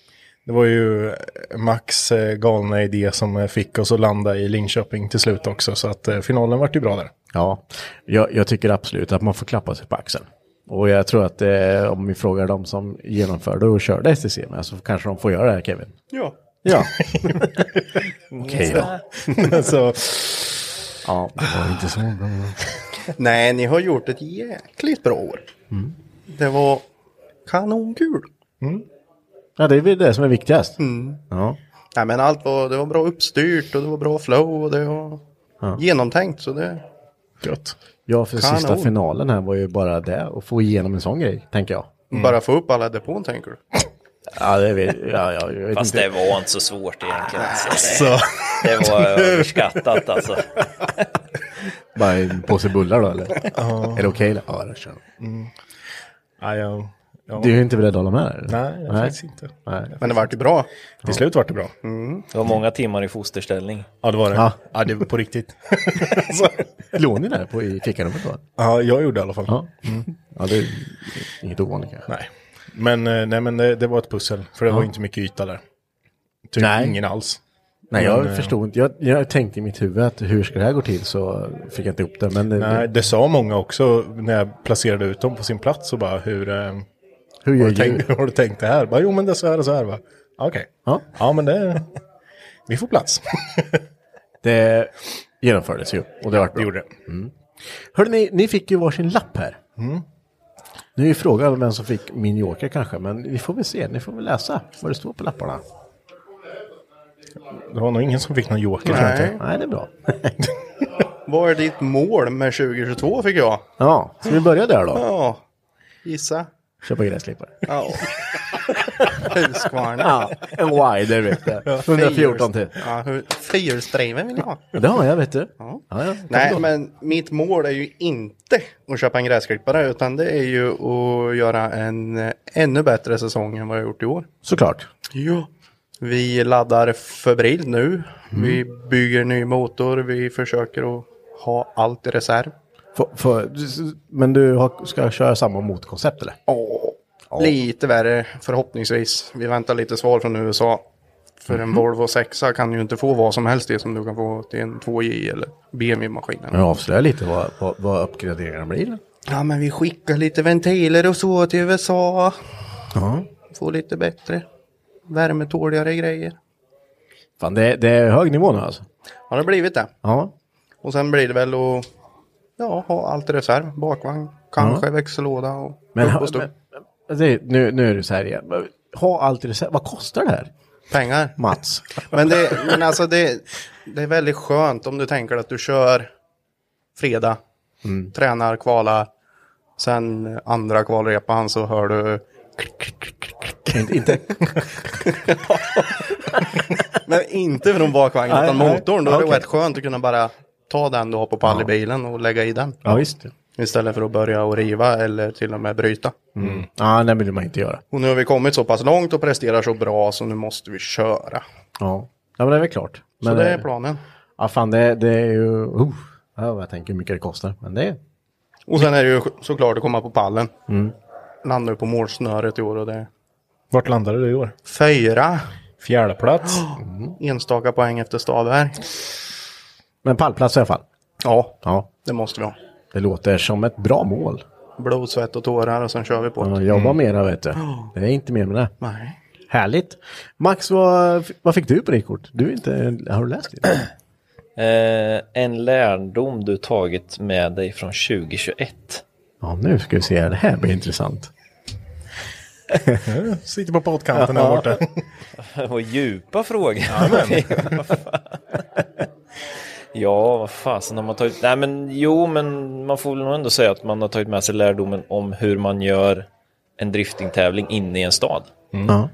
[SPEAKER 2] Det var ju Max eh, galna idé som eh, fick oss att landa i Linköping till slut också. Så att eh, finalen vart ju bra där.
[SPEAKER 3] Ja, jag, jag tycker absolut att man får klappa sig på axeln. Och jag tror att eh, om vi frågar de som genomförde och körde STC med så kanske de får göra det här Kevin.
[SPEAKER 8] Ja.
[SPEAKER 3] Ja. Okej då.
[SPEAKER 2] så.
[SPEAKER 3] Ja, det var inte så bra.
[SPEAKER 8] Nej, ni har gjort ett jäkligt bra år.
[SPEAKER 3] Mm.
[SPEAKER 8] Det var kanonkul.
[SPEAKER 3] Mm. Ja, det är väl det som är viktigast.
[SPEAKER 8] Mm.
[SPEAKER 3] Ja.
[SPEAKER 8] Nej, men allt var, det var bra uppstyrt och det var bra flow och det var
[SPEAKER 3] Ja.
[SPEAKER 8] genomtänkt. Så det,
[SPEAKER 2] Gött.
[SPEAKER 3] Ja, för
[SPEAKER 8] Kanon.
[SPEAKER 3] sista finalen här var ju bara det, att få igenom en sån grej, tänker jag.
[SPEAKER 8] Mm. Bara få upp alla depån tänker du?
[SPEAKER 3] Ja, det vet, ja, ja, jag vet
[SPEAKER 21] Fast
[SPEAKER 3] inte.
[SPEAKER 21] det var inte så svårt egentligen.
[SPEAKER 3] Alltså.
[SPEAKER 21] Alltså. Det, det var överskattat alltså.
[SPEAKER 3] Bara en påse bullar då, eller?
[SPEAKER 2] Ja.
[SPEAKER 3] Är det okej? då? ja, det kör vi.
[SPEAKER 2] Mm. Ja, jag, jag...
[SPEAKER 3] Du är inte beredd att hålla med? Eller?
[SPEAKER 2] Nej, jag faktiskt inte.
[SPEAKER 3] Nej.
[SPEAKER 8] Men det vart ju bra.
[SPEAKER 2] Till slut vart det bra.
[SPEAKER 21] Mm. Det var många timmar i fosterställning.
[SPEAKER 2] Ja, det var det.
[SPEAKER 3] Ja.
[SPEAKER 2] Ja, det var på riktigt.
[SPEAKER 3] Låg ni där på, i fikarummet då?
[SPEAKER 2] Ja, jag gjorde i alla fall.
[SPEAKER 3] Ja, Mm. ja det är inget ovanligt kanske.
[SPEAKER 2] Nej. Men, eh, nej, men det, det var ett pussel, för det
[SPEAKER 3] Ja.
[SPEAKER 2] var inte mycket yta där. Typ
[SPEAKER 3] Nej.
[SPEAKER 2] ingen alls.
[SPEAKER 3] Nej,
[SPEAKER 2] Men,
[SPEAKER 3] jag
[SPEAKER 2] eh,
[SPEAKER 3] förstod inte. Jag, jag tänkte i mitt huvud att hur ska det här gå till så fick jag inte ihop det. Men det,
[SPEAKER 2] Nej, det sa många också när jag placerade ut dem på sin plats och bara hur... eh,
[SPEAKER 3] Hur
[SPEAKER 2] har,
[SPEAKER 3] gör
[SPEAKER 2] du tänkt,
[SPEAKER 3] djur?
[SPEAKER 2] har du tänkt det här? Bara, jo men det är så här och så här va? Ja, Okej.
[SPEAKER 3] Ja.
[SPEAKER 2] ja men det... Vi får plats.
[SPEAKER 3] det genomfördes ju och det vart bra.
[SPEAKER 2] Det gjorde det. Mm.
[SPEAKER 3] Mm. Hörrni, ni fick ju varsin lapp här. Nu är frågan vem som fick min joker kanske, men vi får väl se. Ni får väl läsa vad det står på lapparna.
[SPEAKER 2] Det var nog ingen som fick någon joker.
[SPEAKER 8] Nej.
[SPEAKER 2] tror jag inte.
[SPEAKER 3] Nej, det är bra.
[SPEAKER 8] Vad är ditt mål med 2022 fick jag?
[SPEAKER 3] Ja, ska vi börja där då?
[SPEAKER 8] Ja, gissa.
[SPEAKER 3] Köpa gräsklippare.
[SPEAKER 8] Ja. Husqvarna.
[SPEAKER 3] Ja, en wider vet du. 114 till.
[SPEAKER 8] Ja, hur- Fyrhjulsdriven vill jag ha.
[SPEAKER 3] Ja, Det har jag vet du.
[SPEAKER 8] Ja.
[SPEAKER 3] Ja, ja.
[SPEAKER 8] Nej, men mitt mål är ju inte att köpa en gräsklippare utan det är ju att göra en eh, ännu bättre säsong än vad jag gjort i år.
[SPEAKER 3] Såklart.
[SPEAKER 8] Ja. Vi laddar febrilt nu. Vi bygger ny motor. Vi försöker att ha allt i reserv.
[SPEAKER 3] Får- får- du- men du har, ska köra samma motkoncept eller?
[SPEAKER 8] Lite värre förhoppningsvis. Vi väntar lite svar från USA. För en Volvo 6 kan ju inte få vad som helst det som du kan få till en 2J eller BMW-maskinen.
[SPEAKER 3] Men avslöja lite vad, vad, vad uppgraderingen blir.
[SPEAKER 8] Ja, men vi skickar lite ventiler och så till USA.
[SPEAKER 3] Ja.
[SPEAKER 8] Få lite bättre, värmetåligare grejer.
[SPEAKER 3] Fan, det, det är hög nivå nu alltså.
[SPEAKER 8] Har det blivit det.
[SPEAKER 3] Ja.
[SPEAKER 8] Och sen blir det väl att ja, ha allt i reserv. Bakvagn, kanske växellåda och
[SPEAKER 3] Men,
[SPEAKER 8] upp och stupp.
[SPEAKER 3] men det, nu, nu är det så här igen. Ha allt i reserv. Vad kostar det här?
[SPEAKER 8] Pengar.
[SPEAKER 3] Mats.
[SPEAKER 8] Men, det, men alltså det, det är väldigt skönt om du tänker att du kör fredag,
[SPEAKER 3] Mm.
[SPEAKER 8] tränar, kvalar. Sen andra kvalrepan så hör du
[SPEAKER 3] inte, inte.
[SPEAKER 8] Men inte från bakvagnen
[SPEAKER 3] Nej,
[SPEAKER 8] utan
[SPEAKER 3] nej.
[SPEAKER 8] motorn. Då är det
[SPEAKER 3] Okej.
[SPEAKER 8] rätt skönt att kunna bara ta den du har på pall i bilen och lägga i den.
[SPEAKER 3] Ja, visst.
[SPEAKER 8] Istället för att börja och riva eller till och med bryta.
[SPEAKER 3] Mm. Ja, det vill man inte göra.
[SPEAKER 8] Och nu har vi kommit så pass långt och presterar så bra så nu måste vi köra.
[SPEAKER 3] Ja, ja men det är väl klart. Men,
[SPEAKER 8] så det är
[SPEAKER 3] eh,
[SPEAKER 8] planen.
[SPEAKER 3] Ja, fan det, det är ju... Uh, ja, jag tänker hur mycket det kostar. Men det är...
[SPEAKER 8] Och sen är det ju såklart att komma på pallen.
[SPEAKER 3] Mm.
[SPEAKER 8] Landar ju på målsnöret i år och det
[SPEAKER 2] Vart landade du i år?
[SPEAKER 8] Fyra.
[SPEAKER 2] Fjärde plats.
[SPEAKER 8] Enstaka poäng efter Stadberg.
[SPEAKER 3] Men pallplats i alla fall.
[SPEAKER 8] Ja,
[SPEAKER 3] Ja,
[SPEAKER 8] det måste vi ha.
[SPEAKER 3] det låter som ett bra mål.
[SPEAKER 8] Blod, svett och tårar och sen kör vi på Mm.
[SPEAKER 3] Ja,
[SPEAKER 8] det.
[SPEAKER 3] jobba mera vet du. Det är inte mer med det.
[SPEAKER 8] Nej.
[SPEAKER 3] Härligt. Max, vad, vad fick du på ditt kort? Du är inte, har du läst det?
[SPEAKER 21] Eh, en lärdom du tagit med dig från 2021.
[SPEAKER 3] Ja, nu ska vi se. Det här blir intressant.
[SPEAKER 2] Sitter på poddkanten här borta.
[SPEAKER 21] Vad djupa frågor.
[SPEAKER 2] Jajamän.
[SPEAKER 21] Vad fan. ja, vad fasen har man tagit? Nej, men jo, men man får väl nog ändå säga att man har tagit med sig lärdomen om hur man gör en driftingtävling inne i en stad.
[SPEAKER 3] Ja.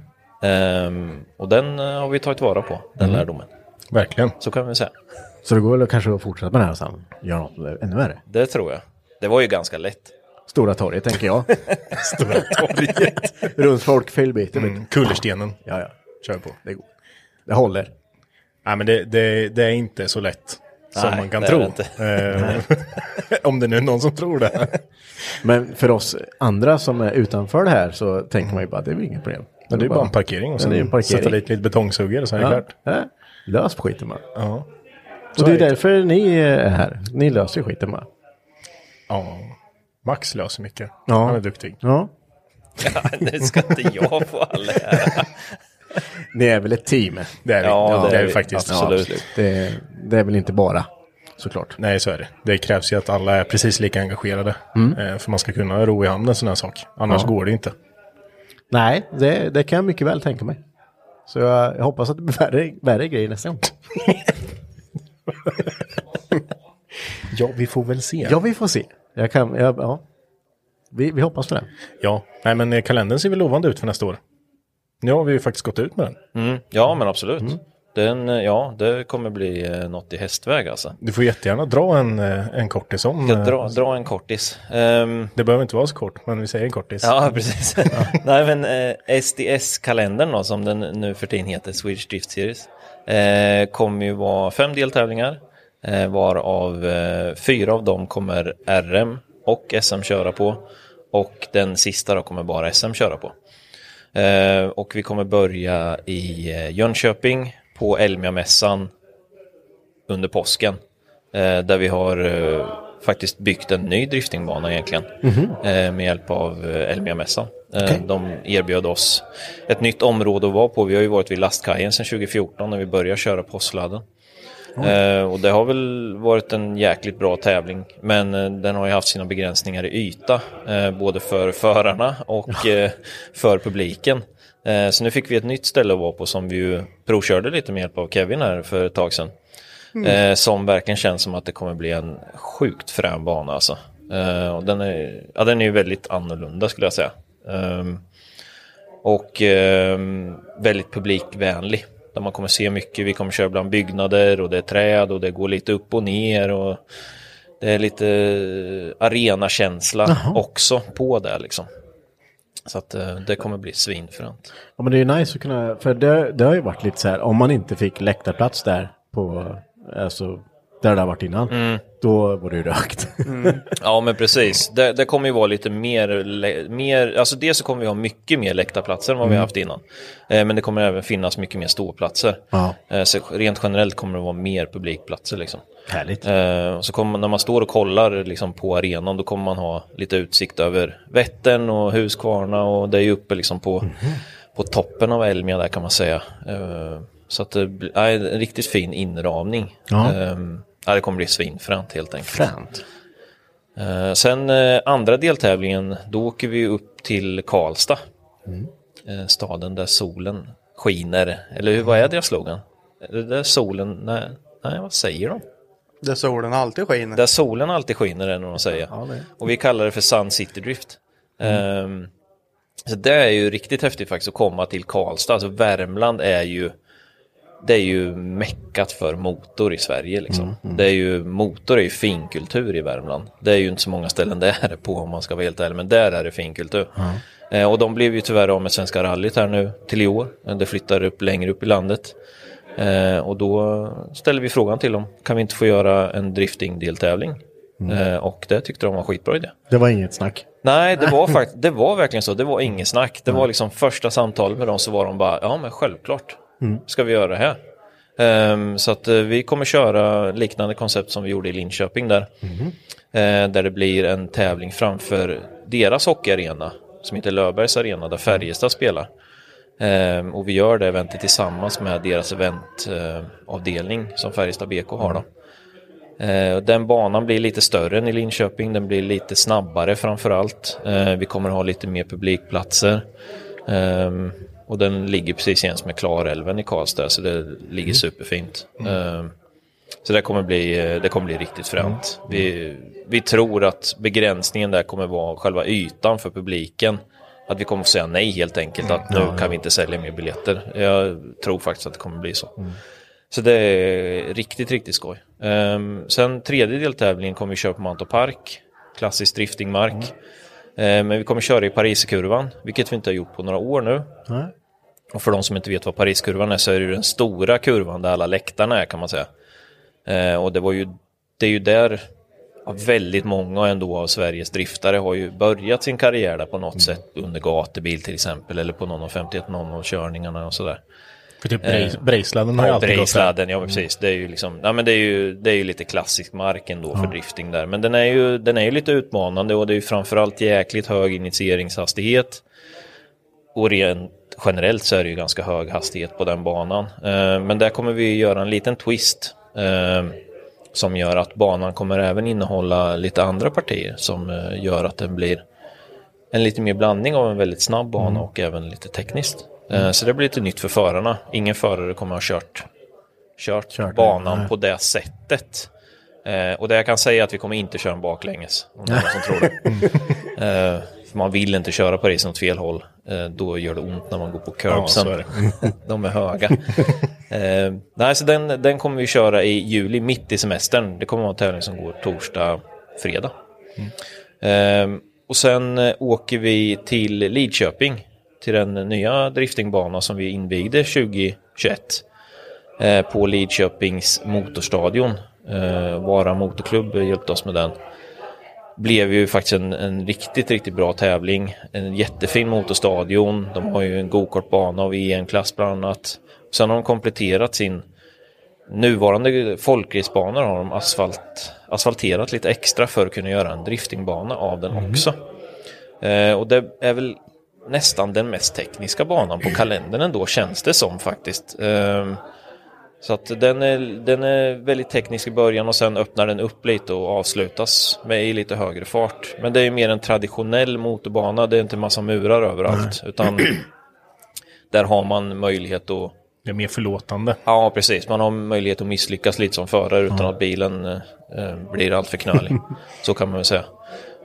[SPEAKER 21] Ehm, och den eh, har vi tagit vara på, den
[SPEAKER 3] Mm.
[SPEAKER 21] lärdomen.
[SPEAKER 2] Verkligen.
[SPEAKER 21] Så kan vi säga.
[SPEAKER 3] Så det går väl att kanske att fortsätta med det här sen. Göra något ännu värre.
[SPEAKER 21] Det tror jag. Det var ju ganska lätt.
[SPEAKER 3] Stora torget tänker jag.
[SPEAKER 21] Stora torget.
[SPEAKER 3] Runt folk, felbiten.
[SPEAKER 2] Mm, kullerstenen.
[SPEAKER 3] Ja, ja.
[SPEAKER 2] Kör på.
[SPEAKER 3] Det, går. det håller.
[SPEAKER 2] Nej, men det, det, det är inte så lätt som
[SPEAKER 3] Nej,
[SPEAKER 2] man kan
[SPEAKER 3] det är
[SPEAKER 2] tro.
[SPEAKER 3] det inte.
[SPEAKER 2] Eh, Om det nu är någon som tror det.
[SPEAKER 3] Men för oss andra som är utanför det här så tänker man ju bara det är väl inget problem.
[SPEAKER 2] Men det är ju bara en parkering och
[SPEAKER 3] Ja, det är
[SPEAKER 2] sen
[SPEAKER 3] en parkering.
[SPEAKER 2] sätta dit lite betongsuggare så är det
[SPEAKER 3] Ja.
[SPEAKER 2] klart.
[SPEAKER 3] Ja. Lös på skiten bara.
[SPEAKER 2] Ja.
[SPEAKER 3] Och det är därför ni är här. Ni löser skiten bara.
[SPEAKER 2] Ja. Max löser mycket.
[SPEAKER 3] Ja.
[SPEAKER 2] Han är duktig.
[SPEAKER 3] Ja.
[SPEAKER 21] Ja, nu ska inte jag få all ära.
[SPEAKER 3] Ni är väl ett team?
[SPEAKER 2] Det är vi.
[SPEAKER 3] Ja,
[SPEAKER 2] Ja,
[SPEAKER 3] det är
[SPEAKER 2] vi
[SPEAKER 3] vi.
[SPEAKER 2] faktiskt.
[SPEAKER 3] Absolut.
[SPEAKER 2] Ja,
[SPEAKER 3] Det, det är väl inte bara, såklart.
[SPEAKER 2] Nej, så är det. Det krävs ju att alla är precis lika engagerade.
[SPEAKER 3] Mm.
[SPEAKER 2] eh, För man ska kunna ro i hamn en sån här sak. Annars
[SPEAKER 3] Ja.
[SPEAKER 2] går det inte.
[SPEAKER 3] Nej, det, det kan jag mycket väl tänka mig. Så jag, jag hoppas att det blir värre, värre grejer nästa gång.
[SPEAKER 2] ja, vi får väl se.
[SPEAKER 3] Ja, vi får se. Jag kan, jag, ja. vi, vi hoppas på det.
[SPEAKER 2] Ja, nej men eh, kalendern ser väl lovande ut för nästa år. Nu har vi ju faktiskt gått ut med den.
[SPEAKER 21] Mm, ja, men absolut. Den, eh, ja, det kommer bli eh, något i hästväg alltså.
[SPEAKER 2] Du får jättegärna dra en, eh, en kortis om.
[SPEAKER 21] Jag
[SPEAKER 2] eh,
[SPEAKER 21] dra, dra en kortis. Ehm,
[SPEAKER 2] Det behöver inte vara så kort, men vi säger en kortis.
[SPEAKER 21] Ja, precis. Nej, men eh, SDS-kalendern då, som den nu för tiden heter, Swedish Drift Series, eh, kommer ju vara fem deltävlingar, eh, varav eh, fyra av dem kommer RM och SM köra på, och den sista då kommer bara SM köra på. Eh, och vi kommer börja i eh, Jönköping på Elmia-mässan under påsken, eh, där vi har eh, faktiskt byggt en ny driftingbana egentligen
[SPEAKER 3] Mhm.
[SPEAKER 21] eh, med hjälp av eh, Elmia-mässan. Eh, De erbjöd oss ett nytt område att vara på. Vi har ju varit vid lastkajen sedan 2014 när vi började köra postsladden.
[SPEAKER 3] Oj.
[SPEAKER 21] Eh, Och det har väl varit en jäkligt bra tävling, men eh, den har ju haft sina begränsningar i yta, eh, både för förarna och eh, för publiken. Eh, Så nu fick vi ett nytt ställe att vara på som vi ju provkörde lite med hjälp av Kevin här för ett tag sedan.
[SPEAKER 20] Mm.
[SPEAKER 21] Eh, som verkligen känns som att det kommer bli en sjukt frän bana alltså. Eh, och den, är, ja, den är ju väldigt annorlunda skulle jag säga. Ehm, och ehm, väldigt publikvänlig. Där man kommer se mycket, vi kommer köra bland byggnader och det är träd och det går lite upp och ner. Och det är lite eh, arenakänsla också på det liksom. Så att eh, det kommer bli svinfränt.
[SPEAKER 3] Ja, men det är ju nice att kunna, för det, det har ju varit lite så här, om man inte fick läktarplats där på, alltså, där det har varit innan,
[SPEAKER 2] Mm.
[SPEAKER 3] då var det ju rökt.
[SPEAKER 21] Ja men precis, det, det kommer ju vara lite mer, lä- mer alltså dels så kommer vi ha mycket mer läktarplatser än vad vi
[SPEAKER 3] Mm.
[SPEAKER 21] har haft innan. Eh, men det kommer även finnas mycket mer ståplatser.
[SPEAKER 3] Ja.
[SPEAKER 21] Eh, så rent generellt kommer det vara mer publikplatser liksom. Härligt. Eh, och så kommer, när man står och kollar liksom, på arenan då kommer man ha lite utsikt över Vättern och Huskvarna och det är ju uppe liksom på,
[SPEAKER 3] Mhm.
[SPEAKER 21] på toppen av Elmia där kan man säga. Eh, så att det blir, nej, en riktigt fin inramning.
[SPEAKER 3] Ja.
[SPEAKER 21] Eh, ja, det kommer bli svinfränt helt enkelt. Fränt. Eh, sen eh, andra deltävlingen, då åker vi upp till Karlstad. Eh, staden där solen skiner. Eller hur, vad är deras slogan? Eh, Där solen, nej, nej vad säger de?
[SPEAKER 14] Där solen alltid skiner.
[SPEAKER 21] Där solen alltid skiner är det de säger. Och vi kallar det för Sun City Drift. Ehm, så det är ju riktigt häftigt faktiskt att komma till Karlstad. Alltså Värmland är ju det är ju meckat för motor i Sverige. Liksom.
[SPEAKER 3] Mm, mm.
[SPEAKER 21] Det är ju, motor är ju finkultur i Värmland. Det är ju inte så många ställen det är det på om man ska vara helt ärlig, men där är det finkultur.
[SPEAKER 3] Ja.
[SPEAKER 21] Eh, och de blev ju tyvärr av med Svenska rallyt här nu till i år. Eh, Det flyttar upp längre upp i landet. Eh, och då ställde vi frågan till dem, kan vi inte få göra en drifting-deltävling?
[SPEAKER 3] Mm.
[SPEAKER 21] Eh, och det tyckte de var en skitbra idé.
[SPEAKER 3] Det var inget snack.
[SPEAKER 21] Nej, det var, fakt- det var verkligen så. Det var inget snack. Det var liksom första samtalet med dem så var de bara, ja men självklart
[SPEAKER 3] Mm.
[SPEAKER 21] ska vi göra det här. Ehm, så att eh, vi kommer köra liknande koncept som vi gjorde i Linköping där. Eh, där det blir en tävling framför deras hockeyarena som heter Löfbergs arena där Färjestad spelar. Ehm, och vi gör det eventet tillsammans med deras eventavdelning eh, som Färjestad BK har. Då. Eh, och Den banan blir lite större än i Linköping, den blir lite snabbare framför allt. Eh, Vi kommer ha lite mer publikplatser. Ehm, Och den ligger precis jäms med Klarälven i Karlstad, så det ligger superfint.
[SPEAKER 20] Mm.
[SPEAKER 21] Ehm, Så det kommer bli, eh, det kommer bli riktigt fränt.
[SPEAKER 20] Mm.
[SPEAKER 21] Vi, vi tror att begränsningen där kommer vara själva ytan för publiken. Att vi kommer att säga nej helt enkelt, att nu
[SPEAKER 20] Mm. Ja, ja.
[SPEAKER 21] kan vi inte sälja mer biljetter. Jag tror faktiskt att det kommer bli så.
[SPEAKER 20] Mm.
[SPEAKER 21] Så det är riktigt, riktigt skoj. Ehm, sen tredje deltävlingen kommer vi köra på Mantorp Park, klassisk driftingmark.
[SPEAKER 20] Mm.
[SPEAKER 21] Ehm, men vi kommer köra i Pariskurvan, vilket vi inte har gjort på några år nu.
[SPEAKER 3] Nej.
[SPEAKER 21] Och för de som inte vet vad Pariskurvan är så är det ju den Eh, stora kurvan där alla läktarna är kan man säga. Ehm, och det var ju, det är ju där Ja, väldigt många ändå av Sveriges driftare har ju börjat sin karriär där på
[SPEAKER 2] Mm.
[SPEAKER 21] något sätt under gatubil till exempel eller på någon av 5100-körningarna och sådär. Eh,
[SPEAKER 2] För typ Breis- Breisladden har ju
[SPEAKER 21] ja,
[SPEAKER 2] alltid gått där. Mm.
[SPEAKER 21] Breisladden, ja men precis. Det är ju liksom, ja men det är ju, det är ju lite klassisk mark ändå för drifting där. Men den är ju, den är ju lite utmanande och det är ju framförallt jäkligt hög initieringshastighet. Och rent generellt så är det ju ganska hög hastighet på den banan. Eh, Men där kommer vi göra en liten twist. eh, Som gör att banan kommer även innehålla lite andra partier som eh, gör att den blir en lite mer blandning av en väldigt snabb bana
[SPEAKER 2] Mm.
[SPEAKER 21] och även lite tekniskt. Eh,
[SPEAKER 2] Mm.
[SPEAKER 21] Så det blir lite nytt för förarna. Ingen förare kommer ha kört, kört,
[SPEAKER 2] Kört det,
[SPEAKER 21] banan
[SPEAKER 2] nej.
[SPEAKER 21] på det sättet. Eh, och det jag kan säga är att vi kommer inte köra en baklänges, om det är någon som tror det. Eh, för man vill inte köra på racen åt fel håll. Eh, då gör det ont när man går på curbsen.
[SPEAKER 2] Ja, så är
[SPEAKER 21] De är höga. eh, nej, så den, den kommer vi köra i juli, mitt i semestern. Det kommer vara en tävling som går torsdag, fredag. Ehm, och sen eh, åker vi till Lidköping, till den nya driftingbanan som vi invigde 2021 eh, på Lidköpings motorstadion. Eh, Vara Motorklubb hjälpte oss med den. Blev ju faktiskt en, en riktigt, riktigt bra tävling. En jättefin motorstadion. De har ju en gokartbana av EM-klass E bland annat. Sen har de kompletterat sin nuvarande folkracebana har de asfalt, asfalterat lite extra för att kunna göra en driftingbana av den
[SPEAKER 2] Mhm.
[SPEAKER 21] också. Eh, och det är väl nästan den mest tekniska banan på kalendern ändå känns det som faktiskt. Ehm, så att den är, den är väldigt teknisk i början och sen öppnar den upp lite och avslutas med i lite högre fart. Men det är ju mer en traditionell motorbana, det är inte massa murar överallt. Utan där har man möjlighet att...
[SPEAKER 2] Det är mer förlåtande.
[SPEAKER 21] Ja, precis. Man har möjlighet att misslyckas lite som förare utan att bilen eh, blir alltför knölig. Så kan man väl säga.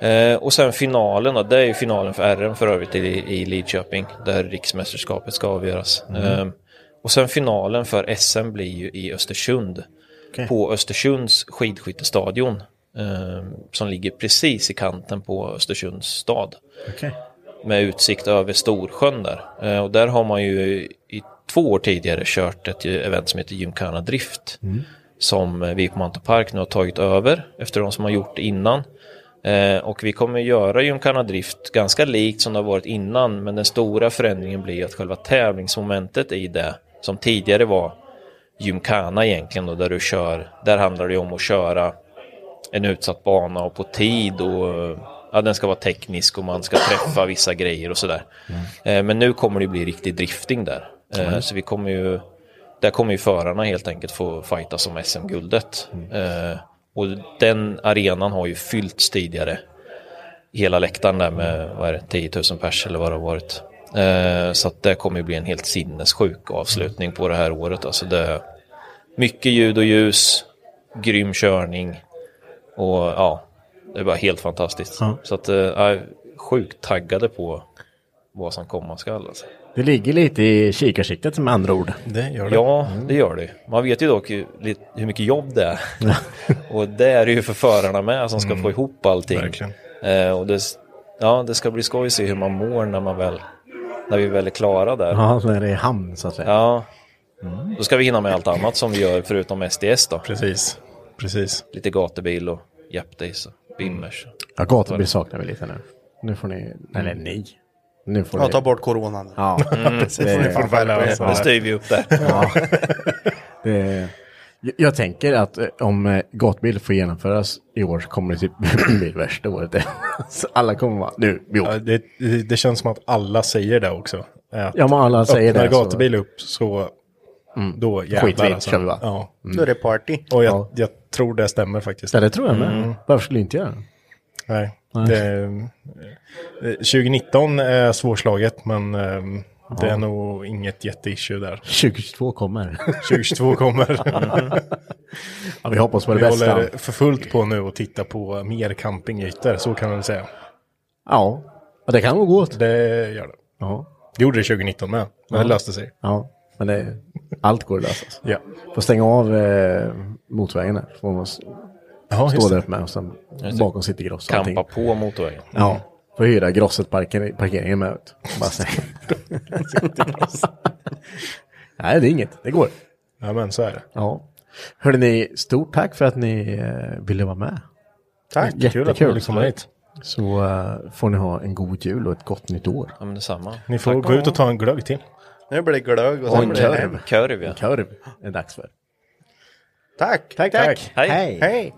[SPEAKER 21] Eh, och sen finalen, då, det är ju finalen för RM för övrigt i, i Lidköping, där riksmästerskapet ska avgöras.
[SPEAKER 2] Mm.
[SPEAKER 21] Eh, och sen finalen för SM blir ju i Östersund,
[SPEAKER 2] Okej.
[SPEAKER 21] på Östersunds skidskyttestadion, eh, som ligger precis i kanten på Östersunds stad
[SPEAKER 2] Okej.
[SPEAKER 21] med utsikt över Storsjön där. Eh, Och där har man ju i två år tidigare kört ett ju- event som heter Gymkhana Drift
[SPEAKER 2] Mm.
[SPEAKER 21] som eh, vi på Mantorp Park nu har tagit över efter de som har gjort det innan. Eh, Och vi kommer göra Gymkhana Drift ganska likt som det har varit innan men den stora förändringen blir att själva tävlingsmomentet i det som tidigare var Gymkhana egentligen då, där du kör, där handlar det ju om att köra en utsatt bana och på tid och ja, den ska vara teknisk och man ska träffa vissa grejer och sådär. Eh, Men nu kommer det bli riktig drifting där. Eh,
[SPEAKER 2] Mm.
[SPEAKER 21] Så vi kommer ju, där kommer ju förarna helt enkelt få fighta som SM-guldet. Eh, Och den arenan har ju fyllts tidigare. Hela läktaren där med vad är det, 10 000 pers eller vad det har varit. Eh, Så att det kommer ju bli en helt sinnessjuk avslutning på det här året. Alltså det, mycket ljud och ljus, grym körning och ja, det var helt fantastiskt.
[SPEAKER 3] Ja.
[SPEAKER 21] Så att eh, jag är sjukt taggade på vad som komma skall. Alltså.
[SPEAKER 3] Det ligger lite i kikarsiktet med andra ord.
[SPEAKER 2] Det Mm. gör
[SPEAKER 21] Ja, det gör det. Man vet ju dock ju lite hur mycket jobb det är. och det är det ju för förarna med som ska
[SPEAKER 2] Mm.
[SPEAKER 21] få ihop allting.
[SPEAKER 2] Verkligen.
[SPEAKER 21] Eh, och det, ja, det ska bli skoj att se hur man mår när, man väl, när vi väl är klara där.
[SPEAKER 3] Ja, så är det i hamn så att säga.
[SPEAKER 21] Ja.
[SPEAKER 2] Mm.
[SPEAKER 21] Då ska vi hinna med allt annat som vi gör förutom SDS då.
[SPEAKER 2] Precis. Precis.
[SPEAKER 21] Lite gatubil och Japdays och Bimmers.
[SPEAKER 3] Ja, gatubil saknar vi lite nu. Nu får ni... Mm. Eller nej. Nu får
[SPEAKER 8] Ja,
[SPEAKER 3] ni...
[SPEAKER 8] ta bort coronan.
[SPEAKER 3] Ja,
[SPEAKER 8] Mm, precis. Nu får ni välja vad som är. Det styr vi upp där.
[SPEAKER 3] Ja. Det... Jag- Jag tänker att eh, om eh, gatubil får genomföras i år så kommer det typ bli värsta året. Så alla kommer vara, nu, vi åker.
[SPEAKER 2] Ja, det, det- det känns som att alla säger det också. Att
[SPEAKER 3] Ja, men alla säger
[SPEAKER 2] öppnar
[SPEAKER 3] det, så-
[SPEAKER 2] gatubil upp så
[SPEAKER 3] Mm.
[SPEAKER 2] då jävlar alltså.
[SPEAKER 3] Skiter vi i, kör vi bara.
[SPEAKER 2] Ja.
[SPEAKER 3] Mm. Då är det
[SPEAKER 8] party.
[SPEAKER 2] Och jag, jag tror det stämmer faktiskt. Mm.
[SPEAKER 3] Ja, det tror jag med. Varför skulle jag inte göra det?
[SPEAKER 2] Nej.
[SPEAKER 3] Nej.
[SPEAKER 2] Det, eh, 2019 är svårslaget men eh, det
[SPEAKER 3] Ja.
[SPEAKER 2] är nog inget jätteissue där.
[SPEAKER 3] 2022 kommer.
[SPEAKER 2] 2022 kommer.
[SPEAKER 3] ja, vi hoppas på det
[SPEAKER 2] vi
[SPEAKER 3] bästa.
[SPEAKER 2] håller för fullt på nu och titta på mer campingytor, så kan man väl säga.
[SPEAKER 3] Ja, Ja, det kan nog gå åt.
[SPEAKER 2] Det gör det.
[SPEAKER 3] Ja.
[SPEAKER 2] Det gjorde det 2019 med, men det löste sig.
[SPEAKER 3] Ja, men det, allt går att lösa. alltså.
[SPEAKER 2] Ja.
[SPEAKER 3] Får stänga av eh, motvägen där. Får man s-
[SPEAKER 2] Ja, just
[SPEAKER 3] stå där
[SPEAKER 2] det.
[SPEAKER 3] uppe med och sen
[SPEAKER 2] Just det.
[SPEAKER 3] bakom sitter gross. och
[SPEAKER 21] Kampa
[SPEAKER 3] allting.
[SPEAKER 21] på motorvägen.
[SPEAKER 3] Ja, får hyra grosset parker, parkeringen med. vet du. Bara så. Nej, det är inget. Det går.
[SPEAKER 2] Ja, men så är det.
[SPEAKER 3] Ja. Hörde ni, stort tack för att ni eh, ville vara med. Tack.
[SPEAKER 2] Jättekul att ni ville komma hit.
[SPEAKER 3] Så eh, får ni ha en god jul och ett gott nytt år.
[SPEAKER 21] Ja, men detsamma.
[SPEAKER 2] Ni får
[SPEAKER 21] Tack.
[SPEAKER 2] gå ut och ta en glögg till.
[SPEAKER 8] Nu blir det glögg och
[SPEAKER 3] Och
[SPEAKER 8] sen
[SPEAKER 3] en
[SPEAKER 8] blir det
[SPEAKER 3] korv.
[SPEAKER 21] Korv, ja.
[SPEAKER 3] Korv är dags för.
[SPEAKER 8] Tack!
[SPEAKER 3] Tack, tack.
[SPEAKER 8] Hej!
[SPEAKER 3] Hej.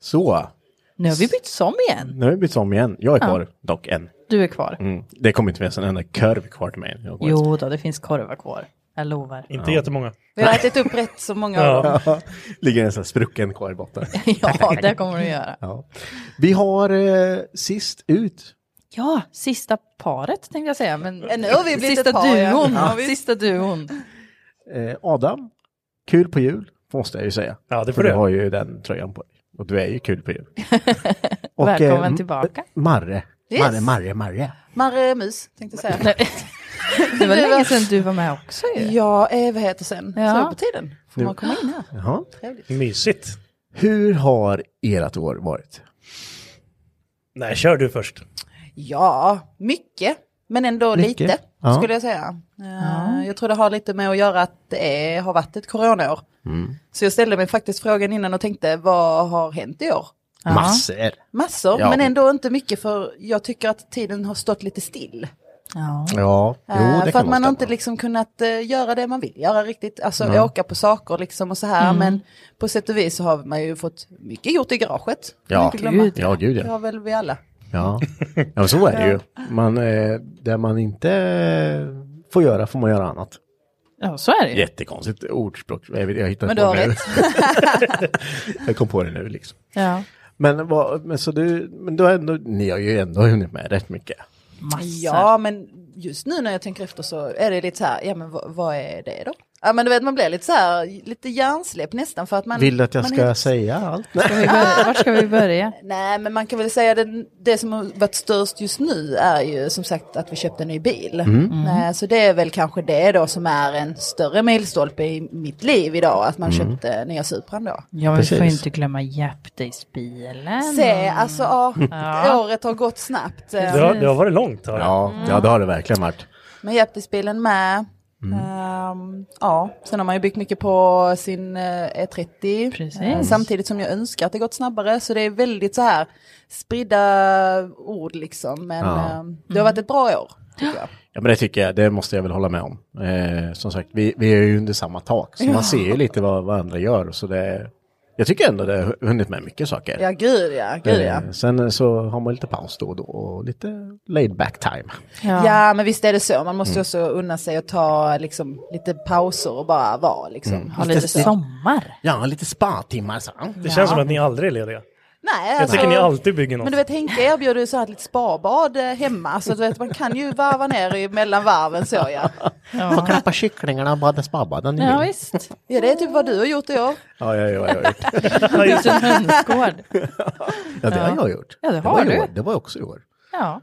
[SPEAKER 3] Så,
[SPEAKER 4] Nu har vi bytt om igen.
[SPEAKER 3] nu har vi bytt om igen. Jag är
[SPEAKER 4] Ja.
[SPEAKER 3] kvar, dock en.
[SPEAKER 4] Du är kvar.
[SPEAKER 3] Mm. Det kommer inte finnas en enda korv kvar till mig. Jag går
[SPEAKER 4] Jo då, det finns korvar kvar. Jag lovar.
[SPEAKER 3] Inte Ja. jättemånga.
[SPEAKER 4] Vi har ätit upp rätt så många av dem.
[SPEAKER 3] Ligger en sån här sprucken kvar i botten.
[SPEAKER 4] Ja, det kommer du göra.
[SPEAKER 3] Ja. Vi har eh, sist ut.
[SPEAKER 4] Ja, sista paret tänkte jag säga. Men
[SPEAKER 6] Ja, Eh, nu har vi blivit
[SPEAKER 4] sista
[SPEAKER 6] ett par, ja.
[SPEAKER 4] duon.
[SPEAKER 6] Ja, visst.
[SPEAKER 4] sista duon.
[SPEAKER 3] Eh, Adam, kul på jul, måste jag ju säga.
[SPEAKER 4] Ja, det
[SPEAKER 3] För
[SPEAKER 4] får
[SPEAKER 3] du
[SPEAKER 4] du.
[SPEAKER 3] har ju den tröjan på dig. Och du är ju kul på jul. Och, eh,
[SPEAKER 6] Välkommen
[SPEAKER 3] M-
[SPEAKER 6] tillbaka.
[SPEAKER 3] Marre.
[SPEAKER 6] Yes.
[SPEAKER 3] Marre, Marre, Marre.
[SPEAKER 6] Marre Mus tänkte jag säga.
[SPEAKER 4] Det var länge sedan du var med också ju.
[SPEAKER 6] Ja, eh, vad heter sen?
[SPEAKER 4] Ja.
[SPEAKER 6] Så på tiden. Får
[SPEAKER 3] Nu-
[SPEAKER 6] man komma in här?
[SPEAKER 3] Jaha.
[SPEAKER 6] Trevligt.
[SPEAKER 3] Mysigt. Hur har ert år varit?
[SPEAKER 13] Nej, kör du först.
[SPEAKER 6] Ja, mycket. Men ändå
[SPEAKER 13] Mycket.
[SPEAKER 6] lite,
[SPEAKER 13] Ja.
[SPEAKER 6] skulle jag säga. Eh, Jag tror det har lite med att göra att det är, har varit ett coronaår.
[SPEAKER 3] Mm.
[SPEAKER 6] Så jag ställde mig faktiskt frågan innan och tänkte, vad har hänt i år?
[SPEAKER 3] Massor.
[SPEAKER 6] Massor,
[SPEAKER 3] Ja.
[SPEAKER 6] men ändå inte mycket för jag tycker att tiden har stått lite still.
[SPEAKER 3] Ja, jo,
[SPEAKER 6] Eh,
[SPEAKER 3] det
[SPEAKER 6] för
[SPEAKER 3] kan
[SPEAKER 6] att man
[SPEAKER 3] man
[SPEAKER 6] har inte liksom kunnat eh, göra det man vill göra riktigt, alltså
[SPEAKER 3] Nej.
[SPEAKER 6] åka på saker liksom och så här.
[SPEAKER 3] Mm.
[SPEAKER 6] Men på sätt och vis så har man ju fått mycket gjort i garaget.
[SPEAKER 3] Ja.
[SPEAKER 6] Kan man inte glömma.
[SPEAKER 3] Gud, ja. Ja, gud, ja.
[SPEAKER 6] Det har väl vi alla.
[SPEAKER 3] Ja, ja men så är det ju. Man, eh, det man inte eh, får göra får man göra annat.
[SPEAKER 4] Ja, så är det ju.
[SPEAKER 3] Jättekonstigt ordspråk. Jag, vet- jag hittade
[SPEAKER 6] Men
[SPEAKER 3] på
[SPEAKER 6] du har
[SPEAKER 3] det nu.
[SPEAKER 6] rätt.
[SPEAKER 3] jag kom på det nu liksom.
[SPEAKER 6] Ja.
[SPEAKER 3] Men, vad, men, så du, men du har ändå, ni har ju ändå hunnit med rätt mycket.
[SPEAKER 6] Ja, men just nu när jag tänker efter så är det lite så här, ja men vad, vad är det då? Ja men du vet man blir lite så här, lite hjärnsläpp nästan för att man...
[SPEAKER 3] Vill du att jag
[SPEAKER 6] man
[SPEAKER 3] ska
[SPEAKER 6] är-
[SPEAKER 3] säga allt?
[SPEAKER 4] Var ska vi börja?
[SPEAKER 6] Nej men man kan väl säga det, det som har varit störst just nu är ju som sagt att vi köpte en ny bil.
[SPEAKER 3] Mm.
[SPEAKER 6] Eh, Så det är väl kanske det då som är en större milstolpe i mitt liv idag, att man
[SPEAKER 4] Mm.
[SPEAKER 6] köpte nya Supran då.
[SPEAKER 4] Ja, men vi får ju
[SPEAKER 6] Precis.
[SPEAKER 4] inte glömma Japdays-bilen.
[SPEAKER 6] Se, alltså ja,
[SPEAKER 4] Ja.
[SPEAKER 6] året har gått snabbt.
[SPEAKER 13] Det har, det har varit långt. Har det.
[SPEAKER 3] Ja,
[SPEAKER 6] Mm.
[SPEAKER 3] ja, det har det verkligen varit.
[SPEAKER 6] Men hjälpdisbilen med.
[SPEAKER 13] Mm.
[SPEAKER 6] Ehm, ja, sen har man ju byggt mycket på sin eh, E30. Eh, samtidigt som jag önskar att det gått snabbare. Så det är väldigt så här spridda ord liksom. Men
[SPEAKER 3] Ja.
[SPEAKER 6] ehm, det har varit ett bra år. Tycker jag.
[SPEAKER 3] Ja, men det tycker jag, det måste jag väl hålla med om. Eh, som sagt, vi, vi är ju under samma tak, så
[SPEAKER 6] Ja.
[SPEAKER 3] man ser ju lite vad, vad andra gör. Så det, jag tycker ändå det har hunnit med mycket saker.
[SPEAKER 6] Ja, gud ja. Gud, ja.
[SPEAKER 13] Mm.
[SPEAKER 3] Eh, Sen så har man lite paus då och då och lite laid back time.
[SPEAKER 6] Ja. men visst är det så. Man måste ju
[SPEAKER 3] Mm.
[SPEAKER 6] också unna sig att ta liksom, lite pauser och bara vara. Liksom.
[SPEAKER 3] Mm.
[SPEAKER 6] Ha
[SPEAKER 3] Lite
[SPEAKER 6] lite så.
[SPEAKER 4] sommar.
[SPEAKER 3] Ja, lite spa-timmar. Så.
[SPEAKER 13] Det känns som att ni aldrig är lediga.
[SPEAKER 6] Nej, alltså-
[SPEAKER 13] Jag tycker ni alltid bygger något.
[SPEAKER 6] Men du vet Henke erbjuder ju så här ett litet spabad eh, hemma. Så du vet, man kan ju varva ner i mellan varven så ja.
[SPEAKER 3] Få knappa kycklingarna och bada spabaden ni vill.
[SPEAKER 6] visst. Ja det är typ vad du har gjort och jag.
[SPEAKER 3] Ja, ja, ja, jag har gjort.
[SPEAKER 6] har gjort en hönsgård.
[SPEAKER 3] Ja, det har
[SPEAKER 4] Ja.
[SPEAKER 3] jag gjort.
[SPEAKER 4] Ja, det har
[SPEAKER 3] var i
[SPEAKER 4] du.
[SPEAKER 3] År. Det var också i år.
[SPEAKER 4] Ja.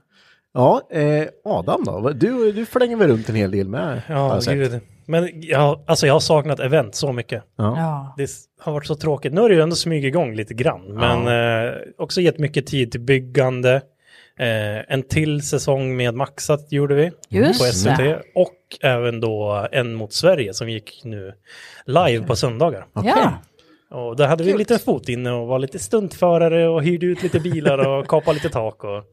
[SPEAKER 3] Ja, eh, Adam då? Vad- Du, du flänger väl runt en hel del med? har
[SPEAKER 13] Ja,
[SPEAKER 3] jag sett.
[SPEAKER 13] gud. Men jag, alltså jag har saknat event så mycket.
[SPEAKER 3] Ja.
[SPEAKER 4] Ja.
[SPEAKER 13] Det s- har varit så tråkigt. Nu har det ju ändå smugit igång lite grann, men eh, också gett mycket tid till byggande. Eh, en till säsong med Maxat gjorde vi
[SPEAKER 4] Just
[SPEAKER 13] på SVT
[SPEAKER 4] det.
[SPEAKER 13] och även då en mot Sverige som gick nu live på söndagar.
[SPEAKER 4] Ja.
[SPEAKER 13] Och där hade vi en liten fot inne och var lite stuntförare och hyrde ut lite bilar och kapade lite tak. Och...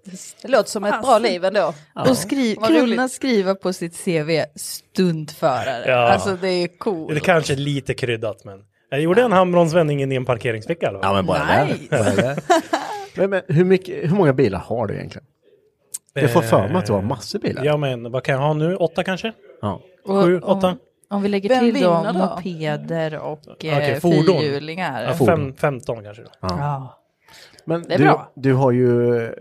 [SPEAKER 6] Det låter som ett bra liv ändå.
[SPEAKER 4] Och skri
[SPEAKER 6] Vad
[SPEAKER 4] kunna
[SPEAKER 6] roligt.
[SPEAKER 4] skriva på sitt CV stuntförare.
[SPEAKER 13] Ja.
[SPEAKER 4] Alltså det är
[SPEAKER 13] Det är
[SPEAKER 4] coolt.
[SPEAKER 13] kanske lite kryddat, men jag gjorde en handbromsvändning in i en parkeringsficka. Eller? Ja,
[SPEAKER 3] men bara
[SPEAKER 13] nice.
[SPEAKER 3] det. Bara det. Men, men, hur, mycket, hur många bilar har du egentligen? Jag får för mig att du
[SPEAKER 13] Eh,
[SPEAKER 3] har massor bilar.
[SPEAKER 13] Ja, men vad kan jag ha nu? Åtta kanske?
[SPEAKER 3] Ja.
[SPEAKER 4] Och
[SPEAKER 13] Sju,
[SPEAKER 4] om-
[SPEAKER 13] åtta?
[SPEAKER 4] Om vi lägger
[SPEAKER 6] Vem
[SPEAKER 4] till då
[SPEAKER 6] vinner då?
[SPEAKER 4] mopeder och
[SPEAKER 13] Okej,
[SPEAKER 4] eh,
[SPEAKER 13] fordon.
[SPEAKER 4] fyrhjulingar.
[SPEAKER 13] Ja, fem, 15 kanske. Då.
[SPEAKER 4] Ja.
[SPEAKER 3] Men
[SPEAKER 4] Det är
[SPEAKER 3] du,
[SPEAKER 4] bra.
[SPEAKER 3] Du har, ju,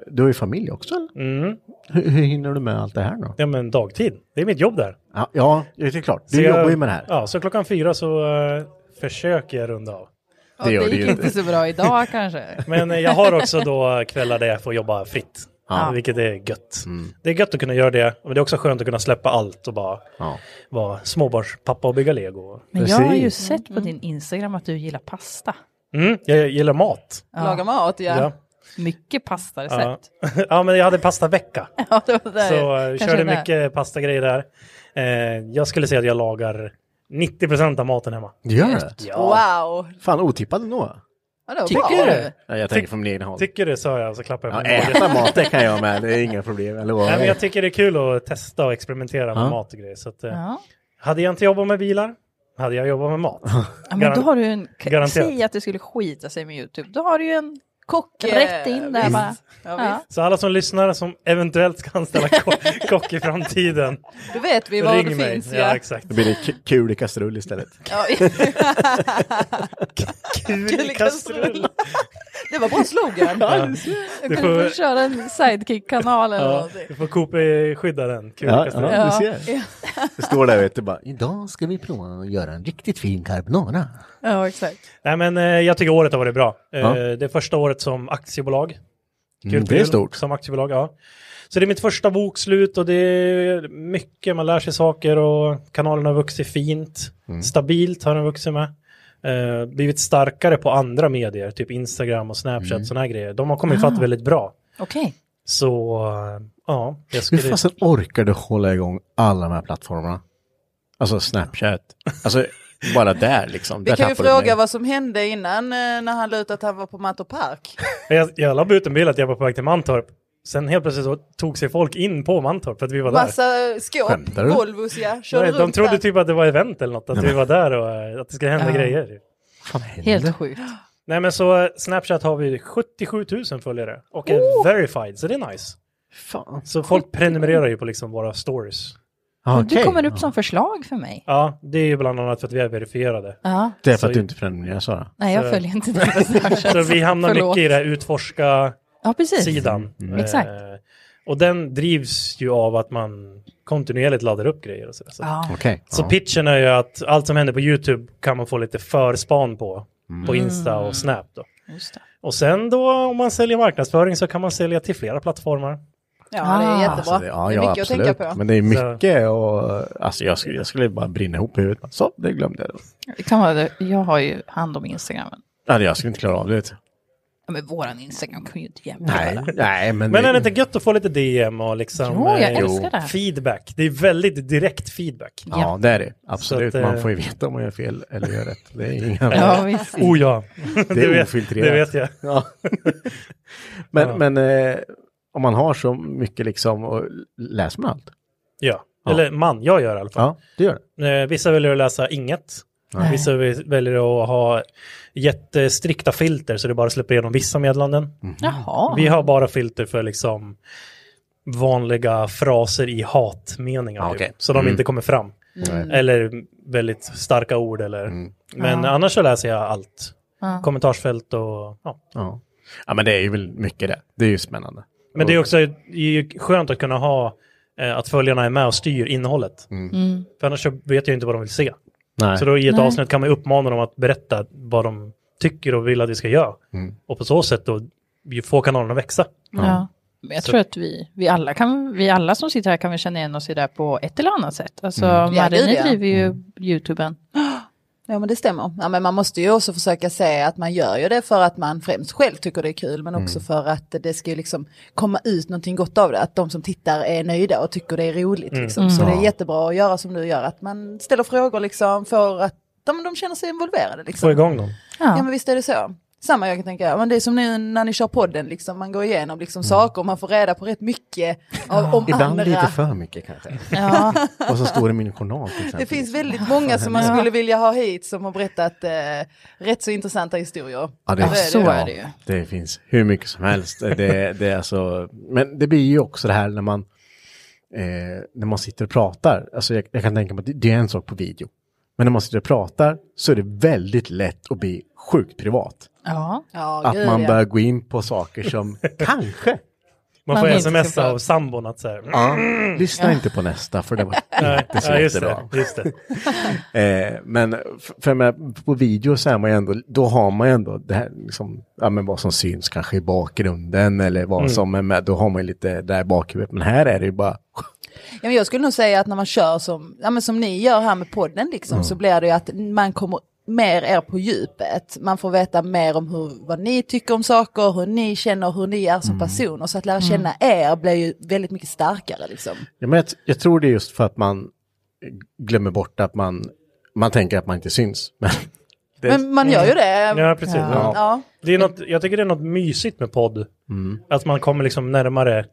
[SPEAKER 3] du har ju familj också eller?
[SPEAKER 13] Mm.
[SPEAKER 3] Hur, hur hinner du med allt det här då?
[SPEAKER 13] Ja, men dagtid. Det är mitt jobb där.
[SPEAKER 3] Ja, ja det är klart. Du
[SPEAKER 13] Så jag-
[SPEAKER 3] jobbar ju med det här.
[SPEAKER 13] Ja, så klockan fyra så eh, försöker jag runda av.
[SPEAKER 4] Ja, det gick inte så bra idag kanske.
[SPEAKER 13] Men eh, jag har också då kvällar där jag får jobba fritt.
[SPEAKER 4] Ja.
[SPEAKER 13] Vilket är gött.
[SPEAKER 3] Mm.
[SPEAKER 13] Det är gött att kunna göra det, men det är också skönt att kunna släppa allt och bara
[SPEAKER 3] ja.
[SPEAKER 13] vara småbarnspappa och bygga lego.
[SPEAKER 4] Men jag har ju sett på din Instagram att du gillar pasta.
[SPEAKER 13] Mm, jag gillar mat.
[SPEAKER 6] Laga mat ja.
[SPEAKER 13] Ja.
[SPEAKER 4] Mycket pastarecept.
[SPEAKER 13] Ja. ja, men jag hade pastavecka.
[SPEAKER 4] Ja, det var där.
[SPEAKER 13] Så eh,
[SPEAKER 4] Kanske
[SPEAKER 13] körde
[SPEAKER 4] där.
[SPEAKER 13] mycket pastagrejer där. Eh, jag skulle säga att jag lagar 90 procent av maten hemma.
[SPEAKER 3] Du gör det?
[SPEAKER 13] Ja.
[SPEAKER 6] Wow.
[SPEAKER 3] Fan, otippad ändå.
[SPEAKER 4] Vadå,
[SPEAKER 3] Tycker
[SPEAKER 4] bara?
[SPEAKER 3] du? Ja, jag tänker från min egen håll.
[SPEAKER 13] Tycker du sa jag, så klappar jag
[SPEAKER 3] Ja,
[SPEAKER 13] på magen.
[SPEAKER 3] äta mat, det kan jag med. Det är inga problem. Eller vad?
[SPEAKER 13] Nej, men jag tycker det är kul att testa och experimentera med
[SPEAKER 3] Ja.
[SPEAKER 13] mat och grejer. Så att, eh,
[SPEAKER 4] Ja.
[SPEAKER 13] Hade jag inte jobbat med bilar, hade jag jobbat med mat.
[SPEAKER 4] Ja, men då har du en...
[SPEAKER 13] Garanterat.
[SPEAKER 4] Säg att det skulle skita sig med YouTube. Då har du ju en kock rätt in där
[SPEAKER 6] eh, visst.
[SPEAKER 4] bara.
[SPEAKER 6] Ja,
[SPEAKER 4] Ja.
[SPEAKER 13] Så alla som lyssnar som eventuellt ska anställa ko kock i framtiden.
[SPEAKER 4] Då vet vi var
[SPEAKER 13] ring
[SPEAKER 4] det
[SPEAKER 13] mig.
[SPEAKER 4] finns,
[SPEAKER 13] Ja,
[SPEAKER 4] ja.
[SPEAKER 13] exakt.
[SPEAKER 3] Då blir det ku- kul i kastrull istället.
[SPEAKER 4] Ja.
[SPEAKER 13] Kul i kastrull.
[SPEAKER 4] Det var bra slogan.
[SPEAKER 13] Ja.
[SPEAKER 4] Jag
[SPEAKER 13] Du
[SPEAKER 4] kunde
[SPEAKER 13] får-
[SPEAKER 4] få köra en sidekick-kanal eller
[SPEAKER 13] Ja,
[SPEAKER 4] någonting.
[SPEAKER 13] du får Coop eh, skydda den. Kul
[SPEAKER 3] Ja,
[SPEAKER 13] kastrull.
[SPEAKER 3] ja, du ser.
[SPEAKER 4] Ja.
[SPEAKER 3] Det står där vet du bara, idag ska vi prova att göra en riktigt fin carbonara.
[SPEAKER 4] Ja, exakt.
[SPEAKER 13] Nej, men eh, jag tycker året har varit bra. Eh,
[SPEAKER 3] Ja.
[SPEAKER 13] Det är första året som aktiebolag. Kul
[SPEAKER 3] Mm, det
[SPEAKER 13] för
[SPEAKER 3] är
[SPEAKER 13] jul,
[SPEAKER 3] stort.
[SPEAKER 13] Som aktiebolag, ja. Så det är mitt första bokslut och det är mycket, man lär sig saker och kanalen har vuxit fint.
[SPEAKER 3] Mm.
[SPEAKER 13] Stabilt har den vuxit med. Eh, blivit starkare på andra medier, typ Instagram och Snapchat,
[SPEAKER 3] Mm.
[SPEAKER 13] sådana här grejer. De har kommit ifatt
[SPEAKER 4] Ah.
[SPEAKER 13] väldigt bra.
[SPEAKER 4] Okej.
[SPEAKER 13] Så, eh, ja. Jag
[SPEAKER 3] Hur
[SPEAKER 13] skulle...
[SPEAKER 3] fasen orkar du hålla igång alla de här plattformarna? Alltså Snapchat. Alltså bara där liksom.
[SPEAKER 6] Vi
[SPEAKER 3] där
[SPEAKER 6] kan ju
[SPEAKER 3] tappar du
[SPEAKER 6] fråga
[SPEAKER 3] mig.
[SPEAKER 6] vad som hände innan eh, när han lutade att han var på Mantorp Park.
[SPEAKER 13] Jag, jag la ut en bild att jag var på väg till Mantorp. Sen helt plötsligt så tog sig folk in på Mantorp för att vi var där.
[SPEAKER 6] Massa eh, skåp,
[SPEAKER 13] Skämtar du?
[SPEAKER 6] Volvos ja, körde
[SPEAKER 13] Nej,
[SPEAKER 6] runt
[SPEAKER 13] de trodde
[SPEAKER 6] där.
[SPEAKER 13] typ att det var event eller något, att vi var där och eh, att det skulle hända
[SPEAKER 6] Ja.
[SPEAKER 13] grejer.
[SPEAKER 4] Helt sjukt.
[SPEAKER 13] Nej men så eh, Snapchat har vi 77 000 följare och är
[SPEAKER 6] Oh!
[SPEAKER 13] verified, så det är nice. Så folk prenumererar ju på liksom våra stories.
[SPEAKER 3] Ja,
[SPEAKER 4] Du
[SPEAKER 3] Okej.
[SPEAKER 4] kommer upp som förslag för mig.
[SPEAKER 13] Ja, det är ju bland annat för att vi är verifierade.
[SPEAKER 4] Ja.
[SPEAKER 3] Det är för att du inte prenumererar Sara.
[SPEAKER 4] Nej, jag
[SPEAKER 13] Så-
[SPEAKER 4] följer inte dig på Snapchat.
[SPEAKER 13] Så vi hamnar
[SPEAKER 4] Förlåt.
[SPEAKER 13] mycket i den här utforska
[SPEAKER 4] Ja, precis.
[SPEAKER 13] sidan.
[SPEAKER 4] Mm. Exakt.
[SPEAKER 13] Eh, Och den drivs ju av att man kontinuerligt laddar upp grejer och sådär. Så,
[SPEAKER 4] Ja.
[SPEAKER 3] Okej.
[SPEAKER 13] så
[SPEAKER 3] Ja.
[SPEAKER 13] pitchen är ju att allt som händer på YouTube kan man få lite förspan på,
[SPEAKER 3] Mm.
[SPEAKER 13] på Insta och Snap då.
[SPEAKER 4] Just det.
[SPEAKER 13] Och sen då om man säljer marknadsföring så kan man sälja till flera plattformar.
[SPEAKER 6] Ja, det är jättebra.
[SPEAKER 3] Alltså, det, ja,
[SPEAKER 6] det är
[SPEAKER 3] ja,
[SPEAKER 6] mycket
[SPEAKER 3] absolut.
[SPEAKER 6] att tänka på.
[SPEAKER 3] Men det är mycket och alltså, jag, skulle, jag skulle bara brinna ihop i huvudet. Så, det glömde jag.
[SPEAKER 4] Det kan vara det. Jag har ju hand om Instagramen.
[SPEAKER 3] Nej, jag skulle inte klara av det. vet du.
[SPEAKER 4] Ja, men våran Instagram kan ju inte jämföra.
[SPEAKER 3] Nej, nej men...
[SPEAKER 13] Men är det inte gött att få lite DM och liksom
[SPEAKER 4] Jo, jag
[SPEAKER 13] eh,
[SPEAKER 4] älskar det.
[SPEAKER 13] feedback? Det är väldigt direkt feedback.
[SPEAKER 3] Ja, det är det. Absolut.
[SPEAKER 13] Så att, eh,
[SPEAKER 3] Man får ju veta om man gör fel eller gör rätt. Det är inga...
[SPEAKER 13] Ja, visst. Oh, ja.
[SPEAKER 3] Det
[SPEAKER 13] Det
[SPEAKER 3] är
[SPEAKER 13] vet-
[SPEAKER 3] ofiltrerat.
[SPEAKER 13] det vet jag.
[SPEAKER 3] Ja. men
[SPEAKER 13] Ja.
[SPEAKER 3] men eh, om man har så mycket liksom, och läser man allt?
[SPEAKER 13] Ja,
[SPEAKER 3] Ja.
[SPEAKER 13] eller man, jag gör i alla fall.
[SPEAKER 3] Ja, det gör
[SPEAKER 13] Eh, Vissa väljer att läsa inget.
[SPEAKER 3] Nej.
[SPEAKER 13] Vissa väl- väljer att ha jättestrikta filter så det bara släpper igenom vissa meddelanden.
[SPEAKER 3] Mhm.
[SPEAKER 4] Jaha.
[SPEAKER 13] Vi har bara filter för liksom vanliga fraser i hatmeningar.
[SPEAKER 3] Ja,
[SPEAKER 13] typ,
[SPEAKER 3] okej.
[SPEAKER 13] Så de
[SPEAKER 3] Mm.
[SPEAKER 13] inte kommer fram.
[SPEAKER 3] Mm.
[SPEAKER 13] Eller väldigt starka ord. Eller. Men
[SPEAKER 3] Ja.
[SPEAKER 13] annars så läser jag allt.
[SPEAKER 3] Ja.
[SPEAKER 13] Kommentarsfält och ja.
[SPEAKER 3] Ja. ja, men det är ju väl mycket det. Det är ju spännande.
[SPEAKER 13] Men det är också det är ju skönt att kunna ha eh, att följarna är med och styr innehållet.
[SPEAKER 4] Mm.
[SPEAKER 13] För annars så vet jag inte vad de vill se.
[SPEAKER 3] Nej.
[SPEAKER 13] Så då i ett
[SPEAKER 4] Nej.
[SPEAKER 13] avsnitt kan man ju uppmana dem att berätta vad de tycker och vill att vi ska göra.
[SPEAKER 3] Mm.
[SPEAKER 13] Och på så sätt då ju få kanalerna att växa.
[SPEAKER 4] Ja. Men jag
[SPEAKER 13] Så-
[SPEAKER 4] tror att vi, vi, alla kan, vi alla som sitter här kan väl känna igen oss i det här på ett eller annat sätt. Alltså,
[SPEAKER 6] Mm. Ja,
[SPEAKER 4] Marie,
[SPEAKER 6] gud,
[SPEAKER 4] ni
[SPEAKER 6] ja.
[SPEAKER 4] driver ju
[SPEAKER 3] Mm.
[SPEAKER 4] YouTuben.
[SPEAKER 6] Ja men det stämmer. Ja, men man måste ju också försöka säga att man gör ju det för att man främst själv tycker det är kul men också
[SPEAKER 4] Mm.
[SPEAKER 6] för att det ska ju liksom komma ut någonting gott av det. Att de som tittar är nöjda och tycker det är roligt.
[SPEAKER 13] Mm.
[SPEAKER 6] Liksom.
[SPEAKER 13] Mm.
[SPEAKER 6] Så det är
[SPEAKER 13] Ja.
[SPEAKER 6] jättebra att göra som du gör, att man ställer frågor liksom för att de, de känner sig involverade. Liksom.
[SPEAKER 13] Få igång dem.
[SPEAKER 6] Ja. men visst är det så. Samma jag kan tänka, men det är som nu när ni kör podden, liksom, man går igenom liksom, saker och man får reda på rätt mycket av, om
[SPEAKER 3] Mm. Ibland
[SPEAKER 6] andra.
[SPEAKER 3] lite för mycket kanske.
[SPEAKER 6] Ja.
[SPEAKER 3] Vad som står i min journal till exempel.
[SPEAKER 6] Det finns väldigt många som man
[SPEAKER 3] Ja.
[SPEAKER 6] skulle vilja ha hit som har berättat eh, rätt så intressanta historier.
[SPEAKER 3] Ja, det, ja, Det finns hur mycket som helst. Det, det är alltså, men det blir ju också det här när man, eh, när man sitter och pratar. Alltså jag, jag kan tänka mig att det, det är en sak på video. Men när man sitter och pratar så är det väldigt lätt att bli sjukt privat.
[SPEAKER 4] Ja.
[SPEAKER 3] att man börjar gå in på saker som kanske...
[SPEAKER 13] Man,
[SPEAKER 3] Man
[SPEAKER 13] får
[SPEAKER 3] inte ska
[SPEAKER 13] sms
[SPEAKER 3] få-
[SPEAKER 13] av sambon att så här.
[SPEAKER 3] Ja,
[SPEAKER 13] "Mm."
[SPEAKER 3] lyssna
[SPEAKER 13] Ja.
[SPEAKER 3] inte på nästa för det var
[SPEAKER 13] Nej,
[SPEAKER 3] inte så
[SPEAKER 13] ja, just
[SPEAKER 3] jättebra.
[SPEAKER 13] det, just det.
[SPEAKER 3] Eh, men f- för med, på video så är man ju ändå, då har man ju ändå det här, liksom, ja, men vad som syns kanske i bakgrunden eller vad
[SPEAKER 6] Mm.
[SPEAKER 3] som är med, då har man ju lite där bakhuvudet. Men här är det ju bara,
[SPEAKER 6] Ja, men jag skulle nog säga att när man kör som, ja, men som ni gör här med podden liksom,
[SPEAKER 3] Mm.
[SPEAKER 6] så blir det ju att man kommer mer er på djupet. Man får veta mer om hur, vad ni tycker om saker, hur ni känner, hur ni är som
[SPEAKER 3] Mm.
[SPEAKER 6] personer. Så att lära känna er blir ju väldigt mycket starkare. Liksom.
[SPEAKER 3] ja, men jag, t- jag tror det är just för att man glömmer bort att man, man tänker att man inte syns. Men
[SPEAKER 13] Det-
[SPEAKER 10] Men man gör ju det.
[SPEAKER 13] Ja, precis.
[SPEAKER 10] Ja.
[SPEAKER 13] Ja.
[SPEAKER 10] Ja.
[SPEAKER 13] Det är något, jag tycker det är något mysigt med podd. Att man kommer liksom närmare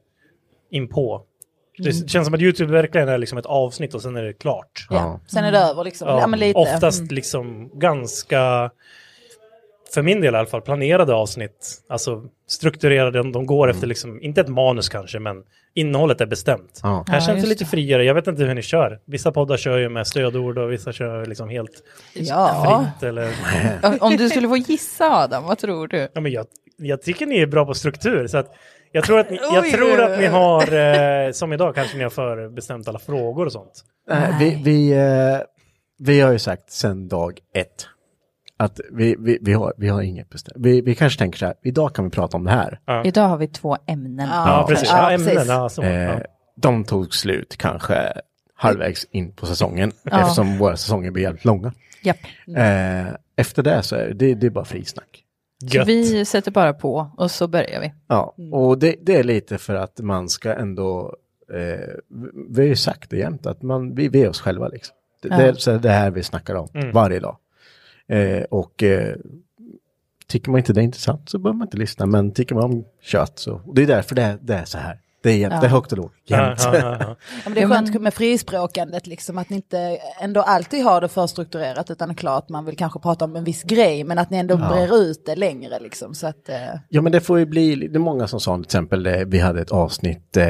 [SPEAKER 13] in på. Det
[SPEAKER 4] Mm.
[SPEAKER 13] känns som att YouTube verkligen är liksom ett avsnitt och sen är det klart.
[SPEAKER 4] Ja, sen är det över liksom. Ja, men lite.
[SPEAKER 13] Oftast
[SPEAKER 4] Mm.
[SPEAKER 13] liksom ganska, för min del i alla fall, planerade avsnitt. Alltså strukturerade, de, de går efter liksom, inte ett manus kanske, men innehållet är bestämt.
[SPEAKER 3] Ja.
[SPEAKER 13] Här
[SPEAKER 3] Ja,
[SPEAKER 13] känns det
[SPEAKER 3] just
[SPEAKER 13] lite friare, jag vet inte hur ni kör. Vissa poddar kör ju med stödord och vissa kör liksom helt
[SPEAKER 4] Ja.
[SPEAKER 13] fritt. Eller...
[SPEAKER 4] Om- Om du skulle få gissa Adam, vad tror du?
[SPEAKER 13] Ja, men jag, jag tycker ni är bra på struktur. Så att jag tror att ni,
[SPEAKER 4] Oj,
[SPEAKER 13] jag tror
[SPEAKER 4] oj,
[SPEAKER 13] att ni
[SPEAKER 4] oj.
[SPEAKER 13] har, eh, som idag kanske ni har förbestämt alla frågor och sånt.
[SPEAKER 3] Nej, vi, vi, eh, vi har ju sagt sedan dag ett att vi, vi, vi, har, vi har inget bestämt. Vi, vi kanske tänker så här, idag kan vi prata om det här.
[SPEAKER 4] Idag har vi två ämnen.
[SPEAKER 3] Ja, precis. Ja,
[SPEAKER 13] ämnen, ja, så, ja.
[SPEAKER 3] Eh, de tog slut kanske halvvägs in på säsongen
[SPEAKER 4] Ja.
[SPEAKER 3] eftersom våra säsonger blir jävligt långa.
[SPEAKER 4] Japp.
[SPEAKER 3] Eh, efter det så är det, det är bara frisnack.
[SPEAKER 4] Så vi sätter bara på och så börjar vi.
[SPEAKER 3] Ja,
[SPEAKER 6] Mm.
[SPEAKER 3] och det, det är lite för att man ska ändå, eh, vi har ju sagt det jämt, att man, vi, vi är oss själva liksom. Det,
[SPEAKER 4] Ja.
[SPEAKER 3] det, är så här- det här vi snackar om
[SPEAKER 4] Mm.
[SPEAKER 3] varje dag. Eh, och eh, tycker man inte det är intressant så behöver man inte lyssna, men tycker man om kött så, och det är därför det är, det är så här. Det är, jämt,
[SPEAKER 6] Ja.
[SPEAKER 3] det är högt och lågt, jämt.
[SPEAKER 13] Ja, ja, ja,
[SPEAKER 6] Ja, men det är skönt med frispråkandet, liksom, att ni inte ändå alltid har det förstrukturerat utan klart man vill kanske prata om en viss grej men att ni ändå
[SPEAKER 3] Ja.
[SPEAKER 6] brer ut det längre. Liksom, så att, eh,
[SPEAKER 3] Ja men det får ju bli, det är många som sa till exempel, eh, vi hade ett avsnitt eh,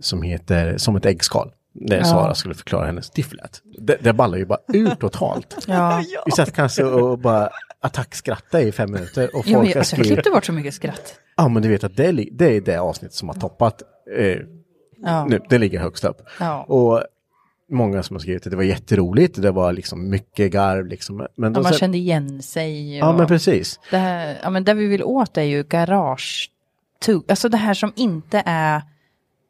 [SPEAKER 3] som heter Som ett äggskal. Där
[SPEAKER 6] Ja.
[SPEAKER 3] Sara skulle förklara hennes difflät. Det, det ballar ju bara ur totalt.
[SPEAKER 4] Ja.
[SPEAKER 3] Vi satt kanske och bara attackskrattade i fem minuter. Och
[SPEAKER 4] Jo, men
[SPEAKER 3] folk
[SPEAKER 4] jag, alltså,
[SPEAKER 3] har
[SPEAKER 4] jag
[SPEAKER 3] skrivit,
[SPEAKER 4] klippte bort så mycket skratt.
[SPEAKER 3] ja men du vet att det, li- det är det avsnitt som har toppat. Eh,
[SPEAKER 4] Ja.
[SPEAKER 3] nu, det ligger högst upp.
[SPEAKER 4] Ja.
[SPEAKER 3] Och många som har skrivit att det var jätteroligt, det var liksom mycket garv liksom. Men
[SPEAKER 4] Ja,
[SPEAKER 3] då
[SPEAKER 4] man
[SPEAKER 3] sen-
[SPEAKER 4] kände igen sig.
[SPEAKER 3] Ja, men precis.
[SPEAKER 4] Det, här, ja, men det vi vill åt är ju garage. Alltså det här som inte är,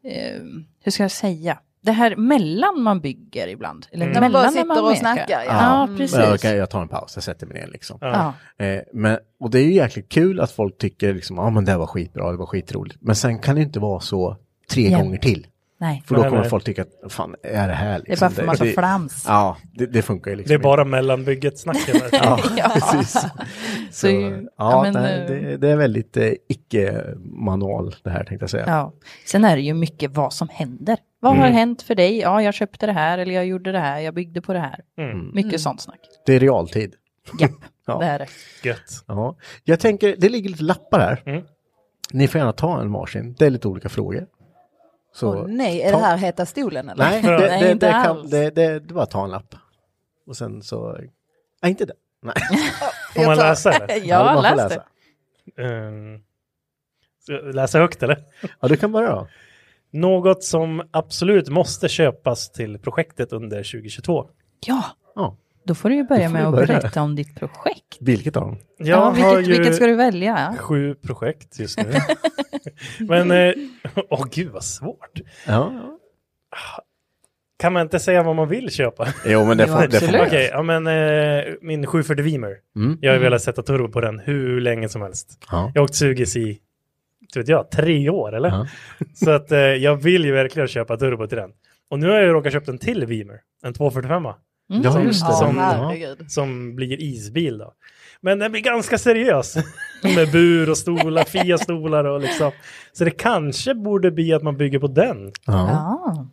[SPEAKER 4] eh, hur ska jag säga? Det här mellan man bygger ibland. Eller
[SPEAKER 6] Mm. När man
[SPEAKER 4] mellan
[SPEAKER 6] bara
[SPEAKER 4] när
[SPEAKER 6] sitter
[SPEAKER 4] man
[SPEAKER 6] och
[SPEAKER 4] mekar.
[SPEAKER 6] snackar, ja.
[SPEAKER 4] Ja,
[SPEAKER 3] Mm.
[SPEAKER 4] precis.
[SPEAKER 3] Men okej, jag tar en paus, jag sätter mig ner liksom.
[SPEAKER 4] Ja.
[SPEAKER 3] Eh, men, och det är ju jäkligt kul att folk tycker liksom, ja ah, men det här var skitbra, det var skitroligt. Men sen kan det inte vara så tre
[SPEAKER 4] Jämt.
[SPEAKER 3] gånger till.
[SPEAKER 4] Nej.
[SPEAKER 3] För då
[SPEAKER 4] Nej,
[SPEAKER 3] kommer
[SPEAKER 4] nej.
[SPEAKER 3] folk tycka att, fan är det här liksom.
[SPEAKER 4] Det är bara för massa
[SPEAKER 3] det-
[SPEAKER 4] flams.
[SPEAKER 3] Ja, det, det funkar ju liksom
[SPEAKER 13] Det är bara mellanbygget-snacket.
[SPEAKER 3] inte. ja, precis. Så, ja,
[SPEAKER 4] ja, men,
[SPEAKER 3] nej,
[SPEAKER 4] eh,
[SPEAKER 3] det, det är väldigt eh, icke-manual det här tänkte jag säga.
[SPEAKER 4] Ja. Sen är det ju mycket vad som händer. Vad har
[SPEAKER 3] Mm.
[SPEAKER 4] hänt för dig? Ja, jag köpte det här eller jag gjorde det här, jag byggde på det här.
[SPEAKER 3] Mm.
[SPEAKER 4] Mycket
[SPEAKER 3] Mm.
[SPEAKER 4] sånt snack.
[SPEAKER 3] Det är realtid.
[SPEAKER 4] Japp,
[SPEAKER 3] ja.
[SPEAKER 4] det är det.
[SPEAKER 13] Gött. Mm.
[SPEAKER 3] Ja. Jag tänker, det ligger lite lappar här. Ni får gärna ta en varsin, det är lite olika frågor. Så,
[SPEAKER 6] nej, är
[SPEAKER 3] ta-
[SPEAKER 6] det här heta stolen eller?
[SPEAKER 3] Nej, det, det,
[SPEAKER 6] inte
[SPEAKER 3] det, kan,
[SPEAKER 6] alls.
[SPEAKER 3] det, det, det är bara att ta en lapp. Och sen så... Nej, inte det. Nej.
[SPEAKER 13] Får man läsa eller?
[SPEAKER 3] man får
[SPEAKER 13] Ehm, ska jag läsa högt eller?
[SPEAKER 3] Ja, du kan börja då.
[SPEAKER 13] Något som absolut måste köpas till projektet under 2022.
[SPEAKER 4] Ja,
[SPEAKER 3] Ja.
[SPEAKER 4] då får du ju
[SPEAKER 13] Då
[SPEAKER 4] börja
[SPEAKER 13] får
[SPEAKER 4] med
[SPEAKER 13] vi
[SPEAKER 4] att
[SPEAKER 13] börja.
[SPEAKER 4] berätta om ditt projekt.
[SPEAKER 3] Vilket av dem?
[SPEAKER 13] Jag
[SPEAKER 4] Ja, vilket-
[SPEAKER 13] har ju
[SPEAKER 4] vilket ska du välja?
[SPEAKER 13] Sju projekt just nu. Men, eh, åh gud vad svårt.
[SPEAKER 3] Ja.
[SPEAKER 13] Kan man inte säga vad man vill köpa?
[SPEAKER 3] Jo, men det Jo, får- det får absolut. man göra.
[SPEAKER 13] Okej, ja, men eh, min 740 Vimer.
[SPEAKER 3] Mm.
[SPEAKER 13] Jag har ju
[SPEAKER 3] Mm.
[SPEAKER 13] velat sätta turbo på den hur länge som helst.
[SPEAKER 3] Ja.
[SPEAKER 13] Jag har åkt Sugis i, inte vet jag, tre år eller? Så att eh, jag vill ju verkligen köpa turbo till den. Och nu har jag ju råkat köpa en till Vimer, en 245.
[SPEAKER 6] Mm. Ja, just det.
[SPEAKER 13] Som,
[SPEAKER 6] Ja, herregud.
[SPEAKER 13] som blir isbil då. Men den blir ganska seriös. Med bur och stolar, Fia-stolar och liksom. Så det kanske borde bli att man bygger på den.
[SPEAKER 4] Ja.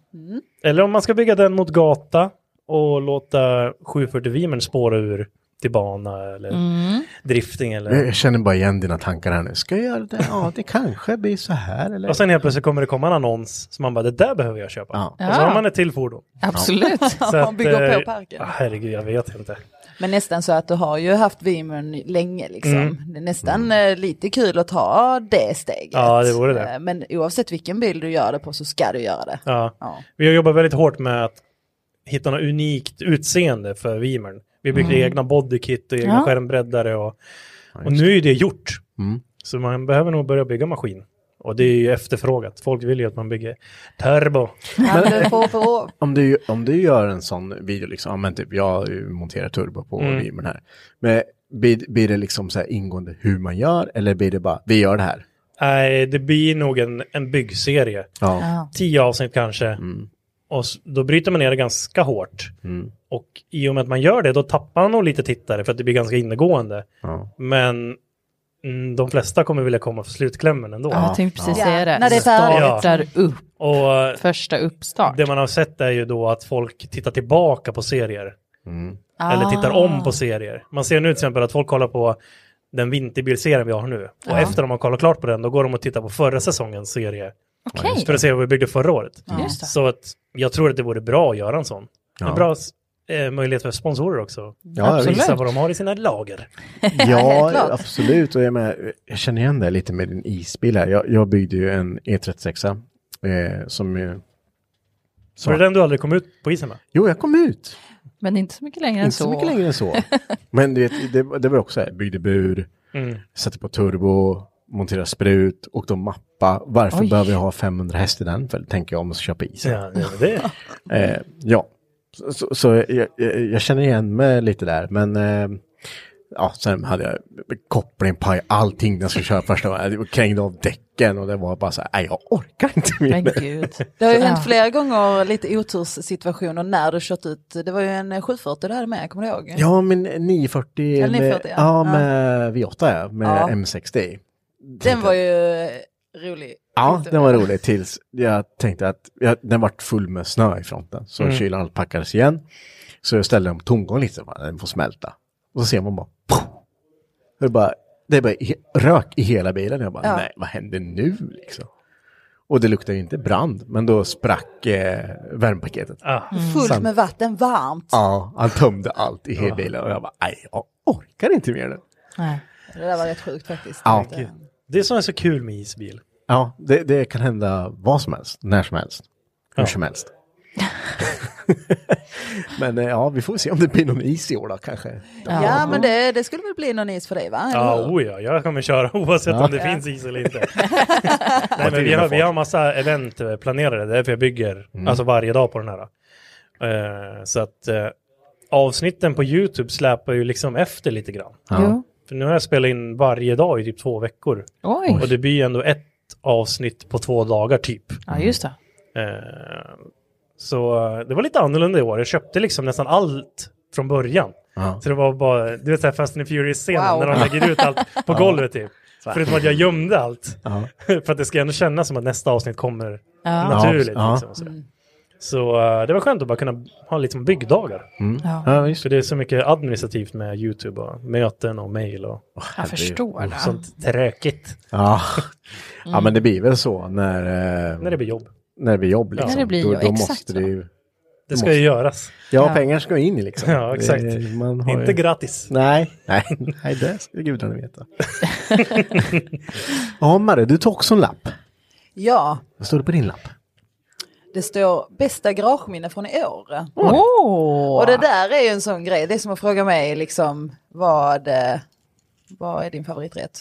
[SPEAKER 13] Eller om man ska bygga den mot gata och låta 740 Vimern spåra ur till bana eller
[SPEAKER 3] Mm.
[SPEAKER 13] drifting eller...
[SPEAKER 3] Jag känner bara igen dina tankar här nu. Ska jag göra det? Ja, det kanske blir så här eller?
[SPEAKER 13] Och sen helt plötsligt kommer det komma en annons som man bara, det där behöver jag köpa.
[SPEAKER 3] Ja.
[SPEAKER 13] Och så har
[SPEAKER 6] Ja.
[SPEAKER 13] man ett till fordon.
[SPEAKER 6] Absolut.
[SPEAKER 13] Så
[SPEAKER 6] Man
[SPEAKER 13] att,
[SPEAKER 6] bygger på
[SPEAKER 13] eh,
[SPEAKER 6] parken.
[SPEAKER 13] ah, Herregud, jag vet inte.
[SPEAKER 6] Men nästan så att du har ju haft Vimern länge liksom.
[SPEAKER 13] Mm.
[SPEAKER 6] Det är nästan eh, lite kul att ta det steget.
[SPEAKER 13] Ja, det vore det.
[SPEAKER 6] Eh, Men oavsett vilken bil du gör det på så ska du göra det.
[SPEAKER 13] Ja.
[SPEAKER 6] Ja.
[SPEAKER 13] Vi har jobbat väldigt hårt med att hitta något unikt utseende för Vimern. Vi byggde
[SPEAKER 6] Mm.
[SPEAKER 13] egna bodykit och egna
[SPEAKER 6] Ja.
[SPEAKER 13] skärmbreddare och, och nu är ju det gjort.
[SPEAKER 3] Mm.
[SPEAKER 13] Så man behöver nog börja bygga maskin. Och det är ju efterfrågat. Folk vill ju att man bygger turbo.
[SPEAKER 6] du får på.
[SPEAKER 3] Om du, om du gör en sån video, liksom, ja, men typ, jag monterar turbo på
[SPEAKER 13] Mm.
[SPEAKER 3] Vimern här. Men blir, blir det liksom så här ingående hur man gör eller blir det bara, vi gör det här?
[SPEAKER 13] Nej, det blir nog en, en byggserie.
[SPEAKER 3] Ja. Ja.
[SPEAKER 6] Mm.
[SPEAKER 13] Tio avsnitt kanske. Och s- då bryter man ner det ganska hårt.
[SPEAKER 3] Mm.
[SPEAKER 13] Och i och med att man gör det, då tappar man nog lite tittare för att det blir ganska innegående. Men mm, de flesta kommer vilja komma för slutklämmen ändå.
[SPEAKER 4] Ja, jag tänkte precis
[SPEAKER 6] Ja.
[SPEAKER 4] säga det.
[SPEAKER 6] Ja, när det är färdigt.
[SPEAKER 4] Startar upp.
[SPEAKER 13] Och,
[SPEAKER 4] Första uppstart.
[SPEAKER 13] Det man har sett är ju då att folk tittar tillbaka på serier. Eller tittar
[SPEAKER 4] Ah.
[SPEAKER 13] om på serier. Man ser nu till exempel att folk kollar på den vinterbilserien vi har nu. Och
[SPEAKER 4] Ja.
[SPEAKER 13] efter de har kollat klart på den, då går de och tittar på förra säsongens serie.
[SPEAKER 4] Okej.
[SPEAKER 13] För att se vad vi byggde förra året.
[SPEAKER 4] Ja. Just det.
[SPEAKER 13] Så att jag tror att det vore bra att göra en sån.
[SPEAKER 3] Ja.
[SPEAKER 13] En bra eh, möjlighet för sponsorer också.
[SPEAKER 3] Ja,
[SPEAKER 13] Att Visa
[SPEAKER 3] absolut.
[SPEAKER 13] vad de har i sina lager.
[SPEAKER 3] Ja, absolut. Och jag, menar, jag känner igen det lite med din isbil här. Jag, jag byggde ju en E36 eh, som ju...
[SPEAKER 13] Så det är den du aldrig kom ut på isen med?
[SPEAKER 3] Jo, jag kom ut.
[SPEAKER 4] Men inte så mycket längre än
[SPEAKER 3] Inte
[SPEAKER 4] så.
[SPEAKER 3] så mycket längre än så. Men du vet, det, var- det var också här, byggde bur,
[SPEAKER 4] Mm.
[SPEAKER 3] satte på turbo, monterade sprut, åkte och mappa. Varför
[SPEAKER 13] Oj.
[SPEAKER 3] behöver jag ha 500 häst i den? För det tänker jag om jag ska köpa is.
[SPEAKER 13] Ja, det var det.
[SPEAKER 3] eh, ja. Så, så, så jag, jag, jag känner igen mig lite där, men eh, ja, sen hade jag koppling, paj, allting när jag skulle köra första gången. Jag krängde av däcken och det var bara så här, nej jag orkar inte mer.
[SPEAKER 4] Men gud.
[SPEAKER 6] Det har ju hänt
[SPEAKER 4] Ja.
[SPEAKER 6] flera gånger lite oturssituationer när du kört ut, det var ju en 740 där med, kommer du ihåg?
[SPEAKER 3] Ja, men 940,
[SPEAKER 6] Eller
[SPEAKER 3] med,
[SPEAKER 6] 940, ja.
[SPEAKER 3] ja, med V8, ja, med
[SPEAKER 6] Ja.
[SPEAKER 3] M60.
[SPEAKER 6] Den var ju eh, rolig.
[SPEAKER 3] Ja, den var rolig tills jag tänkte att jag, den vart full med snö i fronten. Så
[SPEAKER 13] Mm.
[SPEAKER 3] kylan packades igen. Så jag ställde den på tomgång lite, bara, den får smälta. Och så ser man bara, poff! det är bara, det är bara he- rök i hela bilen. Jag bara,
[SPEAKER 13] Ja.
[SPEAKER 3] nej, vad händer nu liksom? Och det luktade ju inte brand, men då sprack eh, värmepaketet.
[SPEAKER 6] Ah. Fullt
[SPEAKER 3] Sen-
[SPEAKER 6] med vatten, varmt.
[SPEAKER 3] Ja, han tömde allt i hela bilen och jag bara, nej, jag orkar inte mer nu.
[SPEAKER 6] Det där var rätt sjukt faktiskt.
[SPEAKER 3] Ja.
[SPEAKER 13] Det är som är så kul med isbil.
[SPEAKER 3] Ja, det, det kan hända vad som helst, när som helst, hur som helst. men eh, ja, vi får se om det blir någon is i år då kanske.
[SPEAKER 6] Ja, men det, det skulle väl bli någon is för dig va? Eller
[SPEAKER 13] Ja,
[SPEAKER 6] hur?
[SPEAKER 13] oh ja, jag kommer köra oavsett
[SPEAKER 3] Ja.
[SPEAKER 13] om det
[SPEAKER 3] Ja.
[SPEAKER 13] finns is eller inte. Nej, men vi, har, vi har massa event eh, planerade, det är därför jag bygger
[SPEAKER 3] Mm.
[SPEAKER 13] alltså varje dag på den här. Eh, så att eh, avsnitten på YouTube släpar ju liksom efter lite grann.
[SPEAKER 3] Ja. Jo.
[SPEAKER 13] För nu har jag spelat in varje dag i typ två veckor.
[SPEAKER 4] Oj.
[SPEAKER 13] Och det blir ju ändå ett avsnitt på två dagar typ.
[SPEAKER 4] Ja, just det.
[SPEAKER 13] Eh, Så eh, det var lite annorlunda i år. Jag köpte liksom nästan allt från början.
[SPEAKER 3] Ja.
[SPEAKER 13] Så det var bara, du vet så här Fast and Furious-scenen
[SPEAKER 3] Wow.
[SPEAKER 13] när de lägger ut allt på
[SPEAKER 3] Ja.
[SPEAKER 13] golvet typ.
[SPEAKER 3] Så här.
[SPEAKER 13] Förutom att jag gömde allt.
[SPEAKER 3] Ja.
[SPEAKER 13] För att det ska ändå kännas som att nästa avsnitt kommer
[SPEAKER 3] Ja.
[SPEAKER 13] naturligt.
[SPEAKER 3] Ja.
[SPEAKER 13] Liksom, och så. så eh, det var skönt att bara kunna ha liksom byggdagar.
[SPEAKER 3] Mm. Ja. Ja,
[SPEAKER 13] För det är så mycket administrativt med YouTube och möten och mejl och
[SPEAKER 4] Jag förstår det.
[SPEAKER 13] sånt tråkigt.
[SPEAKER 3] Mm. Ja. ja,
[SPEAKER 13] Mm.
[SPEAKER 3] men det blir väl så när... eh,
[SPEAKER 13] När det blir jobb.
[SPEAKER 3] När det blir jobb
[SPEAKER 13] Ja.
[SPEAKER 3] liksom.
[SPEAKER 13] När det blir
[SPEAKER 3] då,
[SPEAKER 13] jobb,
[SPEAKER 3] då
[SPEAKER 13] exakt
[SPEAKER 3] måste det ju...
[SPEAKER 13] Det
[SPEAKER 3] då
[SPEAKER 13] ska
[SPEAKER 3] måste-
[SPEAKER 13] ju göras.
[SPEAKER 3] Ja,
[SPEAKER 13] Ja.
[SPEAKER 3] pengar ska in liksom.
[SPEAKER 13] Ja, exakt.
[SPEAKER 3] Det- man har
[SPEAKER 13] Inte gratis.
[SPEAKER 3] Nej, nej, nej, det ska gudarna veta. ja, Marre, du tog också en lapp.
[SPEAKER 6] ja,
[SPEAKER 3] Vad står det på din lapp?
[SPEAKER 6] det står bästa garageminne från i år.
[SPEAKER 4] Åh.
[SPEAKER 6] Och det där är ju en sån grej, det är som att fråga mig liksom vad, eh, vad är din favoriträtt?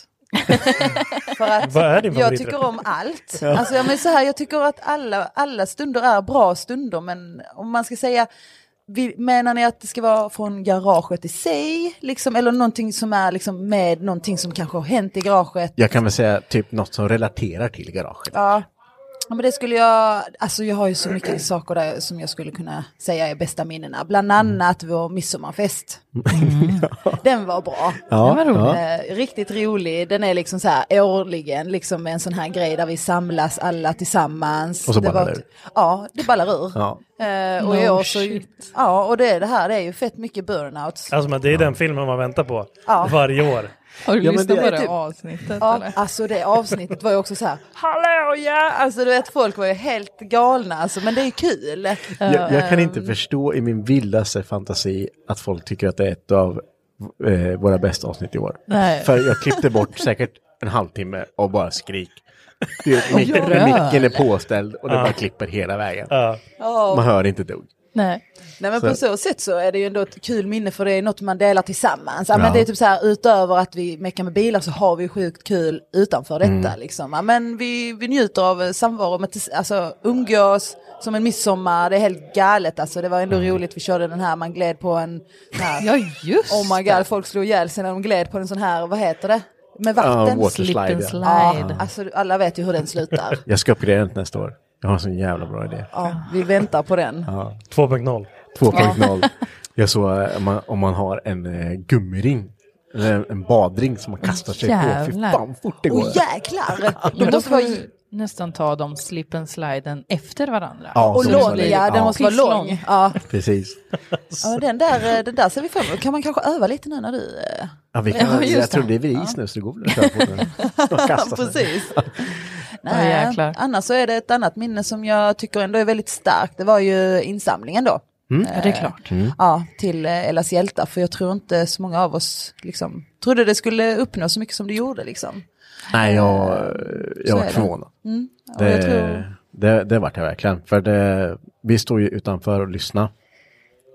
[SPEAKER 6] För att
[SPEAKER 13] Vad är din
[SPEAKER 6] jag
[SPEAKER 13] favoriträtt?
[SPEAKER 6] tycker om allt.
[SPEAKER 13] Ja.
[SPEAKER 6] Alltså, jag, men så här, jag tycker att alla, alla stunder är bra stunder men om man ska säga vi, menar ni att det ska vara från garaget i sig, liksom, eller någonting som är liksom, med någonting som kanske har hänt i garaget?
[SPEAKER 3] Jag kan väl säga typ något som relaterar till garaget.
[SPEAKER 6] Ja. Ja, men det skulle jag, alltså jag har ju så mycket saker där som jag skulle kunna säga är bästa minnena. Bland annat vår midsommarfest. Den var bra.
[SPEAKER 3] Ja, Den var rolig.
[SPEAKER 6] Eh, riktigt rolig. Den är liksom så här årligen, liksom en sån här grej där vi samlas alla tillsammans.
[SPEAKER 3] Och så ballar
[SPEAKER 6] var-
[SPEAKER 3] det ur.
[SPEAKER 6] Ja, det ballar ur.
[SPEAKER 3] Ja.
[SPEAKER 6] Eh, och
[SPEAKER 4] No
[SPEAKER 6] i år så, ja, och det, är det här det är ju fett mycket burnouts.
[SPEAKER 13] Alltså men det är den filmen man väntar på
[SPEAKER 6] Ja.
[SPEAKER 13] varje år.
[SPEAKER 4] Har du
[SPEAKER 13] Ja, men
[SPEAKER 4] lyssnat
[SPEAKER 13] det-
[SPEAKER 4] på
[SPEAKER 13] det är
[SPEAKER 4] det
[SPEAKER 13] typ-
[SPEAKER 4] avsnittet?
[SPEAKER 6] Ja,
[SPEAKER 4] eller?
[SPEAKER 6] alltså det avsnittet var ju också så här, hallå ja, alltså du vet folk var ju helt galna alltså, men det är ju kul.
[SPEAKER 3] Jag, jag kan
[SPEAKER 6] ehm.
[SPEAKER 3] inte förstå i min vildaste fantasi att folk tycker att det är ett av eh, våra bästa avsnitt i år.
[SPEAKER 6] Nej.
[SPEAKER 3] För jag klippte bort säkert en halvtimme av bara skrik. Du vet,
[SPEAKER 4] Och
[SPEAKER 3] mic-
[SPEAKER 4] rör.
[SPEAKER 3] Micken är påställd och det
[SPEAKER 13] Ja.
[SPEAKER 3] bara klipper hela vägen.
[SPEAKER 6] Ja.
[SPEAKER 3] Man hör inte ett dugg.
[SPEAKER 4] Nej.
[SPEAKER 6] Nej men
[SPEAKER 3] Så-
[SPEAKER 6] på så sätt så är det ju ändå ett kul minne för det är något man delar tillsammans. Ja, men
[SPEAKER 3] Ja.
[SPEAKER 6] det är typ så här utöver att vi mekar med bilar så har vi sjukt kul utanför detta
[SPEAKER 3] Mm.
[SPEAKER 6] liksom. Ja, men vi, vi njuter av eh, samvaro, med, tis- alltså umgås som en midsommar, det är helt galet alltså. Det var ändå
[SPEAKER 3] Mm.
[SPEAKER 6] roligt, vi körde den här, man gled på en... sån Här,
[SPEAKER 4] ja just
[SPEAKER 6] Oh my god, folk slog ihjäl sig när de gled på en sån här, vad heter det? Med vatten.
[SPEAKER 3] Ja, water Slip and slide, ja.
[SPEAKER 6] Ja,
[SPEAKER 3] slide.
[SPEAKER 6] alltså alla vet ju hur den slutar.
[SPEAKER 3] Jag ska uppgradera den till nästa år. Jag har en sån jävla bra idé.
[SPEAKER 6] Ja, vi väntar på den.
[SPEAKER 3] Ja.
[SPEAKER 13] 2.0.
[SPEAKER 3] 2.0.
[SPEAKER 6] Ja.
[SPEAKER 3] Jag såg eh, om man, om man har en eh, gummiring, eller en- en badring som man kastar sig på. Fy fan vad fort det går.
[SPEAKER 6] jäklar!
[SPEAKER 4] Då
[SPEAKER 6] måste
[SPEAKER 4] måste
[SPEAKER 6] vara-
[SPEAKER 4] vi nästan ta de slip and sliden efter varandra.
[SPEAKER 3] Ja,
[SPEAKER 6] Och
[SPEAKER 3] så måste
[SPEAKER 6] lång,
[SPEAKER 3] man-
[SPEAKER 6] ja, den måste vara
[SPEAKER 4] Pisslång.
[SPEAKER 6] lång. Ja.
[SPEAKER 3] Precis.
[SPEAKER 6] Ja, den, där, eh, den där ser vi fram emot. Kan man kanske öva lite nu när du... eh,
[SPEAKER 3] Ja, vi kan,
[SPEAKER 6] just
[SPEAKER 3] jag tror
[SPEAKER 6] det.
[SPEAKER 3] det är vid is nu så det går väl att köra på den. Och kasta sig.
[SPEAKER 6] Precis.
[SPEAKER 3] Ja,
[SPEAKER 6] Nej,
[SPEAKER 3] jäklar.
[SPEAKER 6] annars så är det ett annat minne som jag tycker ändå är väldigt starkt. Det var ju insamlingen då.
[SPEAKER 3] Mm.
[SPEAKER 6] Ja, det är klart. Ja, till eh, Ellas hjältar. För jag tror inte så många av oss liksom, trodde det skulle uppnå så mycket som det gjorde. Liksom.
[SPEAKER 3] Nej, jag,
[SPEAKER 6] så
[SPEAKER 3] jag
[SPEAKER 6] är
[SPEAKER 3] var
[SPEAKER 6] det.
[SPEAKER 3] förvånad.
[SPEAKER 6] Mm. Ja,
[SPEAKER 3] Det,
[SPEAKER 6] jag tror-
[SPEAKER 3] det, det vart jag verkligen. För det, vi stod ju utanför och lyssnade.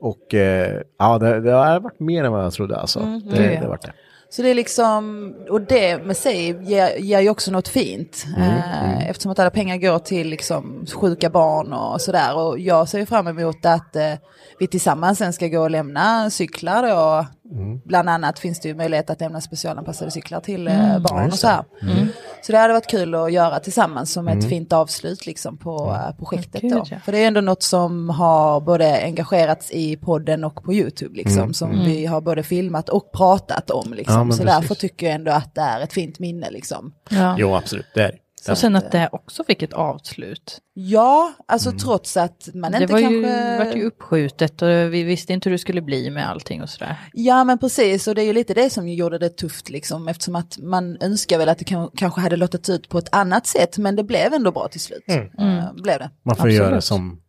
[SPEAKER 3] Och eh, ja, det, det har varit mer än vad jag trodde alltså.
[SPEAKER 6] Mm,
[SPEAKER 3] det,
[SPEAKER 6] mm.
[SPEAKER 3] det vart det.
[SPEAKER 6] Så det är liksom, och det med sig ger, ger ju också något fint.
[SPEAKER 3] Mm,
[SPEAKER 6] Eh, Eftersom att alla pengar går till liksom sjuka barn och sådär. Och jag ser ju fram emot att eh, vi tillsammans sen ska gå och lämna cyklar då.
[SPEAKER 17] Mm.
[SPEAKER 3] Mm.
[SPEAKER 6] Bland annat finns det ju möjlighet att lämna specialanpassade cyklar till eh,
[SPEAKER 3] Mm. Ja,
[SPEAKER 6] barn
[SPEAKER 3] just
[SPEAKER 6] och så här.
[SPEAKER 3] det. Mm.
[SPEAKER 6] Så det hade varit kul att göra tillsammans som
[SPEAKER 3] Mm.
[SPEAKER 6] ett fint avslut liksom på eh, projektet
[SPEAKER 4] Gud,
[SPEAKER 6] då.
[SPEAKER 4] ja.
[SPEAKER 6] För det är ju ändå något som har både engagerats i podden och på YouTube liksom.
[SPEAKER 3] Mm.
[SPEAKER 6] Som
[SPEAKER 3] Mm.
[SPEAKER 6] vi har både filmat och pratat om liksom.
[SPEAKER 3] Ja, men
[SPEAKER 6] så
[SPEAKER 3] precis.
[SPEAKER 6] därför tycker jag ändå att det är ett fint minne liksom.
[SPEAKER 3] Jo, absolut. Det är det.
[SPEAKER 6] Så sen att det
[SPEAKER 4] också fick ett avslut.
[SPEAKER 6] Ja, alltså
[SPEAKER 3] Mm.
[SPEAKER 6] trots att man
[SPEAKER 4] det
[SPEAKER 6] inte
[SPEAKER 4] var ju,
[SPEAKER 6] kanske...
[SPEAKER 4] vart ju uppskjutet och vi visste inte hur det skulle bli med allting och sådär.
[SPEAKER 6] Ja men precis och det är ju lite det som gjorde det tufft liksom eftersom att man önskar väl att det kan, kanske hade låtit ut på ett annat sätt men det blev ändå bra till slut.
[SPEAKER 3] Mm.
[SPEAKER 6] Eh, blev det.
[SPEAKER 3] Man får ju
[SPEAKER 6] Absolut.
[SPEAKER 3] göra som,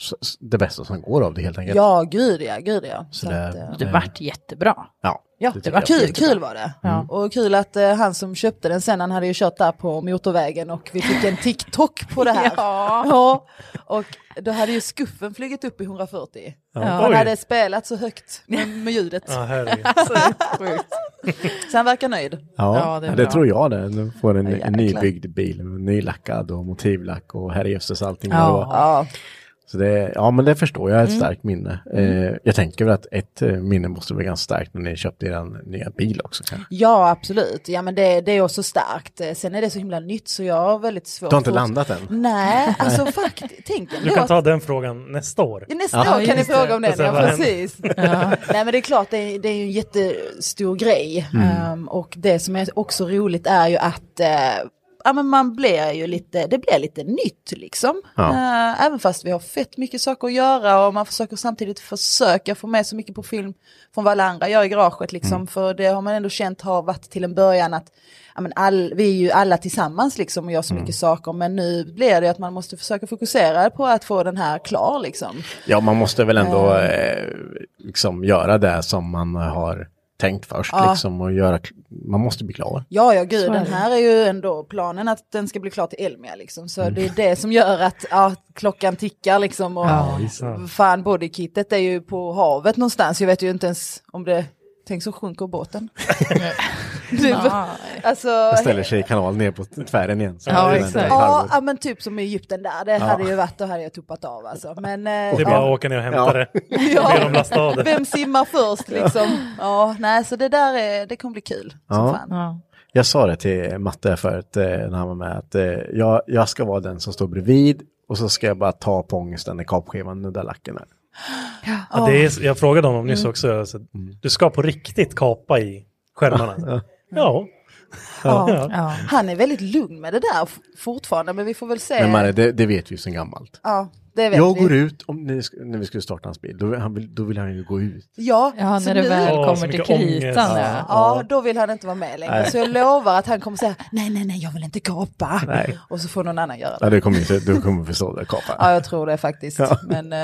[SPEAKER 3] s- s- det bästa som går av det helt enkelt.
[SPEAKER 6] Ja, gud ja, gud ja.
[SPEAKER 3] Mm.
[SPEAKER 6] eh,
[SPEAKER 3] Så det,
[SPEAKER 6] det vart
[SPEAKER 4] jättebra.
[SPEAKER 3] Ja,
[SPEAKER 6] Ja, det,
[SPEAKER 3] tycker
[SPEAKER 6] var
[SPEAKER 3] jag.
[SPEAKER 6] kul, kul var det. Och kul att eh, han som köpte den sen, han hade ju kört där på motorvägen och vi fick en TikTok på det här.
[SPEAKER 4] Ja.
[SPEAKER 6] Och då hade ju skuffen flugit upp i 140.
[SPEAKER 4] Ja.
[SPEAKER 6] Han
[SPEAKER 4] Oj.
[SPEAKER 6] hade spelat så högt med, med ljudet.
[SPEAKER 13] Ja, herregud.
[SPEAKER 6] så, sjukt. så han verkar nöjd.
[SPEAKER 3] Ja, det, tror jag det. Nu får en, en
[SPEAKER 6] jäklar.
[SPEAKER 3] nybyggd bil, nylackad och motivlack och herrejösses allting.
[SPEAKER 6] Ja.
[SPEAKER 3] vad det var.
[SPEAKER 6] Ja.
[SPEAKER 3] Så det, ja, men det förstår jag, är ett
[SPEAKER 6] Mm.
[SPEAKER 3] starkt minne.
[SPEAKER 6] Mm.
[SPEAKER 3] Eh, jag tänker väl att ett eh, minne måste vara ganska starkt när ni köpte er nya bil också. Kanske.
[SPEAKER 6] Ja, absolut. Ja, men det, det är också starkt. Eh, Sen är det så himla nytt så jag har väldigt svårt
[SPEAKER 3] Du har inte
[SPEAKER 6] att-
[SPEAKER 3] landat än?
[SPEAKER 6] Nej, alltså faktiskt. Tänk
[SPEAKER 13] Du
[SPEAKER 6] ändå
[SPEAKER 13] kan
[SPEAKER 6] att
[SPEAKER 13] ta den frågan nästa år.
[SPEAKER 6] Ja, Nästa år kan ni fråga om den, ja precis. Nej men det är klart, det är, det är ju en jättestor grej.
[SPEAKER 13] Mm.
[SPEAKER 6] Ehm, och det som är också roligt är ju att eh, ja, men man blir ju lite, det blir lite nytt liksom.
[SPEAKER 3] Ja.
[SPEAKER 6] Eh, även fast vi har fett mycket saker att göra och man försöker samtidigt försöka få med så mycket på film från vad alla andra gör i garaget liksom. För det har man ändå känt har varit till en början att ja, men all, vi är ju alla tillsammans liksom och gör så mycket saker. Men nu blir det att man måste försöka fokusera på att få den här klar liksom.
[SPEAKER 3] Ja, man måste väl ändå
[SPEAKER 6] Eh.
[SPEAKER 3] eh, liksom göra det som man har tänkt först.
[SPEAKER 6] Ja.
[SPEAKER 3] Liksom, och göra, man måste bli klar.
[SPEAKER 6] Ja, ja gud,
[SPEAKER 3] Så är
[SPEAKER 6] den
[SPEAKER 3] det.
[SPEAKER 6] här är ju ändå planen att den ska bli klar till Elmia liksom.
[SPEAKER 13] Mm.
[SPEAKER 6] Så det är det som gör att ja, klockan tickar liksom. Och
[SPEAKER 3] Ja, visst.
[SPEAKER 6] fan, bodykittet är ju på havet någonstans. Jag vet ju inte ens om det, tänk så sjunker båten. du, alltså,
[SPEAKER 3] Jag ställer sig i kanal ner på tvären igen. Så
[SPEAKER 6] Ja,
[SPEAKER 3] det är
[SPEAKER 6] exakt.
[SPEAKER 3] ett
[SPEAKER 6] ja,
[SPEAKER 3] halvår.
[SPEAKER 6] ja, men typ som i Egypten där. Det
[SPEAKER 3] Ja.
[SPEAKER 6] hade ju varit, då hade jag tuppat av alltså. Men, eh,
[SPEAKER 13] Det är bara att åka ner och hämta det.
[SPEAKER 6] Ja.
[SPEAKER 13] Be dem lasta av det.
[SPEAKER 6] Vem simmar först liksom? Ja, nej, så det där är, det kommer bli kul.
[SPEAKER 3] Ja.
[SPEAKER 4] Ja.
[SPEAKER 3] Jag sa det till Matte förut eh, när han var med att eh, jag, jag ska vara den som står bredvid och så ska jag bara ta på ångesten när kapskivan nuddar lacken. Här.
[SPEAKER 13] Ja, det är, jag frågade honom nyss
[SPEAKER 3] Mm.
[SPEAKER 13] också. Alltså, du ska på riktigt kapa i skärmarna. ja.
[SPEAKER 6] Ja.
[SPEAKER 13] Ja.
[SPEAKER 6] Han är väldigt lugn med det där f- fortfarande, men vi får väl se.
[SPEAKER 3] Men Marre, det, det vet vi ju sen gammalt.
[SPEAKER 6] Eh. ja, det vet
[SPEAKER 3] Jag
[SPEAKER 6] vi.
[SPEAKER 3] går ut, om ni, sk- när vi skulle starta hans bil, då, han vill, då vill han ju gå ut.
[SPEAKER 6] Ja,
[SPEAKER 4] Ja,
[SPEAKER 6] så
[SPEAKER 4] när det
[SPEAKER 6] nu-
[SPEAKER 4] väl Åh, så kommer till mycket ångest. kritan,
[SPEAKER 6] Ja.
[SPEAKER 4] ja.
[SPEAKER 6] ja, då vill han inte vara med längre.
[SPEAKER 3] Nej.
[SPEAKER 6] Så jag lovar att han kommer säga, nej, nej, nej, jag vill inte kapa.
[SPEAKER 3] Nej.
[SPEAKER 6] Och så får någon annan göra det.
[SPEAKER 3] Ja, du kommer, inte, du kommer förstå det,
[SPEAKER 6] Ja,
[SPEAKER 3] kapa.
[SPEAKER 6] jag tror det faktiskt.
[SPEAKER 3] Ja.
[SPEAKER 6] Men eh,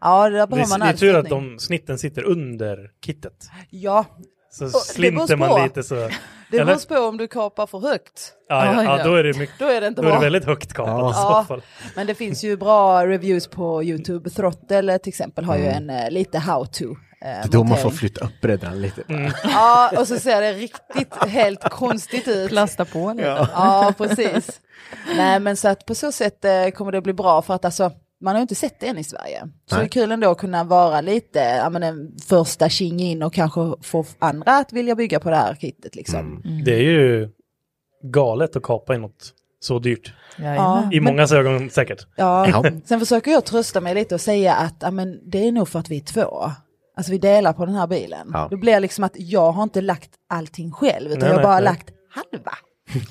[SPEAKER 6] ja, där
[SPEAKER 13] Det
[SPEAKER 6] behöver
[SPEAKER 13] är,
[SPEAKER 6] man
[SPEAKER 13] det är tur att
[SPEAKER 6] ansträngning.
[SPEAKER 13] de snitten sitter under kittet.
[SPEAKER 6] Ja.
[SPEAKER 13] Så
[SPEAKER 6] Och det
[SPEAKER 13] slinter
[SPEAKER 6] beror
[SPEAKER 13] man
[SPEAKER 6] på.
[SPEAKER 13] lite så...
[SPEAKER 6] Det
[SPEAKER 13] eller?
[SPEAKER 6] beror på om du kapar för högt.
[SPEAKER 13] Ja, ja, ja, då är det mycket...
[SPEAKER 6] Då är det inte
[SPEAKER 13] då är
[SPEAKER 6] bra.
[SPEAKER 13] det väldigt högt kapat i så fall.
[SPEAKER 6] men det finns ju bra reviews på YouTube. Throttle till exempel har ju
[SPEAKER 3] Mm.
[SPEAKER 6] en eh, lite how-to. eh,
[SPEAKER 3] Det är då man får
[SPEAKER 6] montering.
[SPEAKER 3] flytta upp bredden lite.
[SPEAKER 6] Ja, och så ser det riktigt helt konstigt ut.
[SPEAKER 4] Plasta på lite.
[SPEAKER 6] Ja. precis. Nej, men så att på så sätt eh, kommer det bli bra för att alltså, man har ju inte sett det än i Sverige. Så
[SPEAKER 4] Nej.
[SPEAKER 6] det är kul ändå att kunna vara lite, ja men en första tjing in och kanske få andra att vilja bygga på det här kittet liksom.
[SPEAKER 13] Det är ju galet att kapa i något så dyrt.
[SPEAKER 6] Jajamän.
[SPEAKER 13] I
[SPEAKER 6] Men-
[SPEAKER 13] mångas ögon säkert.
[SPEAKER 6] Ja. Sen försöker jag trösta mig lite och säga att ja, men det är nog för att vi är två. Alltså vi delar på den här bilen.
[SPEAKER 13] Ja.
[SPEAKER 6] Då blir det liksom att jag har inte lagt allting själv utan
[SPEAKER 3] Nej,
[SPEAKER 6] jag har
[SPEAKER 3] nej,
[SPEAKER 6] bara
[SPEAKER 3] nej.
[SPEAKER 6] lagt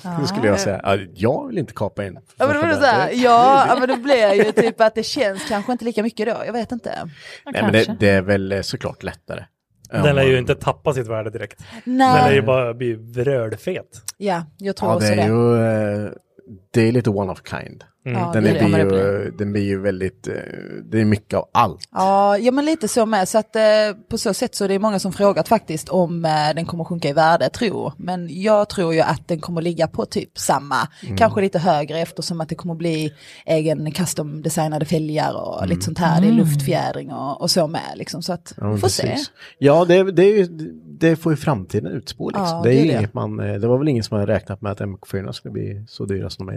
[SPEAKER 6] halva.
[SPEAKER 3] Då skulle jag säga, "Ja, jag vill inte kapa in.
[SPEAKER 6] Ja men, då blir det så här, ja, ja, men det blir ju typ att det känns kanske inte lika mycket då, jag vet inte.
[SPEAKER 3] Nej, men det, det är väl eh, såklart lättare.
[SPEAKER 13] Den lär ju inte tappa sitt värde direkt.
[SPEAKER 6] Nej.
[SPEAKER 13] Den lär ju bara bli vrödfet.
[SPEAKER 6] Ja, jag tror
[SPEAKER 3] Ja, det
[SPEAKER 6] också
[SPEAKER 3] är
[SPEAKER 6] det.
[SPEAKER 3] ju eh, det är lite one of kind.
[SPEAKER 6] Mm. Ja,
[SPEAKER 3] Den,
[SPEAKER 6] det
[SPEAKER 3] är
[SPEAKER 6] är det.
[SPEAKER 3] blir
[SPEAKER 6] Ja, men det
[SPEAKER 3] ju, den blir ju väldigt, eh, det är mycket av allt.
[SPEAKER 6] Ja, ja men lite så med. Så att eh, på så sätt så är det många som frågat faktiskt om eh, den kommer sjunka i värde, tror. Men jag tror ju att den kommer ligga på typ samma,
[SPEAKER 3] Mm.
[SPEAKER 6] kanske lite högre eftersom att det kommer bli egen custom designade fälgar och
[SPEAKER 3] Mm.
[SPEAKER 6] lite sånt här. Det är
[SPEAKER 3] Mm.
[SPEAKER 6] luftfjädring och, och så med liksom. Så att
[SPEAKER 3] Ja,
[SPEAKER 6] vi
[SPEAKER 3] men
[SPEAKER 6] får se.
[SPEAKER 3] precis. Ja, det, det, är ju, det får ju framtiden utspå liksom.
[SPEAKER 6] Ja,
[SPEAKER 3] det,
[SPEAKER 6] det
[SPEAKER 3] är
[SPEAKER 6] är
[SPEAKER 3] ju
[SPEAKER 6] det.
[SPEAKER 3] Inget man, eh, det var väl ingen som hade räknat med att MK4 skulle bli så dyra som de är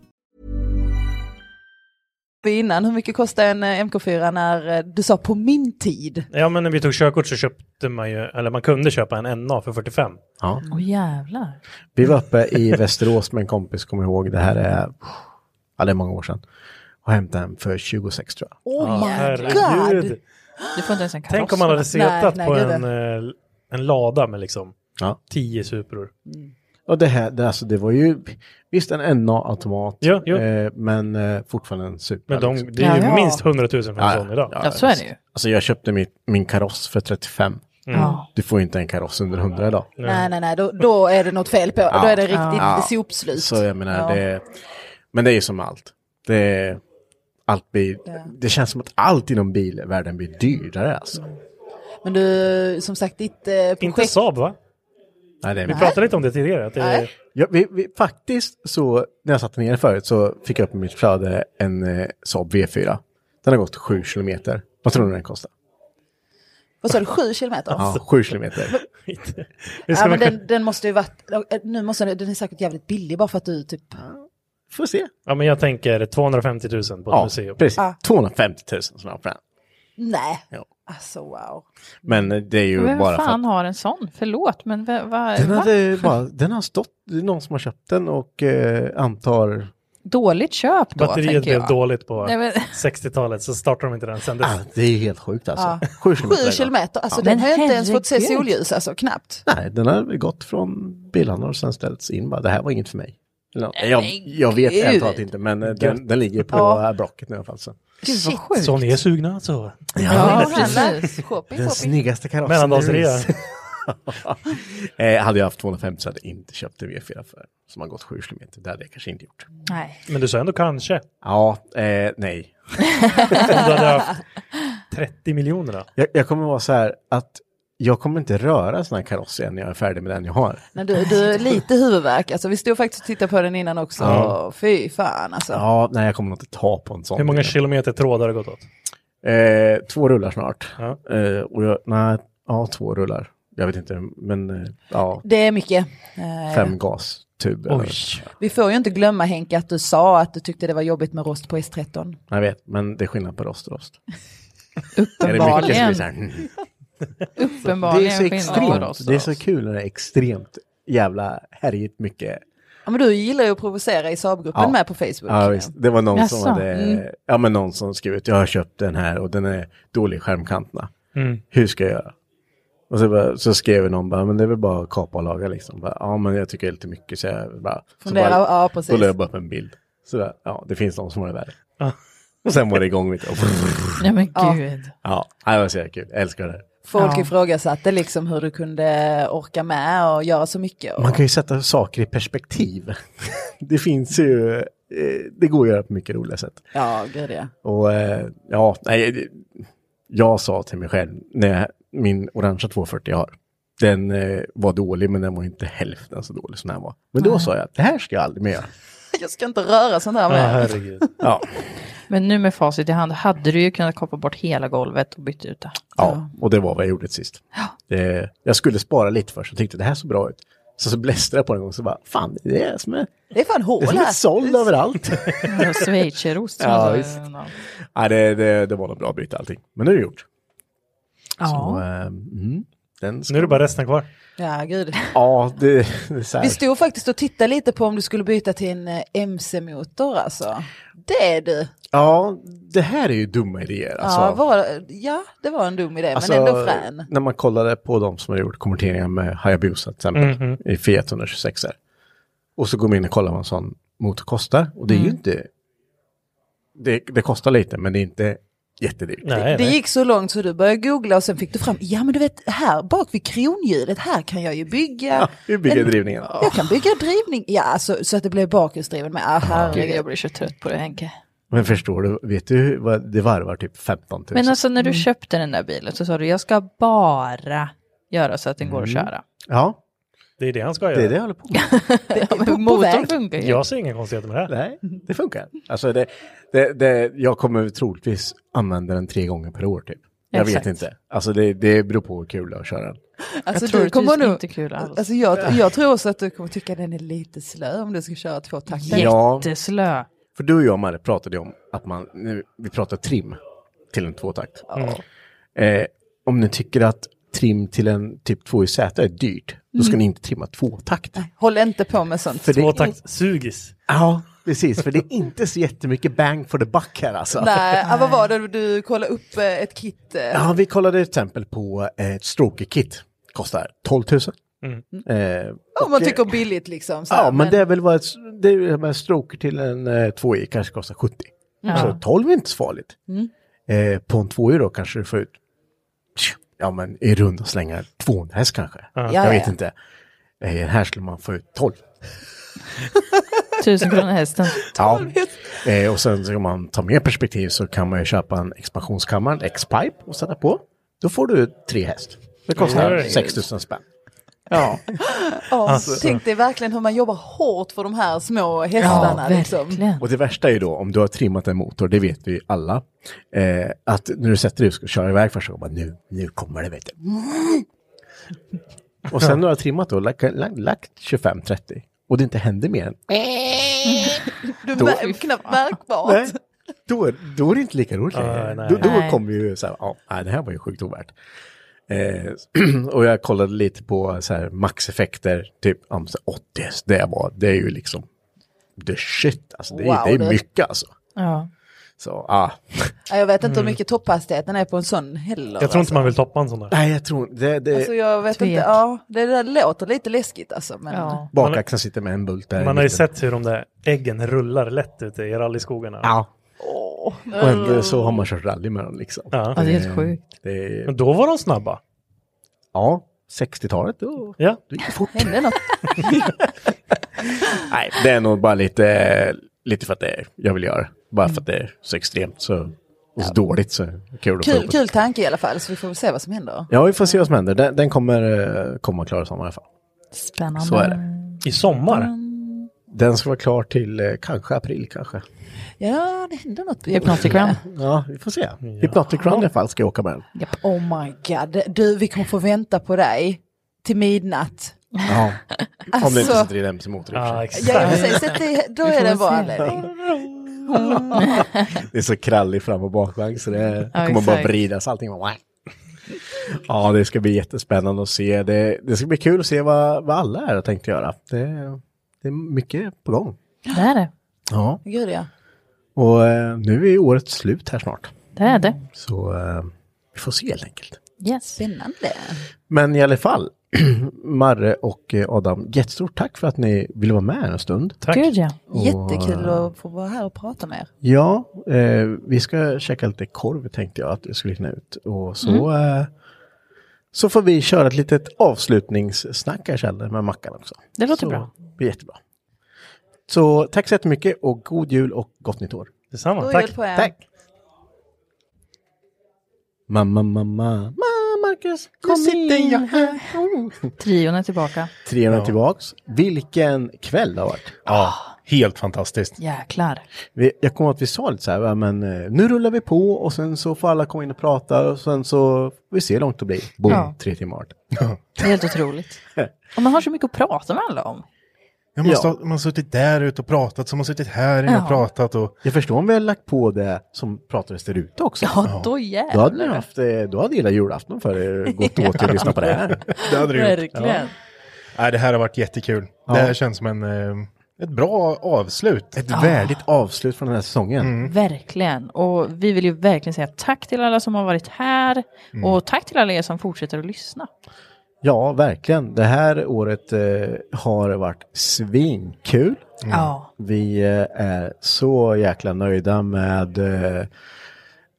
[SPEAKER 6] vi innan, hur mycket kostar en eh, MK4 när eh, du sa på min tid?
[SPEAKER 13] Ja, men när vi tog körkort så köpte man ju, eller man kunde köpa en NA för 45.
[SPEAKER 3] Ja.
[SPEAKER 4] Åh jävlar.
[SPEAKER 3] Vi var uppe i Västerås med en kompis, kommer jag ihåg, det här är, ja, det är många år sedan. Och hämtade en för 26 tror jag.
[SPEAKER 6] Åh
[SPEAKER 13] Ja,
[SPEAKER 6] my
[SPEAKER 13] herregud.
[SPEAKER 6] god!
[SPEAKER 4] Du får inte ens en kaross.
[SPEAKER 13] Tänk om man hade
[SPEAKER 4] Nej,
[SPEAKER 13] setat
[SPEAKER 4] nej,
[SPEAKER 13] på
[SPEAKER 4] gud.
[SPEAKER 13] en, eh, en lada med liksom
[SPEAKER 3] Ja.
[SPEAKER 13] 10 supror.
[SPEAKER 6] Mm.
[SPEAKER 3] Och det här, det, alltså, det var ju, visst en NA-automat,
[SPEAKER 13] Ja, ja.
[SPEAKER 3] eh, men eh, fortfarande en liksom. super.
[SPEAKER 13] Men de- det är ju Ja, ja. minst 100 000 för en sån idag. Ja, så är det ju.
[SPEAKER 3] Alltså jag köpte mitt, min kaross för 35.
[SPEAKER 13] Mm. Ja.
[SPEAKER 3] Du får ju inte en kaross under 100 idag.
[SPEAKER 6] Nej, nej, nej, då, då är det något fel på, då är det riktigt
[SPEAKER 3] Ja.
[SPEAKER 6] sopslut.
[SPEAKER 3] Så jag menar,
[SPEAKER 6] Ja.
[SPEAKER 3] det, men det är ju som allt. Det, allt blir, det känns som att allt inom bilvärlden blir dyrare alltså.
[SPEAKER 6] Men du, som sagt, ditt eh, projekt...
[SPEAKER 13] Inte Saab va?
[SPEAKER 3] Nej, det är
[SPEAKER 13] Vi pratade lite om det tidigare. Att det är,
[SPEAKER 3] Nej. Eh, Ja, vi, vi, faktiskt så, när jag satte ner förut så fick jag upp i mitt flöde en eh, Saab V4. Den har gått 7 kilometer. Vad tror du den kostar?
[SPEAKER 6] Vad sa du, sju kilometer?
[SPEAKER 3] Ja, 7 kilometer.
[SPEAKER 6] Ja, men den, den måste ju varit, eh, nu måste den, den är säkert jävligt billig bara för att du typ...
[SPEAKER 3] Får se.
[SPEAKER 13] ja, men jag tänker 250 000 på ett
[SPEAKER 3] Ja,
[SPEAKER 13] museum.
[SPEAKER 3] precis. 250 000 som jag på den.
[SPEAKER 6] Nej.
[SPEAKER 3] Ja.
[SPEAKER 6] Alltså wow.
[SPEAKER 3] Men eh, det är ju
[SPEAKER 4] Vem
[SPEAKER 3] bara för
[SPEAKER 4] fan
[SPEAKER 3] att
[SPEAKER 4] har en sån? Förlåt, men vad... Va,
[SPEAKER 3] den,
[SPEAKER 4] va?
[SPEAKER 3] hade bara, den har stått, det är någon som har köpt den och eh, antar
[SPEAKER 4] Dåligt köp då,
[SPEAKER 13] Batteriet
[SPEAKER 4] tänker
[SPEAKER 13] blev
[SPEAKER 4] jag.
[SPEAKER 13] dåligt på
[SPEAKER 4] Nej, men-
[SPEAKER 13] 60-talet så startade de inte den sen dess.
[SPEAKER 3] det är helt sjukt
[SPEAKER 6] alltså. Ja.
[SPEAKER 3] Sju
[SPEAKER 6] Sju kilometer, alltså den har ju inte ens fått se solljus, alltså knappt.
[SPEAKER 3] Nej, den har väl gått från bilarna och sen ställts in bara. Det här var inget för mig. Eller något. Jag, jag vet
[SPEAKER 13] gud.
[SPEAKER 3] helt inte, men eh, den, den ligger på
[SPEAKER 13] Ja.
[SPEAKER 3] ja. Blocket nu i alla fall. Så.
[SPEAKER 13] Gud, vad sjukt. Så ni är sugna alltså?
[SPEAKER 3] Ja,
[SPEAKER 13] precis.
[SPEAKER 6] Shopping,
[SPEAKER 3] Den snyggaste karossen.
[SPEAKER 13] Mellandagsrea.
[SPEAKER 3] det finns. eh, hade jag haft 250 så hade jag inte köpt en V4 för, som har gått 7 kilometer. Det hade jag kanske inte gjort.
[SPEAKER 4] Nej.
[SPEAKER 13] Men du sa ändå kanske.
[SPEAKER 3] Ja, eh, nej.
[SPEAKER 13] Om du hade haft 30 miljoner då?
[SPEAKER 3] Jag, jag kommer vara så här att jag kommer inte röra en sån här kaross igen när jag är färdig med den jag har.
[SPEAKER 6] Nej, du, du är lite huvudvärk, alltså vi stod faktiskt och tittade på den innan också.
[SPEAKER 3] Ja.
[SPEAKER 6] Fy fan alltså.
[SPEAKER 3] Ja, nej jag kommer nog inte ta på en sån.
[SPEAKER 13] Hur många kilometer tråd har det gått åt?
[SPEAKER 3] Eh, två rullar snart.
[SPEAKER 13] Ja.
[SPEAKER 3] Eh, och jag, nej, ja, två rullar. Jag vet inte, men eh, ja,
[SPEAKER 6] Det är mycket. Eh,
[SPEAKER 3] fem gastuber.
[SPEAKER 13] Oj.
[SPEAKER 6] Vi får ju inte glömma Henke att du sa att du tyckte det var jobbigt med rost på S13.
[SPEAKER 3] Jag vet, men det är skillnad på rost och rost. Är det
[SPEAKER 4] Uppenbarligen.
[SPEAKER 3] mycket som blir så här, hmm.
[SPEAKER 4] Uppenbarligen
[SPEAKER 3] Det är så
[SPEAKER 4] skillnad på rost
[SPEAKER 3] extremt,
[SPEAKER 4] och
[SPEAKER 3] det är så kul när det är extremt jävla härjigt mycket
[SPEAKER 6] Ja, men du gillar ju att provocera i Saabgruppen med på Facebook.
[SPEAKER 3] Ja, visst. Det var någon
[SPEAKER 6] Jaså?
[SPEAKER 3] som hade,
[SPEAKER 6] Mm.
[SPEAKER 3] ja men någon som skrev ut, jag har köpt den här och den är dålig i skärmkanterna.
[SPEAKER 13] Mm.
[SPEAKER 3] Hur ska jag göra? Och så, bara, så skrev någon bara, men det är väl bara att kapa och laga liksom. Bara, ja men jag tycker det är lite mycket så jag bara... så
[SPEAKER 6] Fundera,
[SPEAKER 3] bara-
[SPEAKER 6] ja, precis.
[SPEAKER 3] Då la jag bara upp en bild. Så där, ja det finns de som har det värre. Och sen var det igång lite.
[SPEAKER 4] Nej men
[SPEAKER 6] Ja.
[SPEAKER 4] gud.
[SPEAKER 3] Ja, det var så jävla kul. Jag älskar det. här.
[SPEAKER 6] Folk
[SPEAKER 4] Ja.
[SPEAKER 6] ifrågasatte liksom hur du kunde orka med och göra så mycket. Och...
[SPEAKER 3] Man kan ju sätta saker i perspektiv. det finns ju, eh, det går att göra på mycket roliga sätt.
[SPEAKER 6] Ja, gud ja.
[SPEAKER 3] Och eh, ja, nej, det- jag sa till mig själv när jag, min orangea 240 jag har, den eh, var dålig men den var inte hälften så dålig som den var. Men då
[SPEAKER 6] Nej.
[SPEAKER 3] sa jag att det här ska jag aldrig mer göra.
[SPEAKER 6] Jag ska inte röra sånt här med.
[SPEAKER 3] ja,
[SPEAKER 4] Men nu med facit i hand hade du ju kunnat kapa bort hela golvet och bytt ut det.
[SPEAKER 3] ja, och det var vad jag gjorde till sist. Det, jag skulle spara lite först och tyckte det här såg bra ut. Så så blästrade jag på den gång så bara, fan det är som en,
[SPEAKER 6] Det är fan
[SPEAKER 3] det är
[SPEAKER 6] hål
[SPEAKER 3] som
[SPEAKER 6] här.
[SPEAKER 3] ett såll överallt.
[SPEAKER 4] Ja, Schweizerost. som
[SPEAKER 3] Ja,
[SPEAKER 4] jag sa.
[SPEAKER 3] visst. Nej, det, det, det var nog bra att byta allting. Men nu är det gjort.
[SPEAKER 4] Ja.
[SPEAKER 3] Så, eh, mm, den ska...
[SPEAKER 13] Nu är det bara resten kvar.
[SPEAKER 6] Ja, gud.
[SPEAKER 3] Ja, det, det är så här.
[SPEAKER 6] Vi stod faktiskt och tittade lite på om du skulle byta till en eh, MC-motor alltså. Det är du.
[SPEAKER 3] Ja, det här är ju dumma idéer. Alltså,
[SPEAKER 6] Ja, var, ja, det var en dum idé,
[SPEAKER 3] Alltså,
[SPEAKER 6] men ändå frän.
[SPEAKER 3] När man kollade på de som har gjort konverteringar med Hayabusa till exempel,
[SPEAKER 13] Mhm.
[SPEAKER 3] i Fiat 126 r Och så går man in och kollar vad en sån motor kostar. Och det är ju
[SPEAKER 6] Mm.
[SPEAKER 3] inte... Det, det kostar lite, men det är inte jättedyrt.
[SPEAKER 6] det gick så långt så du började googla och sen fick du fram, ja men du vet här bak vid kronhjulet, här kan jag ju bygga.
[SPEAKER 3] Hur bygger
[SPEAKER 6] en-
[SPEAKER 3] drivningen?
[SPEAKER 6] Jag kan bygga drivning, ja alltså så att det blev bakhjulsdriven med, ah, herregud.
[SPEAKER 4] Gud, jag blir så trött på det Henke.
[SPEAKER 3] Men förstår du, vet du vad det Mm. varvar typ 15 000?
[SPEAKER 4] Men alltså när du köpte den där bilen så sa du jag ska bara göra så att den går att
[SPEAKER 3] Mm.
[SPEAKER 4] köra.
[SPEAKER 3] Ja.
[SPEAKER 13] Det är det han ska göra.
[SPEAKER 3] Det är det jag håller på med.
[SPEAKER 4] Motorn funkar ju.
[SPEAKER 13] Jag ser inga konstigheter med det här.
[SPEAKER 3] Nej, det funkar. Alltså det, det, det, jag kommer troligtvis använda den tre gånger per år typ. Jag
[SPEAKER 6] Exakt.
[SPEAKER 3] vet inte. Alltså det, det beror på hur kul det är att köra den.
[SPEAKER 6] Alltså,
[SPEAKER 4] jag tror
[SPEAKER 6] du
[SPEAKER 4] det
[SPEAKER 6] kommer
[SPEAKER 4] tycks
[SPEAKER 6] nog-
[SPEAKER 4] inte kul alls.
[SPEAKER 6] Alltså jag, jag tror också att du kommer tycka den är lite slö om du ska köra två takter.
[SPEAKER 4] Jätteslö.
[SPEAKER 3] För du och jag Marre pratade ju om att man, nu, vi pratar trim till en tvåtakt.
[SPEAKER 6] Mm.
[SPEAKER 3] Eh, om ni tycker att trim till en typ 2 i Z är dyrt, då ska
[SPEAKER 6] Mm.
[SPEAKER 3] ni inte trimma tvåtakt.
[SPEAKER 6] Äh, Håll inte på med sånt.
[SPEAKER 3] För det-
[SPEAKER 13] sugis.
[SPEAKER 3] Ja, precis. För det är inte så jättemycket bang for the buck här alltså.
[SPEAKER 6] Nej, ah, vad var det du kollade upp eh, ett kit? eh?
[SPEAKER 3] Ja, vi kollade till exempel på eh, ett stroker-kit. Kostar 12 000.
[SPEAKER 13] Mm.
[SPEAKER 3] Eh,
[SPEAKER 6] Ja, om man
[SPEAKER 3] och, eh,
[SPEAKER 6] tycker billigt liksom. så här,
[SPEAKER 3] Ja, men, det är väl vad ett, det är väl med stroker till en eh, 2i kanske kostar 70.
[SPEAKER 6] Ja.
[SPEAKER 3] Så 12 är inte så farligt.
[SPEAKER 6] Mm.
[SPEAKER 3] Eh, på en 2i då kanske du får ut, ja men i runda slängar 200 häst kanske.
[SPEAKER 4] Ja.
[SPEAKER 3] Jag
[SPEAKER 4] Ja,
[SPEAKER 3] vet
[SPEAKER 4] ja.
[SPEAKER 3] inte. Eh, här skulle man få ut 12.
[SPEAKER 4] Tusen kronor hästen.
[SPEAKER 3] Ja. Eh, och sen så om man tar mer perspektiv så kan man ju köpa en expansionskammare, en X-pipe och sätta på. Då får du tre häst. Det kostar
[SPEAKER 13] Mm.
[SPEAKER 3] 6 000 spänn. Ja.
[SPEAKER 6] Ja,
[SPEAKER 3] Alltså.
[SPEAKER 6] Tänk dig verkligen hur man jobbar hårt för de här små hästarna. liksom.
[SPEAKER 3] Och det värsta är ju då om du har trimmat en motor, det vet vi ju alla, eh, att när du sätter dig och ska köra iväg första gången, bara, nu, nu kommer det vet du. Och sen när du har trimmat då, lagt, lagt, lagt 25-30 och det inte händer mer än,
[SPEAKER 6] Du
[SPEAKER 3] Då-
[SPEAKER 6] mär, knappt märkbart.
[SPEAKER 3] nej, då, är- då är det inte lika roligt
[SPEAKER 13] Ja,
[SPEAKER 3] längre.
[SPEAKER 13] nej.
[SPEAKER 3] Då, då
[SPEAKER 13] Nej.
[SPEAKER 3] kommer ju så här, ja, nej, det här var ju sjukt ovärt. Eh, och jag kollade lite på så här maxeffekter, typ ja, så här 80 det var, det är ju liksom the shit, alltså det, är-
[SPEAKER 6] Wow,
[SPEAKER 3] det
[SPEAKER 6] du.
[SPEAKER 3] är mycket alltså.
[SPEAKER 4] Ja.
[SPEAKER 3] Så, ah.
[SPEAKER 6] Ja, Jag vet inte hur
[SPEAKER 3] Mm.
[SPEAKER 6] mycket topphastigheten är på en sån heller.
[SPEAKER 13] Jag tror inte man vill toppa en sån där.
[SPEAKER 3] Nej, jag tror det, det
[SPEAKER 6] Alltså jag vet
[SPEAKER 13] Tvek.
[SPEAKER 6] inte, ja, det där låter lite läskigt alltså. Men...
[SPEAKER 3] Bakaxeln sitter med en bult där. i
[SPEAKER 13] Man har ju
[SPEAKER 3] mitten.
[SPEAKER 13] sett hur de där äggen rullar lätt ute i rallyskogarna.
[SPEAKER 3] Ja. Och ändå så har man kört rally med dem liksom.
[SPEAKER 13] Ja. Ja, det är helt
[SPEAKER 3] Eh,
[SPEAKER 13] sjukt.
[SPEAKER 3] det är-
[SPEAKER 13] Men då var de snabba.
[SPEAKER 3] Ja, 60-talet då.
[SPEAKER 13] Ja.
[SPEAKER 3] Det gick fort.
[SPEAKER 6] Hände något?
[SPEAKER 3] Nej, det är nog bara lite, lite för att det är, jag vill göra det. Bara för att det är så extremt så, och så dåligt så kul att få
[SPEAKER 6] Kul,
[SPEAKER 3] ihop det.
[SPEAKER 6] kul tanke i alla fall, så vi får väl se vad som händer.
[SPEAKER 3] Ja, vi får se vad som händer. Den, den kommer eh, komma klar i sommar i alla fall.
[SPEAKER 4] Spännande.
[SPEAKER 3] Så är det.
[SPEAKER 13] I sommar?
[SPEAKER 3] Den ska vara klar till eh, kanske april kanske.
[SPEAKER 6] Ja, det händer något.
[SPEAKER 4] Hypnotic Run.
[SPEAKER 3] Ja, vi får se. Hypnotic Run i alla fall ska jag åka med den.
[SPEAKER 6] Oh my god, du vi kommer få vänta på dig till midnatt.
[SPEAKER 3] Ja. Om det inte
[SPEAKER 6] Alltså.
[SPEAKER 3] sitter i den motor i och för sig.
[SPEAKER 6] Ja, precis, så att det, då
[SPEAKER 4] Vi
[SPEAKER 6] är
[SPEAKER 4] får
[SPEAKER 6] det
[SPEAKER 4] väl
[SPEAKER 6] en bra
[SPEAKER 4] se.
[SPEAKER 6] anledning.
[SPEAKER 3] Det är så krallig fram och bakvagn så det
[SPEAKER 4] Ja,
[SPEAKER 3] kommer bara
[SPEAKER 4] exakt.
[SPEAKER 3] vridas allting. bara- Ja, det ska bli jättespännande att se. Det, det ska bli kul att se vad, vad alla är och tänkte göra. Det, Det är mycket på gång.
[SPEAKER 4] Det är det.
[SPEAKER 3] Ja.
[SPEAKER 6] Gud ja.
[SPEAKER 3] Och eh, nu är ju året slut här snart.
[SPEAKER 4] Det är det.
[SPEAKER 3] Så eh, vi får se helt enkelt.
[SPEAKER 4] Yes.
[SPEAKER 6] Spännande.
[SPEAKER 3] Men i alla fall, Marre och eh, Adam, jättestort tack för att ni ville vara med en stund.
[SPEAKER 4] Tack. Gud ja.
[SPEAKER 3] Och,
[SPEAKER 6] Jättekul
[SPEAKER 3] eh,
[SPEAKER 6] att få vara här och prata med er.
[SPEAKER 3] Ja, eh, vi ska käka lite korv tänkte jag att jag skulle hinna ut. Och så,
[SPEAKER 6] Mm.
[SPEAKER 3] eh, så får vi köra ett litet avslutningssnack här Kjell, med Mackan också.
[SPEAKER 4] Det låter
[SPEAKER 3] så,
[SPEAKER 4] bra.
[SPEAKER 3] Det blir jättebra. Så tack så jättemycket och god jul och gott nytt år.
[SPEAKER 13] Detsamma,
[SPEAKER 6] God tack. jul på er.
[SPEAKER 3] Tack. Mamma, mamma. Ma, Marcus,
[SPEAKER 4] kom
[SPEAKER 3] sitter jag här.
[SPEAKER 4] Trion är tillbaka.
[SPEAKER 3] Treorna
[SPEAKER 4] Ja.
[SPEAKER 3] tillbaks. Vilken kväll det har varit. Ja, helt fantastiskt.
[SPEAKER 4] Jäklar.
[SPEAKER 3] Vi, jag kommer ihåg att vi sa lite så här, va, men eh, nu rullar vi på och sen så får alla komma in och prata och sen så får vi se hur långt det blir. Boom,
[SPEAKER 4] Ja.
[SPEAKER 3] tre timmar.
[SPEAKER 4] Helt otroligt. Och man har så mycket att prata med alla om.
[SPEAKER 2] Ja, man,
[SPEAKER 4] Ja.
[SPEAKER 2] Stå, man har suttit där ute och pratat, så man har suttit här inne
[SPEAKER 4] Ja.
[SPEAKER 2] och pratat. Och...
[SPEAKER 3] Jag förstår om vi har lagt på det som pratades där ute också.
[SPEAKER 4] Ja, då
[SPEAKER 3] Då
[SPEAKER 4] jävlar.
[SPEAKER 3] hade ni haft, eh, då hade hela julafton för er gått åt till att lyssna på det här.
[SPEAKER 2] Det hade du gjort.
[SPEAKER 4] Verkligen.
[SPEAKER 2] Nej, det här har varit jättekul.
[SPEAKER 3] Ja.
[SPEAKER 2] Det här känns som en, eh, ett bra avslut.
[SPEAKER 3] Ett
[SPEAKER 4] Ja.
[SPEAKER 3] värdigt avslut från den här säsongen.
[SPEAKER 4] Mm. Verkligen. Och vi vill ju verkligen säga tack till alla som har varit här.
[SPEAKER 3] Mm.
[SPEAKER 4] Och tack till alla er som fortsätter att lyssna.
[SPEAKER 3] Ja, verkligen. Det här året eh, har varit svinkul.
[SPEAKER 4] Mm. Ja.
[SPEAKER 3] Vi eh, är så jäkla nöjda med eh,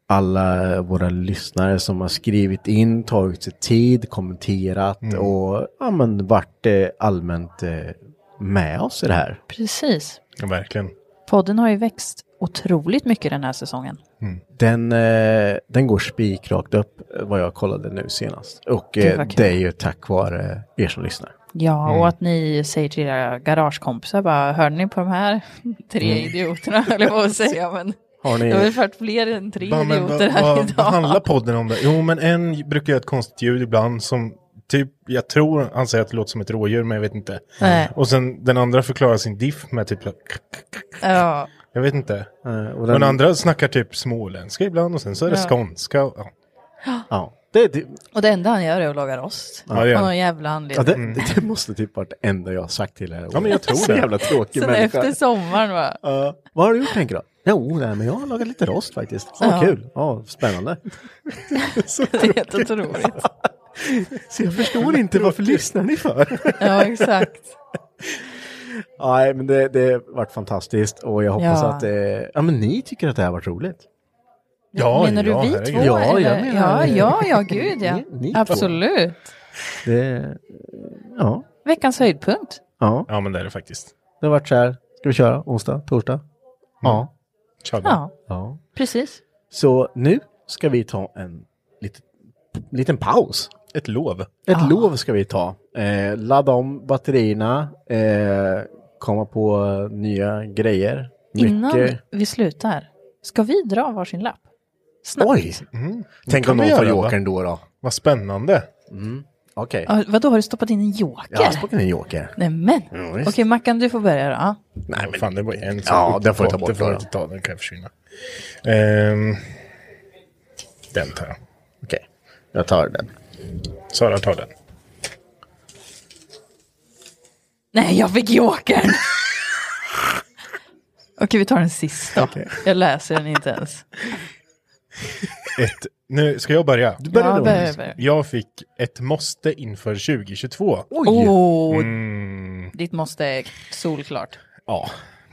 [SPEAKER 3] alla våra lyssnare som har skrivit in, tagit sig tid, kommenterat
[SPEAKER 4] Mm.
[SPEAKER 3] och ja, men, varit eh, allmänt eh, med oss i det här.
[SPEAKER 4] Precis.
[SPEAKER 3] Ja, verkligen.
[SPEAKER 4] Podden har ju växt otroligt mycket den här säsongen.
[SPEAKER 3] Den, eh, den går spikrakt upp eh, vad jag kollade nu senast. Och
[SPEAKER 4] Gud,
[SPEAKER 3] eh,
[SPEAKER 4] vad kul.
[SPEAKER 3] det är ju tack vare er som lyssnar.
[SPEAKER 4] Ja,
[SPEAKER 3] Mm.
[SPEAKER 4] och att ni säger till era garagekompisar bara, hörde ni på de här tre
[SPEAKER 2] Mm.
[SPEAKER 4] idioterna, höll jag på att säga, men
[SPEAKER 2] Har ni-
[SPEAKER 4] det har ju varit fler än tre
[SPEAKER 2] Bara, men
[SPEAKER 4] idioter här
[SPEAKER 2] vad, vad,
[SPEAKER 4] idag.
[SPEAKER 2] vad handlar podden om det? Jo, men en brukar göra ett konstigt ljud ibland som typ, jag tror han säger att det låter som ett rådjur, men jag vet inte.
[SPEAKER 4] Nej.
[SPEAKER 2] Och sen den andra förklarar sin diff med typ,
[SPEAKER 4] Ja,
[SPEAKER 2] jag vet inte.
[SPEAKER 3] och
[SPEAKER 2] Eh, och,
[SPEAKER 3] den-
[SPEAKER 2] den... andra snackar typ småländska ibland och sen så är det
[SPEAKER 4] Ja.
[SPEAKER 2] skånska. och-
[SPEAKER 4] Ja.
[SPEAKER 2] Ja.
[SPEAKER 3] Det, det,
[SPEAKER 4] och det enda han gör är att laga rost.
[SPEAKER 3] Ja, det gör
[SPEAKER 4] Av
[SPEAKER 3] han.
[SPEAKER 4] någon jävla anledning.
[SPEAKER 3] Ja, det, det måste typ varit det enda jag har sagt till er.
[SPEAKER 2] Ja, men jag tror
[SPEAKER 3] Så
[SPEAKER 2] det.
[SPEAKER 3] jävla tråkig
[SPEAKER 4] Sen
[SPEAKER 3] människa.
[SPEAKER 4] efter sommaren va?
[SPEAKER 3] Ja. Vad har du gjort tänker du? Jo, nej, men jag har lagat lite rost faktiskt. Ja,
[SPEAKER 4] Ja.
[SPEAKER 3] kul. Ja, spännande. Så
[SPEAKER 4] det är helt otroligt.
[SPEAKER 3] Så jag förstår inte varför lyssnar ni för?
[SPEAKER 4] Ja, exakt.
[SPEAKER 3] Nej, men det, det har varit fantastiskt och jag hoppas
[SPEAKER 4] Ja.
[SPEAKER 3] att eh, ja, men ni tycker att det här har varit roligt.
[SPEAKER 4] Ja, Menar du ja, vi herregud. två,
[SPEAKER 3] Ja, jag
[SPEAKER 4] eller? Ja,
[SPEAKER 3] menar
[SPEAKER 4] ja, ja, gud, ja.
[SPEAKER 3] Ni- ni två.
[SPEAKER 4] Absolut.
[SPEAKER 3] Det, ja,
[SPEAKER 4] Veckans höjdpunkt.
[SPEAKER 3] ja.
[SPEAKER 2] ja, men det är det faktiskt.
[SPEAKER 3] Det har varit så här, ska vi köra onsdag, torsdag? Ja.
[SPEAKER 2] Kör
[SPEAKER 4] vi. Ja.
[SPEAKER 3] ja.
[SPEAKER 4] Precis.
[SPEAKER 3] Så nu ska vi ta en liten, liten paus.
[SPEAKER 2] Ett lov. Ett
[SPEAKER 3] lov ska vi ta. Eh, ladda om batterierna, eh, komma på nya grejer.
[SPEAKER 4] Innan
[SPEAKER 3] Mycket.
[SPEAKER 4] vi slutar, ska vi dra varsin lapp? Snabbt.
[SPEAKER 3] Oj! Tänk om
[SPEAKER 2] Kan vi
[SPEAKER 3] någon får
[SPEAKER 2] göra, va?
[SPEAKER 3] jokern då då?
[SPEAKER 2] Vad spännande.
[SPEAKER 3] Mm. Okej.
[SPEAKER 4] Ja, vadå, har du stoppat in en joker?
[SPEAKER 3] Jag har stoppat in en joker.
[SPEAKER 4] Nämen!
[SPEAKER 3] Ja,
[SPEAKER 4] Okej,
[SPEAKER 3] visst.
[SPEAKER 4] Mackan, du får börja då. Ja.
[SPEAKER 2] Nej, men fan, det var en
[SPEAKER 3] Ja, den får jag ta bort
[SPEAKER 2] Det får
[SPEAKER 3] då,
[SPEAKER 2] jag inte ta, den kan jag försvinna. Ehm, den tar jag.
[SPEAKER 3] Okej, jag tar den.
[SPEAKER 2] Sara tar den.
[SPEAKER 4] Nej, jag fick jokern! Okej, vi tar den sista. Jag läser den inte ens.
[SPEAKER 2] Ett, nu ska jag börja.
[SPEAKER 4] Du börjar Ja, då. börja, börja.
[SPEAKER 2] Jag fick ett måste inför 2022.
[SPEAKER 4] Oj. Åh.
[SPEAKER 2] Mm,
[SPEAKER 4] Ditt måste är solklart.
[SPEAKER 2] ja,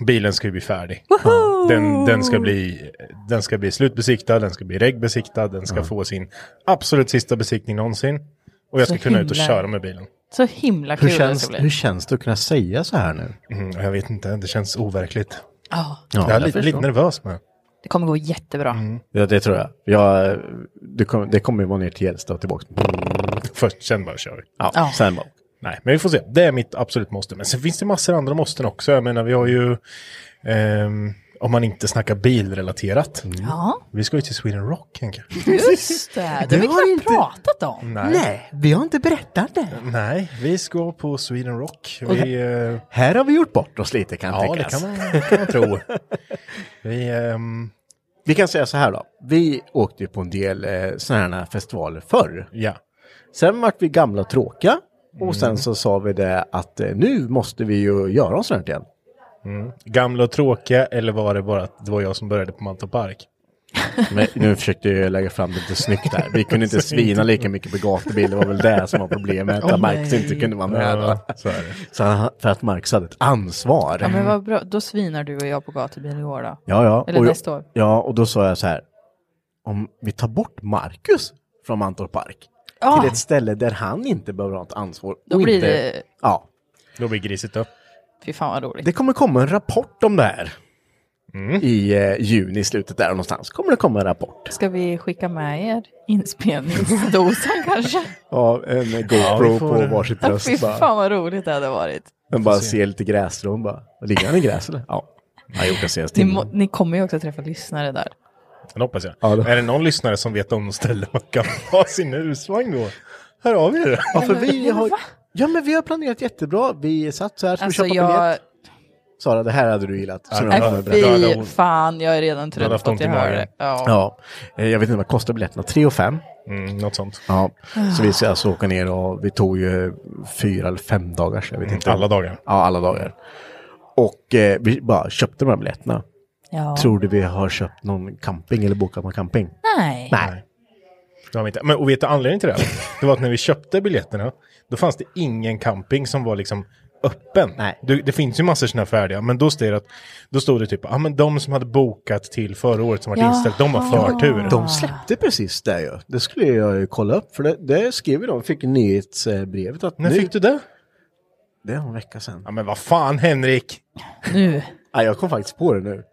[SPEAKER 2] bilen ska ju bli färdig.
[SPEAKER 4] Woho!
[SPEAKER 2] Den, den, ska bli, den ska bli slutbesiktad, den ska bli regbesiktad, den ska
[SPEAKER 3] Mm.
[SPEAKER 4] Ja.
[SPEAKER 2] få sin absolut sista besiktning någonsin. Och jag
[SPEAKER 4] Så
[SPEAKER 2] ska kunna ut och
[SPEAKER 4] himla-
[SPEAKER 2] köra med bilen.
[SPEAKER 4] Så himla
[SPEAKER 3] Hur
[SPEAKER 4] kul det
[SPEAKER 3] känns,
[SPEAKER 4] ska
[SPEAKER 3] hur
[SPEAKER 4] bli.
[SPEAKER 3] känns det att kunna säga så här nu?
[SPEAKER 2] Mm, jag vet inte, det känns overkligt.
[SPEAKER 4] Ja.
[SPEAKER 2] jag är
[SPEAKER 3] jag
[SPEAKER 2] lite,
[SPEAKER 3] förstår.
[SPEAKER 2] lite nervös med.
[SPEAKER 4] Det kommer gå jättebra.
[SPEAKER 3] Ja, det tror jag. jag det, kom, det kommer ju vara ner till Gällstad och tillbaka.
[SPEAKER 2] Först, sen bara kör vi.
[SPEAKER 3] Ja, Ja. sen bara.
[SPEAKER 2] Nej, men vi får se. Det är mitt absolut måste. Men sen finns det massor andra måsten också. Jag menar, vi har ju... ehm, om man inte snackar bilrelaterat.
[SPEAKER 3] Mm.
[SPEAKER 4] Ja.
[SPEAKER 2] Vi ska ju till Sweden Rock, Henke.
[SPEAKER 4] Just det, det har vi knappt pratat om.
[SPEAKER 3] vi har inte berättat det.
[SPEAKER 2] Nej, vi ska på Sweden Rock.
[SPEAKER 3] Och
[SPEAKER 2] Vi, eh,
[SPEAKER 3] Här har vi gjort bort oss lite kan
[SPEAKER 2] ja, det
[SPEAKER 3] tänkas.
[SPEAKER 2] kan man, kan man tro. vi, ehm,
[SPEAKER 3] Vi kan säga så här då. Vi åkte ju på en del eh, sådana här festivaler förr.
[SPEAKER 2] Ja.
[SPEAKER 3] Sen vart vi gamla och tråkiga. Och sen så sa vi det att eh, nu måste vi ju göra något sånt här igen.
[SPEAKER 2] Mm. Gamla och tråkiga eller var det bara att det var jag som började på Mantorp Park?
[SPEAKER 3] Men nu försökte jag lägga fram det lite snyggt där. Vi kunde inte
[SPEAKER 2] Så
[SPEAKER 3] svina
[SPEAKER 2] inte-
[SPEAKER 3] lika mycket på gatubil. Det var väl det som var problemet.
[SPEAKER 2] Åh,
[SPEAKER 3] att Marcus
[SPEAKER 2] nej.
[SPEAKER 3] inte kunde vara med.
[SPEAKER 2] Ja,
[SPEAKER 3] då.
[SPEAKER 2] så är det.
[SPEAKER 3] Så han, för att Marcus hade ett ansvar.
[SPEAKER 4] Ja, men vad bra. Då svinar du och jag på gatubil i år då.
[SPEAKER 3] Ja, ja.
[SPEAKER 4] Eller
[SPEAKER 3] och jag,
[SPEAKER 4] nästa år.
[SPEAKER 3] Ja, och då sa jag så här. Om vi tar bort Marcus från Mantorp Park
[SPEAKER 4] Ja.
[SPEAKER 3] till ett ställe där han inte behöver ha ett ansvar.
[SPEAKER 4] Ah! Då
[SPEAKER 3] och
[SPEAKER 4] blir
[SPEAKER 3] inte,
[SPEAKER 4] det-
[SPEAKER 3] Ja.
[SPEAKER 2] Då blir grisigt då.
[SPEAKER 4] Fy fan vad roligt.
[SPEAKER 3] Det kommer komma en rapport om det här.
[SPEAKER 2] Mm.
[SPEAKER 3] I eh, juni, slutet där någonstans, kommer det komma en rapport.
[SPEAKER 4] Ska vi skicka med er inspelningsdosan kanske?
[SPEAKER 3] Ja, en eh,
[SPEAKER 4] Ja,
[SPEAKER 3] GoPro
[SPEAKER 4] vi får
[SPEAKER 3] på
[SPEAKER 4] det.
[SPEAKER 3] varsitt
[SPEAKER 4] Ja,
[SPEAKER 3] bröst.
[SPEAKER 4] Fy
[SPEAKER 3] bara.
[SPEAKER 4] fan vad roligt det hade varit.
[SPEAKER 3] Men bara se lite grässtrån bara. Ligger han i gräs eller? Ja. Han gjorde det senaste
[SPEAKER 4] Ni,
[SPEAKER 3] timmen.
[SPEAKER 4] må, ni kommer ju också träffa lyssnare där.
[SPEAKER 2] Den hoppas jag. Är det någon lyssnare som vet om ställen man kan ha sin husvagn då? Hör av er.
[SPEAKER 3] Ja, för vi har, ja, men vi har planerat jättebra. Vi satt så här, ska
[SPEAKER 4] Alltså,
[SPEAKER 3] vi köpa
[SPEAKER 4] jag- Äh,
[SPEAKER 3] biljett? Sara, det här hade du gillat.
[SPEAKER 2] Ja,
[SPEAKER 3] Så
[SPEAKER 2] det
[SPEAKER 3] nu
[SPEAKER 2] hade-
[SPEAKER 3] kommer jag
[SPEAKER 2] det
[SPEAKER 3] berätta.
[SPEAKER 2] hade
[SPEAKER 4] Fy fan, jag är redan
[SPEAKER 3] hade
[SPEAKER 4] trött
[SPEAKER 3] haft
[SPEAKER 4] på att
[SPEAKER 3] ont
[SPEAKER 4] jag
[SPEAKER 3] i
[SPEAKER 4] hör
[SPEAKER 3] magen.
[SPEAKER 4] det. Ja.
[SPEAKER 3] Ja, eh, jag vet inte vad kostar biljetterna, 3 och 5.
[SPEAKER 2] Mm, något sånt.
[SPEAKER 3] Ja, så vi ska alltså åka ner och vi tog ju fyra eller fem dagars, jag vet
[SPEAKER 2] Mm,
[SPEAKER 3] inte.
[SPEAKER 2] alla dagar.
[SPEAKER 3] Ja, alla dagar. Och eh, vi bara köpte de här biljetterna.
[SPEAKER 4] Ja.
[SPEAKER 3] Tror du vi har köpt någon camping eller bokat någon camping?
[SPEAKER 4] Nej.
[SPEAKER 3] Nej.
[SPEAKER 2] Det har vi inte. Men och vet du anledningen till det? Det var att när vi köpte biljetterna, då fanns det ingen camping som var liksom öppen. Nej. Det, det finns ju massor sådana färdiga, men då stod det, att, då stod det typ, ja ah, men de som hade bokat till förra året som var inställt, de har förtur.
[SPEAKER 3] De släppte precis det ju. Det skulle jag ju kolla upp, för det, det skrev ju de, fick nyhetsbrevet att
[SPEAKER 2] När
[SPEAKER 3] nu...
[SPEAKER 2] fick du det?
[SPEAKER 3] Det var en vecka sedan.
[SPEAKER 2] Ja men vad fan Henrik!
[SPEAKER 4] Nu.
[SPEAKER 3] Ja, jag kom faktiskt på det nu.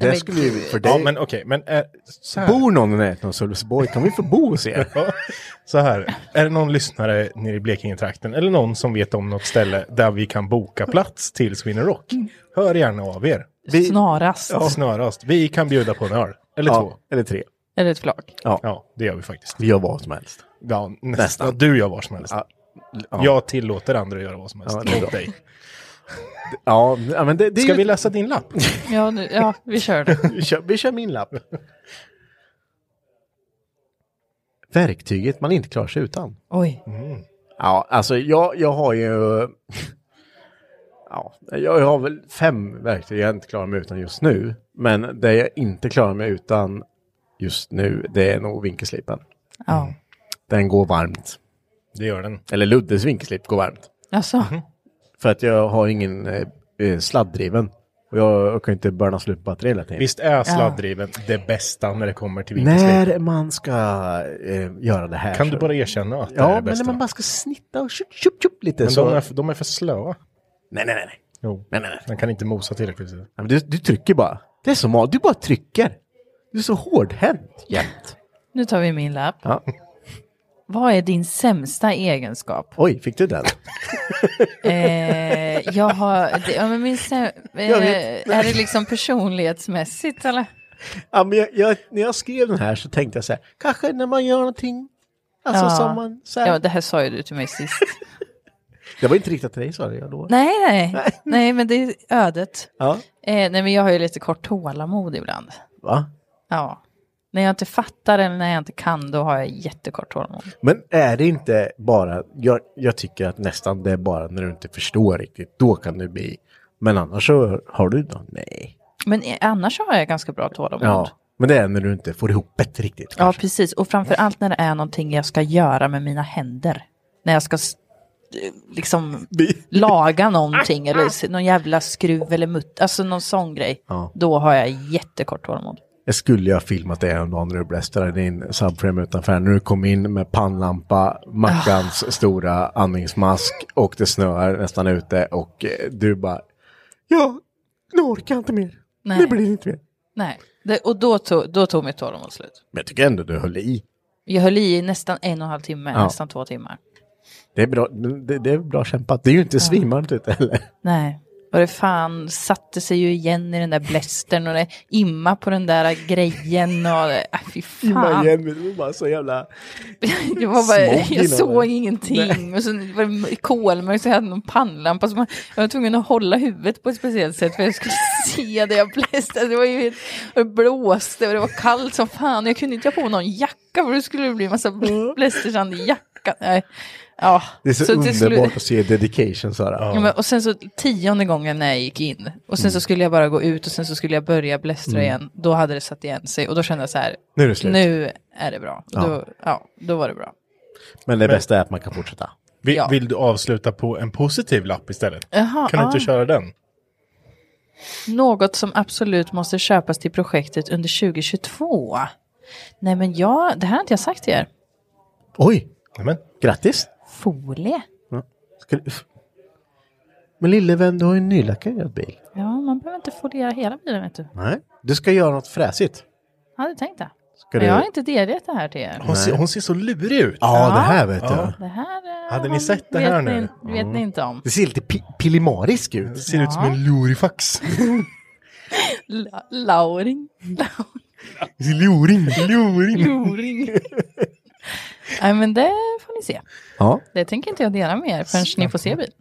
[SPEAKER 3] Det
[SPEAKER 2] men
[SPEAKER 3] skulle ju
[SPEAKER 2] gud.
[SPEAKER 3] för dig.
[SPEAKER 2] Ja, men okej, men är- så här.
[SPEAKER 3] Bor någon i närheten av Sölvesborg kan vi få bo hos er.
[SPEAKER 2] Ja, Så här, är det någon lyssnare nere i Blekinge-trakten eller någon som vet om något ställe där vi kan boka plats till Sweden Rock? Hör gärna av er.
[SPEAKER 4] Snarast.
[SPEAKER 2] Ja, snarast. Vi kan bjuda på en öl. Eller
[SPEAKER 3] Ja,
[SPEAKER 2] två.
[SPEAKER 3] Eller tre.
[SPEAKER 4] Eller ett flak.
[SPEAKER 3] Ja.
[SPEAKER 2] det gör vi faktiskt.
[SPEAKER 3] Vi gör vad som helst.
[SPEAKER 2] Ja, nästan.
[SPEAKER 3] Nästan.
[SPEAKER 2] Ja, du gör vad som helst.
[SPEAKER 3] ja.
[SPEAKER 2] Jag tillåter andra att göra vad som helst.
[SPEAKER 3] Ja, det är
[SPEAKER 2] Åt
[SPEAKER 3] bra.
[SPEAKER 2] dig.
[SPEAKER 3] Ja, ja, men det, det är
[SPEAKER 2] Ska
[SPEAKER 3] ju-
[SPEAKER 2] vi läsa din lapp?
[SPEAKER 4] Ja, nu, ja vi kör det.
[SPEAKER 3] vi, kör, vi kör min lapp. Verktyget man inte klarar sig utan.
[SPEAKER 4] Oj.
[SPEAKER 2] Mm.
[SPEAKER 3] Ja, alltså jag, jag har ju... Ja, jag har väl fem verktyg jag inte klarar mig utan just nu. Men det jag inte klarar mig utan just nu, det är nog vinkelslipen.
[SPEAKER 4] Ja.
[SPEAKER 3] Den går varmt.
[SPEAKER 2] Mm. Det gör den. Mhm.
[SPEAKER 3] Eller Luddes vinkelslip går varmt.
[SPEAKER 4] Alltså.
[SPEAKER 3] För att jag har ingen eh, eh, sladdriven. Och jag, kan ju inte burna slut på batteriet hela tiden.
[SPEAKER 2] Visst är sladdriven det bästa när det kommer till vinkelslip?
[SPEAKER 3] När man ska eh, göra det här.
[SPEAKER 2] Kan du
[SPEAKER 3] så-
[SPEAKER 2] bara erkänna att det
[SPEAKER 3] Ja,
[SPEAKER 2] är det
[SPEAKER 3] men
[SPEAKER 2] bästa?
[SPEAKER 3] när man bara ska snitta och tjup, tjup, tjup lite
[SPEAKER 2] Men
[SPEAKER 3] så.
[SPEAKER 2] de, är, de är för slöa.
[SPEAKER 3] Nej, nej, nej. nej.
[SPEAKER 2] Jo.
[SPEAKER 3] Nej, nej, nej.
[SPEAKER 2] Den kan inte mosa tillräckligt. Nej,
[SPEAKER 3] men du, du trycker bara. Det är som du bara trycker. Du är så hårdhänt jämt.
[SPEAKER 4] Nu tar vi min lapp.
[SPEAKER 3] Ja.
[SPEAKER 4] Vad är din sämsta egenskap?
[SPEAKER 3] Oj, fick du den?
[SPEAKER 4] Eh, jag har... Det, ja, men min säm, eh,
[SPEAKER 3] Jag vet.
[SPEAKER 4] är det liksom personlighetsmässigt eller?
[SPEAKER 3] ja, men jag, jag, när jag skrev den här så tänkte jag så här, kanske när man gör någonting. Alltså som man... Så här.
[SPEAKER 4] ja, det här sa ju du till mig sist.
[SPEAKER 3] Det var inte riktat till dig sa jag då.
[SPEAKER 4] nej, nej, nej, men det är ödet.
[SPEAKER 3] Ja.
[SPEAKER 4] Eh, nej, men jag har ju lite kort tålamod ibland.
[SPEAKER 3] Va?
[SPEAKER 4] Ja. När jag inte fattar eller när jag inte kan, då har jag jättekort tålamod.
[SPEAKER 3] Men är det inte bara, jag, jag tycker att nästan det är bara när du inte förstår riktigt, då kan du bli. Men annars så har du då, nej.
[SPEAKER 4] Men eh, annars har jag ganska bra tålamod.
[SPEAKER 3] Ja, men det är när du inte får ihop det riktigt.
[SPEAKER 4] Ja, precis. Och framför allt när det är någonting jag ska göra med mina händer. När jag ska s- eh, liksom laga någonting eller s- någon jävla skruv eller mutt, alltså någon sån grej.
[SPEAKER 3] Ja.
[SPEAKER 4] Då har jag jättekort tålamod.
[SPEAKER 3] Jag skulle ju ha filmat det en dag när du blästrade din subframe utanför. här, När du kom in med pannlampa,
[SPEAKER 4] Ah.
[SPEAKER 3] Mackans stora andningsmask och det snöar nästan ute och eh, du bara, Ja, nu orkar jag inte mer.
[SPEAKER 4] Nej.
[SPEAKER 3] Nu blir det inte mer.
[SPEAKER 4] Nej, det, och då tog, då tog mitt tålamod slut.
[SPEAKER 3] Men jag tycker ändå du höll i.
[SPEAKER 4] Jag höll i nästan en och en halv timme,
[SPEAKER 3] Ja.
[SPEAKER 4] nästan två timmar.
[SPEAKER 3] Det är bra, det, det är bra kämpat. Det är ju inte svinvarmt ute heller.
[SPEAKER 4] Nej, och det fan satte sig ju igen i den där blästern och det imma på den där grejen och det, äh, fy fan.
[SPEAKER 3] Imma igen, men det var bara så jävla...
[SPEAKER 4] Jag, var bara,
[SPEAKER 3] Smoking
[SPEAKER 4] jag såg
[SPEAKER 3] över.
[SPEAKER 4] ingenting och så var det kolmörkt så jag hade någon pannlampa som jag jag var tvungen att hålla huvudet på ett speciellt sätt för jag skulle se det jag blästade. Det var ju helt, och det blåste och det var kallt som fan jag kunde inte ha på någon jacka för då skulle det bli en massa bl- blästersand i jackan. Nej, Ja,
[SPEAKER 3] Mm. Det är så,
[SPEAKER 4] till slut-
[SPEAKER 3] underbart att se dedication Sara.
[SPEAKER 4] Ja, men, och sen så tionde gången när jag gick in och sen så skulle jag bara gå ut och sen så skulle jag börja blästra
[SPEAKER 3] Mm.
[SPEAKER 4] igen. Då hade det satt igen sig och då kände jag så här.
[SPEAKER 3] Nu är det slut.
[SPEAKER 4] Nu är det bra.
[SPEAKER 3] Ja.
[SPEAKER 4] Då, ja, då var det bra.
[SPEAKER 3] Men det
[SPEAKER 2] Men-
[SPEAKER 3] bästa är att man kan fortsätta.
[SPEAKER 2] Vill,
[SPEAKER 4] Ja.
[SPEAKER 2] vill du avsluta på en positiv lapp istället?
[SPEAKER 4] Jaha,
[SPEAKER 2] kan du
[SPEAKER 4] ah.
[SPEAKER 2] inte köra den?
[SPEAKER 4] Något som absolut måste köpas till projektet under 2022. Nej men jag, det här har inte jag sagt till er.
[SPEAKER 3] Oj! Amen. Grattis!
[SPEAKER 4] Folie.
[SPEAKER 3] Ska du- Men lille vän, du har ju en nylackad bil.
[SPEAKER 4] Ja, man behöver inte foliera hela bilen vet du.
[SPEAKER 3] Nej. Du ska göra något fräsigt.
[SPEAKER 4] Jag hade tänkt det.
[SPEAKER 3] Ska
[SPEAKER 4] Men jag
[SPEAKER 3] du-
[SPEAKER 4] har inte delgett det här till er.
[SPEAKER 2] Hon, ser, hon ser så lurig ut.
[SPEAKER 3] Ja, det här vet jag.
[SPEAKER 4] Det här eh,
[SPEAKER 2] Hade ni
[SPEAKER 4] har-
[SPEAKER 2] sett det
[SPEAKER 4] vet
[SPEAKER 2] här
[SPEAKER 4] ni,
[SPEAKER 2] nu?
[SPEAKER 4] Vet ni inte om.
[SPEAKER 3] Det ser lite pi- pilimarisk ut.
[SPEAKER 2] Det ser ut som
[SPEAKER 4] Ja.
[SPEAKER 2] en lurifax.
[SPEAKER 4] La- Lauring.
[SPEAKER 3] Luring,
[SPEAKER 4] Mm.
[SPEAKER 3] luring.
[SPEAKER 4] Loring. Nej men det får ni se.
[SPEAKER 3] Ja.
[SPEAKER 4] Det tänker inte jag dela med er förrän ni får se bilen.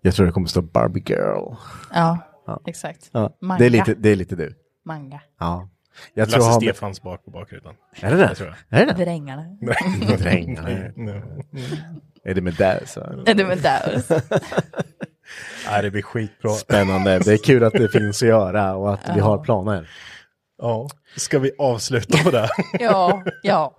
[SPEAKER 3] Jag tror det kommer stå Barbie girl.
[SPEAKER 4] Ja, exakt.
[SPEAKER 3] Ja. Det,
[SPEAKER 4] Manga.
[SPEAKER 3] är lite, det är lite du.
[SPEAKER 4] Manga.
[SPEAKER 3] Ja.
[SPEAKER 2] Lasse
[SPEAKER 3] han-
[SPEAKER 2] Stefans bak på bakrutan.
[SPEAKER 3] Är det det?
[SPEAKER 2] Jag tror
[SPEAKER 3] Är det det?
[SPEAKER 4] Drängarna.
[SPEAKER 3] Nej, drängarna.
[SPEAKER 2] Nej.
[SPEAKER 3] Är det med där så?
[SPEAKER 4] Är det med där?
[SPEAKER 2] Nej, det blir skitbra.
[SPEAKER 3] Spännande. Det är kul att det finns att göra och att vi
[SPEAKER 2] Ja.
[SPEAKER 3] har planer.
[SPEAKER 2] Ja, ska vi avsluta på det?
[SPEAKER 4] Ja, ja.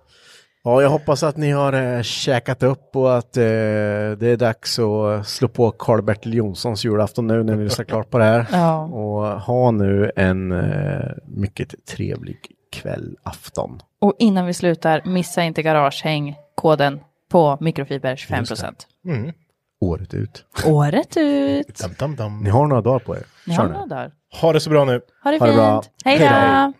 [SPEAKER 3] Ja, jag hoppas att ni har eh, käkat upp och att eh, det är dags att slå på Karl-Bertil Jonssons julafton nu när vi lyssnar klart på det här.
[SPEAKER 4] Ja.
[SPEAKER 3] Och ha nu en eh, mycket trevlig kväll, afton.
[SPEAKER 4] Och innan vi slutar, missa inte garagehäng koden på mikrofibers 5
[SPEAKER 2] Mm.
[SPEAKER 3] Året ut.
[SPEAKER 4] Året ut.
[SPEAKER 2] Dam, dam, dam.
[SPEAKER 3] Ni har några dagar på er.
[SPEAKER 4] Ni har några dagar.
[SPEAKER 2] Ha det så bra nu.
[SPEAKER 4] Ha det fint. Hej då.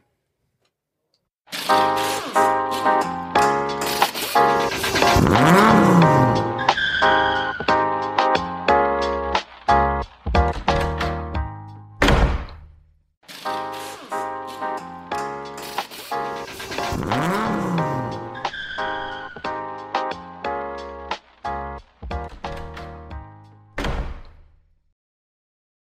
[SPEAKER 7] Mm.